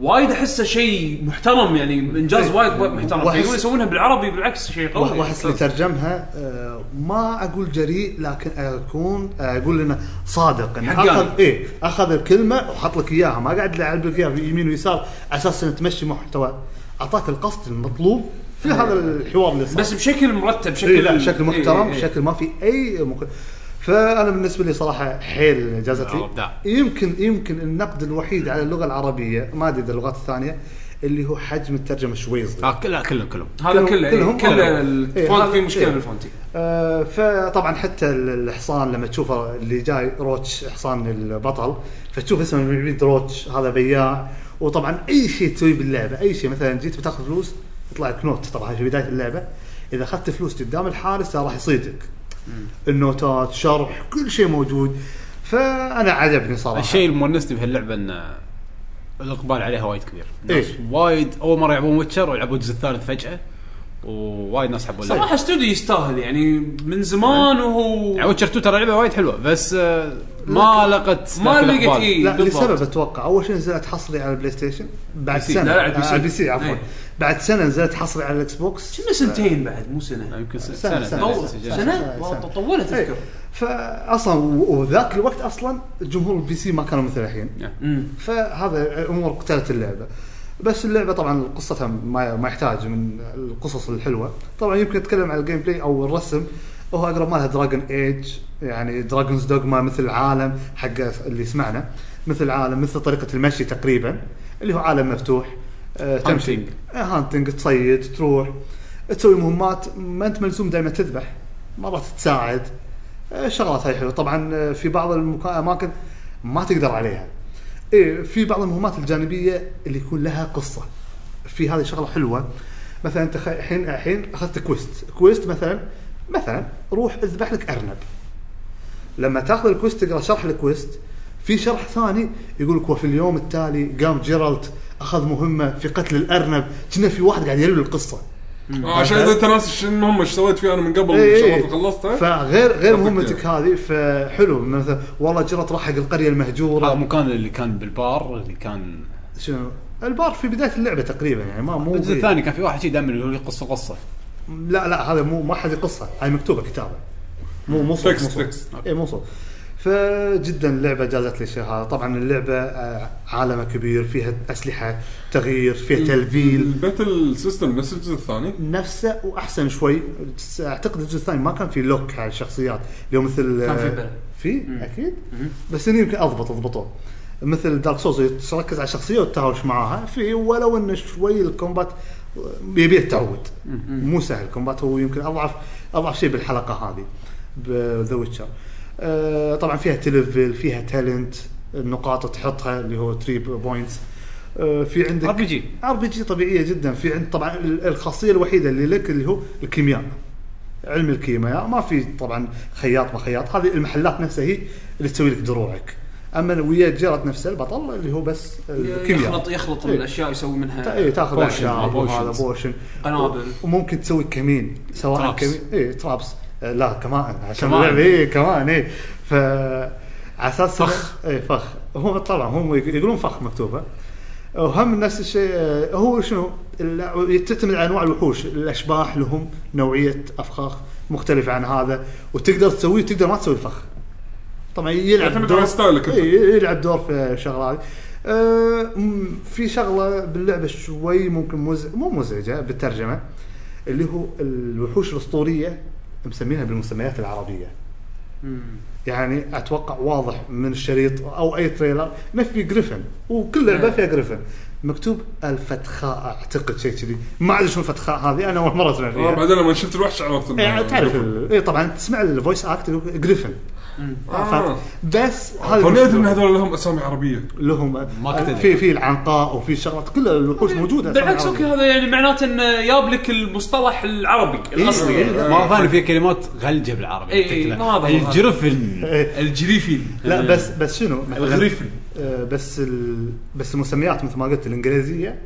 Speaker 3: وايد احسه شيء محترم يعني انجاز
Speaker 4: إيه.
Speaker 3: وايد وايد محترم
Speaker 4: وأحس-
Speaker 3: فيقولون يسوونها بالعربي بالعكس شيء قوي
Speaker 4: واحس اللي ترجمها آه، ما اقول جريء لكن اكون آه، اقول انه صادق انه
Speaker 3: حقاني.
Speaker 4: اخذ ايه اخذ الكلمه وحط لك اياها ما قاعد يلعب لك اياها في يمين ويسار على اساس انه تمشي محتوى اعطاك القصد المطلوب في هذا الحوار اللي صار
Speaker 3: إيه. بس بشكل مرتب شكل
Speaker 4: إيه لا شكل محترم
Speaker 3: إيه، إيه.
Speaker 4: شكل ما في اي مك... فانا بالنسبه لي صراحه حيل جازت لي
Speaker 2: آه، إبداع.
Speaker 4: يمكن يمكن النقد الوحيد على اللغه العربيه ما ادري إذا اللغات الثانيه اللي هو حجم الترجمه شوي صغير
Speaker 2: آه كلها كلهم كلهم
Speaker 3: هذا
Speaker 4: كلهم-
Speaker 3: كله
Speaker 4: كلهم
Speaker 3: إيه، كله
Speaker 4: أبيض. إيه،
Speaker 3: الفونت
Speaker 4: هذا-
Speaker 3: فيه مشكله
Speaker 4: إيه.
Speaker 3: بالفونت إيه.
Speaker 4: آه، فطبعا حتى ال- الحصان لما تشوفه اللي جاي روتش حصان البطل فتشوف اسمه من بعيد روتش هذا بياع وطبعا اي شيء تسويه باللعبه اي شيء مثلا جيت بتاخذ فلوس يطلع لك نوت طبعا في بدايه اللعبه اذا اخذت فلوس قدام الحارس راح يصيدك النوتات شرح كل شيء موجود فانا عجبني صراحه
Speaker 2: الشيء المونسني بهاللعبه ان الاقبال عليها وايد كبير الناس
Speaker 4: إيه.
Speaker 2: وايد اول مره يلعبون ويتشر ويلعبون الجزء الثالث فجاه ووايد ناس حبوا اللعبه
Speaker 3: صراحه استوديو يستاهل يعني من
Speaker 4: إيه.
Speaker 3: زمان وهو
Speaker 2: يعني ويتشر 2 ترى لعبه وايد حلوه بس آه، ما لقت
Speaker 3: ما
Speaker 2: ذاك
Speaker 3: لقت
Speaker 2: الإقبال.
Speaker 3: إيه.
Speaker 4: لا
Speaker 3: بالضبط.
Speaker 4: لسبب اتوقع اول شيء نزلت حصري على البلاي ستيشن بعد
Speaker 3: سي.
Speaker 4: سنه
Speaker 3: لا، لا، على البي
Speaker 4: آه،
Speaker 3: سي. إيه.
Speaker 4: على البي سي عفوا
Speaker 3: أي.
Speaker 4: بعد سنه نزلت حصري على الاكس بوكس
Speaker 3: كنا سنتين بعد مو سنه
Speaker 2: يمكن سنه
Speaker 4: سنة-
Speaker 2: سنه,
Speaker 3: طول-
Speaker 2: سنة,
Speaker 4: إيه. سنة.
Speaker 2: سنة.
Speaker 3: سنه والله طولت
Speaker 4: إيه.
Speaker 3: اذكر
Speaker 4: فاصلا و- وذاك الوقت اصلا جمهور البي سي ما كانوا مثل الحين
Speaker 3: أمم.
Speaker 4: فهذا امور قتلت اللعبه بس اللعبه طبعا قصتها ما, ما يحتاج من القصص الحلوه طبعا يمكن اتكلم على الجيم بلاي او الرسم وهو اقرب مالها دراجون ايج يعني دراجونز دوغما مثل العالم حق اللي سمعنا مثل العالم مثل طريقه المشي تقريبا اللي هو عالم مفتوح آه، تمشي
Speaker 2: Hunting.
Speaker 4: آه، هانتنج تصيد تروح تسوي مهمات ما انت ملزوم دائما تذبح مرات تساعد آه، شغلات هاي حلوه طبعا آه، في بعض الاماكن ما تقدر عليها ايه في بعض المهمات الجانبيه اللي يكون لها قصه في هذه شغله حلوه مثلا انت خ- الحين الحين اخذت كويست كويست مثلا مثلا روح اذبح لك ارنب لما تاخذ الكويست تقرا شرح الكويست في شرح ثاني يقول لك وفي اليوم التالي قام جيرالت اخذ مهمه في قتل الارنب كنا في واحد قاعد يروي القصه
Speaker 5: آه، عشان اذا انت ناس شنو المهمه ايش سويت فيها انا من قبل
Speaker 4: إيه،
Speaker 5: الشغلات
Speaker 4: إيه.
Speaker 5: اللي خلصتها
Speaker 4: فغير غير
Speaker 5: أعطيك
Speaker 4: مهمتك هذه فحلو مثلا والله جيرالت راح حق القريه
Speaker 2: هذا
Speaker 4: المهجوره
Speaker 2: مكان اللي كان بالبار اللي كان
Speaker 4: شنو البار في بدايه اللعبه تقريبا يعني ما مو
Speaker 2: الجزء
Speaker 4: بعيد.
Speaker 2: الثاني كان في واحد شي دائما يقول لي قصه قصه
Speaker 4: لا لا هذا مو ما حد قصه هاي مكتوبه كتابه مو مو صوت
Speaker 5: Text-
Speaker 4: مو صوت.
Speaker 5: text.
Speaker 4: اي مو صوت فجدا اللعبه جازت لي الشيء هذا طبعا اللعبه آه، عالمها كبير فيها اسلحه تغيير فيها تلفيل
Speaker 5: الباتل سيستم نفس الجزء الثاني
Speaker 4: نفسه واحسن شوي اعتقد الجزء الثاني ما كان في لوك على الشخصيات اللي هو مثل
Speaker 3: كان في
Speaker 4: آه،
Speaker 3: بلا.
Speaker 4: في اكيد بس اني يمكن اضبط اضبطوه مثل دارك سوز تركز على الشخصيه وتتهاوش معاها في ولو انه شوي الكومبات يبيه التعود مو سهل الكومبات هو يمكن اضعف اضعف شيء بالحلقه هذه بذا ويتشر آه طبعا فيها تلفل فيها تالنت النقاط تحطها اللي هو 3 بوينتس آه في عندك
Speaker 2: ار بي جي
Speaker 4: ار بي جي طبيعيه جدا في عند طبعا ال- الخاصيه الوحيده اللي لك اللي هو الكيمياء علم الكيمياء ما في طبعا خياط ما خياط هذه المحلات نفسها هي اللي تسوي لك دروعك اما ويا جيرت نفسه البطل اللي هو بس
Speaker 3: يخلط
Speaker 2: يعني
Speaker 4: الكيمياء
Speaker 3: يخلط
Speaker 4: إيه.
Speaker 3: الاشياء يسوي منها
Speaker 4: اي تاخذ
Speaker 2: Potion.
Speaker 4: اشياء وهذا
Speaker 2: Potions.
Speaker 4: بوشن
Speaker 3: قنابل.
Speaker 4: وممكن تسوي كمين سواء
Speaker 2: Traps.
Speaker 4: كمين اي ترابس آه، لا كمان عشان
Speaker 2: كمان.
Speaker 4: اللعبه اي كمان اي ف على اساس
Speaker 2: فخ.
Speaker 4: اي فخ هو طبعا هم يقولون فخ مكتوبه وهم نفس الشيء آه، هو شنو ال- تعتمد على انواع الوحوش الاشباح لهم نوعيه افخاخ مختلفه عن هذا وتقدر تسويه وتقدر ما تسوي فخ طبعا يلعب
Speaker 5: يعتمد على ستايلك أنت.
Speaker 4: إي، يلعب دور في الشغله هذه آه، م- في شغله باللعبه شوي ممكن مزعج مو مزعجه بالترجمه اللي هو الوحوش الاسطوريه مسمينها بالمسميات العربيه يعني اتوقع واضح من الشريط او اي تريلر انه في جريفن وكل لعبه
Speaker 5: نعم.
Speaker 4: فيها جريفن مكتوب الفتخاء اعتقد شيء كذي ما ادري شو الفتخاء هذه انا اول مره اسمع فيها
Speaker 5: آه، بعدين لما شفت الوحش عرفت إنه-
Speaker 3: إيه،
Speaker 4: يعني تعرف ال- اي طبعا تسمع الفويس اكت يقول جريفن
Speaker 5: آه.
Speaker 4: ف- بس هذا
Speaker 5: تونيت ان
Speaker 4: المشكلة.
Speaker 5: هذول لهم اسامي عربيه
Speaker 4: لهم
Speaker 2: ما كنت
Speaker 4: في في العنقاء وفي شغلات كل الوحوش موجوده
Speaker 3: بالعكس اوكي هذا يعني معناته انه جاب لك المصطلح العربي الاصلي
Speaker 4: إيه،
Speaker 3: يعني.
Speaker 4: إيه.
Speaker 2: ما ظهر فيها كلمات غلجه بالعربي
Speaker 3: إي، إي،
Speaker 2: شكلها.
Speaker 3: ما واضح.
Speaker 2: الجرفن
Speaker 4: إيه.
Speaker 3: الجريفين
Speaker 4: لا بس بس شنو
Speaker 3: الغريفي.
Speaker 4: آه، بس ال... بس المسميات مثل ما قلت الانجليزيه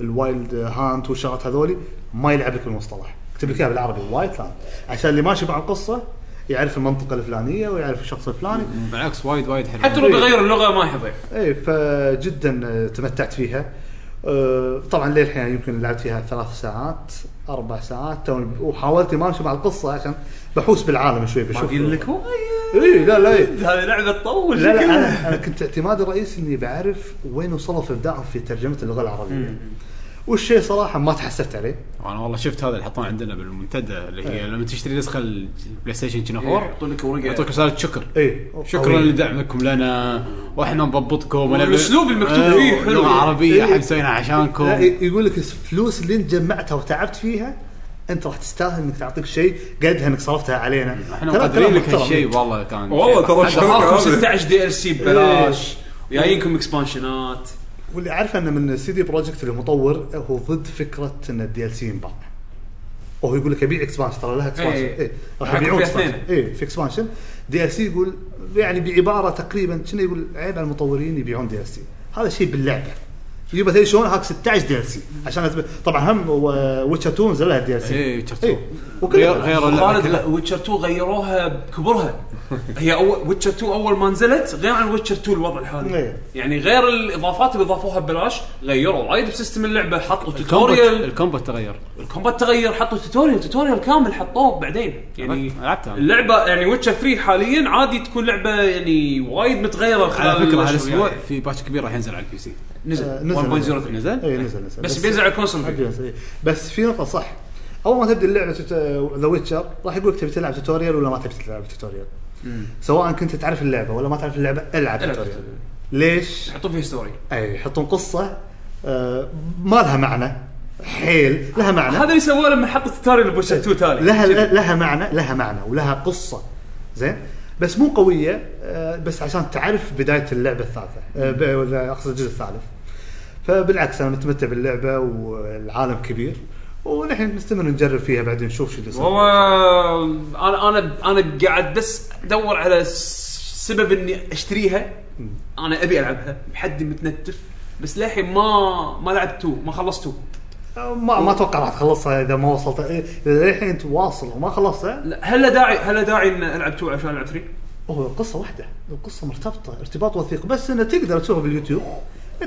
Speaker 4: الوايلد هانت والشغلات هذولي ما يلعب لك بالمصطلح اكتب لك اياها بالعربي وايلد هانت عشان اللي ماشي مع القصه يعرف المنطقه الفلانيه ويعرف الشخص الفلاني
Speaker 2: بالعكس وايد وايد حلو
Speaker 3: حتى لو
Speaker 4: إيه.
Speaker 3: بيغير اللغه ما يضيع
Speaker 4: اي فجدا آه، تمتعت فيها آه، طبعا للحين يمكن لعبت فيها ثلاث ساعات اربع ساعات توني- وحاولت ما امشي مع القصه عشان بحوس بالعالم شوي بشوف اي لا إيه. لا إي.
Speaker 3: هذه لعبه تطول
Speaker 4: لا لا انا انا كنت اعتمادي الرئيسي اني بعرف وين وصلت ابداعهم في ترجمه اللغه العربيه. والشيء صراحه ما تحسفت عليه.
Speaker 2: انا والله شفت هذا اللي حطوه عندنا بالمنتدى اللي هي لما تشتري نسخه البلاي ستيشن كنا فور
Speaker 3: إيه، يعطونك ورقه
Speaker 2: يعطوك رساله شكر
Speaker 4: اي
Speaker 2: شكرا لدعمكم لنا واحنا نضبطكم ونبي-
Speaker 3: والأسلوب المكتوب
Speaker 2: آه،
Speaker 3: فيه حلو.
Speaker 2: لغه عربيه
Speaker 4: إيه.
Speaker 2: احنا مسوينها عشانكم
Speaker 4: لا ي- يقول لك الفلوس اللي انت جمعتها وتعبت فيها انت راح تستاهل انك تعطيك شيء قدها انك صرفتها علينا.
Speaker 2: احنا
Speaker 4: كلام-
Speaker 2: مقدرين
Speaker 4: كلام
Speaker 2: لك
Speaker 4: محترم.
Speaker 2: هالشيء والله كان
Speaker 5: والله ترى الشركه
Speaker 3: دفعتكم
Speaker 5: هذه
Speaker 3: 16 دي ال سي
Speaker 2: إيه.
Speaker 3: ببلاش وجايينكم اكسبانشنات
Speaker 4: واللي اعرفه انه من سي دي بروجكت المطور هو ضد فكره ان الدي ال سي ينباع. وهو يقول لك ابيع اكسبانشن ترى لها اكسبانشن
Speaker 3: إيه.
Speaker 4: اي راح
Speaker 3: راح يكون
Speaker 4: يبيعون
Speaker 3: فيها
Speaker 4: اكسبانشن
Speaker 3: اثنين.
Speaker 4: اي في اكسبانشن دي ال سي يقول يعني بعباره تقريبا كنا يقول عيب على المطورين يبيعون دي ال سي هذا شيء باللعبه يجيب مثلا شلون هاك 16 دي ال سي عشان أثبت- طبعا هم ويتشر 2 نزل لها دي ال سي
Speaker 2: إيه، Witcher 2. غير
Speaker 4: وكل
Speaker 2: غير اللعبة
Speaker 3: خالد
Speaker 2: كلها.
Speaker 3: ويتشر 2 غيروها بكبرها هي اول ويتشر 2 اول ما نزلت غير عن ويتشر 2 الوضع الحالي
Speaker 4: إيه.
Speaker 3: يعني غير الاضافات اللي ضافوها ببلاش غيروا وايد بسيستم اللعبه حطوا
Speaker 2: الكومبات
Speaker 3: توتوريال
Speaker 2: الكومبات تغير
Speaker 3: الكومبات تغير حطوا توتوريال توتوريال كامل حطوه بعدين يعني
Speaker 2: لعبتها أنا.
Speaker 3: اللعبه يعني ويتشر 3 حاليا عادي تكون لعبه يعني وايد متغيره خلال
Speaker 2: على فكره
Speaker 3: الأشهر
Speaker 2: هالاسبوع
Speaker 3: يعني.
Speaker 2: في باتش كبير راح ينزل على البي سي
Speaker 4: آه،
Speaker 3: نزل
Speaker 4: نزل.
Speaker 3: 1.03
Speaker 2: نزل؟
Speaker 4: اي نزل نزل
Speaker 3: بس بينزل على الكونسول
Speaker 4: حق يونس، إيه. بس في نقطة صح أول ما تبدأ اللعبة ذا ويتشر راح يقول لك تبي تلعب توتوريال ولا ما تبي تلعب توتوريال سواء كنت تعرف اللعبة ولا ما تعرف اللعبة العب
Speaker 3: العب
Speaker 4: توتوريال
Speaker 3: توتوريال.
Speaker 4: ليش؟
Speaker 3: حطوا فيه ستوري
Speaker 4: اي يحطون قصة آه، ما لها معنى حيل لها معنى
Speaker 3: هذا اللي سووه لما حطوا ستوري لبوشر 2 تالي
Speaker 4: لها لها معنى لها معنى ولها قصه زين بس مو قويه آه، بس عشان تعرف بدايه اللعبه الثالثه آه، ب- ولا اقصد الجزء الثالث فبالعكس انا متمتع باللعبه والعالم كبير ونحن نستمر نجرب فيها بعدين نشوف شو اللي يصير
Speaker 3: هو انا انا انا قاعد بس ادور على س- سبب اني اشتريها انا ابي العبها بحد متنتف بس للحين ما ما لعبت 2 ما خلصت 2
Speaker 4: آه، ما ما اتوقع راح تخلصها اذا ما وصلت إيه، اذا الحين انت واصل وما خلصتها
Speaker 3: لا، هل له داعي هل له داعي ان العب 2 عشان العب 3
Speaker 4: هو قصه واحده القصه مرتبطه ارتباط وثيق بس انه تقدر تشوفها باليوتيوب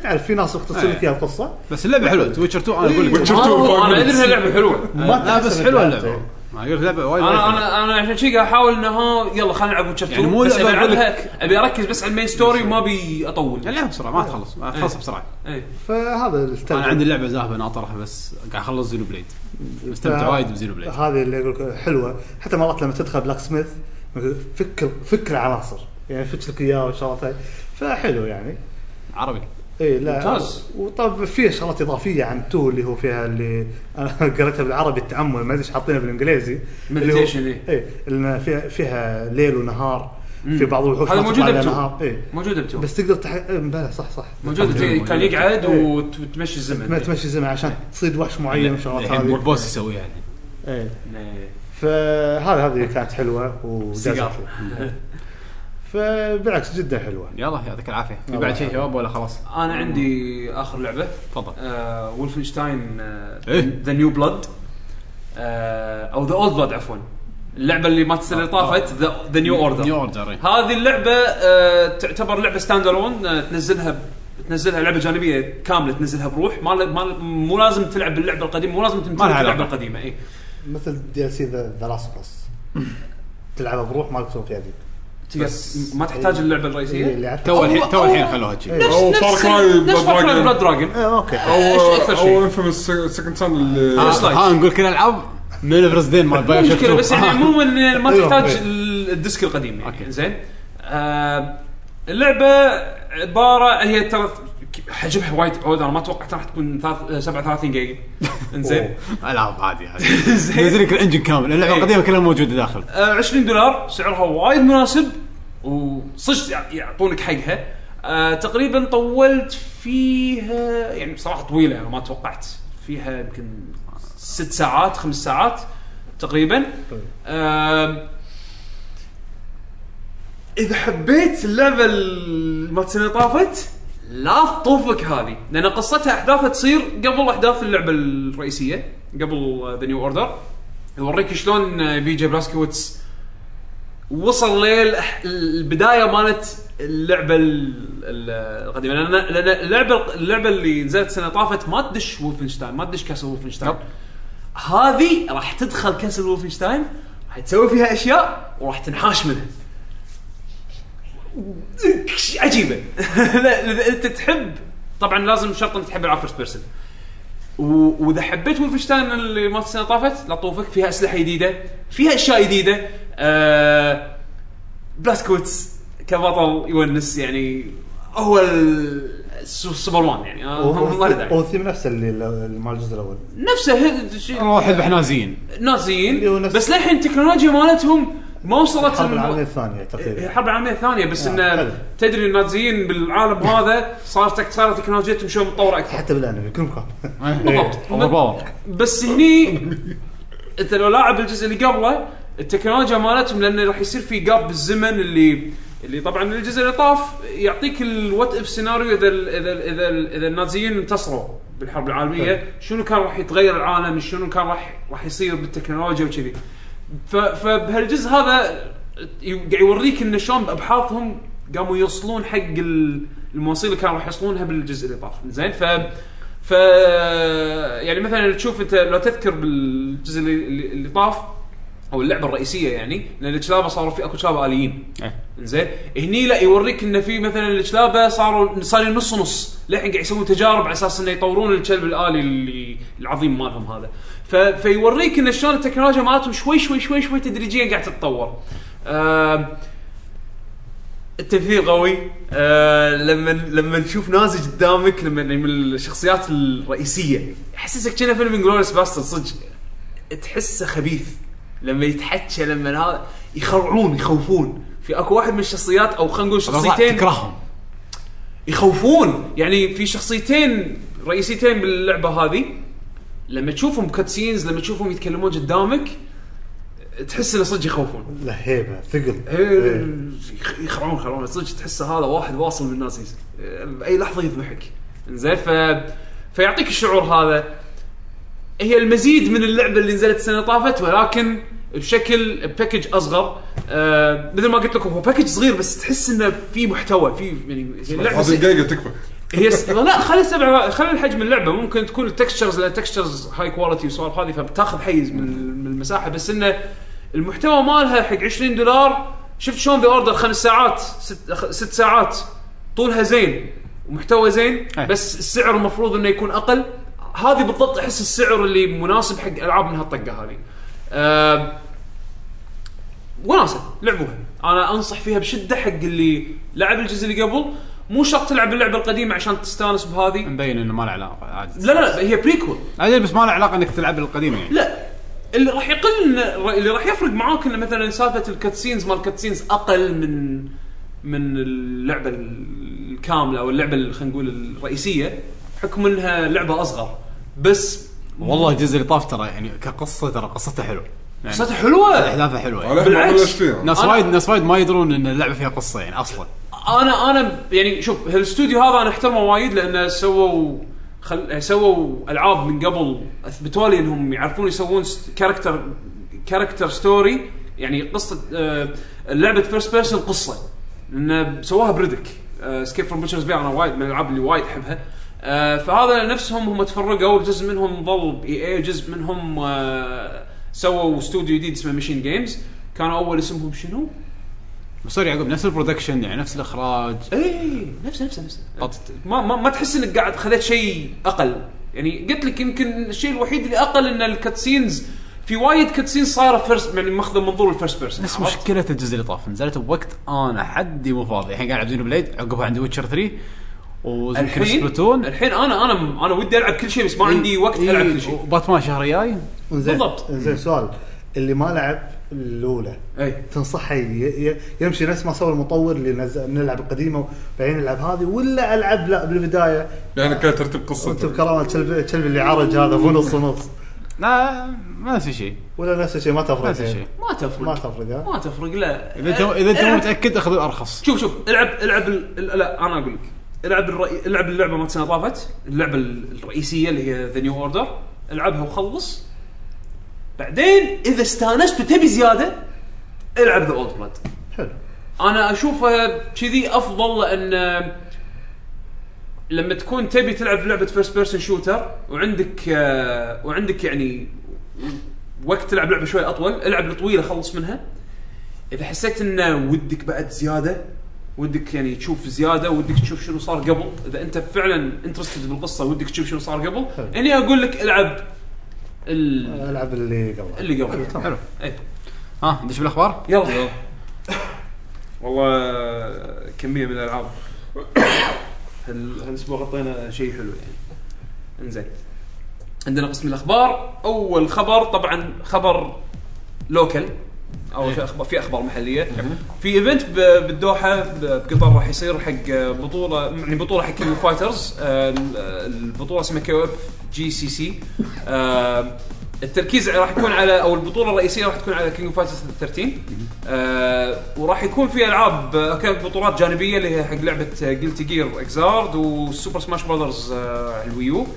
Speaker 4: تعرف في ناس يختصر لك
Speaker 2: إيه.
Speaker 4: اياها القصه
Speaker 2: بس اللعبه حلوه ويتشر 2 انا اقول لك
Speaker 5: Witcher 2 five
Speaker 3: انا ادري
Speaker 5: minutes.
Speaker 3: انها لعبه حلوه
Speaker 4: ما
Speaker 2: لا
Speaker 4: تحس
Speaker 2: آه، بس
Speaker 4: إنك
Speaker 2: حلوه
Speaker 4: لعبت،
Speaker 2: اللعبه
Speaker 4: إيه.
Speaker 2: انا اقول لك لعبه وايد
Speaker 3: انا
Speaker 2: وايد
Speaker 3: انا انا عشان شي قاعد احاول انها يلا خلينا نلعب ويتشر 2
Speaker 2: يعني مو
Speaker 3: بس
Speaker 2: لعبة
Speaker 3: أبي
Speaker 2: أقول لك-
Speaker 3: ألعبها- ابي اركز بس على المين ستوري وما ابي
Speaker 2: حلوة.
Speaker 3: اطول
Speaker 2: لا بسرعه يعني ما تخلص ما تخلص
Speaker 3: إيه.
Speaker 2: بسرعه
Speaker 3: إيه.
Speaker 4: فهذا الستايل.
Speaker 2: انا عندي اللعبه ذاهبه ناطرها بس قاعد اخلص زينو بليد مستمتع
Speaker 4: ف-
Speaker 2: وايد بزينو بليد
Speaker 4: هذه اللي اقول لك حلوه حتى مرات لما تدخل بلاك سميث فك فك العناصر يعني فتش لك اياه والشغلات هاي فحلو يعني
Speaker 2: عربي
Speaker 4: اي لا
Speaker 3: ممتاز.
Speaker 4: وطب في شغلات اضافيه عن تو اللي هو فيها اللي انا قريتها بالعربي التامل ما ادري ايش حاطينها بالانجليزي اللي هو-
Speaker 3: Meditation، إيه.
Speaker 4: اي اللي فيها فيها ليل ونهار في بعض الوحوش
Speaker 3: هذا
Speaker 4: ما
Speaker 3: موجودة
Speaker 4: تطلع إلا
Speaker 3: بتو.
Speaker 4: نهار اي
Speaker 3: موجوده ب 2
Speaker 4: بس تقدر تح... إيه، بلى صح صح
Speaker 3: موجود
Speaker 2: إيه.
Speaker 3: كان يقعد
Speaker 4: إيه.
Speaker 3: وت- وتمشي الزمن
Speaker 4: ما تمشي زمان عشان تصيد وحش معين وشغلات
Speaker 3: يعني
Speaker 2: الحين
Speaker 4: هذه
Speaker 2: بوس يسويها يعني. الحين
Speaker 4: إيه.
Speaker 3: إيه.
Speaker 4: فهذا هذه كانت حلوه
Speaker 3: سيجار.
Speaker 4: وجازت فبالعكس جدا حلوه
Speaker 2: يلا يعطيك العافيه في
Speaker 4: الله
Speaker 2: بعد شيء
Speaker 4: يحفظك.
Speaker 2: شباب ولا خلاص
Speaker 3: انا عندي اخر لعبه
Speaker 2: تفضل
Speaker 3: آه ولفنشتاين
Speaker 2: إيه؟
Speaker 3: ذا نيو بلاد او ذا اولد بلاد عفوا اللعبه اللي مات
Speaker 5: آه،
Speaker 3: السنه اللي طافت ذا نيو
Speaker 2: نيو
Speaker 3: اوردر
Speaker 2: اوردر
Speaker 3: هذه اللعبه آه تعتبر لعبه ستاند الون آه تنزلها ب- تنزلها لعبه جانبيه كامله تنزلها بروح ما, ل- ما ل- مو لازم تلعب باللعبه القديمه مو لازم تمتلك
Speaker 2: لها
Speaker 3: اللعبه
Speaker 2: علاقة.
Speaker 3: القديمه اي
Speaker 4: مثل دي ال سي ذا لاست بس تلعبها بروح مالك سوق يدي
Speaker 3: بس ما تحتاج اللعبه
Speaker 4: إيه،
Speaker 3: الرئيسيه
Speaker 4: اللي عارف
Speaker 2: تو الحين تو
Speaker 3: أو-
Speaker 2: الحين خلوها
Speaker 3: إيه.
Speaker 2: كذي
Speaker 5: أو Far Cry Blood Dragon.
Speaker 3: بلاد دراجون
Speaker 4: إيه، اوكي
Speaker 5: او
Speaker 3: إيش أكثر شيء؟
Speaker 5: او انفيمس سكند سان اللي
Speaker 3: آه.
Speaker 2: ها نقول كل العاب من الفرزدين مال بايو شوك
Speaker 3: مشكله
Speaker 2: 2.
Speaker 3: بس يعني عموما يعني ما
Speaker 4: أيوة،
Speaker 3: تحتاج
Speaker 4: أيوة.
Speaker 3: الديسك القديم يعني
Speaker 2: أوكي.
Speaker 3: زين آه، اللعبه عباره هي ترى حجمها وايد عود انا ما توقعت راح تكون ثلاث- 37 جيجا انزين
Speaker 2: العاب عادي عادي
Speaker 3: زين.
Speaker 2: نزل لك الانجن كامل اللعبه
Speaker 3: إيه.
Speaker 2: القديمه كلها موجوده داخل
Speaker 3: آه، 20 دولار سعرها وايد مناسب وصج يع- يعطونك حقها آه، تقريبا طولت فيها يعني بصراحه طويله انا ما توقعت فيها يمكن ست ساعات خمس ساعات تقريبا
Speaker 2: طيب.
Speaker 3: آم، اذا حبيت اللعبه ال- مالت السنه اللي طافت لا تطوفك هذه لان قصتها احداثها تصير قبل احداث اللعبه الرئيسيه قبل ذا نيو اوردر يوريك شلون آه، بيجي بلاسكويتس وصل للبدايه مالت اللعبه ال- ال- القديمه لان لأن اللعبه اللعبه اللي نزلت السنه اللي طافت ما تدش وولفنشتاين ما تدش كاسل وولفنشتاين هذه راح تدخل كاسل وولفنشتاين راح تسوي فيها اشياء وراح تنحاش منها عجيبه لا اذا انت تحب طبعا لازم شرط انك تحب العاب فيرست بيرسون و- واذا حبيت ولفنشتاين اللي مالت السنه اللي طافت لا تطوفك فيها اسلحه جديده فيها اشياء جديده آه بلاسكوتس كبطل يونس يعني هو ال- السو- سوبرمان يعني آه، هم- ما له داعي.
Speaker 4: والثيم نفسه اللي اللي مال الجزء الاول
Speaker 3: نفسه هذ- شي-
Speaker 2: نروح نذبح نازيين
Speaker 3: نازيين
Speaker 4: اللي هو نفس-
Speaker 3: بس للحين التكنولوجيا مالتهم ما وصلت
Speaker 4: الحرب
Speaker 3: الم-
Speaker 4: العالميه الثانيه
Speaker 3: إيه،
Speaker 4: تقريبا
Speaker 3: الحرب العالميه الثانيه بس
Speaker 4: آه، حلو.
Speaker 3: انه تدري النازيين بالعالم هذا صارت تك- صارت تكنولوجيتهم شوي متطوره اكثر
Speaker 4: حتى بالانمي كل مكان
Speaker 2: إيه.
Speaker 3: بالضبط.
Speaker 2: اوفر باور
Speaker 3: بس هني انت لو لاعب الجزء اللي قبله التكنولوجيا مالتهم لانه راح يصير في جاب بالزمن اللي اللي طبعا الجزء اللي طاف يعطيك الوات اف سيناريو اذا ال اذا ال اذا, ال اذا النازيين انتصروا بالحرب العالميه شنو كان راح يتغير العالم شنو كان راح راح يصير بالتكنولوجيا وكذي ف- فبهالجزء هذا ي- قاعد يوريك انه شلون بابحاثهم قاموا يوصلون حق ال- المواصيل اللي كانوا راح يوصلونها بالجزء اللي طاف زين ف ف يعني مثلا تشوف انت لو تذكر بالجزء اللي, اللي اللي طاف او اللعبه الرئيسيه يعني لان الكلابه صاروا في اكو كلابه اليين زين هني لا يوريك انه في مثلا الكلابه صاروا صاروا نص نص للحين قاعد يسوون تجارب على اساس انه يطورون الكلب الالي اللي العظيم مالهم هذا ف... فيوريك ان شلون التكنولوجيا مالتهم شوي شوي شوي شوي تدريجيا قاعد تتطور آم، التمثيل قوي آه لما لما تشوف نازي قدامك لما يعني من الشخصيات الرئيسيه يحسسك كأنه فيلم انجلوريس باستر صدق تحسه خبيث لما يتحكى لما هذا يخرعون يخوفون في اكو واحد من الشخصيات او خلينا نقول شخصيتين
Speaker 2: تكرههم
Speaker 3: يخوفون يعني في شخصيتين رئيسيتين باللعبه هذه لما تشوفهم كاتسينز لما تشوفهم يتكلمون قدامك تحس انه صدق يخوفون
Speaker 4: لا هيبه ثقل
Speaker 3: إيه،
Speaker 4: إيه.
Speaker 3: يخ- يخرعون خرعون صدق تحسه هذا واحد واصل من الناس باي لحظه يذبحك زين ف فيعطيك الشعور هذا هي المزيد من اللعبه اللي نزلت السنه اللي طافت ولكن بشكل باكج اصغر آه مثل ما قلت لكم هو باكج صغير بس تحس انه في محتوى في يعني اللعبه
Speaker 5: هذه
Speaker 3: س-
Speaker 5: دقيقه تكفى
Speaker 3: هي س... لا خلي سبع خلي الحجم اللعبه ممكن تكون التكستشرز لان التكستشرز هاي كواليتي والسوالف هذه فبتاخذ حيز من من المساحه بس انه المحتوى مالها حق 20 دولار شفت شلون ذا اوردر خمس ساعات ست, خ- ست ساعات طولها زين ومحتوى زين
Speaker 2: أي.
Speaker 3: بس السعر المفروض انه يكون اقل هذه بالضبط احس السعر اللي مناسب حق العاب من هالطقه هذه أه... وناسه لعبوها انا انصح فيها بشده حق اللي لعب الجزء اللي قبل مو شرط تلعب اللعبه القديمه عشان تستانس بهذه
Speaker 2: مبين انه ما له علاقه عادي
Speaker 3: لا لا لا هي بريكول
Speaker 2: عادي بس ما له علاقه انك تلعب القديمه يعني
Speaker 3: لا اللي راح يقل اللي راح يفرق معاك انه مثلا سالفه الكاتسينز مال الكاتسينز اقل من من اللعبه الكامله او اللعبه ال- خلينا نقول الرئيسيه حكم انها لعبه اصغر بس
Speaker 2: والله الجزء اللي طاف ترى يعني كقصه ترى قصته حلو يعني
Speaker 3: قصتها حلوه
Speaker 2: احداثها حلوه يعني.
Speaker 5: على الحين ما
Speaker 3: بالعكس. نعم.
Speaker 5: بلشت فيها
Speaker 2: ناس
Speaker 3: أنا-
Speaker 2: وايد ناس وايد ما يدرون ان اللعبه فيها قصه يعني اصلا
Speaker 3: انا انا يعني شوف هالاستوديو هذا انا احترمه وايد لانه سووا خل... سووا العاب من قبل اثبتوا لي انهم يعرفون يسوون ست... كاركتر كاركتر ستوري يعني قصه آه... لعبه فيرست بيرسون قصه لان سواها بريدك آه... سكيب فروم بوتشرز بي انا وايد من الالعاب اللي وايد احبها آه... فهذا نفسهم هم تفرقوا جزء منهم ظل باي اي جزء منهم آه... سووا استوديو جديد اسمه ماشين جيمز كانوا اول اسمهم شنو؟
Speaker 2: بس سوري يعقوب نفس البرودكشن يعني نفس الاخراج
Speaker 3: اي إيه، نفسه نفسه نفسه
Speaker 2: طب-
Speaker 3: ما ما, ما تحس انك قاعد خذيت شيء اقل يعني قلت لك يمكن الشيء الوحيد اللي اقل ان الكاتسينز في وايد كاتسين صايره فيرست يعني ماخذه منظور الفيرست بيرسون
Speaker 2: بس مشكله الجزء اللي طاف نزلت بوقت انا حدي مو فاضي الحين قاعد العب زينو بليد عقبها عندي ويتشر 3 ويمكن
Speaker 3: الحين
Speaker 2: سبلاتون
Speaker 3: الحين انا انا انا ودي العب كل شيء بس ما عندي وقت
Speaker 2: إيه،
Speaker 3: العب كل شيء
Speaker 2: وباتمان شهر الجاي
Speaker 4: زين
Speaker 3: بالضبط.
Speaker 4: زين سؤال اللي ما لعب الاولى
Speaker 2: إيه.
Speaker 3: اي
Speaker 4: تنصحه ي- ي- يمشي نفس ما سوى المطور اللي نزل نلعب القديمه وبعدين نلعب هذه ولا العب لا بالبدايه
Speaker 5: يعني كان ترتيب
Speaker 4: وانت
Speaker 5: قصته
Speaker 4: بكرامه الكلب الكلب اللي عرج هذا مو نص ونص
Speaker 2: لا ما في شيء
Speaker 4: ولا نفس الشيء ما تفرق
Speaker 2: نفس الشيء
Speaker 3: ما
Speaker 4: ما
Speaker 3: تفرق
Speaker 4: تفرق ها
Speaker 3: ما تفرق لا
Speaker 2: اذا انت اذا
Speaker 3: أه.
Speaker 2: انت مو متاكد اخذ الارخص
Speaker 3: شوف شوف العب العب ال- ال- لا انا اقول لك العب الرأي... العب اللعبه مالت سنه طافت اللعبه ال- الرئيسيه اللي هي ذا نيو اوردر العبها وخلص بعدين اذا استانست وتبي زياده العب ذا اولد بلاد
Speaker 4: حلو
Speaker 3: انا اشوفها كذي افضل لان لما تكون تبي تلعب لعبه فيرست بيرسون شوتر وعندك آه، وعندك يعني وقت تلعب لعبه شوي اطول العب الطويله خلص منها اذا حسيت ان ودك بعد زياده ودك يعني تشوف زياده ودك تشوف شنو صار قبل اذا انت فعلا انترستد بالقصه ودك تشوف شنو صار قبل
Speaker 4: حلو.
Speaker 3: اني اقول لك العب ال-
Speaker 4: العب اللي قبله
Speaker 3: اللي قبل
Speaker 4: تمام.
Speaker 2: حلو
Speaker 3: إيه.
Speaker 2: ها ندش بالاخبار
Speaker 3: يلا والله كميه من الالعاب هال- هالاسبوع غطينا شيء حلو يعني انزين عندنا قسم الاخبار اول خبر طبعا خبر لوكل او في اخبار في اخبار محليه في ايفنت ب- بالدوحه ب- بقطر راح يصير حق بطوله يعني بطوله حق كينج فايترز آه، ال- البطوله اسمها كيو اف جي سي سي آه، التركيز راح يكون على او البطوله الرئيسيه راح تكون على كينج فايترز 13 آه، وراح يكون في العاب آه، كانت بطولات جانبيه اللي هي حق لعبه جلتي جير اكزارد وسوبر سماش براذرز على الويو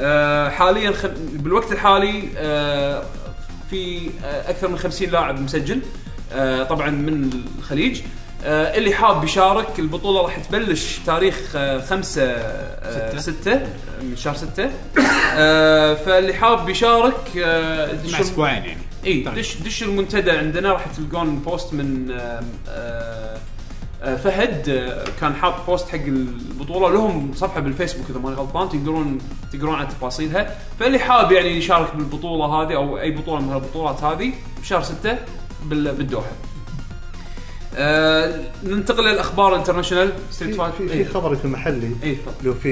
Speaker 3: آه، حاليا خ- بالوقت الحالي آه، في آه، اكثر من 50 لاعب مسجل آه، طبعا من الخليج آه، اللي حاب يشارك البطوله راح تبلش تاريخ آه، 5 6 من شهر 6 فاللي حاب يشارك آه، دش
Speaker 2: مع
Speaker 3: الم-
Speaker 2: اسبوعين يعني
Speaker 3: اي
Speaker 2: طيب.
Speaker 3: إيه، دش دش المنتدى عندنا راح تلقون بوست من آه، آه، آه، فهد آه، كان حاط بوست حق البطوله لهم صفحه بالفيسبوك اذا ماني غلطان تقدرون تقرون عن تفاصيلها فاللي حاب يعني يشارك بالبطوله هذه او اي بطوله من هالبطولات هذه بشهر 6 بالدوحه. آه ننتقل للاخبار الانترناشونال ستريت
Speaker 4: في
Speaker 3: فايت
Speaker 4: في- في خبر في المحلي
Speaker 3: اي تفضل
Speaker 4: لو في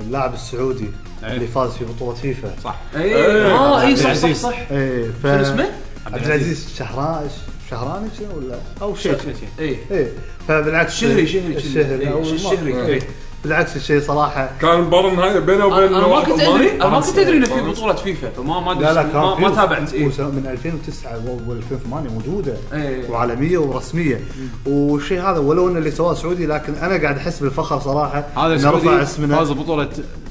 Speaker 4: اللاعب السعودي
Speaker 3: إيه.
Speaker 4: اللي فاز في بطوله فيفا
Speaker 2: صح
Speaker 3: اي اه اي صح صح
Speaker 2: العزيز.
Speaker 3: صح
Speaker 4: ايه ف
Speaker 3: شنو اسمه؟
Speaker 4: عبد العزيز شهران شهراني شنو ولا او شيء
Speaker 3: اي
Speaker 4: ايه فبالعكس
Speaker 3: شهري شهري
Speaker 4: الشهري
Speaker 3: إيه،
Speaker 4: او الم-
Speaker 3: الشهري إيه.
Speaker 4: بالعكس الشيء صراحه
Speaker 5: كان المباراه النهائيه بينه
Speaker 3: انا
Speaker 5: وبين
Speaker 3: أنا ما
Speaker 5: واحد
Speaker 3: كنت
Speaker 5: ألماني.
Speaker 3: ادري انا ما كنت ادري انه في بطوله فيفا فما ما
Speaker 4: لا لا
Speaker 3: ادري
Speaker 4: كان
Speaker 3: ما,
Speaker 4: في-
Speaker 3: ما تابعت اي
Speaker 4: وس- من 2009 و 2008 موجوده
Speaker 3: إيه.
Speaker 4: وعالميه ورسميه والشيء هذا ولو ان اللي سواه سعودي لكن انا قاعد احس بالفخر صراحه
Speaker 2: هذا
Speaker 4: إنه رفع
Speaker 2: السعودي
Speaker 4: اسمنا
Speaker 2: فاز ببطوله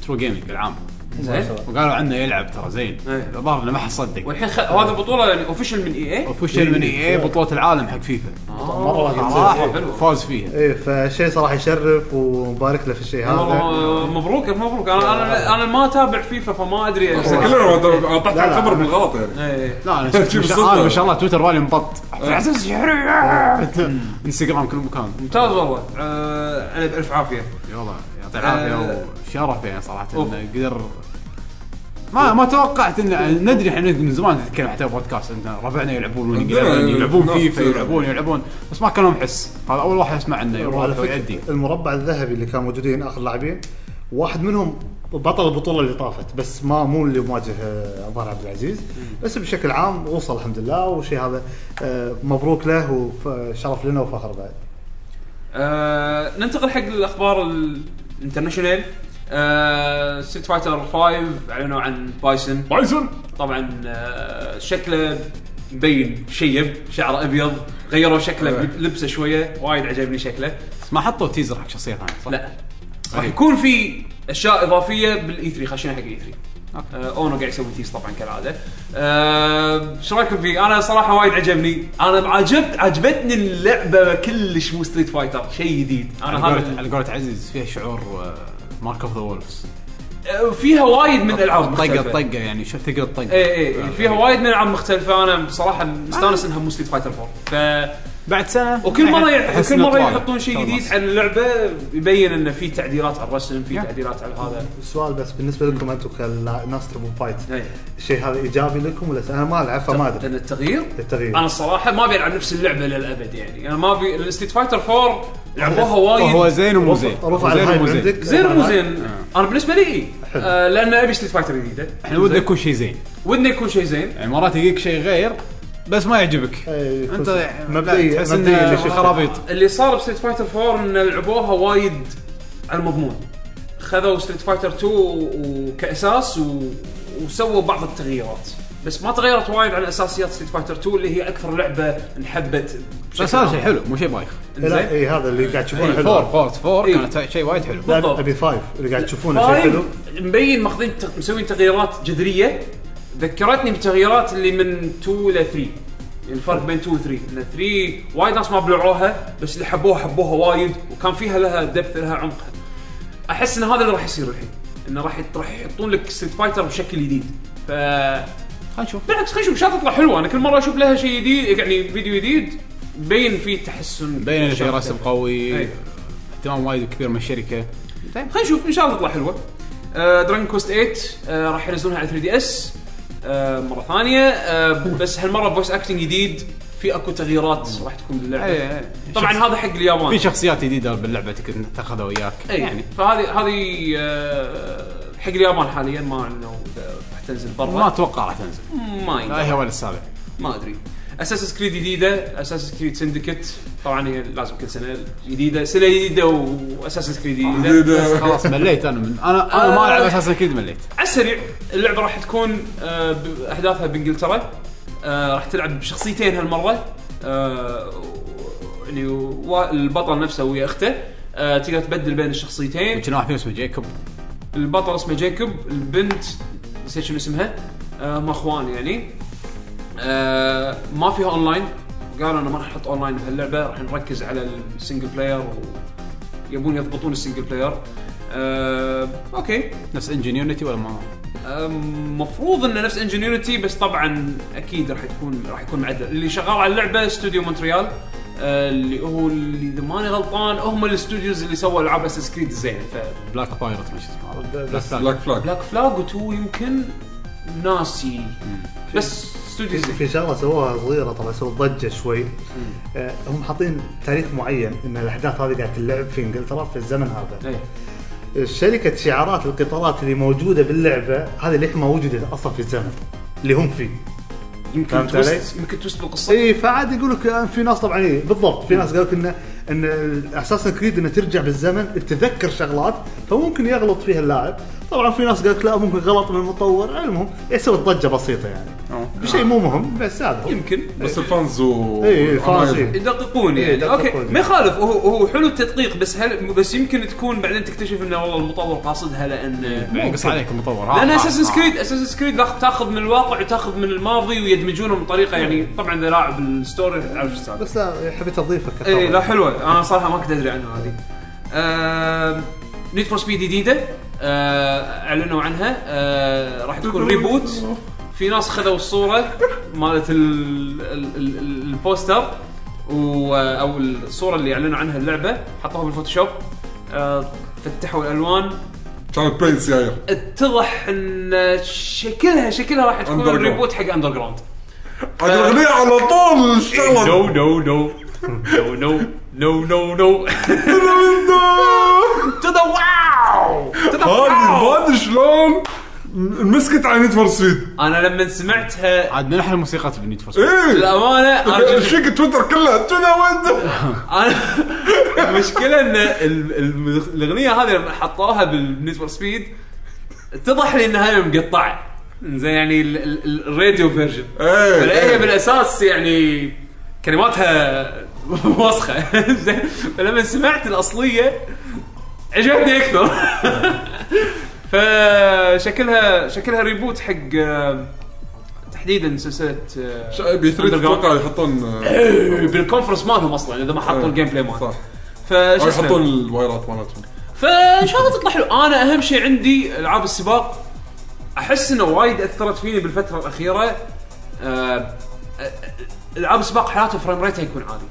Speaker 2: ترو جيمنج العام
Speaker 3: زين
Speaker 2: وقالوا عنه يلعب ترى زين
Speaker 3: إيه.
Speaker 2: الظاهر انه ما حد صدق
Speaker 3: والحين خ... هذه بطوله يعني اوفيشل من اي اي
Speaker 2: اوفشل من اي بطوله العالم حق فيفا
Speaker 4: مره
Speaker 2: صراحه فاز فيها
Speaker 4: ايه فشيء صراحه يشرف ومبارك له في الشيء هذا
Speaker 3: مبروك ألف مبروك انا انا انا ما اتابع فيفا فما ادري يعني
Speaker 5: بس
Speaker 3: إيه.
Speaker 5: كلنا
Speaker 4: لا،
Speaker 5: اعطيت
Speaker 4: لا.
Speaker 5: الخبر بالغلط يعني
Speaker 3: إيه.
Speaker 2: لا انا شفت-
Speaker 5: شوف
Speaker 2: ما شاء-
Speaker 5: صدق.
Speaker 2: آه، ما شاء الله تويتر والي مبط انستغرام كل مكان
Speaker 3: ممتاز والله آه، انا بالف عافيه
Speaker 2: اي والله يعطيه
Speaker 3: آه.
Speaker 2: العافيه وشرف يعني صراحه
Speaker 3: أوف.
Speaker 2: انه قدر ما ما توقعت ان ندري احنا من زمان نتكلم حتى بودكاست ان ربعنا يلعبون
Speaker 3: نعم،
Speaker 2: وينج
Speaker 5: عندنا
Speaker 2: إليفن، يلعبون
Speaker 5: ناس
Speaker 2: فيفا
Speaker 5: يلعبون.
Speaker 2: يلعبون يلعبون بس ما كان لهم حس هذا اول واحد اسمع عنه
Speaker 4: وعلى
Speaker 2: يروح
Speaker 4: فكرة
Speaker 2: ويأدي
Speaker 4: المربع الذهبي اللي كان موجودين اخر لاعبين واحد منهم بطل البطوله اللي طافت بس ما مو اللي مواجه آه، الظاهر عبد العزيز بس بشكل عام وصل الحمد لله وشيء هذا آه، مبروك له وشرف لنا وفخر بعد
Speaker 3: آه، ننتقل حق الاخبار الانترناشونال آه، ستريت فايتر 5 اعلنوا عن بايسن
Speaker 5: بايسون
Speaker 3: طبعا آه، شكله مبين شيب شعره ابيض غيروا شكله
Speaker 5: أيوة.
Speaker 3: لبسه شويه وايد عجبني شكله
Speaker 2: بس ما حطوا تيزر حق شخصيه ثانيه صح؟
Speaker 3: لا راح يكون في اشياء اضافيه بالاي 3 خشينا حق الاي 3
Speaker 2: أوكي.
Speaker 3: آه اونو قاعد يسوي تيس طبعا كالعاده آه، ايش رايكم فيه؟ انا صراحه وايد عجبني انا عجبت عجبتني اللعبه كلش مو ستريت فايتر شيء جديد انا
Speaker 2: على
Speaker 3: هذا
Speaker 2: قولة- على قولة عزيز فيها شعور آه، مارك اوف ذا وولفز
Speaker 3: آه، فيها وايد من الالعاب
Speaker 2: طقه
Speaker 3: مختلفة.
Speaker 2: طقه يعني شو تقدر تطق
Speaker 3: إيه،
Speaker 2: آه،
Speaker 3: يعني اي اي فيها وايد من العاب مختلفه انا بصراحه مستانس انها مو ستريت فايتر 4 ف
Speaker 2: بعد سنه
Speaker 3: وكل مره يع-
Speaker 2: أحس
Speaker 3: كل
Speaker 2: إنه
Speaker 3: مره
Speaker 2: طوال.
Speaker 3: يحطون شيء
Speaker 2: طوال
Speaker 3: جديد
Speaker 2: ماسك.
Speaker 3: عن اللعبه يبين انه في تعديلات على الرسم في
Speaker 2: Yeah.
Speaker 3: تعديلات على هذا
Speaker 4: السؤال بس بالنسبه لكم انتم كناس تبون فايت
Speaker 3: إيه.
Speaker 4: الشيء هذا ايجابي لكم ولا انا ما العب فما ادري
Speaker 3: لان التغيير
Speaker 4: التغيير
Speaker 3: انا الصراحه ما بيلعب نفس اللعبه للابد يعني انا ما بي الستيت فايتر 4 لعبوها
Speaker 2: هو
Speaker 3: وايد
Speaker 2: زين ومو زين هو
Speaker 4: رفع
Speaker 2: زين
Speaker 4: الهايب
Speaker 2: ومو زين
Speaker 4: عندك
Speaker 3: زين مو زين انا بالنسبه لي إيه. آه لان ابي ستيت فايتر جديده
Speaker 2: احنا ودنا يكون شيء زين
Speaker 3: ودنا يكون شيء زين
Speaker 2: يعني مرات يجيك شيء غير بس ما يعجبك
Speaker 4: إيه، يكون
Speaker 2: انت
Speaker 4: زين.
Speaker 2: لا،
Speaker 4: مبدئيا-
Speaker 2: يعني تحس
Speaker 4: مبدئيا
Speaker 2: انه
Speaker 4: اللي شفته.
Speaker 2: خرابيط
Speaker 3: اللي صار بستيت فايتر 4 ان لعبوها وايد على المضمون خذوا ستيت فايتر 2 و- كاساس و... وسووا بعض التغييرات بس ما تغيرت وايد عن اساسيات ستيت فايتر 2 اللي هي اكثر لعبه انحبت بشكل
Speaker 2: بس هذا شيء
Speaker 3: عام.
Speaker 2: حلو مو شيء بايخ
Speaker 3: إنزين؟
Speaker 4: لا اي هذا اللي قاعد تشوفونه حلو
Speaker 2: فور فور فور
Speaker 3: إيه.
Speaker 2: كانت شيء وايد حلو
Speaker 4: لا،
Speaker 3: بالضبط.
Speaker 4: ابي فايف اللي قاعد تشوفونه شيء
Speaker 3: فايف
Speaker 4: حلو
Speaker 3: طيب، مبين ماخذين تغ- مسوين تغييرات جذريه ذكرتني بالتغييرات اللي من 2 ل 3 يعني الفرق بين 2 و 3 ان 3 وايد ناس ما بلعوها بس اللي حبوها حبوها وايد وكان فيها لها دبث لها عمق احس ان هذا اللي راح يصير الحين انه راح يط- راح يحطون لك ستريت فايتر بشكل جديد ف
Speaker 2: خلينا نشوف
Speaker 3: بالعكس خلينا نشوف ان شاء الله تطلع حلوه انا كل مره اشوف لها شيء جديد يعني فيديو جديد مبين فيه تحسن
Speaker 2: مبين انه شيء رسم قوي
Speaker 3: إيه.
Speaker 2: اهتمام وايد كبير من الشركه
Speaker 3: طيب خلينا نشوف ان شاء الله تطلع حلوه آه دراجون كوست 8 آه راح ينزلونها على 3 دي اس آه مره ثانيه آه بس هالمره فويس اكتنج جديد في اكو تغييرات راح تكون
Speaker 2: إيه،
Speaker 3: باللعبه
Speaker 2: إيه.
Speaker 3: طبعا هذا حق اليابان
Speaker 2: في شخصيات جديده باللعبه تقدر تاخذها وياك
Speaker 3: اي يعني فهذه هذه آه حق اليابان حاليا ما اعلنوا اذا راح تنزل
Speaker 2: ما آه.
Speaker 3: برا
Speaker 2: اتوقع راح تنزل
Speaker 3: ما
Speaker 2: لا هي
Speaker 3: يندرى.
Speaker 2: ولا السابع
Speaker 3: ما ادري اساس كريد جديده اساس كريد سندكت طبعا هي لازم كل سنه جديده سنه جديده واساس كريد جديده
Speaker 5: زيد-
Speaker 2: خلاص مليت انا من انا انا ما العب اساسا كريد مليت
Speaker 3: على السريع اللعبه راح تكون آه، ب- احداثها بانجلترا آه، راح تلعب بشخصيتين هالمره آه، و- يعني و- البطل نفسه ويا اخته آه، تقدر تبدل بين الشخصيتين
Speaker 2: كنا واحد فيهم اسمه جيكوب
Speaker 3: البطل اسمه جيكوب البنت نسيت شنو اسمها آه، هم اخوان يعني آه، ما فيها اونلاين قالوا انا ما راح احط اونلاين بهاللعبه راح نركز على السنجل بلاير و- يبون يضبطون السنجل بلاير آه، اوكي
Speaker 2: نفس انجنيونيتي ولا ما
Speaker 3: المفروض انه نفس انجنيورتي بس طبعا اكيد راح تكون راح يكون معدل اللي شغال على اللعبه استوديو مونتريال آه، اللي هو اللي اذا ماني غلطان هم الاستوديوز اللي سووا العاب اساس كريد الزينه
Speaker 2: بلاك بايرت ما شو اسمه
Speaker 4: بس
Speaker 5: بلاك فلاج
Speaker 3: فبلاك فلاج وتو يمكن ناسي بس استوديو زين
Speaker 4: في شغله سووها صغيره طبعا سووا ضجه شوي آه، هم حاطين تاريخ معين ان الاحداث هذه قاعد تلعب في انجلترا في الزمن هذا
Speaker 3: إيه.
Speaker 4: شركه شعارات القطارات اللي موجوده باللعبه هذه للحين ما وجدت اصلا في الزمن اللي هم فيه
Speaker 3: يمكن
Speaker 4: فهمت علي؟ إيه.
Speaker 3: توست يمكن توست بالقصه
Speaker 4: اي فعاد يقول لك آه، في ناس طبعا إيه بالضبط في ناس قالوا لك انه ان اساسا كريد انه ترجع بالزمن تتذكر شغلات فممكن يغلط فيها اللاعب طبعا في ناس قالت لا ممكن غلط من المطور المهم إيه، يصير ضجه بسيطه يعني بشيء مو مهم بس هذا هو.
Speaker 3: يمكن
Speaker 5: بس الفانز و
Speaker 4: اي فانزين
Speaker 3: يدققون
Speaker 4: إيه،
Speaker 3: يعني اوكي
Speaker 4: يدققون.
Speaker 3: ما يخالف هو هو حلو التدقيق بس هل بس يمكن تكون بعدين تكتشف انه والله المطور قاصدها لان
Speaker 2: بعدين قص عليك المطور ها،
Speaker 3: لان
Speaker 2: ها، ها.
Speaker 3: اساسن سكريد اساسن سكريد تاخذ من الواقع وتاخذ من الماضي ويدمجونهم بطريقه يعني طبعا اذا لاعب الستوري عارف شو السالفة.
Speaker 4: بس لا حبيت اضيفك
Speaker 3: اي إيه، لا حلوه انا صراحه ما كنت ادري عنها هذه نيد فور سبيد جديده آه، اعلنوا عنها آه، راح تكون ريبوت في ناس خذوا الصوره مالت ال- ال- ال- ال- البوستر و- او الصوره اللي اعلنوا عنها اللعبه حطوها بالفوتوشوب آه، فتحوا الالوان
Speaker 5: كانت بين سيايير
Speaker 3: اتضح ان شكلها شكلها راح تكون
Speaker 5: Underground.
Speaker 3: ريبوت حق اندر جراوند
Speaker 5: عاد الاغنيه على طول
Speaker 3: نو
Speaker 5: اشتغلت
Speaker 3: نو نو نو نو نو نو نو تو ذا واو تو ذا
Speaker 5: هذه
Speaker 3: واو
Speaker 5: هذه آه، شلون مسكت على نيد فور سبيد
Speaker 3: انا لما سمعتها
Speaker 2: عاد من احلى الموسيقى في نيد فور سبيد
Speaker 5: ايه
Speaker 3: للامانه انا جبت-
Speaker 5: شيك تويتر كلها تو ذا ويندو
Speaker 3: انا المشكله ان ال- ال- الاغنيه هذه لما حطوها بالنيد فور سبيد اتضح لي انها مقطعه زين يعني ال- ال- ال- الراديو فيرجن
Speaker 5: إيه،
Speaker 3: فهي
Speaker 5: إيه.
Speaker 3: بالاساس يعني كلماتها وسخه زين فلما سمعت الاصليه عجبني اكثر فشكلها شكلها ريبوت حق آه، تحديدا سلسله آه،
Speaker 5: إيه. بي 3 اتوقع يحطون آه،
Speaker 3: بالكونفرنس مالهم اصلا اذا ما حطوا الجيم بلاي مالهم
Speaker 5: إيه. صح
Speaker 3: فشو
Speaker 5: او
Speaker 3: اسمه؟
Speaker 5: يحطون الوايرات مالتهم
Speaker 3: فان شاء الله تطلع حلو انا اهم شيء عندي العاب السباق احس انه وايد اثرت فيني بالفتره الاخيره آه، آه، العاب السباق حالاتها فريم ريتها يكون عالي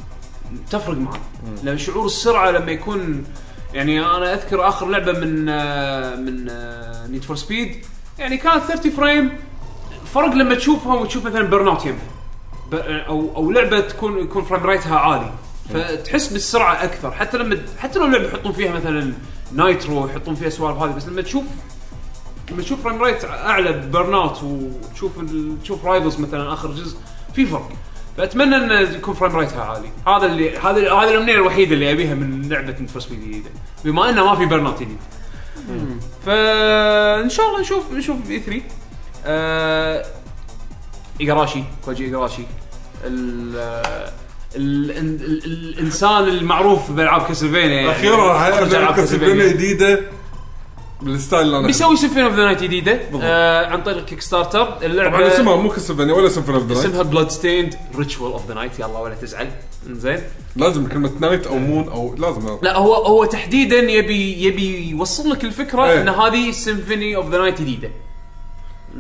Speaker 3: تفرق معي لان شعور السرعه لما يكون يعني انا اذكر اخر لعبه من آه، من نيد فور سبيد يعني كانت 30 فريم فرق لما تشوفها وتشوف مثلا بيرن اوت يمها ب- او او لعبه تكون يكون فريم ريتها عالي فتحس بالسرعه اكثر حتى لما حتى لو لعبه يحطون فيها مثلا نايترو يحطون فيها سوالف هذه بس لما تشوف لما تشوف فريم ريت اعلى ببرن اوت وتشوف ال- تشوف رايفلز مثلا اخر جزء في فرق فاتمنى ان يكون فريم ريتها عالي هذا اللي هذا هذه الامنيه الوحيده اللي ابيها من لعبه انفرس جديده بما انه ما في برن اوت جديد فان شاء الله نشوف نشوف اي 3 آه ايجاراشي كوجي ايجاراشي ال ال- ال- الانسان المعروف بالعاب كاسلفينيا يعني.
Speaker 5: اخيرا راح
Speaker 3: أخرج ألعاب
Speaker 5: العب كاسلفينيا
Speaker 3: كاسلفينيا.
Speaker 5: جديده بالستايل اللي انا
Speaker 3: بيسوي سيمفوني اوف ذا نايت جديده آه عن طريق كيك ستارتر اللعبه
Speaker 5: طبعا اسمها مو كاسلفينيا ولا سيمفوني اوف ذا
Speaker 3: اسمها
Speaker 5: نايت
Speaker 3: بلود ستيند ريتشوال اوف ذا نايت يلا ولا تزعل انزين
Speaker 5: لازم كلمه نايت او مون او لازم هذا.
Speaker 3: لا هو هو تحديدا يبي يبي يوصل لك الفكره
Speaker 5: إيه.
Speaker 3: ان هذه سيمفوني اوف ذا نايت جديده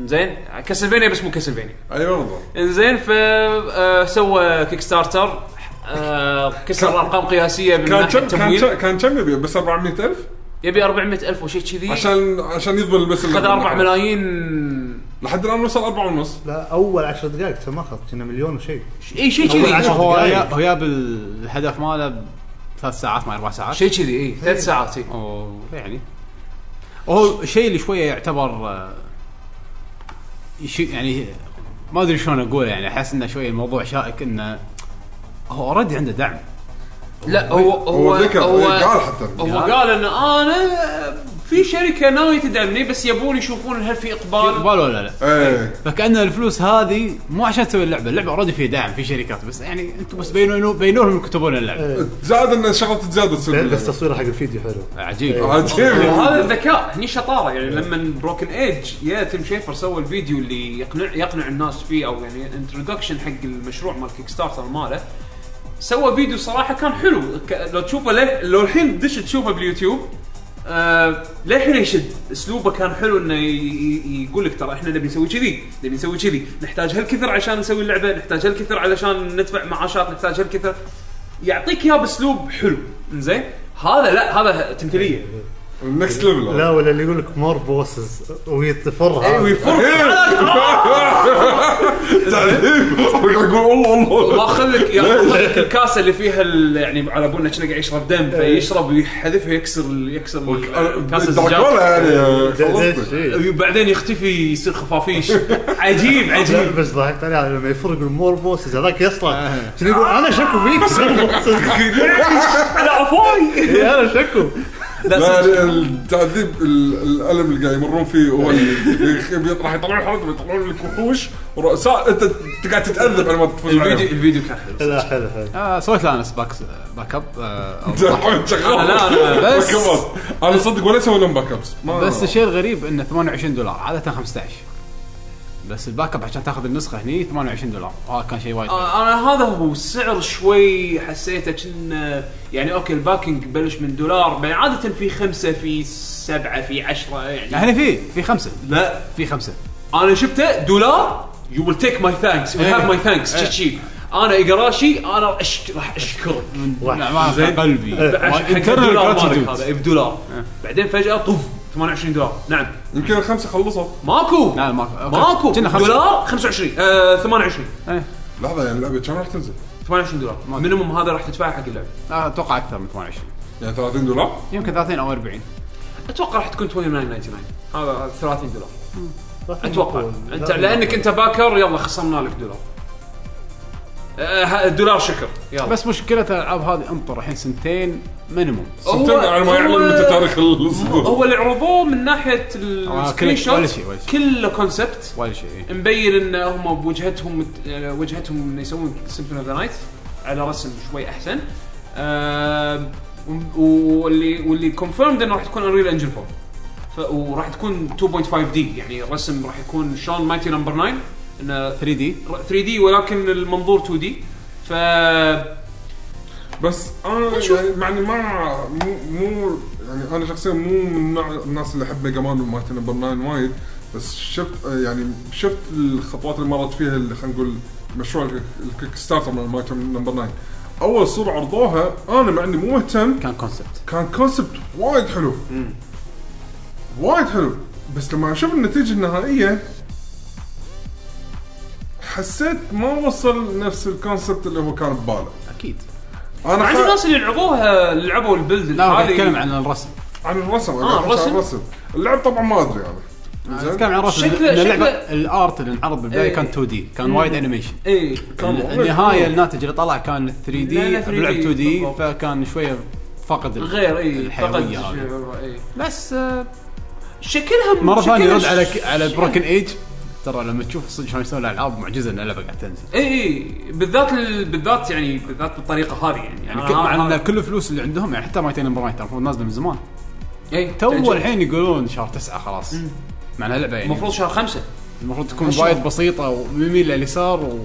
Speaker 3: زين كاسلفينيا بس مو كاسلفينيا
Speaker 5: ايوه بالضبط
Speaker 3: انزين ف آه، سوى كيك ستارتر آه، كسر
Speaker 5: كان-
Speaker 3: ارقام قياسيه من
Speaker 5: كان
Speaker 3: ناحيه
Speaker 5: كم كان
Speaker 3: التمويل
Speaker 5: كم- كان كم يبي بس 400000
Speaker 3: يبي 400000 او شيء كذي
Speaker 5: عشان عشان يضمن بس
Speaker 3: خذ 4 ملايين
Speaker 5: لحد الان وصل 4 ونص
Speaker 4: لا اول 10 دقائق ترى ما اخذ كنا مليون وشيء
Speaker 3: اي شيء
Speaker 4: أول
Speaker 3: كذي
Speaker 4: عشر
Speaker 2: يعني هو
Speaker 4: دقايق.
Speaker 2: يا- هو جاب الهدف ماله بثلاث ساعات ما اربع ساعات
Speaker 3: شيء كذي اي ثلاث ساعات اي
Speaker 2: أو يعني هو الشيء اللي شويه يعتبر آه، شيء يعني ما ادري شلون اقول يعني احس انه شويه الموضوع شائك انه هو اوريدي عنده دعم
Speaker 3: لا هو هو
Speaker 5: هو ذكر،
Speaker 3: هو
Speaker 5: إيه، قال حتى.
Speaker 3: هو قال ان انا في شركه ناويه تدعمني بس يبون يشوفون هل في اقبال
Speaker 2: يقبل ولا لا
Speaker 5: ايه
Speaker 2: فكان الفلوس هذه مو عشان تسوي اللعبه اللعبه اوريدي فيها دعم في شركات بس يعني انتم بس بينوا بينوا لهم يكتبون اللعبه
Speaker 5: زاد ان شغلات تزاد تصير
Speaker 4: بس
Speaker 5: باللعبة.
Speaker 4: تصويره حق الفيديو حلو
Speaker 2: عجيب
Speaker 5: إيه. عجيب
Speaker 3: وهذا الذكاء هني شطاره يعني لما بروكن ايدج يا تيم شيفر سوى الفيديو اللي يقنع يقنع الناس فيه او يعني انتروداكشن حق المشروع مال كيك ستارتر ماله سوى فيديو صراحه كان حلو ك- لو تشوفه ليه- لو الحين دش تشوفه باليوتيوب آه للحين يشد اسلوبه كان حلو انه ي- ي- يقول لك ترى احنا نبي نسوي كذي نبي نسوي كذي نحتاج هالكثر عشان نسوي اللعبه نحتاج هالكثر علشان ندفع معاشات نحتاج هالكثر يعطيك اياه باسلوب حلو زين هذا لا هذا تمثيليه
Speaker 5: النكست ليفل
Speaker 4: لا ولا اللي يقول لك مور بوسز ويطفر هذا.
Speaker 3: إيه،
Speaker 5: تعذيب وقاعد يقول الله الله
Speaker 3: واخذ لك ياخذ لك الكاسه اللي فيها ال- يعني على بالنا كنا قاعد يشرب دم فيشرب ويحذفها يكسر ال- يكسر ال-
Speaker 5: أه،
Speaker 3: الكاسه
Speaker 5: دراكولا
Speaker 3: الزجاج إيه.
Speaker 4: زي-
Speaker 5: يعني
Speaker 4: زي
Speaker 5: خلصت
Speaker 4: الشيء.
Speaker 3: وبعدين يختفي يصير خفافيش عجيب
Speaker 4: لا،
Speaker 3: عجيب
Speaker 4: بس ضحكت عليه لما يفرق المور بوسز هذاك يصلع
Speaker 3: آه.
Speaker 4: شنو يقول انا شكو فيك مور بوسز
Speaker 3: لا عفاي
Speaker 4: انا شكو
Speaker 5: لا التعذيب ال- الالم اللي قاعد يمرون فيه هو اللي يخ- راح يطلعون حرب يطلعون لك وحوش ورؤساء انت ت- قاعد تتاذب على ما تفوز
Speaker 3: الفيديو
Speaker 5: عليهم.
Speaker 3: الفيديو كان حلو
Speaker 4: لا حلو حلو
Speaker 2: آه سويت له انا باك باك اب آه، أو-
Speaker 5: الحين شغال
Speaker 3: لا، أنا
Speaker 2: بس-
Speaker 5: باك أبس. انا صدق ولا اسوي لهم باك ابس ما-
Speaker 2: بس الشيء الغريب انه 28 دولار عاده 15 بس الباك اب عشان تاخذ النسخه هني 28 دولار وهذا كان شيء وايد حلو.
Speaker 3: آه، انا هذا هو السعر شوي حسيته كنا يعني اوكي الباكينج بلش من دولار بعدين عاده في خمسه في سبعه في عشرة يعني
Speaker 2: هنا في في خمسه
Speaker 3: لا
Speaker 2: في خمسه
Speaker 3: انا شفته دولار يو ويل تيك ماي ثانكس ويل
Speaker 2: إيه.
Speaker 3: هاف ماي ثانكس
Speaker 2: إيه.
Speaker 3: شي انا اقراشي انا أشك... راح اشكرك
Speaker 4: إيه.
Speaker 2: لا، ما
Speaker 3: زين. إيه.
Speaker 2: قلبي
Speaker 3: عشان حق
Speaker 2: internal
Speaker 3: الدولار مالك
Speaker 2: gratitude.
Speaker 3: هذا إيه، بدولار بعدين فجاه طف 28 دولار نعم
Speaker 5: يمكن الخمسه خلصوا
Speaker 3: ماكو
Speaker 2: لا، ماكو.
Speaker 3: ماكو
Speaker 2: نعم. كنا خمسة. إيه.
Speaker 3: دولار 25 آه 28
Speaker 5: لحظه يعني اللعبه كم راح تنزل؟
Speaker 3: 28 دولار مينيموم هذا راح تدفعه حق اللعبه
Speaker 2: آه، اتوقع اكثر من 28
Speaker 5: يعني 30 دولار؟
Speaker 2: يمكن 30 او 40
Speaker 3: اتوقع راح تكون 29.99 هذا هذا 30 دولار اتوقع
Speaker 4: لا،
Speaker 3: انت
Speaker 4: لا.
Speaker 3: لانك انت باكر يلا خصمنا لك دولار آه، ه- دولار شكر يلا
Speaker 2: بس مشكله الالعاب هذه انطر الحين سنتين مينيموم
Speaker 3: هو-
Speaker 5: سنتين يعني على ما يعلن
Speaker 3: هو-
Speaker 5: متى تاريخ الصدور
Speaker 3: هو اللي عرضوه من ناحيه
Speaker 2: آه،
Speaker 3: السكرين
Speaker 2: كله- ولا
Speaker 3: شوت
Speaker 2: شيء- ولا شيء.
Speaker 3: كله كونسبت
Speaker 2: ولا شيء
Speaker 3: مبين ان هم بوجهتهم مت- آه، وجهتهم ان يسوون سيمفون اوف ذا نايت على رسم شوي احسن آم، و- واللي واللي كونفيرمد انه راح تكون انريل انجن 4 ف- وراح تكون 2.5 دي يعني الرسم راح يكون شلون مايتي نمبر 9 انه
Speaker 2: 3 دي
Speaker 3: 3 دي ولكن المنظور 2 دي ف
Speaker 5: بس انا يعني معني ما مو مو يعني انا شخصيا مو من نوع الناس اللي احب ميجا مان مالت نمبر 9 وايد بس شفت يعني شفت الخطوات اللي مرت فيها اللي خلينا نقول مشروع الك- الكيك ستارتر مال مالت نمبر 9 اول صوره عرضوها انا مع اني مو مهتم
Speaker 2: كان كونسبت
Speaker 5: كان كونسبت وايد حلو وايد حلو بس لما اشوف النتيجه النهائيه حسيت ما وصل نفس الكونسبت اللي هو كان بباله
Speaker 2: اكيد
Speaker 5: انا
Speaker 3: مع
Speaker 5: خ...
Speaker 3: انه الناس اللي لعبوها لعبوا البلد
Speaker 2: لا قاعد
Speaker 3: الحالي.
Speaker 2: اتكلم عن الرسم
Speaker 5: عن الرسم
Speaker 3: آه،
Speaker 5: أنا أحكي عن
Speaker 3: الرسم.
Speaker 5: الرسم اللعب طبعا ما ادري انا
Speaker 2: أنا
Speaker 5: زين؟
Speaker 2: اتكلم عن الرسم
Speaker 3: شكله-
Speaker 2: لأن اللعبه
Speaker 3: شكله-
Speaker 2: الارت اللي انعرض بالبدايه
Speaker 3: إيه.
Speaker 2: كان 2 دي كان وايد انيميشن
Speaker 3: اي
Speaker 5: كان
Speaker 2: النهايه الناتج اللي طلع كان 3 دي
Speaker 3: لا، لا 3D
Speaker 2: لعب 2 دي
Speaker 3: بالضبط.
Speaker 2: فكان شويه فقد ال-
Speaker 3: غير اي فقط
Speaker 2: الحيويه هذه
Speaker 3: إي.
Speaker 2: بس آه،
Speaker 3: شكلها
Speaker 2: مره ثانيه
Speaker 3: شكلها
Speaker 2: رد على
Speaker 3: ش-
Speaker 2: على بروكن ايج ترى لما تشوف صدق شلون يسوون الالعاب معجزه ان اللعبه قاعد تنزل
Speaker 3: اي اي إيه، بالذات ال... بالذات يعني بالذات بالطريقه هذه يعني
Speaker 2: يعني كل- مع ان كل الفلوس اللي عندهم يعني حتى مايتين امبرايت المفروض نازله من زمان
Speaker 3: اي
Speaker 2: تو الحين يقولون شهر تسعة خلاص مع انها لعبه يعني
Speaker 3: المفروض شهر خمسة
Speaker 2: المفروض تكون
Speaker 3: عشرة.
Speaker 2: وايد بسيطه ويميل لليسار و...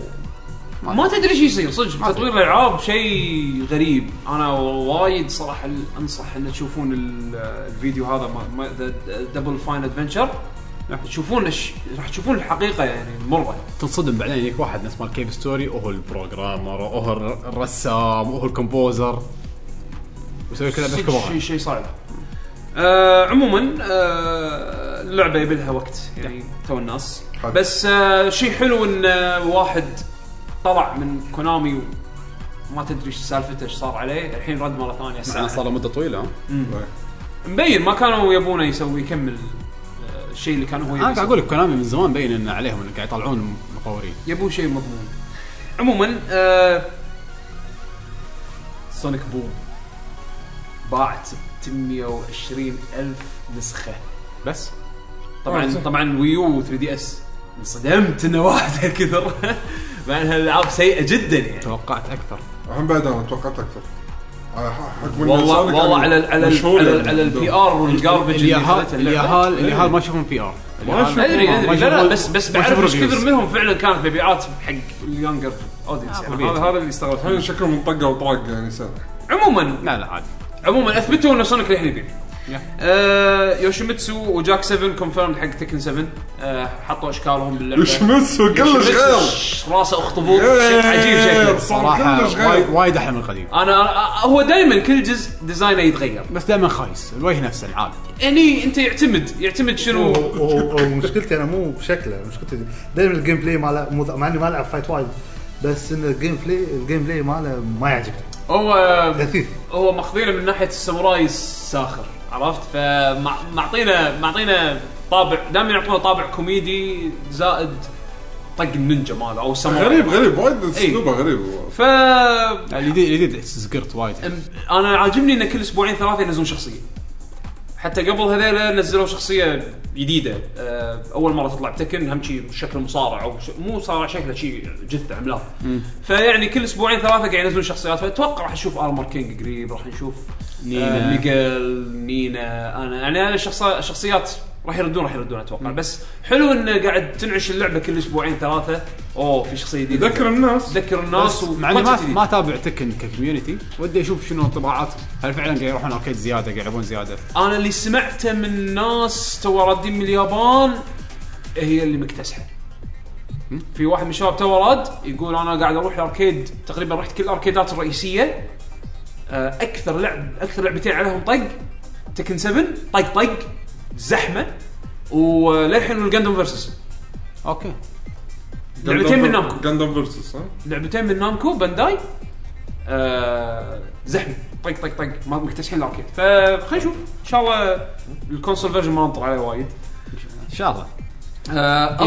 Speaker 3: ما تدري ايش يصير صدق
Speaker 2: ما
Speaker 3: تطوير الالعاب شيء غريب انا وايد صراحه ال- انصح ان تشوفون ال- الفيديو هذا ما- ما دبل فاين ادفنشر راح تشوفون إيش- راح تشوفون الحقيقه يعني المره
Speaker 2: تنصدم بعدين يجيك واحد نفس مال كيف ستوري وهو البروجرامر وهو الر- الرسام وهو الكومبوزر ويسوي كل لعبه
Speaker 3: صدق شيء
Speaker 2: كبار
Speaker 3: شيء صعب آه عموما آه اللعبه يبي لها وقت يعني تو الناس
Speaker 5: حلو.
Speaker 3: بس آه شيء حلو ان آه، واحد طلع من كونامي وما تدري ايش سالفته ايش صار عليه الحين رد مره ثانيه السنه
Speaker 2: صار له مده طويله ها؟
Speaker 5: إيه.
Speaker 3: مبين ما كانوا يبونه يسوي يكمل آه، الشيء اللي كان هو
Speaker 2: انا قاعد
Speaker 3: يبي
Speaker 2: اقول لك كونامي من زمان بين ان عليهم انه قاعد يطلعون مطورين
Speaker 3: يبون شيء مضمون عموما آه سونيك بوم باعت 620 الف نسخه
Speaker 2: بس
Speaker 3: طبعا طبعا ويو 3 دي اس انصدمت انه واحد هالكثر مع انها الالعاب سيئه جدا يعني
Speaker 2: توقعت اكثر
Speaker 5: الحين بعد انا توقعت اكثر على حق من
Speaker 3: والله
Speaker 5: صار كان
Speaker 3: والله على ال على ال
Speaker 5: مشهور
Speaker 3: على, ال آه.
Speaker 5: يعني.
Speaker 3: على البي ار والجاربج اللي
Speaker 2: اليهال
Speaker 3: خذتها اللعبة.
Speaker 2: اليهال اليهال ما يشوفون بي ار
Speaker 5: يشوفون.
Speaker 3: ادري ادري لا لا بس بس
Speaker 2: ما
Speaker 3: بعرف ايش
Speaker 2: يشوفون reviews.
Speaker 3: كثر منهم فعلا كانت مبيعات حق اليونجر اودينس يعني
Speaker 2: آه، طبيعي.
Speaker 3: هذا هذا اللي استغربت
Speaker 5: الحين
Speaker 3: منه.
Speaker 5: شكله منطقه وطاق يعني سنه
Speaker 3: عموما
Speaker 2: لا لا عادي
Speaker 3: عموما اثبتوا ان سونيك الحين يبيع
Speaker 2: Yeah.
Speaker 3: آه، يوشيميتسو وجاك 7 كونفيرم حق تكن 7 آه، حطوا اشكالهم باللعبه
Speaker 5: يشمسه كلش
Speaker 3: يوشيميتسو
Speaker 5: غير
Speaker 3: ش- راسه اخطبوط شكل عجيب شكله
Speaker 5: صار
Speaker 2: صراحه
Speaker 5: كلش
Speaker 2: وايد-
Speaker 5: غير
Speaker 2: وايد احلى من القديم
Speaker 3: انا أنا- هو دائما كل جزء ديزاينه يتغير
Speaker 2: بس دائما خايس الوجه نفسه يعني العادي
Speaker 3: هني انت يعتمد يعتمد شنو
Speaker 4: و- و- ومشكلتي انا مو بشكله مشكلتي دائما الجيم بلاي ماله مو- مع اني ما العب فايت وايد بس ان الجيم بلاي الجيم بلاي ماله ما يعجبني
Speaker 3: هو
Speaker 4: غثيث
Speaker 3: هو ماخذينه من ناحيه الساموراي الساخر عرفت فمعطينا معطينا طابع دائما يعطونا طابع كوميدي زائد طق النينجا ماله او الساموراي
Speaker 5: غريب غريب وايد
Speaker 3: إيه.
Speaker 5: اسلوبه غريب
Speaker 3: ف
Speaker 2: الجديد الجديد زقرت وايد
Speaker 3: أم- انا عاجبني ان كل اسبوعين ثلاثه ينزلون شخصيه حتى قبل هذيلا نزلوا شخصيه جديده أه، اول مره تطلع بتكن هم شي شكله مصارع او ش... مو مصارع شكله شي جثه عملاق فيعني كل اسبوعين ثلاثه قاعد ينزلون شخصيات فاتوقع راح نشوف ارمر كينج قريب راح نشوف
Speaker 2: نينا.
Speaker 3: آه ميغل نينا انا يعني هذه الشخصا- الشخصيات راح يردون راح يردون اتوقع بس حلو انه قاعد تنعش اللعبه كل اسبوعين ثلاثه اوه في شخصيه جديده
Speaker 5: ذكر الناس
Speaker 3: تذكر الناس
Speaker 2: مع اني ما
Speaker 3: وquantity.
Speaker 2: ما اتابع تكن ككوميونتي ودي اشوف شنو انطباعاتهم هل فعلا قاعد يروحون اركيد زياده قاعد يلعبون زياده
Speaker 3: انا اللي سمعته من ناس تو رادين من اليابان هي اللي مكتسحه في واحد من الشباب تو راد يقول انا قاعد اروح الاركيد تقريبا رحت كل الاركيدات الرئيسيه آه، اكثر لعب اكثر لعبتين عليهم طق تكن 7 طق طق زحمه وللحين والجندم فيرسس
Speaker 2: اوكي
Speaker 3: لعبتين من نامكو
Speaker 5: جاندم فيرسس ها
Speaker 3: لعبتين من نامكو بانداي آه زحمه طق طق طق ما مكتسحين الاركيد فخلينا نشوف ان شاء الله الكونسول فيرجن ما ننطر عليه وايد
Speaker 2: ان شاء الله
Speaker 3: آه،
Speaker 2: E3.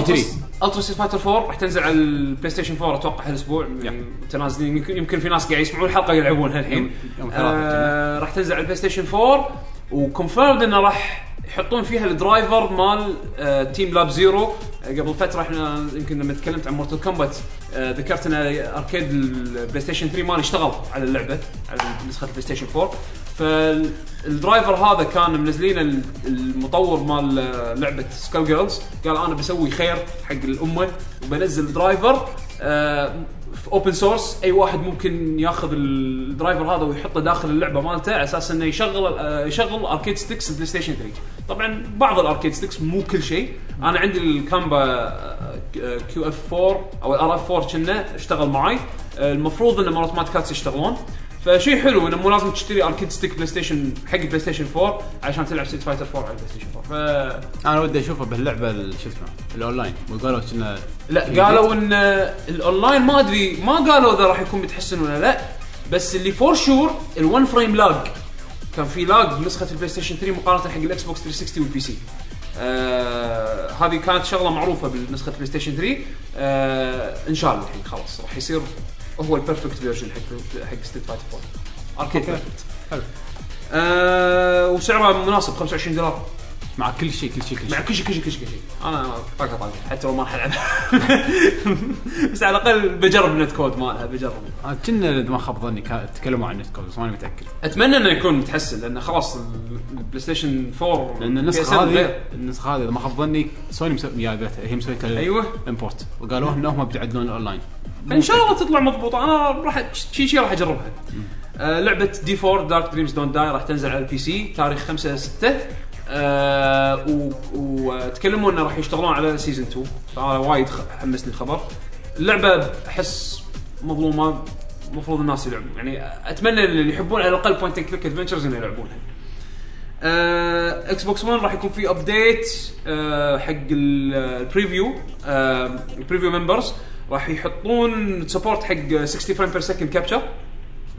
Speaker 3: الترا ستريت فايتر 4 راح تنزل على البلاي ستيشن 4 اتوقع هالاسبوع يعني متنازلين يمكن يمكن في ناس قاعد يسمعون الحلقه يلعبونها الحين
Speaker 2: يوم- يوم ثلاثة
Speaker 3: آه راح تنزل على البلاي ستيشن 4 وكونفيرمد انه راح يحطون فيها الدرايفر مال آه تيم لاب زيرو آه، قبل فتره احنا يمكن لما تكلمت عن مورتال كومبات آه ذكرت ان اركيد البلاي ستيشن 3 مالي اشتغل على اللعبه على نسخه البلاي ستيشن 4 فالدرايفر هذا كان منزلين ال- المطور مال آه، لعبه سكال جيرلز قال انا بسوي خير حق الامه وبنزل درايفر آه في اوبن سورس اي واحد ممكن ياخذ الدرايفر هذا ويحطه داخل اللعبه مالته على اساس انه يشغل آه، يشغل اركيد ستكس البلاي ستيشن 3 طبعا بعض الاركيد ستكس مو كل شيء انا آه، عندي الكامبا كيو اف 4 او الار اف 4 كنا اشتغل معي المفروض ان مرات ما كاتس يشتغلون فشيء حلو انه مو لازم تشتري اركيد ستيك بلاي ستيشن حق بلاي ستيشن 4 عشان تلعب ستيت فايتر 4 على البلاي ستيشن 4 ف
Speaker 2: انا ودي اشوفه بهاللعبه ال- شو اسمه الاونلاين وقالوا كنا
Speaker 3: لا قالوا ان الاونلاين ما ادري ما قالوا اذا راح يكون متحسن ولا لا بس اللي فور شور الون فريم لاج كان في لاج بنسخه البلاي ستيشن 3 مقارنه حق الاكس بوكس 360 والبي سي. آه هذه كانت شغله معروفه بنسخه بلاي ستيشن 3 آه ان شاء الله الحين خلاص راح يصير هو البرفكت فيرجن حق حق ستيت فايتر 4 اركيد بيرفكت
Speaker 2: حلو.
Speaker 3: آه وسعره مناسب 25 دولار
Speaker 2: مع كل شيء كل شيء كل
Speaker 3: مع
Speaker 2: شيء
Speaker 3: كل شيء كل شيء كل شيء كل شيء انا طاقه طاقه حتى لو ما راح العب بس على الاقل بجرب النت كود مالها بجرب
Speaker 2: آه، كنا اذا ما خاب ظني كا- تكلموا عن نت كود بس ماني متاكد
Speaker 3: اتمنى انه يكون متحسن لان خلاص ال- البلاي ستيشن 4
Speaker 2: لان
Speaker 3: PSN
Speaker 2: النسخه
Speaker 3: غير.
Speaker 2: هذه النسخه هذه اذا ما خاب ظني سوني مسوي جايبتها هي مسويتها
Speaker 3: أيوة.
Speaker 2: امبورت وقالوا ان هم بتعدلون الاونلاين
Speaker 3: ان يعني شاء الله تطلع مضبوطه انا راح شي شي راح اجربها آه لعبه دي 4 دارك دريمز دون داي راح تنزل على البي سي تاريخ 5 6 آه و- وتكلموا انه راح يشتغلون على سيزون 2 فانا وايد خ- حمسني الخبر اللعبه احس مظلومه المفروض الناس يلعبون يعني اتمنى اللي يحبون على الاقل بوينت كليك ادفنتشرز انه يلعبونها آه، اكس بوكس 1 راح يكون في ابديت آه، حق ال- البريفيو آه، البريفيو ممبرز راح يحطون سبورت حق 60 فريم بير سكند كابتشر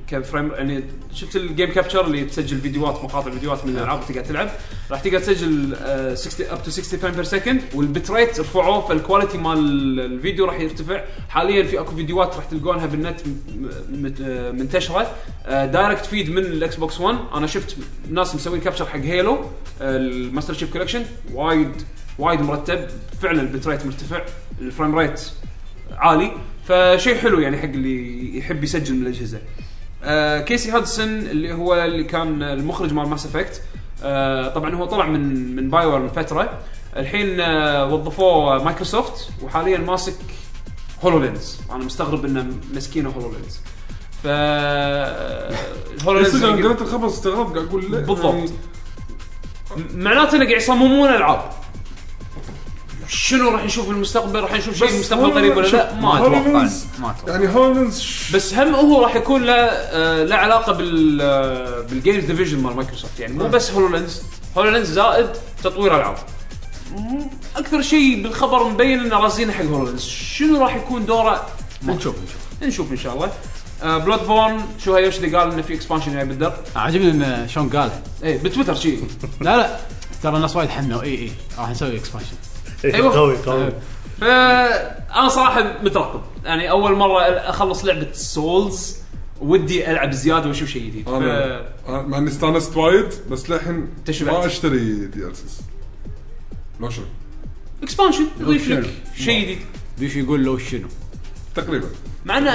Speaker 3: كفريم يعني شفت الجيم كابتشر اللي تسجل فيديوهات مقاطع فيديوهات من الالعاب تقعد تلعب راح تقدر تسجل آه، 60 اب تو 60 فريم بير سكند والبت ريت رفعوه فالكواليتي مال الفيديو راح يرتفع حاليا في اكو فيديوهات راح تلقونها بالنت م- م- آه، منتشره دايركت فيد من الاكس بوكس 1 انا شفت ناس مسوين كابتشر حق هيلو آه، الماستر شيف كولكشن وايد وايد مرتب فعلا البت ريت مرتفع الفريم ريت عالي فشيء حلو يعني حق اللي يحب يسجل من الاجهزه آه كيسي هادسون اللي هو اللي كان المخرج مال ماس افكت آه طبعا هو طلع من من بايور من فتره الحين آه وظفوه مايكروسوفت وحاليا ماسك هولو لينز انا مستغرب انه مسكينه هولو لينز ف آه، هولو
Speaker 5: بس انا
Speaker 3: لينز
Speaker 5: قريت الخبر استغربت قاعد اقول لا
Speaker 3: بالضبط.
Speaker 5: يعني
Speaker 3: معناته انه قاعد يصممون العاب شنو راح نشوف بالمستقبل راح نشوف شيء
Speaker 5: بس
Speaker 3: بالمستقبل
Speaker 5: هولو-
Speaker 3: قريب طيب، ولا
Speaker 5: شوف،
Speaker 3: لا ما
Speaker 5: هولو-
Speaker 3: ادري
Speaker 5: هولنز.
Speaker 2: ما اتوقع
Speaker 5: يعني هولنز
Speaker 3: بس هم هو راح يكون له آه، له علاقه بال آه، بالجيمز ديفيجن مال مايكروسوفت يعني مو بس هولو لينز هولو لينز زائد تطوير العاب م- اكثر شيء بالخبر مبين انه رازينه حق هولو لينز شنو راح يكون دوره
Speaker 2: ما نشوف نشوف
Speaker 3: نشوف ان شاء الله بلود بورن شو هايوشي قال انه في اكسبانشن جاي بالدر
Speaker 2: عاجبني ان شلون قالها
Speaker 3: اي بتويتر شيء
Speaker 2: لا لا ترى الناس وايد حنوا اي اي راح نسوي اكسبانشن
Speaker 3: أيوة.
Speaker 4: قوي قوي
Speaker 3: فانا صراحه مترقب يعني اول مره اخلص لعبه سولز ودي العب زياده واشوف شيء جديد ف...
Speaker 5: انا أنا- آه، مع اني استانست وايد بس للحين
Speaker 3: تشبعت.
Speaker 5: ما اشتري دي ال سيز لو شنو
Speaker 3: اكسبانشن يضيف
Speaker 2: أوكي.
Speaker 3: لك شيء جديد
Speaker 2: بيش يقول لو شنو
Speaker 5: تقريبا
Speaker 3: مع انه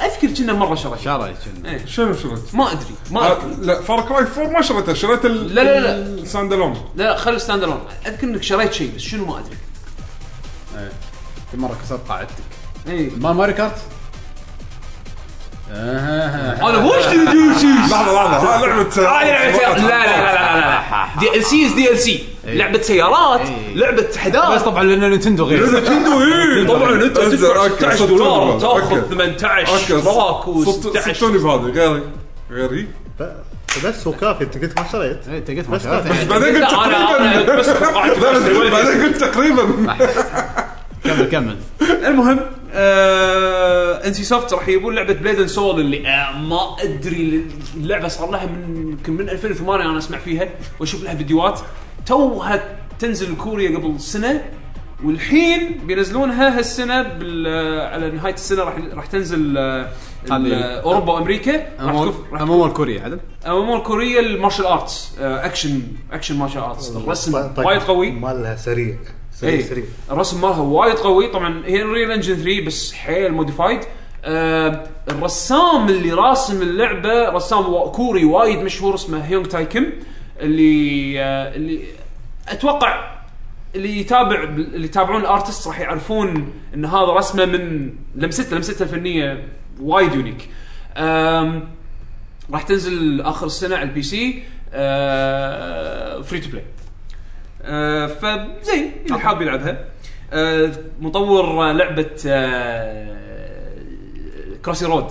Speaker 3: اذكر كنا مره شرى شيء
Speaker 2: شارع شنو
Speaker 3: إيه.
Speaker 5: شنو شريت؟
Speaker 3: ما ادري ما
Speaker 5: آه،
Speaker 3: اذكر
Speaker 5: لا فار كراي 4 ما شريته شريت ال
Speaker 3: لا، لا، لا. آه،
Speaker 5: الساند الون
Speaker 3: لا لا خلي ستاند الون اذكر انك شريت شيء بس شنو ما ادري
Speaker 2: في مره كسرت قاعدتك
Speaker 3: اي
Speaker 2: مال ماري كارت آه.
Speaker 3: انا وش لا
Speaker 5: لحظه لحظه ها لعبه
Speaker 3: آه، لا لا لا لا إيه. دي ال سي دي ال سي لعبه سيارات لعبه
Speaker 2: بس
Speaker 3: حداد
Speaker 2: طبعا لان نينتندو غير
Speaker 5: نتندو اي
Speaker 3: تدفع 16 دولار تاخذ 18 اشتراك
Speaker 5: صدتوني
Speaker 3: و16
Speaker 5: بهذه غيري غيري
Speaker 4: بس هو كافي انت قلت ما شريت
Speaker 2: إيه، انت قلت ما
Speaker 4: بس
Speaker 2: شريت.
Speaker 4: بس
Speaker 2: إيه.
Speaker 5: بعدين قلت
Speaker 3: لا، أنا- أنا بس قاعد
Speaker 5: تقريبا
Speaker 3: أسوي-
Speaker 5: بعدين قلت تقريبا
Speaker 2: كمل كمل
Speaker 3: المهم آه، ان سي سوفت راح يجيبون لعبه بليد اند سول اللي آه، ما ادري اللعبه صار لها من يمكن من 2008 انا اسمع فيها واشوف لها فيديوهات توها تنزل كوريا قبل سنه والحين بينزلونها هالسنه بال آه، على نهايه السنه راح راح تنزل آه، ال-
Speaker 2: هذه-
Speaker 3: اوروبا وامريكا راح تكون راح
Speaker 2: امام كوريا عدل
Speaker 3: امور كوريا المارشال ارتس آه، اكشن اكشن مارشال ارتس الرسم وايد قوي
Speaker 4: مالها طيب، سريع سريع
Speaker 3: اي
Speaker 4: سريع
Speaker 3: إيه، الرسم مالها وايد قوي طبعا هي ريل انجن 3 بس حيل موديفايد آه الرسام اللي راسم اللعبه رسام وا- كوري وايد مشهور اسمه هيونغ تاي كيم اللي آه اللي اتوقع اللي يتابع اللي يتابعون الارتست راح يعرفون ان هذا رسمه من لمسته لمسته الفنيه وايد يونيك آم، راح تنزل اخر السنه على البي سي فري تو بلاي آه، فزين اللي حاب يلعبها آه، مطور آه، لعبه كروسي رود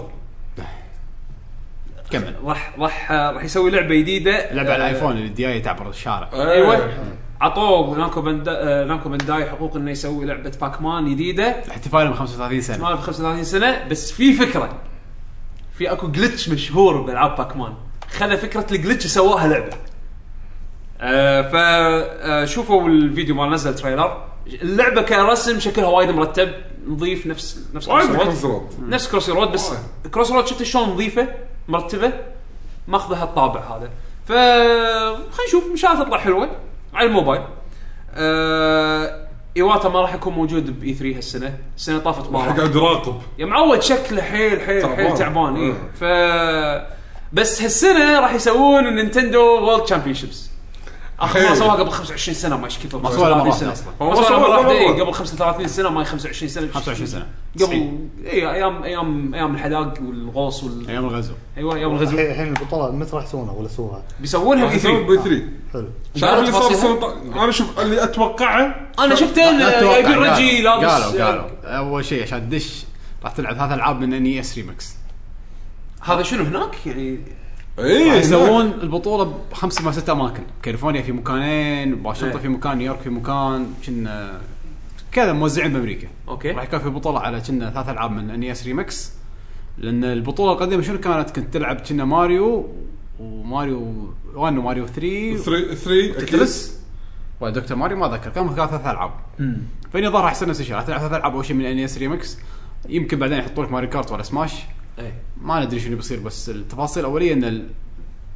Speaker 2: كمل
Speaker 3: راح راح راح يسوي لعبه جديده
Speaker 2: لعبه على
Speaker 3: آه،
Speaker 2: الايفون اللي ديايه تعبر الشارع
Speaker 3: ايوه عطوه نامكو بندا... نامكو بنداي حقوق انه يسوي لعبه باكمان جديده
Speaker 2: احتفالهم 35 سنه
Speaker 3: مال ب 35 سنه بس في فكره في اكو جلتش مشهور بالعاب باكمان خذ فكره الجلتش سواها لعبه آه فشوفوا الفيديو مال نزل تريلر اللعبه كرسم شكلها وايد مرتب نظيف نفس نفس
Speaker 5: وايد
Speaker 3: Crossy Road.
Speaker 5: Crossy Road.
Speaker 3: نفس كروسي رود بس
Speaker 5: وايد.
Speaker 3: كروسي رود شفت شلون نظيفه مرتبه ماخذه هالطابع هذا ف خلينا نشوف ان شاء الله تطلع حلوه على الموبايل آه... ايواتا ما راح يكون موجود باي 3 هالسنه السنه طافت ما راح
Speaker 5: قاعد يراقب
Speaker 3: يا معود شكله حيل حيل حيل
Speaker 5: تعبان.
Speaker 3: تعبان اي
Speaker 5: آه.
Speaker 3: ف بس هالسنه راح يسوون النينتندو وورلد تشامبيونشيبس اخر مره
Speaker 5: حيل.
Speaker 3: سووها قبل 25 سنه ما ايش كثر
Speaker 2: ما سووها مرة
Speaker 3: 35
Speaker 2: واحدة
Speaker 3: سنه
Speaker 2: أصلاً.
Speaker 5: هو
Speaker 3: ما سووها
Speaker 5: سووها
Speaker 3: مرة واحدة، إي،
Speaker 5: مرة واحدة.
Speaker 3: إيه، قبل 35 سنه ما هي 25 سنه
Speaker 2: 25 سنه
Speaker 3: قبل إيه، اي ايام ايام ايام الحداق والغوص وال...
Speaker 2: ايام الغزو
Speaker 3: ايوه ايام
Speaker 4: الحين
Speaker 3: الغزو
Speaker 4: الحين البطوله متى راح يسوونها ولا سووها؟
Speaker 3: بيسوونها
Speaker 5: راح
Speaker 3: باي
Speaker 5: يسوي
Speaker 3: 3
Speaker 5: بي 3
Speaker 4: حلو
Speaker 5: شايف اللي صار
Speaker 3: تفاصيلها؟
Speaker 5: السنة الط- انا شوف اللي اتوقعه
Speaker 3: انا شفته
Speaker 2: لا
Speaker 3: إن-
Speaker 2: تتوقع،
Speaker 3: جايبين
Speaker 2: قالوا-
Speaker 3: رجي لابس
Speaker 2: قالوا قالوا اول شيء عشان تدش راح تلعب ثلاث العاب من ان اس ريمكس
Speaker 3: هذا شنو هناك يعني
Speaker 5: اي
Speaker 2: يسوون البطوله بخمس ما ست اماكن كاليفورنيا في مكانين واشنطن
Speaker 3: إيه.
Speaker 2: في مكان نيويورك في مكان كنا كذا موزعين بامريكا
Speaker 3: أوكي.
Speaker 2: راح يكون في بطوله على كنا ثلاث العاب من E ان اس ريمكس لان البطوله القديمه شنو كانت كنت تلعب كنا ماريو وماريو 1 وماريو 3
Speaker 5: 3 3
Speaker 2: تترس ودكتور ماريو ما ذكر كان كان ثلاث العاب فاني ظهر احسن نفس الشيء راح تلعب ثلاث العاب اول شيء من ان اس ريمكس يمكن بعدين يحطوا لك ماري كارت ولا سماش
Speaker 3: اي
Speaker 2: ما ندري شنو بيصير بس التفاصيل الاوليه ان ال...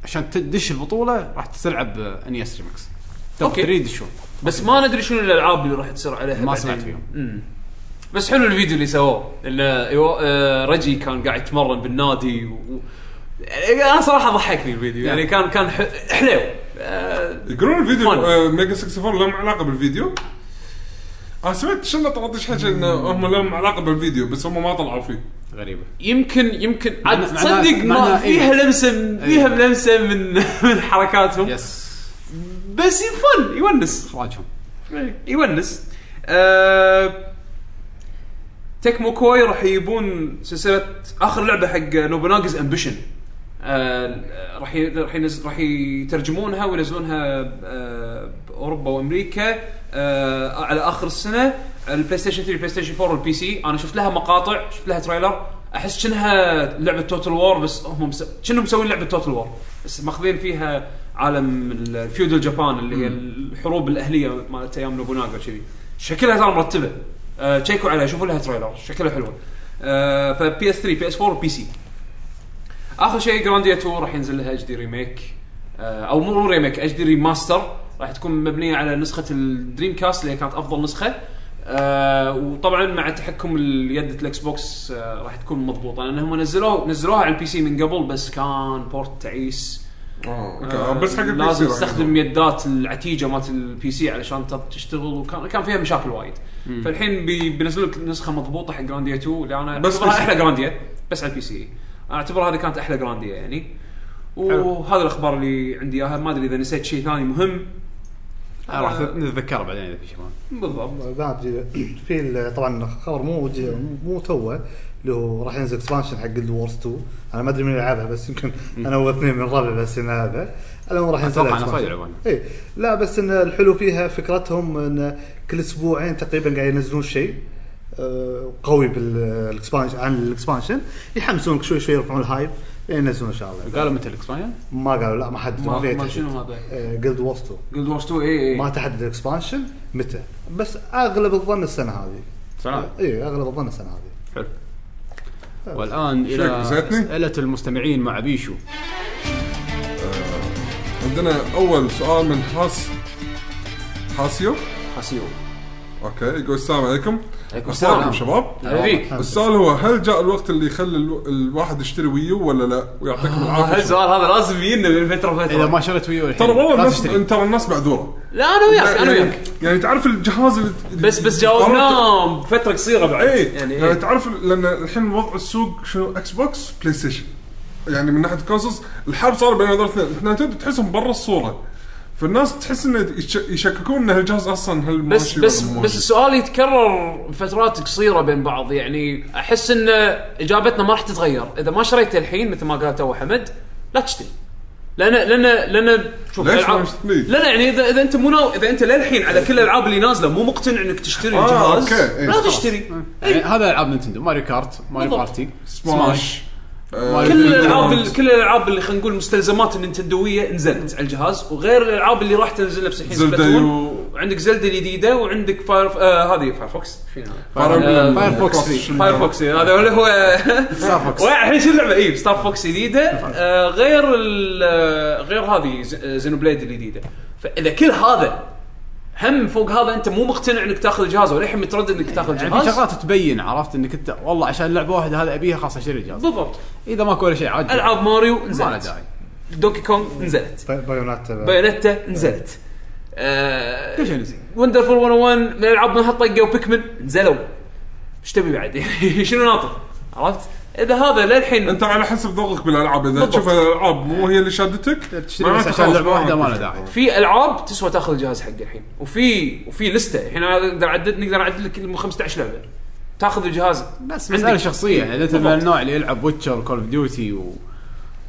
Speaker 2: عشان تدش البطوله راح تلعب E انيس ريمكس
Speaker 3: أوكي.
Speaker 2: اوكي تريد شلون
Speaker 3: بس ما ندري شنو الالعاب اللي راح تصير عليها
Speaker 2: ما
Speaker 3: بعدين.
Speaker 2: سمعت فيهم.
Speaker 3: مم. بس حلو الفيديو اللي سووه انه يو- آه، رجي كان قاعد يتمرن بالنادي و... و- انا صراحه ضحكني الفيديو يعني
Speaker 2: نعم.
Speaker 3: كان كان ح- حلو آه،
Speaker 5: يقولون الفيديو
Speaker 3: فن.
Speaker 5: آه، ميجا 64 لهم علاقه بالفيديو انا سمعت شنو 13 حكي انه هم لهم علاقه بالفيديو بس هم ما طلعوا فيه
Speaker 2: غريبه
Speaker 3: يمكن يمكن عاد
Speaker 2: معناه-
Speaker 3: تصدق ما
Speaker 2: معناه
Speaker 3: فيها
Speaker 2: إيه.
Speaker 3: لمسه فيها
Speaker 2: إيه.
Speaker 3: لمسه من من حركاتهم
Speaker 2: يس
Speaker 3: بس فن يونس
Speaker 2: اخراجهم
Speaker 3: يونس أه... تكمو كوي راح يجيبون سلسله اخر لعبه حق نوبوناجز امبيشن أه... راح ي... راح ينز... راح يترجمونها وينزلونها ب- أه... باوروبا وامريكا أه... على اخر السنه البلاي ستيشن 3 بلاي ستيشن 4 والبي سي انا شفت لها مقاطع شفت لها تريلر احس شنها لعبه توتال وور بس هم مس... شنو مسوين لعبه توتال وور بس ماخذين فيها عالم الفيودال جابان اللي هي الحروب الاهليه مالت ايام نوبوناغا كذي شكلها ترى مرتبه أه تشيكوا عليها شوفوا لها تريلر شكلها حلوه أه فبي اس 3 بي اس 4 وبي سي اخر شيء جرانديا 2 راح ينزل لها اتش دي ريميك آه، او مو ريميك اتش دي ريماستر راح تكون مبنيه على نسخه الدريم كاست اللي هي كانت افضل نسخه آه وطبعا مع تحكم اليد الاكس بوكس آه راح تكون مضبوطه لان هم نزلوه نزلوها على البي سي من قبل بس كان بورت تعيس
Speaker 5: اه
Speaker 3: آه،
Speaker 5: أوكي. بس حق البي سي
Speaker 3: لازم
Speaker 5: راح
Speaker 3: تستخدم
Speaker 5: يكون.
Speaker 3: يدات العتيجه مالت البي سي علشان تب- تشتغل وكان كان فيها مشاكل وايد فالحين بي- بينزلوا لك نسخه مضبوطه حق جرانديا 2 اللي انا
Speaker 5: بس
Speaker 3: بس اعتبرها
Speaker 5: PC.
Speaker 3: احلى جرانديا بس على البي سي اعتبر هذه كانت احلى جرانديا يعني وهذا الاخبار اللي عندي اياها ما ادري اذا نسيت شيء ثاني مهم
Speaker 2: آه، راح
Speaker 3: آه.
Speaker 2: نتذكره بعدين اذا في شيء ما.
Speaker 3: بالضبط
Speaker 4: بعد في ال- طبعا خبر مو جي- مو توه اللي هو راح ينزل اكسبانشن حق جلد وورز 2 انا ما ادري مين يلعبها بس يمكن انا واثنين من ربعي بس يلعبها الان راح ينزل
Speaker 2: أتوقع أنا
Speaker 4: expansion.
Speaker 2: صاير يلعبونها.
Speaker 4: اي لا بس ان الحلو فيها فكرتهم ان كل اسبوعين تقريبا قاعد ينزلون شيء آه، قوي بالاكسبانشن عن الاكسبانشن يحمسونك شوي شوي يرفعون الهايب ينزلون ان شاء الله
Speaker 2: قالوا متى الاكسبانشن؟
Speaker 4: ما قالوا لا ما حد آه،
Speaker 3: ما-
Speaker 4: ما
Speaker 3: ما شنو هذا؟
Speaker 4: جلد وورز 2
Speaker 3: جولد وورز 2 اي
Speaker 4: ما
Speaker 3: اي
Speaker 4: تحدد الاكسبانشن متى بس اغلب الظن السنه هذه
Speaker 2: سلام
Speaker 4: اي اغلب إيه، الظن السنه هذه
Speaker 2: حلو والان الى
Speaker 5: نسيتني؟
Speaker 2: اسئله المستمعين مع بيشو
Speaker 5: عندنا اول سؤال من حاس حاسيو
Speaker 3: حسيو
Speaker 5: اوكي يقول السلام عليكم
Speaker 3: عليكم
Speaker 5: أخباركم
Speaker 3: السلام. نعم.
Speaker 5: شباب
Speaker 3: هذيك
Speaker 5: السؤال هو هل جاء الوقت اللي يخلي الو- الواحد يشتري ويو ولا لا
Speaker 3: آه،
Speaker 5: ويعطيكم العافيه شباب.
Speaker 3: السؤال هذا لازم يجينا من فتره
Speaker 2: اذا
Speaker 3: وفتره
Speaker 2: ما شريت ويو الحين
Speaker 5: ترى والله
Speaker 2: لا
Speaker 5: الناس
Speaker 2: تشتري
Speaker 5: ترى الناس معذوره
Speaker 3: لا انا وياك انا
Speaker 5: يعني-
Speaker 3: وياك
Speaker 5: يعني تعرف الجهاز اللي
Speaker 3: بس بس جاوبناه بفتره قصيره بعد
Speaker 5: اي يعني,
Speaker 3: إيه.
Speaker 5: تعرف لان الحين وضع السوق شنو اكس بوكس بلاي ستيشن يعني من ناحيه الكونسولز الحرب صار بين هذول الاثنين الاثنين تحسهم برا الصوره فالناس تحس انه يش- يشككون ان هالجهاز اصلا هل
Speaker 3: بس
Speaker 5: ماشي
Speaker 3: بس
Speaker 5: ولا مو
Speaker 3: بس
Speaker 5: ماشي.
Speaker 3: السؤال يتكرر فترات قصيره بين بعض يعني احس ان اجابتنا ما راح تتغير اذا ما شريت الحين مثل ما قال تو حمد لا تشتري لان لان لان شوف
Speaker 5: ليش ما
Speaker 3: الألعاب-
Speaker 5: تشتري؟
Speaker 3: لا لا يعني اذا اذا انت مو ناو- اذا انت للحين على كل الالعاب اللي نازله مو مقتنع انك تشتري
Speaker 5: آه،
Speaker 3: الجهاز
Speaker 5: أوكي، إيه،
Speaker 3: لا
Speaker 5: خلاص.
Speaker 3: تشتري
Speaker 2: يعني هذا العاب نينتندو ماريو كارت ماريو
Speaker 3: بالضبط.
Speaker 2: بارتي
Speaker 5: سماش آه،
Speaker 2: كل
Speaker 3: كل
Speaker 5: فيديو
Speaker 3: الالعاب
Speaker 5: جيمز.
Speaker 3: ال- كل الالعاب اللي خلينا نقول مستلزمات النينتندويه نزلت على الجهاز وغير الالعاب اللي راح تنزل نفس الحين
Speaker 5: زلدة
Speaker 3: سبلاتون.
Speaker 5: و-
Speaker 3: وعندك زلده جديده وعندك فاير آه هذه فاير فوكس فينا
Speaker 5: فاير-
Speaker 2: فاير فوكس
Speaker 5: فوكس.
Speaker 2: 3.
Speaker 3: فاير فوكس هذا اللي هو
Speaker 2: ستار فوكس.
Speaker 3: الحين إيه، شو اللعبه اي ستار فوكس جديده آه، غير ال- آه، غير هذه ز- آه، زينو بليد الجديده فاذا كل هذا هم فوق هذا انت مو مقتنع انك تاخذ الجهاز وللحين متردد انك تاخذ
Speaker 2: يعني في
Speaker 3: الجهاز
Speaker 2: شغلات تبين عرفت انك انت والله عشان لعبه واحده هذا ابيها خلاص اشتري الجهاز
Speaker 3: بالضبط
Speaker 2: اذا ماكو ولا شيء عادي
Speaker 3: العاب ماريو
Speaker 2: ما له
Speaker 3: نزلت
Speaker 2: داعي
Speaker 3: دوكي كونغ نزلت
Speaker 4: باي- بايونات
Speaker 3: بايونيتا نزلت آه،
Speaker 2: كل شيء نزل
Speaker 3: وندرفول 101 من العاب من هالطقه وبيكمن نزلوا ايش تبي بعد يعني شنو ناطر عرفت؟ اذا هذا للحين
Speaker 5: انت على حسب ذوقك بالالعاب اذا
Speaker 3: بالضبط.
Speaker 5: تشوف الالعاب مو هي اللي شادتك
Speaker 2: تشتري بس
Speaker 5: معناته
Speaker 2: عشان
Speaker 5: خلاص
Speaker 2: لعبه واحده ما
Speaker 5: عندك.
Speaker 2: له داعي
Speaker 3: في العاب تسوى تاخذ الجهاز حقه الحين وفي وفي لسته الحين أنا اقدر اعدد نقدر اعدد لك يمكن 15 لعبه تاخذ الجهاز
Speaker 2: بس
Speaker 3: عندك.
Speaker 2: مساله شخصيه يعني انت من
Speaker 3: بالضبط.
Speaker 2: النوع اللي يلعب ويتشر كول اوف ديوتي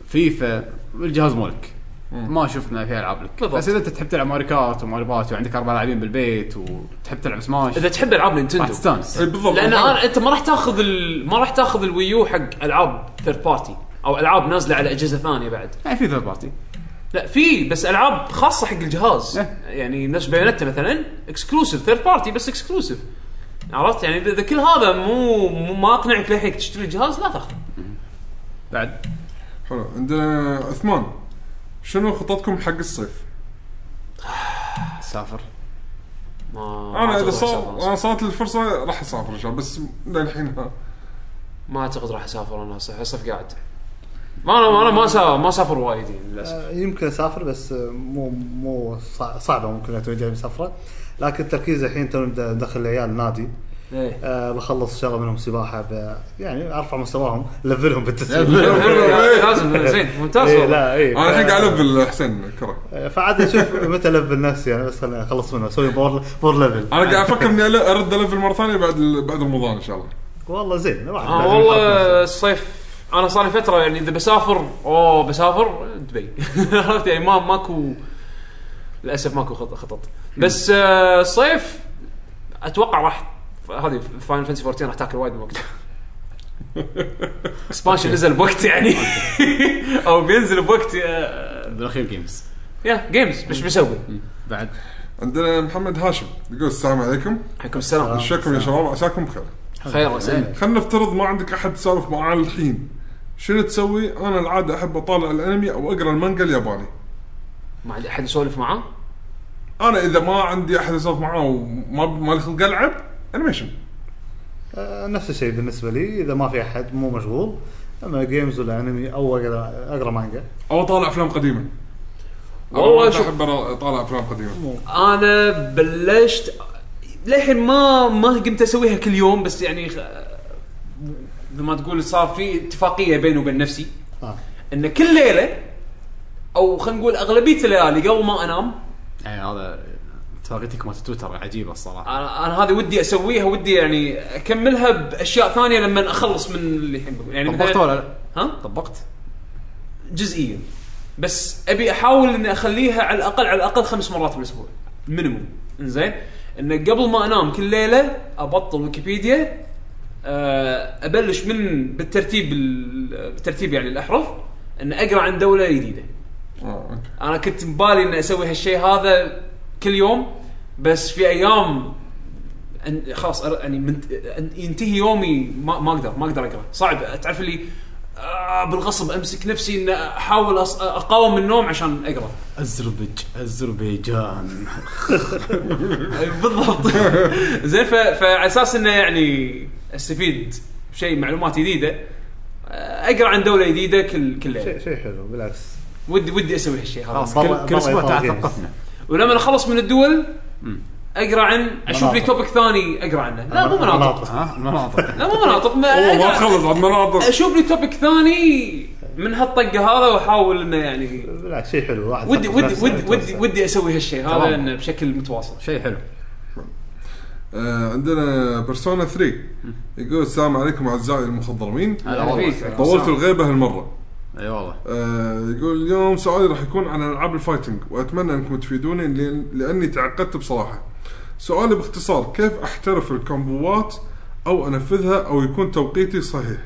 Speaker 2: وفيفا الجهاز مالك ما شفنا فيها العاب لك
Speaker 3: بالضبط.
Speaker 2: بس اذا انت تحب تلعب ماري كارت وماري بارتي وعندك اربع لاعبين بالبيت وتحب تلعب سماش
Speaker 3: اذا تحب العاب
Speaker 2: راح
Speaker 3: نينتندو
Speaker 2: تستانس
Speaker 5: اي بالضبط
Speaker 3: لان أنا انت ما راح تاخذ ال... ما راح تاخذ الويو حق العاب ثيرد بارتي او العاب نازله على اجهزه ثانيه بعد
Speaker 2: يعني في ثيرد بارتي
Speaker 3: لا في بس العاب خاصه حق الجهاز
Speaker 2: إيه.
Speaker 3: يعني نفس بايونيتا مثلا اكسكلوسيف ثيرد بارتي بس اكسكلوسيف عرفت يعني اذا كل هذا مو, مو ما اقنعك للحين تشتري الجهاز لا تاخذه
Speaker 2: بعد
Speaker 5: حلو عندنا عثمان شنو خططكم حق الصيف؟
Speaker 2: سافر
Speaker 3: ما ما
Speaker 5: انا اذا
Speaker 3: أعتقد
Speaker 5: صار
Speaker 3: راح أسافر
Speaker 5: انا
Speaker 3: أنا.
Speaker 5: صارت الفرصه راح اسافر ان شاء الله بس للحين ها
Speaker 3: ما اعتقد راح اسافر انا هسه هسه قاعد ما انا ما انا ما سافر ما سافر وايد يعني للاسف
Speaker 4: آه، يمكن اسافر بس آه، مو مو صع- صعبه ممكن اتوجه مسافره لكن التركيز الحين تو نبدا ندخل العيال النادي
Speaker 3: إيه.
Speaker 4: أه بخلص ان شاء الله منهم سباحه ب... يعني ارفع مستواهم لفلهم
Speaker 5: لفلهم.
Speaker 4: بالتسليم
Speaker 3: إيه. لازم زين ممتاز
Speaker 4: إيه،
Speaker 3: والله
Speaker 4: لا اي
Speaker 5: انا الحين قاعد الفل حسين كره
Speaker 4: فعاد اشوف متى لفل نفسي يعني بس خليني اخلص منه اسوي بور بور ليفل
Speaker 5: انا قاعد افكر اني أل- ارد الفل مره ثانيه بعد ال- بعد رمضان ان شاء الله
Speaker 4: والله زين الواحد
Speaker 3: آه
Speaker 4: لازم
Speaker 3: والله
Speaker 4: يحط نفسه.
Speaker 3: الصيف انا صار لي فتره يعني اذا بسافر اوه بسافر دبي عرفت يعني ما ماكو للاسف ماكو خط- خطط بس آه، الصيف اتوقع راح هذه فاينل فانتسي 14 راح تاكل وايد من وقت اكسبانشن نزل بوقت يعني او بينزل بوقت آه،
Speaker 2: بالاخير جيمز
Speaker 3: يا جيمز مش بسوي
Speaker 2: بعد
Speaker 5: عندنا محمد هاشم يقول السلام عليكم
Speaker 3: عليكم السلام
Speaker 5: شكرا يا شباب عساكم بخير
Speaker 3: خير وسهلا
Speaker 5: خلينا نفترض ما عندك احد تسولف معاه الحين شنو تسوي؟ انا العاده احب اطالع الانمي او اقرا المانجا الياباني
Speaker 3: ما عندي احد يسولف معاه
Speaker 5: انا اذا ما عندي احد اسولف معاه وما ما لي خلق العب انيميشن
Speaker 4: آه، نفس الشيء بالنسبه لي اذا ما في احد مو مشغول اما جيمز ولا انمي او اقرا اقرا مانجا
Speaker 5: او اطالع افلام قديمه
Speaker 3: والله
Speaker 5: والله
Speaker 3: شوف-
Speaker 5: احب اطالع افلام قديمه
Speaker 3: انا بلشت للحين ما ما قمت اسويها كل يوم بس يعني خ- مثل ما تقول صار في اتفاقيه بيني وبين نفسي
Speaker 4: آه.
Speaker 3: ان كل ليله او خلينا نقول اغلبيه الليالي قبل ما انام
Speaker 2: يعني هذا اتفاقيتك مالت تويتر عجيبه الصراحه
Speaker 3: انا انا هذه ودي اسويها ودي يعني اكملها باشياء ثانيه لما اخلص من اللي الحين بقول يعني
Speaker 2: طبقت
Speaker 3: مثلا
Speaker 2: ولا لا؟
Speaker 3: ها
Speaker 2: طبقت؟
Speaker 3: جزئيا بس ابي احاول اني اخليها على الاقل على الاقل خمس مرات بالاسبوع مينيموم انزين انه قبل ما انام كل ليله ابطل ويكيبيديا آه، ابلش من بالترتيب ال- بالترتيب يعني الاحرف ان اقرا عن دوله جديده
Speaker 5: آه، أوكي.
Speaker 3: انا كنت ببالي اني اسوي هالشيء هذا كل يوم بس في ايام أن خلاص أر- يعني من أن ينتهي يومي ما, ما اقدر ما اقدر اقرا صعب تعرف اللي آه بالغصب امسك نفسي ان احاول أص- اقاوم النوم عشان اقرا
Speaker 2: ازربج اذربيجان
Speaker 3: بالضبط زين ف- فعلى اساس انه يعني استفيد شيء معلومات جديده آه، اقرا عن دوله جديده كل كل
Speaker 4: شيء
Speaker 3: ليله
Speaker 4: شيء حلو بالعكس
Speaker 3: ودي ودي اسوي هالشيء هذا
Speaker 2: خلاص كل
Speaker 4: مرة-
Speaker 2: كل
Speaker 4: مرة
Speaker 2: اسبوع تعال
Speaker 4: يطلع جيمز.
Speaker 2: ثقفنا
Speaker 3: ولما اخلص من الدول اقرا عن اشوف لي
Speaker 4: مناطق.
Speaker 3: توبك ثاني اقرا عنه لا مو مناطق
Speaker 4: مناطق.
Speaker 2: ها المناطق
Speaker 3: لا مو مناطق ما
Speaker 5: والله ما
Speaker 3: أقرأ-
Speaker 5: تخلص عن مناظر
Speaker 3: اشوف لي توبك ثاني من هالطقه هذا واحاول انه يعني
Speaker 4: لا شيء حلو واحد
Speaker 3: ودي
Speaker 4: يحط
Speaker 3: ودي
Speaker 4: نفسه
Speaker 3: ودي
Speaker 4: يتوسع.
Speaker 3: ودي, ودي اسوي هالشيء هذا
Speaker 2: تمام.
Speaker 3: لانه بشكل متواصل
Speaker 2: شيء حلو
Speaker 5: آه عندنا بيرسونا 3 يقول السلام عليكم اعزائي المخضرمين
Speaker 2: هلا والله.
Speaker 5: طولت الغيبه هالمره
Speaker 2: اي والله
Speaker 5: آه، يقول اليوم سؤالي راح يكون عن العاب الفايتنج واتمنى انكم تفيدوني لأن- لاني تعقدت بصراحه. سؤالي باختصار كيف احترف الكومبوات او انفذها او يكون توقيتي صحيح.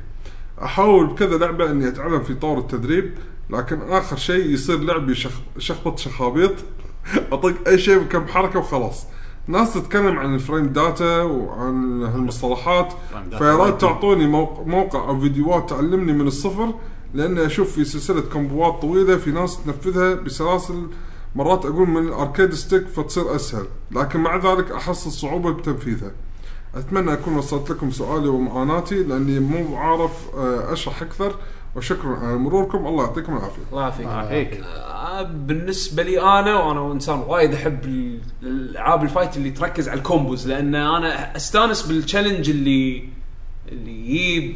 Speaker 5: احاول بكذا لعبه اني اتعلم في طور التدريب لكن اخر شيء يصير لعبي شخ... شخبط شخابيط اطق اي شيء بكم حركه وخلاص. ناس تتكلم عن الفريم داتا وعن هالمصطلحات
Speaker 2: فريم داتا.
Speaker 5: فيارات تعطوني موقع, موقع او فيديوهات تعلمني من الصفر لان اشوف في سلسله كومبوات طويله في ناس تنفذها بسلاسل مرات اقول من الاركيد ستيك فتصير اسهل لكن مع ذلك احس الصعوبه بتنفيذها اتمنى اكون وصلت لكم سؤالي ومعاناتي لاني مو عارف آه، اشرح اكثر وشكرا على مروركم الله يعطيكم العافيه
Speaker 3: الله يعافيك
Speaker 2: هيك
Speaker 3: آه، بالنسبه لي انا وانا انسان وايد احب ال- الالعاب الفايت اللي تركز على الكومبوز لان انا استانس بالتشالنج اللي اللي يجيب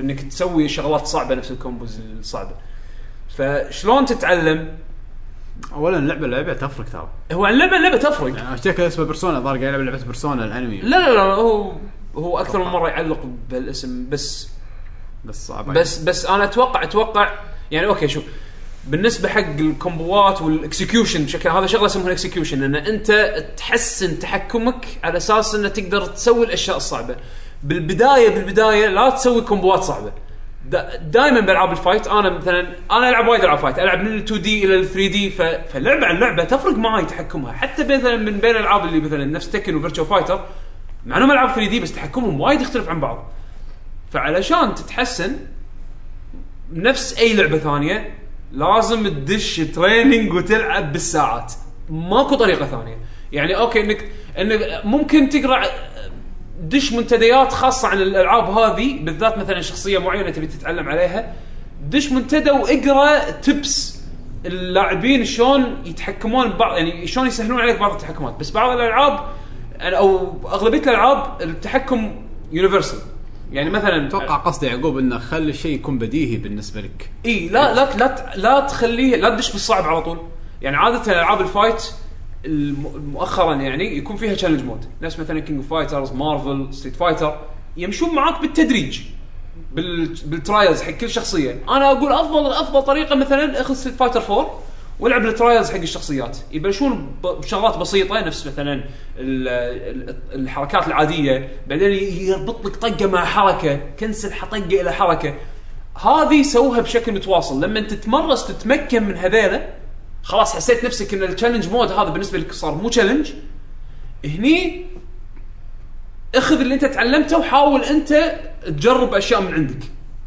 Speaker 3: انك تسوي شغلات صعبه نفس الكومبوز الصعبه فشلون تتعلم
Speaker 2: اولا اللعبه اللعبه تفرق ترى
Speaker 3: هو اللعبه اللعبه تفرق
Speaker 2: يعني اشتكى اسمه بيرسونا الظاهر قاعد يلعب لعبه بيرسونا الانمي
Speaker 3: لا لا لا هو هو اكثر من مره يعلق بهالاسم بس
Speaker 2: بس صعبه
Speaker 3: بس بس انا اتوقع اتوقع يعني اوكي شوف بالنسبه حق الكومبوات والاكسكيوشن بشكل هذا شغله اسمها الاكسكيوشن ان انت تحسن تحكمك على اساس انه تقدر تسوي الاشياء الصعبه بالبدايه بالبدايه لا تسوي كومبوات صعبه دائما بالعاب الفايت انا مثلا انا العب وايد العاب فايت العب من ال 2 دي الى ال 3 دي فاللعبه عن لعبه تفرق معاي تحكمها حتى مثلا من بين الالعاب اللي مثلا نفس تكن وفيرتشو فايتر مع انهم العاب 3 دي بس تحكمهم وايد يختلف عن بعض فعلشان تتحسن نفس اي لعبه ثانيه لازم تدش تريننج وتلعب بالساعات ماكو طريقه ثانيه يعني اوكي انك انك ممكن تقرا دش منتديات خاصه عن الالعاب هذه بالذات مثلا شخصيه معينه تبي تتعلم عليها دش منتدى واقرا تبس اللاعبين شلون يتحكمون ببعض يعني شلون يسهلون عليك بعض التحكمات بس بعض الالعاب او اغلبيه الالعاب التحكم يونيفرسال يعني مثلا
Speaker 2: اتوقع قصده يعقوب انه خلي الشيء يكون بديهي بالنسبه لك
Speaker 3: اي لا لا لا ت- لا تخليه لا تدش بالصعب على طول يعني عاده العاب الفايت الم- مؤخرا يعني يكون فيها تشالنج مود نفس مثلا كينج اوف فايترز مارفل ستريت فايتر يمشون معاك بالتدريج بال بالترايلز حق كل شخصيه انا اقول افضل افضل طريقه مثلا اخذ ستريت فايتر 4 والعب الترايلز حق الشخصيات يبلشون ب- بشغلات بسيطه نفس مثلا ال- ال- الحركات العاديه بعدين ي- يربط لك طقه مع حركه كنسل ح- طقه الى حركه هذه سوها بشكل متواصل لما تتمرس تتمكن من هذيلا خلاص حسيت نفسك ان التشالنج مود هذا بالنسبه لك صار مو تشالنج هني اخذ اللي انت تعلمته وحاول انت تجرب اشياء من عندك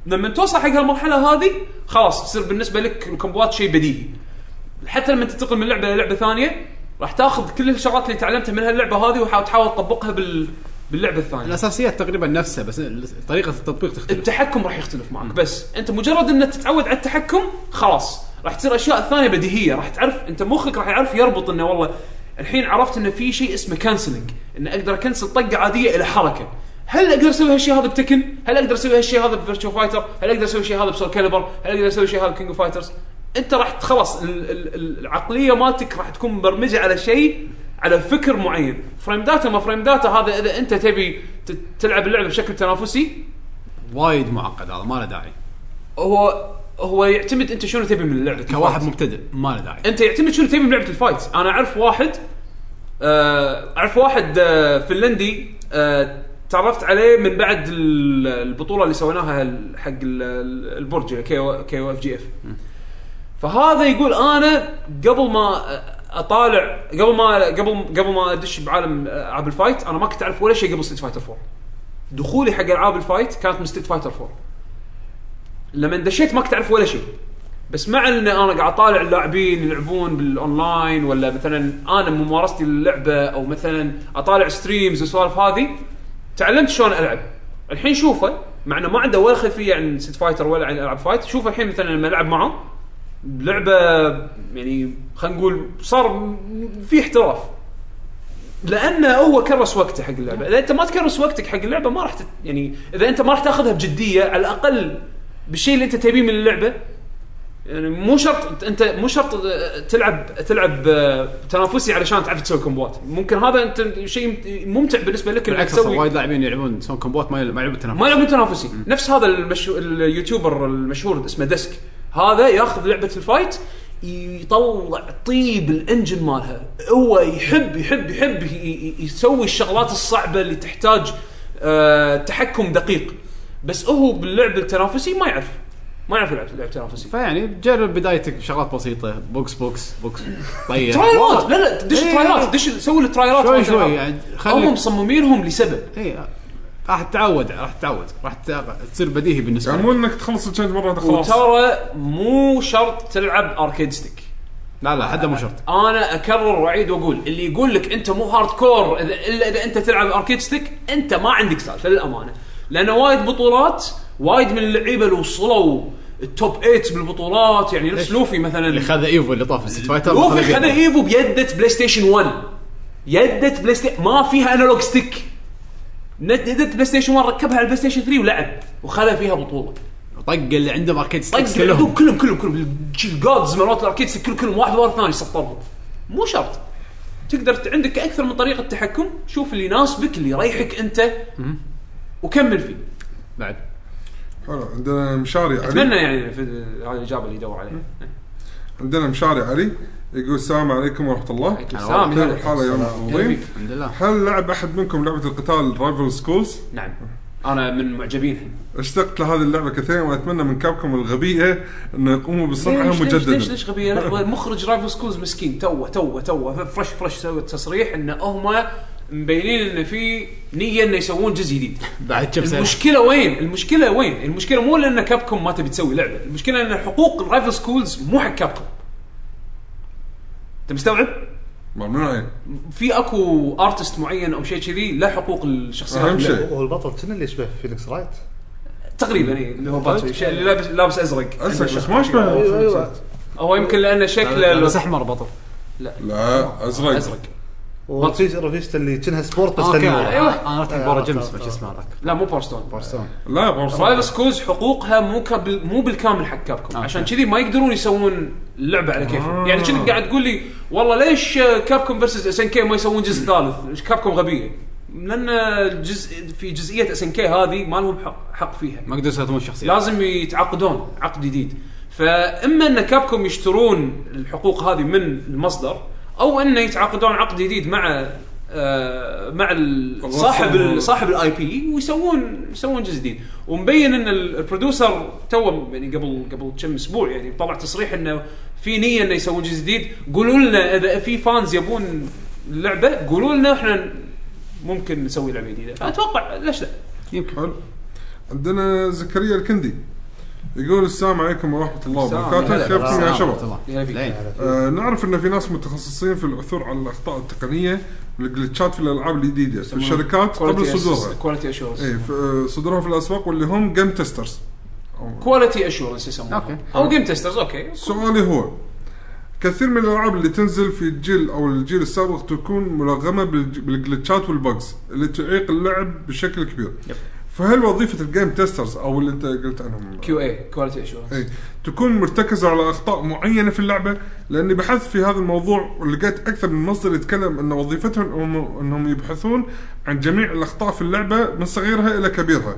Speaker 3: لما توصل حق هالمرحله هذه خلاص تصير بالنسبه لك الكومبوات شيء بديهي حتى لما تنتقل من لعبه للعبه ثانيه راح تاخذ كل الشغلات اللي تعلمتها من هاللعبه هذه وحاول تحاول تطبقها بال باللعبه الثانيه
Speaker 2: الاساسيات تقريبا نفسها بس طريقه التطبيق تختلف
Speaker 3: التحكم راح يختلف معك بس انت مجرد انك تتعود على التحكم خلاص راح تصير اشياء ثانيه بديهيه راح تعرف انت مخك راح يعرف يربط انه والله الحين عرفت انه في شيء اسمه كانسلنج ان اقدر اكنسل طقه عاديه الى حركه هل اقدر اسوي هالشيء هذا بتكن؟ هل اقدر اسوي هالشيء هذا بفيرتشو فايتر؟ هل اقدر اسوي هالشيء هذا بسول كاليبر؟ هل اقدر اسوي هالشيء هذا بكينج اوف فايترز؟ انت راح خلاص ال- ال- العقليه مالتك راح تكون مبرمجه على شيء على فكر معين، فريم داتا ما فريم داتا هذا اذا انت تبي ت- تلعب اللعبه بشكل تنافسي
Speaker 2: وايد معقد هذا ما له داعي
Speaker 3: هو هو يعتمد انت شنو تبي من لعبه
Speaker 2: كواحد
Speaker 3: الفايت.
Speaker 2: مبتدئ ما له داعي
Speaker 3: انت يعتمد شنو تبي من لعبه الفايت انا اعرف واحد آه، اعرف واحد آه، فنلندي آه، تعرفت عليه من بعد ال- البطوله اللي سويناها ال- حق ال- ال- البرج كي او اف جي اف فهذا يقول انا قبل ما اطالع قبل ما قبل قبل ما ادش بعالم العاب الفايت انا ما كنت اعرف ولا شيء قبل ستيت فايتر 4 دخولي حق العاب الفايت كانت من ستيت فايتر 4 لما دشيت ما كنت اعرف ولا شيء بس مع ان انا قاعد اطالع اللاعبين يلعبون بالاونلاين ولا مثلا انا من ممارستي للعبه او مثلا اطالع ستريمز والسوالف هذه تعلمت شلون العب الحين شوفه مع انه ما عنده ولا خلفيه عن ست فايتر ولا عن العاب فايت شوفه الحين مثلا لما العب معه لعبه يعني خلينا نقول صار في احتراف لانه هو كرس وقته حق اللعبه اذا انت ما تكرس وقتك حق اللعبه ما راح تت... يعني اذا انت ما راح تاخذها بجديه على الاقل بالشيء اللي انت تبيه من اللعبه يعني مو شرط انت مو شرط تلعب تلعب تنافسي علشان تعرف تسوي كومبوات ممكن هذا انت شيء ممتع بالنسبه لك انك
Speaker 2: بالعكس أصلاً
Speaker 3: تسوي
Speaker 2: وايد لاعبين يلعبون يسوون كومبوات ما يل- ما يلعبون
Speaker 3: ما
Speaker 2: تنافس
Speaker 3: يلعبون تنافسي نفس هذا المشو... اليوتيوبر المشهور اسمه ديسك هذا ياخذ لعبه الفايت يطلع طيب الانجن مالها هو يحب يحب يحب ي- ي- يسوي الشغلات الصعبه اللي تحتاج آه تحكم دقيق بس هو باللعب التنافسي ما يعرف ما يعرف يلعب لعب تنافسي
Speaker 2: فيعني جرب بدايتك شغلات بسيطه بوكس بوكس بوكس طيب
Speaker 3: ترايلات لا لا دش
Speaker 2: إيه.
Speaker 3: ترايلات دش سوي الترايلات
Speaker 2: شوي
Speaker 3: مالت
Speaker 2: شوي
Speaker 3: الألعاب.
Speaker 2: يعني خليك-
Speaker 3: هم مصممينهم لسبب
Speaker 2: اي إيه، راح تتعود راح تتعود راح ت- تصير بديهي بالنسبه
Speaker 5: يعني
Speaker 2: لك
Speaker 5: مو انك تخلص التشالنج مره واحدة خلاص
Speaker 3: وترى مو شرط تلعب اركيد ستيك
Speaker 2: لا لا حدا مو شرط
Speaker 3: انا اكرر واعيد واقول اللي يقول لك انت مو هارد كور إذا- الا اذا انت تلعب اركيد ستيك انت ما عندك سالفه للامانه لان وايد بطولات وايد من اللعيبه اللي وصلوا التوب 8 بالبطولات يعني نفس
Speaker 2: ليش؟
Speaker 3: لوفي مثلا
Speaker 2: اللي خذ ايفو اللي طاف ستيت فايتر
Speaker 3: لوفي خذ ايفو بيدة بلاي ستيشن 1 يدة بلاي ستيشن ما فيها انالوج ستيك ند- يدة بلاي ستيشن 1 ركبها على البلاي ستيشن 3 ولعب وخذ فيها بطوله
Speaker 2: طق اللي عنده ماركت
Speaker 3: طق
Speaker 2: ستيكس
Speaker 3: كلهم
Speaker 2: كلهم
Speaker 3: كلهم كلهم كلهم الجودز مالت الاركيد ستيك كل كلهم واحد ورا الثاني سطرهم مو شرط تقدر ت- عندك اكثر من طريقه تحكم شوف اللي يناسبك اللي يريحك انت وكمل فيه
Speaker 2: بعد
Speaker 5: حلو عندنا مشاري علي
Speaker 3: اتمنى يعني في هذه الاجابه اللي يدور عليها
Speaker 5: عندنا مشاري علي يقول السلام عليكم ورحمه الله
Speaker 3: عليكم
Speaker 2: سلام.
Speaker 5: كيف
Speaker 3: السلام
Speaker 5: الحال يا يوم
Speaker 2: الحمد
Speaker 5: العظيم
Speaker 2: لله
Speaker 5: هل لعب احد منكم لعبه القتال رايفل سكولز؟
Speaker 3: نعم انا من معجبينها
Speaker 5: اشتقت لهذه اللعبه كثيرا واتمنى من كابكم الغبيه انه يقوموا بصنعها
Speaker 3: ليش- ليش ليش
Speaker 5: مجددا
Speaker 3: ليش غبيه لا، مخرج رايفل سكولز مسكين توه توه توه فرش فرش سوى تصريح انه هم مبينين انه في نيه انه يسوون جزء جديد
Speaker 2: بعد
Speaker 3: طيب،
Speaker 2: شوف سنة.
Speaker 3: المشكله وين؟ المشكله وين؟ المشكله مو لان كابكوم ما تبي تسوي لعبه، المشكله ان حقوق الرايفل سكولز مو حق كابكوم. انت مستوعب؟
Speaker 5: ممنوع
Speaker 3: في اكو ارتست معين او شيء كذي له حقوق الشخصيات
Speaker 5: اهم شيء
Speaker 4: هو البطل كنا اللي يشبه فينيكس رايت
Speaker 3: تقريبا إي، اللي هو باتشو، إيه. شيء اللي لابس لابس ازرق
Speaker 5: ازرق بس ما اشبه
Speaker 3: هو يمكن لانه شكله
Speaker 2: بس احمر بطل
Speaker 5: لا ازرق
Speaker 3: ازرق
Speaker 4: ورفيج رفيجته اللي كانها سبورت بس
Speaker 2: اوكي
Speaker 4: تنوير.
Speaker 2: ايوه انا رحت حق بورا
Speaker 4: آه،
Speaker 2: جيمس
Speaker 4: آه،
Speaker 2: بس شو اسمه هذاك
Speaker 3: لا مو بارستون
Speaker 2: بورستون
Speaker 5: لا بورصة
Speaker 3: رايفل سكولز حقوقها مو كبل مو بالكامل حق كابكوم
Speaker 2: آه،
Speaker 3: عشان
Speaker 2: أوكي. آه.
Speaker 3: كذي ما يقدرون يسوون اللعبه على كيفهم يعني كأنك قاعد تقول لي والله ليش كابكوم فيرسز اس ان كي ما يسوون جزء ثالث كابكوم غبيه لان الجزء في جزئيه اس ان كي هذه ما لهم حق, حق فيها
Speaker 2: ما قدروا يسيطرون الشخصيه
Speaker 3: لازم يتعاقدون عقد جديد فاما ان كابكوم يشترون الحقوق هذه من المصدر او انه يتعاقدون عقد جديد مع آه مع ال- صاحب ال- صاحب الاي بي ويسوون يسوون جزء جديد ومبين ان ال- البرودوسر تو يعني قبل قبل كم اسبوع يعني طلع تصريح انه في نيه انه يسوون جزء جديد قولوا لنا اذا في فانز يبون اللعبه قولوا لنا احنا ممكن نسوي لعبه جديده فاتوقع ليش لا
Speaker 2: يمكن
Speaker 5: حلو عندنا زكريا الكندي يقول السلام عليكم ورحمه الله
Speaker 3: السلام.
Speaker 5: وبركاته
Speaker 3: هلا.
Speaker 5: كيفكم يا شباب؟
Speaker 3: يا فيك.
Speaker 2: زين.
Speaker 5: آه، نعرف ان في ناس متخصصين في العثور على الاخطاء التقنيه والجلتشات في الالعاب الجديده في الشركات قبل صدورها
Speaker 3: كواليتي اشورنس
Speaker 5: اي في- آه، صدورها في الاسواق واللي هم جيم تيسترز
Speaker 3: كواليتي اشورنس يسمونها
Speaker 2: أوكي.
Speaker 3: او جيم تيسترز اوكي
Speaker 5: سؤالي هو كثير من الالعاب اللي تنزل في الجيل او الجيل السابق تكون ملغمه بالج- بالجلتشات والبجز اللي تعيق اللعب بشكل كبير
Speaker 2: يب.
Speaker 5: فهل وظيفه الجيم تيسترز او اللي انت قلت عنهم
Speaker 3: كيو اي كواليتي اشورنس
Speaker 5: اي إيه. تكون مرتكزه على اخطاء معينه في اللعبه لاني بحثت في هذا الموضوع ولقيت اكثر من مصدر يتكلم ان وظيفتهم هم- انهم يبحثون عن جميع الاخطاء في اللعبه من صغيرها الى كبيرها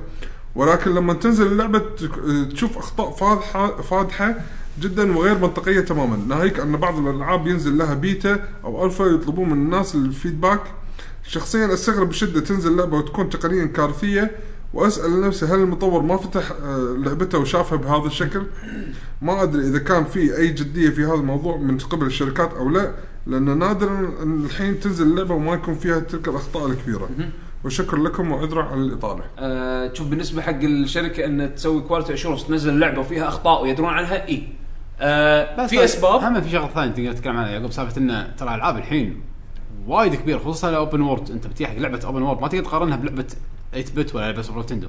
Speaker 5: ولكن لما تنزل اللعبه تك- تشوف اخطاء فاضحه فاضحه جدا وغير منطقيه تماما ناهيك ان بعض الالعاب ينزل لها بيتا او الفا يطلبون من الناس الفيدباك شخصيا استغرب بشده تنزل لعبه وتكون تقنيا كارثيه واسال نفسي هل المطور ما فتح آه، لعبته وشافها بهذا الشكل؟ ما ادري اذا كان في اي جديه في هذا الموضوع من قبل الشركات او لا لان نادرا ان الحين تنزل اللعبه وما يكون فيها تلك الاخطاء الكبيره. وشكرا لكم وعذرا على الاطاله.
Speaker 3: آه، شوف بالنسبه حق الشركه ان تسوي كواليتي اشورنس تنزل لعبه فيها اخطاء ويدرون عنها اي آه
Speaker 2: بس طيب،
Speaker 3: في اسباب
Speaker 2: هم في شغله ثانيه تقدر تتكلم عنها يعقوب سالفه انه ترى العاب الحين وايد كبير خصوصا الاوبن وورد انت بتيجي حق لعبه اوبن وورد ما تقدر تقارنها بلعبه 8 بت ولا لعبه سوبر نتندو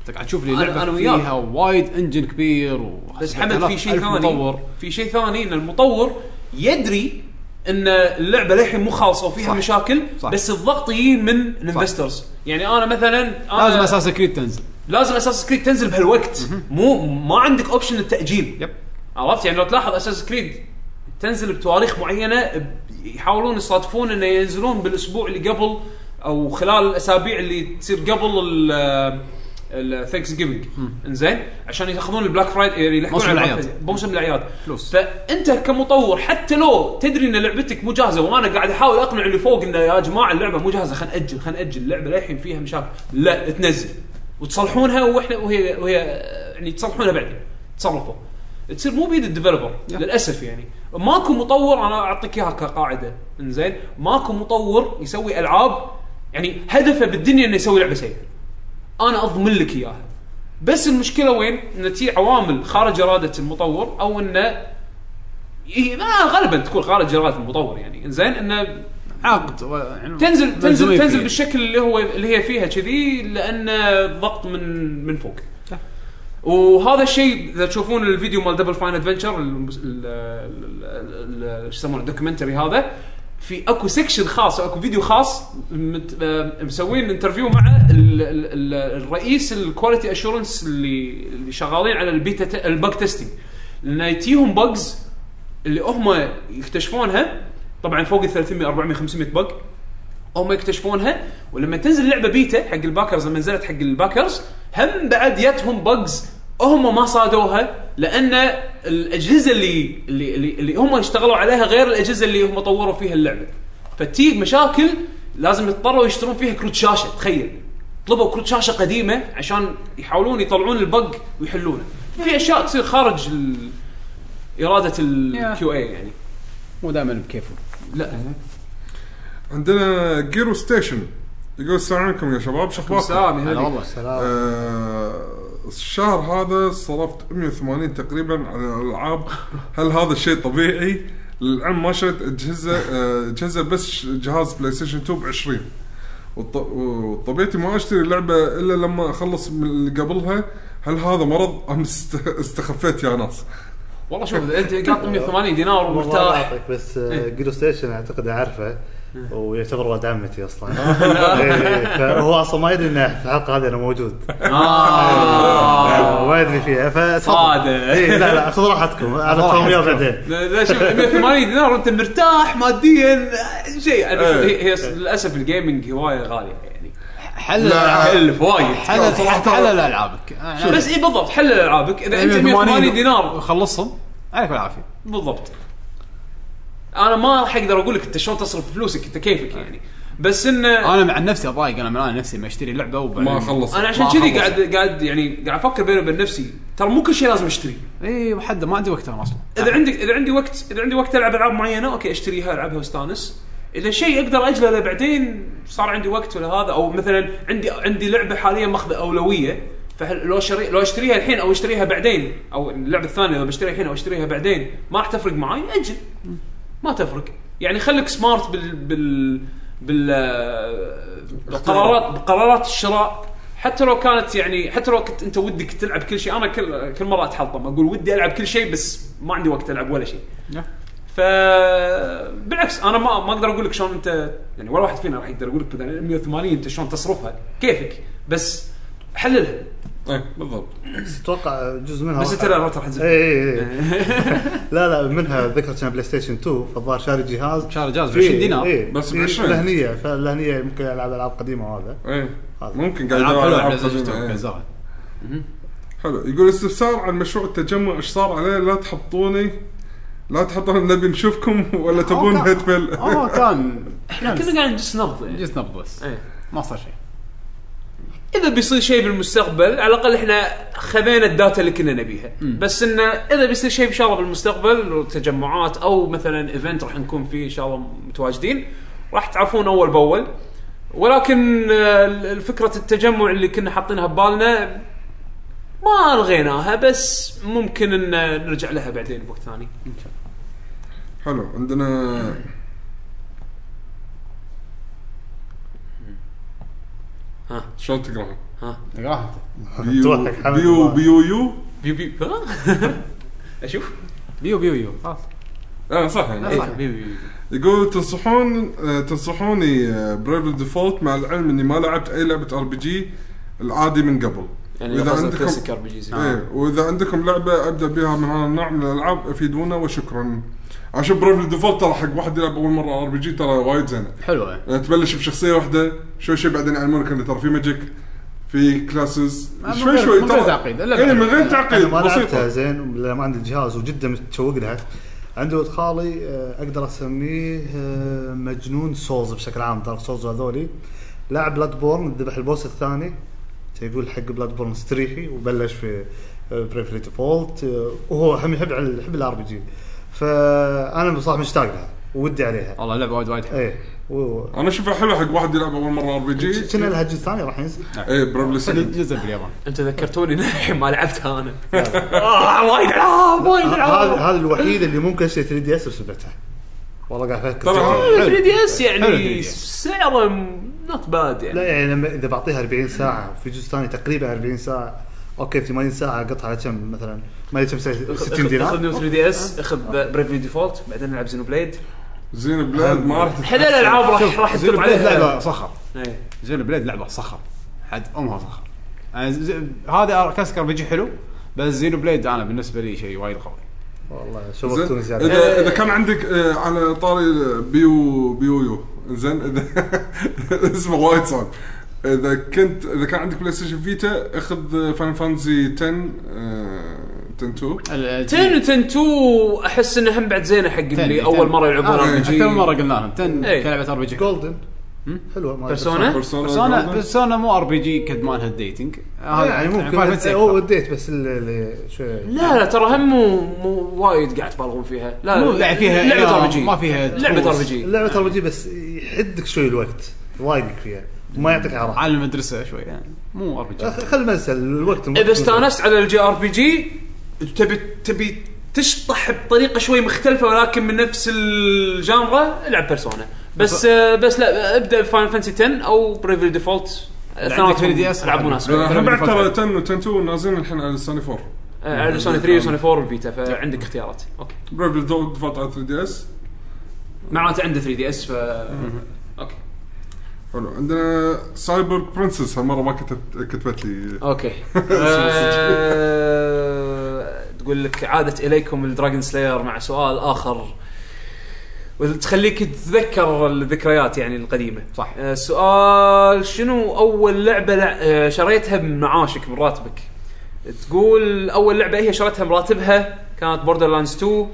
Speaker 2: انت قاعد تشوف لي
Speaker 3: أنا-
Speaker 2: لعبه
Speaker 3: أنا وياك.
Speaker 2: فيها وايد انجن كبير و
Speaker 3: بس حمد في شيء
Speaker 2: 1000
Speaker 3: ثاني
Speaker 2: مطور
Speaker 3: في شيء ثاني ان المطور يدري ان اللعبه للحين مو خالصه وفيها
Speaker 2: صح.
Speaker 3: مشاكل
Speaker 2: صح.
Speaker 3: بس الضغط يجي من الانفسترز يعني انا مثلا أنا
Speaker 2: لازم اساس كريد تنزل
Speaker 3: لازم اساس كريد تنزل بهالوقت مو ما عندك اوبشن التاجيل
Speaker 2: يب
Speaker 3: عرفت يعني لو تلاحظ اساس كريد تنزل بتواريخ معينه ب- يحاولون يصادفون انه ينزلون بالاسبوع اللي قبل او خلال الاسابيع اللي تصير قبل ال الثانكس جيفنج انزين عشان ياخذون البلاك فرايداي يلحقون
Speaker 2: موسم
Speaker 3: على البلاك
Speaker 2: الأعياد.
Speaker 3: فرايداي. موسم الاعياد
Speaker 2: فلوس.
Speaker 3: فانت كمطور حتى لو تدري ان لعبتك مو جاهزه وانا قاعد احاول اقنع اللي فوق انه يا جماعه اللعبه مو جاهزه خلينا ناجل خلينا ناجل اللعبه للحين فيها مشاكل لا تنزل وتصلحونها واحنا وهي وهي يعني تصلحونها بعدين تصرفوا تصير مو بيد الديفلوبر للاسف يعني ماكو مطور انا اعطيك اياها كقاعده انزين ماكو مطور يسوي العاب يعني هدفه بالدنيا انه يسوي لعبه سيئه انا اضمن لك اياها بس المشكله وين؟ ان تي عوامل خارج اراده المطور او انه إيه ما غالبا تكون خارج اراده المطور يعني انزين انه
Speaker 2: عقد و... يعني
Speaker 3: تنزل تنزل
Speaker 2: ملزومين
Speaker 3: تنزل
Speaker 2: فيه.
Speaker 3: بالشكل اللي هو اللي هي فيها كذي لان ضغط من من فوق
Speaker 2: صح.
Speaker 3: وهذا الشيء اذا تشوفون الفيديو مال دبل فاين ادفنتشر المس- ال- ال- ال- ال- شو يسمونه الدوكيومنتري هذا في اكو سكشن خاص اكو فيديو خاص مت- آه، مسوين انترفيو مع ال- ال- ال- الرئيس الكواليتي اشورنس اللي اللي شغالين على البيتا ت- البج تيستنج لان يتيهم بجز اللي هم يكتشفونها طبعا فوق ال 300 400 500 بج هم يكتشفونها ولما تنزل لعبه بيتا حق الباكرز لما نزلت حق الباكرز هم بعد يتهم بجز هم ما صادوها لان الاجهزه اللي اللي اللي, اللي هم اشتغلوا عليها غير الاجهزه اللي هم طوروا فيها اللعبه فتجي مشاكل لازم يضطروا يشترون فيها كروت شاشه تخيل طلبوا كروت شاشه قديمه عشان يحاولون يطلعون البق ويحلونه في اشياء تصير خارج ال- اراده الكيو اي يعني
Speaker 2: مو دائما بكيفه
Speaker 3: لا
Speaker 5: عندنا جيرو ستيشن يقول السلام عليكم يا شباب شخباركم
Speaker 3: سلام يا
Speaker 2: هلا
Speaker 3: هلا
Speaker 2: والله
Speaker 4: سلام
Speaker 5: آه، الشهر هذا صرفت 180 تقريبا على الالعاب هل هذا الشيء طبيعي؟ للعلم ما شريت اجهزه آه، اجهزه بس ش- جهاز بلاي ستيشن 2 ب 20 وط- وطبيعتي ما اشتري لعبه الا لما اخلص من اللي قبلها هل هذا مرض ام است- استخفيت يا ناس؟
Speaker 3: والله شوف إذا انت قاط 180 دينار
Speaker 4: والله
Speaker 3: ومرتاح
Speaker 4: يعطيك بس
Speaker 3: إيه.
Speaker 4: جيرو ستيشن اعتقد اعرفه ويعتبر ولد عمتي اصلا إيه، فهو اصلا ما يدري ان في الحلقه هذه انا موجود
Speaker 3: آه.
Speaker 4: ما يدري فيها فتفضل
Speaker 3: صادق.
Speaker 4: إيه، لا لا خذ راحتكم اعرفكم وياه بعدين
Speaker 3: لا لا، شوف 180 دينار وانت مرتاح ماديا آه، شيء يعني
Speaker 2: إيه.
Speaker 3: هي هي للاسف الجيمنج هوايه غاليه يعني
Speaker 2: حل
Speaker 5: لا.
Speaker 2: الألعاب.
Speaker 3: حل فوايد
Speaker 2: آه. حل
Speaker 5: صراحة-
Speaker 2: حل العابك أنا-
Speaker 3: بس اي بالضبط حل العابك اذا انت
Speaker 2: 180
Speaker 3: 180 دينار
Speaker 2: وخلصهم عليك بالعافيه
Speaker 3: بالضبط انا ما راح اقدر اقول لك انت شلون تصرف فلوسك انت كيفك يعني بس انه
Speaker 2: انا مع نفسي اضايق انا من نفسي ما اشتري لعبه وبعدين
Speaker 5: ما خلص
Speaker 3: انا عشان
Speaker 2: ما أخلص.
Speaker 3: كذي قاعد قاعد يعني قاعد افكر بيني وبين نفسي ترى مو كل شيء لازم اشتريه
Speaker 2: اي حد ما عندي وقت انا اصلا
Speaker 3: اذا عندك اذا عندي وقت اذا عندي وقت العب العاب معينه اوكي اشتريها العبها واستانس اذا شيء اقدر اجله لبعدين صار عندي وقت ولا هذا او مثلا عندي عندي لعبه حاليا ماخذه اولويه فلو شري لو اشتريها الحين او اشتريها بعدين او اللعبه الثانيه لو بشتريها الحين او اشتريها بعدين ما راح تفرق معي اجل ما تفرق يعني خليك سمارت بال بال بال بالقرارات بقرارات الشراء حتى لو كانت يعني حتى لو كنت انت ودك تلعب كل شيء انا كل كل مره اتحطم اقول ودي العب كل شيء بس ما عندي وقت العب ولا شيء ف بالعكس انا ما ما اقدر اقول لك شلون انت يعني ولا واحد فينا راح يقدر يقول لك مثلا 180 انت شلون تصرفها كيفك بس حللها
Speaker 5: ايه بالضبط
Speaker 4: اتوقع جزء منها
Speaker 3: بس انت لا لا راح تزف
Speaker 4: اي إيه، لا لا منها ذكرت كان بلاي ستيشن 2 فالظاهر شاري جهاز إيه،
Speaker 2: شاري جهاز ب 20 دينار.
Speaker 5: بس ب 20.
Speaker 4: 20 لهنيه فالهنيه يمكن العب العاب قديمه وهذا
Speaker 5: ايه
Speaker 4: هذا.
Speaker 5: ممكن قاعد
Speaker 2: العاب
Speaker 5: يدور
Speaker 2: حلوه
Speaker 5: على
Speaker 2: على
Speaker 5: ألعاب
Speaker 2: PlayStation
Speaker 5: قديمة،
Speaker 2: 2
Speaker 5: إيه.
Speaker 2: كزارة.
Speaker 5: حلو يقول استفسار عن مشروع التجمع ايش صار عليه لا تحطوني لا تحطون نبي نشوفكم ولا تبون
Speaker 2: أوه،
Speaker 5: هيد
Speaker 2: كان-
Speaker 5: فيل
Speaker 2: اوه كان
Speaker 3: احنا كنا قاعدين نجلس نبض يعني
Speaker 2: جس نبض بس
Speaker 3: إيه.
Speaker 2: ما صار شيء
Speaker 3: اذا بيصير شيء بالمستقبل على الاقل احنا خذينا الداتا اللي كنا نبيها بس انه اذا بيصير شيء ان شاء الله بالمستقبل تجمعات او مثلا ايفنت راح نكون فيه ان شاء الله متواجدين راح تعرفون اول باول ولكن آه، فكره التجمع اللي كنا حاطينها ببالنا ما الغيناها بس ممكن ان نرجع لها بعدين بوقت ثاني
Speaker 5: حلو عندنا
Speaker 3: ها.
Speaker 5: شلون تقراها؟
Speaker 2: تقراها انت
Speaker 5: بيو
Speaker 4: توقع حمد
Speaker 5: بيو
Speaker 4: الله.
Speaker 5: بيو يو
Speaker 3: بيو بيو ها؟ اشوف
Speaker 2: بيو بيو بيو خلاص
Speaker 5: اه صح يعني
Speaker 2: صح.
Speaker 3: بيو بيو
Speaker 5: يقول تنصحون آه، تنصحوني برايفل ديفولت مع العلم اني ما لعبت اي لعبه ار بي جي العادي من قبل
Speaker 6: يعني
Speaker 5: وإذا
Speaker 6: قصد
Speaker 5: عندكم-
Speaker 6: كلاسيك ار بي جيز
Speaker 2: نعم.
Speaker 5: ايه واذا عندكم لعبه ابدا بها من هذا النوع من الالعاب افيدونا وشكرا عشان بريف ديفولت ترى حق واحد يلعب اول مره ار بي جي ترى وايد زينه
Speaker 2: حلوه
Speaker 5: لأن تبلش بشخصيه واحده شوي شوي بعدين يعلمونك انه ترى في ماجيك في كلاسز
Speaker 2: من
Speaker 5: شوي
Speaker 2: غير-
Speaker 5: شوي
Speaker 2: من
Speaker 5: ترى-
Speaker 2: غير تعقيد، إلا
Speaker 5: ايه من غير
Speaker 2: بعد.
Speaker 5: تعقيد
Speaker 4: انا ما لعبتها
Speaker 5: بسيطه
Speaker 4: زين لما عندي الجهاز وجدا متشوق لها عندي ولد خالي آه، اقدر اسميه آه، مجنون سولز بشكل عام دارك سولز وهذولي لاعب بلاد بورن ذبح البوس الثاني كان يقول حق بلاد بورن استريحي وبلش في آه، بريفري ديفولت آه، وهو هم يحب على- يحب الار بي جي فانا بصراحه مشتاق لها ودي عليها
Speaker 2: والله لعبه وايد وايد حلوه
Speaker 4: ايه و-
Speaker 5: انا اشوفها حلوه حق واحد يلعب اول مره ار بي جي
Speaker 4: كنا لها جزء ثاني راح ينزل
Speaker 5: ايه بريفلي سكند
Speaker 2: جزء باليابان
Speaker 3: انت ذكرتوني الحين ما لعبتها انا آه، وايد العاب وايد
Speaker 4: هذا
Speaker 3: العاب
Speaker 4: هذا الوحيد اللي ممكن اشتري 3 دي اس بسبعتها والله قاعد افكر
Speaker 5: ترى
Speaker 4: جداً.
Speaker 3: 3 آه، دي اس
Speaker 2: حلو 3DS.
Speaker 3: يعني سعره نوت باد يعني
Speaker 4: لا يعني لما اذا بعطيها 40 ساعه وفي جزء ثاني تقريبا 40 ساعه اوكي 80 ساعه قطعه على كم مثلا ما ادري كم ساعة، 60
Speaker 3: اخذ
Speaker 4: دينار
Speaker 3: نيو 3 دي اس اخذ بريفلي ديفولت بعدين نلعب زينو بليد
Speaker 5: زين بلاد ما راح
Speaker 3: حدا الالعاب راح راح
Speaker 2: زين
Speaker 3: تدق عليها
Speaker 2: لعبه صخر
Speaker 3: إيه.
Speaker 2: زين بليد لعبه صخر حد امها صخر أنا ز- ز- هذا كاسكر بيجي حلو بس زينو بليد انا بالنسبه لي شيء وايد قوي
Speaker 4: والله
Speaker 5: زين
Speaker 4: شوفتوني زياده
Speaker 5: اذا اذا كان عندك آه، على طاري بيو بيو يو زين اذا اسمه وايد صعب اذا كنت اذا كان عندك بلاي ستيشن فيتا اخذ فان فانزي 10 آه، 10 2
Speaker 3: تن تن 2 احس انه هم بعد زينه حق اللي
Speaker 2: تن-
Speaker 3: اول
Speaker 2: تن.
Speaker 3: مره يلعبون
Speaker 2: آه،
Speaker 3: ار بي جي
Speaker 2: اكثر من مره قلنا لهم تن
Speaker 3: إيه.
Speaker 2: كلعبه ار بي جي
Speaker 4: جولدن حلوه ما
Speaker 3: بيرسونا
Speaker 2: بيرسونا بيرسونا مو ار بي جي قد ما لها الديتنج هذا
Speaker 4: يعني ممكن
Speaker 2: Final Fantasy
Speaker 4: إيه،
Speaker 2: أكثر.
Speaker 4: هو وديت بس اللي- اللي شوي
Speaker 3: لا لا ترى هم مو مو وايد قاعد تبالغون فيها لا
Speaker 2: مو يعني فيها
Speaker 3: لعبه ار
Speaker 2: إعلام،
Speaker 3: بي جي
Speaker 2: ما فيها
Speaker 3: لعبه ار
Speaker 2: تروس.
Speaker 3: بي جي
Speaker 4: اللعبه ترى بتجي بس يحدك شوي الوقت ضايقك فيها وما يعطيك عراق
Speaker 2: على المدرسه شوي يعني مو ار بي جي
Speaker 4: خل المنسى الوقت
Speaker 3: اذا استانست على الجي ار بي جي تبي تبي تشطح بطريقه شوي مختلفه ولكن من نفس الجانرا العب بيرسونا بس آه، بس لا ابدا بفاينل فانسي 10 او بريفل ديفولت
Speaker 2: عندك 3DS
Speaker 3: العاب مناسبه
Speaker 5: هم بعد ترى 10 و 10 2 نازلين الحين على سوني 4
Speaker 3: آه، على سوني 3 وسوني 4 والفيتا فعندك اختيارات اوكي
Speaker 5: بريفل دوغ دفعت على 3 دي اس
Speaker 3: معناته عنده 3 دي اس ف اوكي
Speaker 5: حلو عندنا سايبر برنسس هالمره ما كتبت كتبت لي
Speaker 3: اوكي آه، تقول لك عادت اليكم الدراجون سلاير مع سؤال اخر وتخليك تتذكر الذكريات يعني القديمه
Speaker 2: صح.
Speaker 3: آه، السؤال شنو اول لعبه لع- آه، شريتها من معاشك من راتبك تقول اول لعبه هي شريتها مراتبها كانت بوردر لاندز 2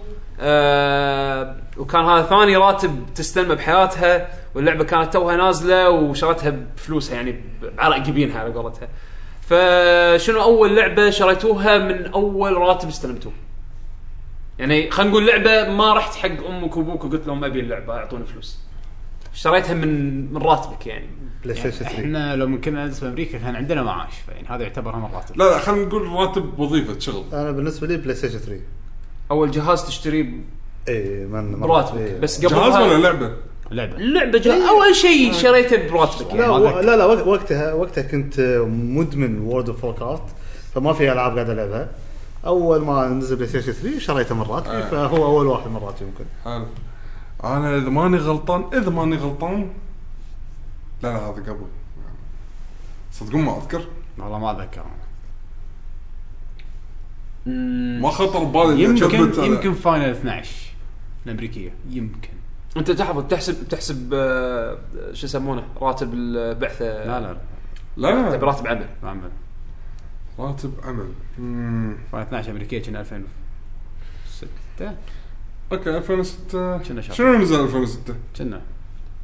Speaker 3: آه وكان هذا ثاني راتب تستلمه بحياتها واللعبه كانت توها نازله وشرتها بفلوسها يعني بعرق جبينها على قولتها فشنو اول لعبه شريتوها من اول راتب استلمتوه يعني خلينا نقول لعبه ما رحت حق امك وابوك وقلت لهم ابي اللعبه اعطوني فلوس اشتريتها من من راتبك يعني
Speaker 4: بلاي ستيشن 3
Speaker 2: احنا لو ممكن ندرس بامريكا كان عندنا معاش فيعني هذا يعتبر هم الراتب
Speaker 5: لا لا خلينا نقول راتب وظيفه شغل
Speaker 4: انا بالنسبه لي بلاي ستيشن 3
Speaker 3: اول جهاز تشتريه
Speaker 4: اي من مرة. إيه.
Speaker 3: براتبك بس
Speaker 5: جهاز
Speaker 3: قبلها
Speaker 5: ولا لعبه؟
Speaker 2: لعبه
Speaker 3: اللعبه جهاز اول شيء شريته براتبك يعني
Speaker 4: لا
Speaker 2: ما
Speaker 4: و...
Speaker 2: أذكر.
Speaker 4: لا لا وق- وقتها وقتها كنت مدمن وورد اوف كارت فما في العاب قاعد العبها اول ما نزل بلاي ستيشن 3 شريته من راتبي
Speaker 5: آه.
Speaker 4: فهو اول واحد من راتبي يمكن
Speaker 5: حلو انا اذا ماني غلطان اذا ماني غلطان لا لا هذا قبل صدقون ما اذكر
Speaker 2: والله ما اتذكر أنا.
Speaker 5: ما خطر ببالي إني أثبت
Speaker 2: يمكن
Speaker 5: أنا.
Speaker 2: يمكن فاينل 12 الامريكيه يمكن
Speaker 3: انت تحفظ تحسب تحسب آه، شو يسمونه راتب البعثه
Speaker 2: لا لا لا
Speaker 5: لا
Speaker 3: تحسب
Speaker 5: لا
Speaker 3: راتب عمل
Speaker 2: ما عمل
Speaker 5: راتب عمل مم.
Speaker 2: فاينل 12 امريكيه كنا 2006
Speaker 5: اوكي 2006
Speaker 2: شنو شهر؟
Speaker 5: شنو نزل 2006
Speaker 2: كنا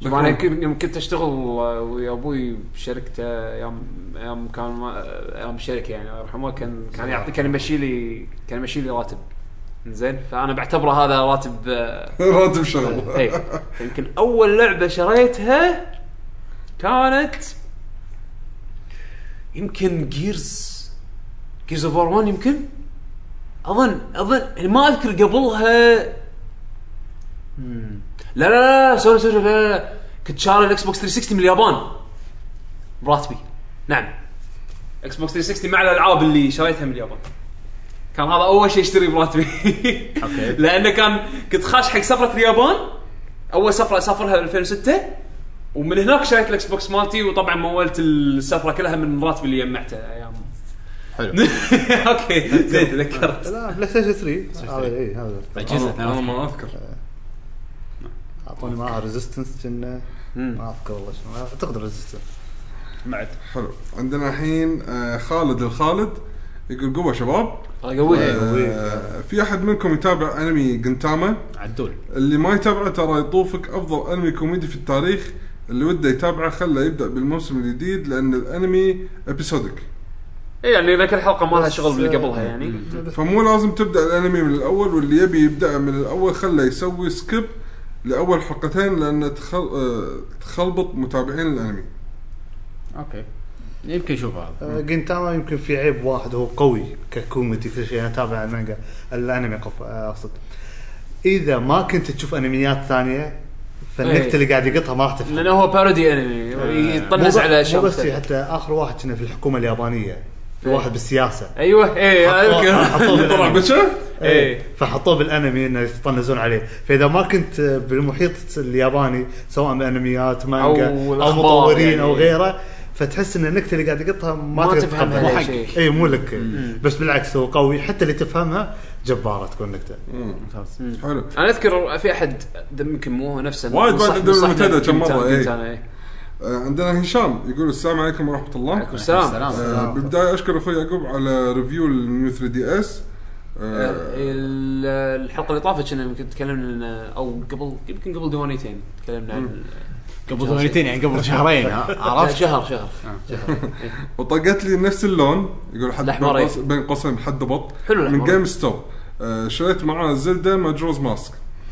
Speaker 3: طبعا انا يمكن- يوم كنت اشتغل آه، ويا ابوي بشركته ايام ايام كان ما- ايام الشركه يعني الله يرحمه كان كان يعطي كان يمشي لي كان يمشي لي راتب زين فانا بعتبره هذا راتب آه،
Speaker 5: راتب شغل
Speaker 3: اي يمكن اول لعبه شريتها كانت يمكن جيرز جيرز اوف 1 يمكن اظن اظن يعني ما اذكر قبلها مم. لا لا لا لا، سوري سوري لا لا, لا. كنت شاري الاكس بوكس 360 من اليابان براتبي نعم اكس بوكس 360 مع الالعاب اللي شريتها من اليابان كان هذا اول شيء اشتري براتبي
Speaker 2: أوكي.
Speaker 3: لانه كان كنت خاش حق سفره اليابان اول سفره اسافرها 2006 ومن هناك شريت الاكس بوكس مالتي وطبعا مولت السفره كلها من راتبي اللي جمعته ايام
Speaker 2: حلو
Speaker 3: اوكي زين تذكرت
Speaker 4: لا بلاي ستيشن 3 هذا اي هذا
Speaker 2: اجهزه
Speaker 5: انا أنا
Speaker 2: ثلاث.
Speaker 5: ما اذكر
Speaker 4: اعطوني معاه ريزيستنس كنا ما اذكر والله شنو آه، اعتقد ريزيستنس
Speaker 2: بعد
Speaker 5: حلو عندنا الحين آه، خالد الخالد يقول قوه شباب
Speaker 3: طيب،
Speaker 2: إيه،
Speaker 3: قوي
Speaker 5: آه، في احد منكم يتابع انمي جنتاما
Speaker 2: عدول
Speaker 5: اللي ما يتابعه ترى يطوفك افضل انمي كوميدي في التاريخ اللي وده يتابعه خله يبدا بالموسم الجديد لان الانمي ابيسودك
Speaker 3: يعني اذا كل حلقه ما لها شغل باللي قبلها يعني
Speaker 5: فمو لازم تبدا الانمي من الاول واللي يبي يبدا من الاول خله يسوي سكيب لاول حلقتين لان تخل... آه، تخلبط متابعين الانمي
Speaker 2: اوكي يمكن يشوف هذا
Speaker 4: جنتاما آه، يمكن في عيب واحد هو قوي ككوميدي كل شيء انا اتابع المانجا الانمي قف- آه، اقصد اذا ما كنت تشوف انميات ثانيه
Speaker 3: إيه.
Speaker 4: فالنكته اللي قاعد يقطها ما راح تفهم
Speaker 3: لانه هو بارودي انمي
Speaker 4: مو
Speaker 3: يطنز
Speaker 4: بس-
Speaker 3: طيب، على
Speaker 4: مو بس
Speaker 3: شغله
Speaker 4: حتى اخر واحد كنا في الحكومه اليابانيه في
Speaker 3: إيه.
Speaker 4: واحد بالسياسه
Speaker 3: ايوه اي
Speaker 4: حطوه
Speaker 3: اذكر
Speaker 5: طلع
Speaker 4: بالأنمي.
Speaker 5: بشا
Speaker 3: اي
Speaker 4: إيه. فحطوه بالانمي انه يتطنزون عليه، فاذا ما كنت بالمحيط الياباني سواء بانميات مانجا
Speaker 3: أو
Speaker 4: او,
Speaker 3: الأخبار
Speaker 4: مطورين
Speaker 3: يعني.
Speaker 4: او غيره فتحس ان النكته اللي قاعد يقطها ما,
Speaker 3: ما
Speaker 4: تقدر
Speaker 3: تفهمها
Speaker 4: تتقبلها.
Speaker 3: أي شيء.
Speaker 4: اي مو لك بس بالعكس هو قوي حتى اللي تفهمها جباره تكون نكته
Speaker 5: حلو
Speaker 3: انا اذكر في احد يمكن مو هو نفسه
Speaker 5: وايد
Speaker 3: نصح-
Speaker 5: بعد الدوري
Speaker 3: نصحني
Speaker 5: المنتدى كم مرة،
Speaker 3: بجنتاما-
Speaker 5: إيه.
Speaker 3: بجنتاما، إيه.
Speaker 5: آه، عندنا هشام يقول السلام عليكم ورحمه الله
Speaker 3: سلام
Speaker 2: سلام
Speaker 5: آه، بالبدايه اشكر اخوي يعقوب على ريفيو النيو 3 دي اس آه،
Speaker 3: آه، ال- الحلقه اللي طافت كنا يمكن تكلمنا إن- او قبل يمكن قبل ديوانيتين تكلمنا عن
Speaker 2: قبل ثمانيتين يعني قبل شهرين ها؟
Speaker 3: لا،
Speaker 2: عرفت
Speaker 3: شهر شهر
Speaker 5: آه. وطقت لي نفس اللون يقول حد بين
Speaker 3: الأحمر
Speaker 5: قوس-
Speaker 3: إيه.
Speaker 5: بين قوسين حد بط
Speaker 3: حلو
Speaker 5: من
Speaker 3: الأحمر.
Speaker 5: جيم ستوب آه، شريت معاه زلدا ماجروز ماسك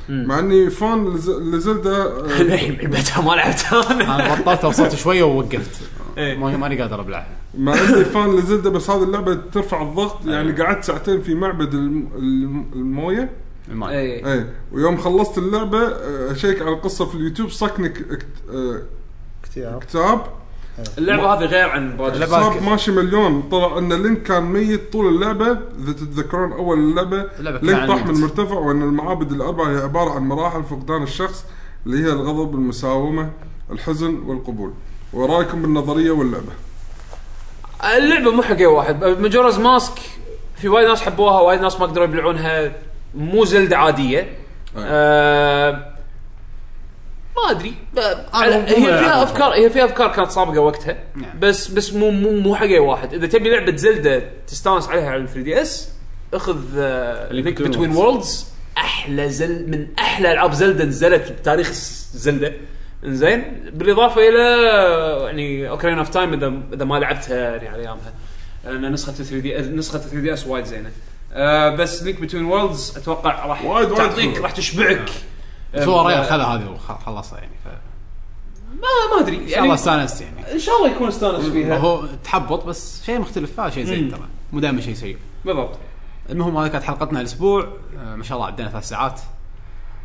Speaker 5: مع اني فان لز- لزلدا آه،
Speaker 3: الحين لعبتها ما لعبتها انا
Speaker 2: انا بطلت وصلت شويه ووقفت
Speaker 3: إيه.
Speaker 2: ما- ماني قادر ابلعها
Speaker 5: مع اني فان لزلدا بس هذه اللعبه ترفع الضغط يعني قعدت ساعتين في معبد الم- الم- المويه
Speaker 2: الماي
Speaker 3: إيه.
Speaker 5: اي ويوم خلصت اللعبه آه، اشيك على القصه في اليوتيوب صكني ك- كت- آه،
Speaker 4: اكتئاب
Speaker 5: كتاب
Speaker 3: اللعبه هذه غير عن
Speaker 2: اللعبة-
Speaker 3: بروجكت
Speaker 5: صار
Speaker 2: باك.
Speaker 5: ماشي مليون طلع ان لينك كان ميت طول اللعبه اذا تتذكرون اول اللعبه
Speaker 2: اللعبة كان
Speaker 5: لينك
Speaker 2: عن
Speaker 5: طاح
Speaker 2: الموت.
Speaker 5: من مرتفع وان المعابد الاربعه هي عباره عن مراحل فقدان الشخص اللي هي الغضب المساومه الحزن والقبول ورايكم بالنظريه واللعبه
Speaker 3: اللعبه مو حق اي واحد مجورز ماسك في وايد ناس حبوها وايد ناس ما قدروا يبلعونها مو زلده عاديه آه ما ادري ب- على-
Speaker 2: مو-
Speaker 3: هي
Speaker 2: مو
Speaker 3: فيها
Speaker 2: لعبة.
Speaker 3: افكار هي فيها افكار كانت سابقه وقتها
Speaker 2: نعم.
Speaker 3: بس بس مو مو مو حق اي واحد اذا تبي لعبه زلده تستانس عليها على 3 دي اس اخذ لينك
Speaker 2: Between
Speaker 3: بتوين وورلدز احلى زل من احلى العاب زلده نزلت بتاريخ س- زلده زين بالاضافه الى آه، يعني اوكرين اوف تايم اذا اذا ما لعبتها يعني على ايامها لان نسخه 3 دي نسخه 3 دي اس وايد زينه آه بس لينك بتوين وورلدز اتوقع راح
Speaker 5: وايد- وايد آه.
Speaker 3: تعطيك
Speaker 5: حلوة.
Speaker 3: راح تشبعك آه،
Speaker 2: بس هو ريال خذ هذه وخلصها يعني ف
Speaker 3: ما ما ادري يعني
Speaker 2: ان شاء الله استانست يعني
Speaker 3: ان شاء الله يكون استانس فيها
Speaker 2: هو تحبط بس شيء مختلف هذا شيء زين ترى مو دائما شيء سيء
Speaker 3: بالضبط
Speaker 2: المهم هذه كانت حلقتنا الاسبوع آه، ما شاء الله عدينا ثلاث ساعات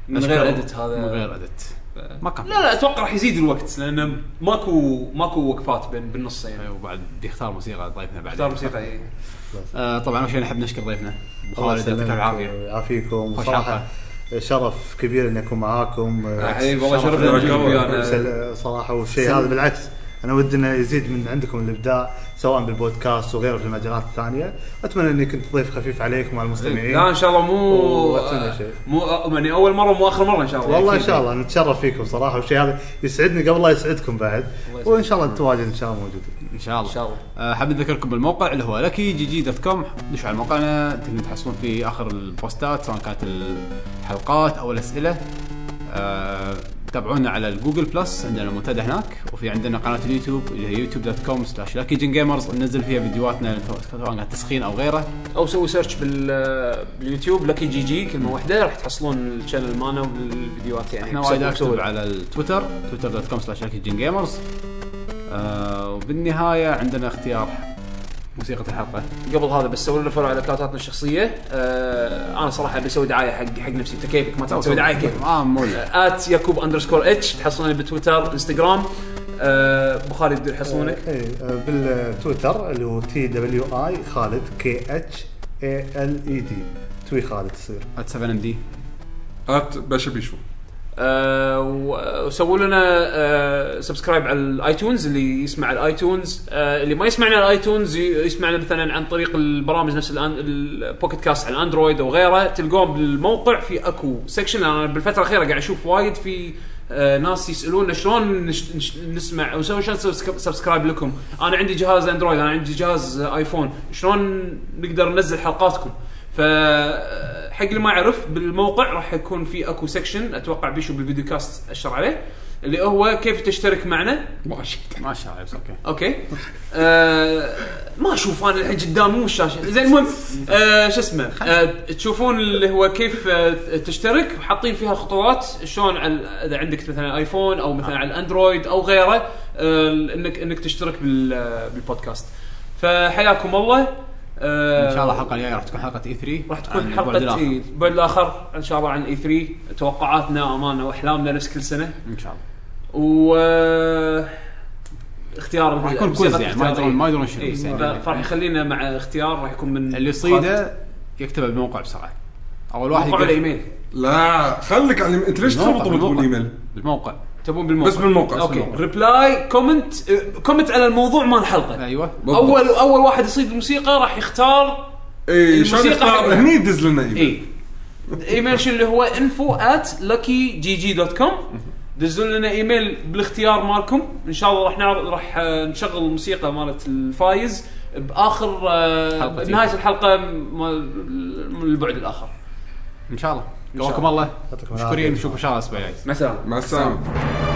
Speaker 3: من غير ادت هذا
Speaker 2: من غير ادت ما كان
Speaker 3: لا لا اتوقع راح يزيد الوقت لان ماكو ماكو وقفات بين بالنص يعني
Speaker 2: وبعد يختار موسيقى ضيفنا بعد
Speaker 3: اختار موسيقى إيه.
Speaker 2: آه طبعا اول شيء نحب نشكر ضيفنا أبو خالد يعطيك العافيه
Speaker 4: يعافيكم
Speaker 2: خوش
Speaker 4: صراحه شرف كبير اني اكون معاكم آه،
Speaker 3: يا حبيبي والله يعني
Speaker 2: شرف
Speaker 3: شرف
Speaker 2: لنا.
Speaker 3: لنا تجيك ويانا.
Speaker 4: سل- صراحه والشيء هذا بالعكس انا ودي انه يزيد من عندكم الابداع سواء بالبودكاست وغيره في المجالات الثانيه اتمنى اني كنت ضيف خفيف عليكم وعلى المستمعين
Speaker 3: لا ان شاء الله مو
Speaker 4: وأتمنى شيء.
Speaker 3: مو يعني اول مره مو اخر مره ان شاء الله
Speaker 4: والله ان شاء الله نتشرف فيكم صراحه والشيء هذا يسعدني قبل لا يسعدكم بعد وان شاء الله نتواجد ان شاء الله موجودين
Speaker 2: ان شاء الله
Speaker 3: إن شاء الله.
Speaker 2: آه حاب نذكركم بالموقع اللي هو لكي جي جي دوت كوم دشوا على موقعنا تقدرون تحصلون فيه اخر البوستات سواء كانت الحلقات او الاسئله آه تابعونا على الجوجل بلس عندنا المنتدى هناك وفي عندنا قناه اليوتيوب اللي هي يوتيوب دوت كوم سلاش لكي جن جيمرز ننزل فيها فيديوهاتنا سواء كانت تسخين او غيره
Speaker 3: او سوي سيرش بال باليوتيوب لكي جي جي كلمه واحده راح تحصلون الشانل مالنا والفيديوهات يعني
Speaker 2: احنا وايد اكتب على التويتر تويتر دوت كوم سلاش جن جيمرز آه وبالنهايه عندنا اختيار موسيقى الحلقه
Speaker 3: قبل هذا بس سوي لنا فولو على اكونتاتنا الشخصيه آه انا صراحه بسوي دعايه حق حق نفسي انت كيفك ما تبي تسوي دعايه كيفك
Speaker 2: اه مو لا.
Speaker 3: ات آه، يعقوب اندرسكور اتش تحصلوني بتويتر انستغرام آه بخاري يقدر يحصلونك
Speaker 4: إيه، آه، بالتويتر اللي هو تي دبليو اي خالد كي اتش اي ال اي دي توي E خالد تصير
Speaker 2: ات 7 ام دي
Speaker 5: ات باشا بيشو
Speaker 3: آه، و- وسووا لنا آه، سبسكرايب على الايتونز اللي يسمع على الايتونز آه، اللي ما يسمعنا على الايتونز ي- يسمعنا مثلا عن طريق البرامج نفس الآن- البوكيت كاست على الاندرويد وغيره تلقون بالموقع في اكو سكشن انا بالفتره الاخيره قاعد اشوف وايد في آه، ناس يسالون شلون نش- نش- نسمع او شلون نسوي سك- سبسكرايب لكم انا عندي جهاز اندرويد انا عندي جهاز ايفون شلون نقدر ننزل حلقاتكم ف حق اللي ما يعرف بالموقع راح يكون في اكو سكشن اتوقع بيشو بالفيديو كاست اشر عليه اللي هو كيف تشترك معنا
Speaker 5: ما شفت
Speaker 2: ما شاء الله بس اوكي
Speaker 3: اوكي آه ما اشوف انا الحين قدام مو الشاشه زين المهم آه شو اسمه آه تشوفون اللي هو كيف آه تشترك حاطين فيها خطوات شلون على اذا عندك مثلا ايفون او مثلا على الاندرويد او غيره آه انك انك تشترك بال- آه، بالبودكاست فحياكم الله آه
Speaker 2: ان شاء الله الحلقه الجايه راح تكون حلقه اي 3
Speaker 3: راح تكون حلقه
Speaker 2: ان
Speaker 3: إيه، البعد الاخر ان شاء الله عن اي 3 توقعاتنا امانه واحلامنا نفس كل سنه
Speaker 2: شاء الله
Speaker 3: و اختيار
Speaker 2: راح يكون
Speaker 3: موسيقى
Speaker 2: كويز يعني، ما
Speaker 3: اختيارية.
Speaker 2: يدرون- ما يدرون شنو
Speaker 3: إيه،
Speaker 2: بس يعني.
Speaker 3: ف- فراح يخلينا مع اختيار راح يكون من
Speaker 2: اللي يصيده يكتبه بالموقع بسرعه اول واحد
Speaker 3: موقع
Speaker 2: يقول-
Speaker 3: الايميل
Speaker 5: لا خليك على انت ليش
Speaker 2: بالموقع،
Speaker 5: تربط بالايميل؟
Speaker 2: بالموقع
Speaker 3: تبون بالموقع
Speaker 5: بس بالموقع، بس
Speaker 3: اوكي
Speaker 5: بالموقع.
Speaker 3: ريبلاي كومنت آه، كومنت على الموضوع مال الحلقه
Speaker 2: ايوه
Speaker 5: بالضبط.
Speaker 3: اول اول واحد يصيد الموسيقى راح يختار
Speaker 5: اي شلون
Speaker 3: الموسيقى إيه.
Speaker 5: يختار
Speaker 3: حقها.
Speaker 5: إيه، هني يدز لنا ايميل
Speaker 3: اي ايميل شو اللي هو انفو ات لكي جي جي دوت كوم دزوا لنا ايميل بالاختيار مالكم ان شاء الله راح نعرض راح آه، نشغل الموسيقى مالت الفايز باخر آه،
Speaker 2: حلقة
Speaker 3: بنهايه الحلقه مال من البعد الاخر
Speaker 2: ان شاء الله قواكم الله
Speaker 4: يعطيكم العافية.
Speaker 2: مشكورين نشوفكم ان شاء الله الاسبوع الجاي
Speaker 3: مع السلامه
Speaker 5: مع السلامه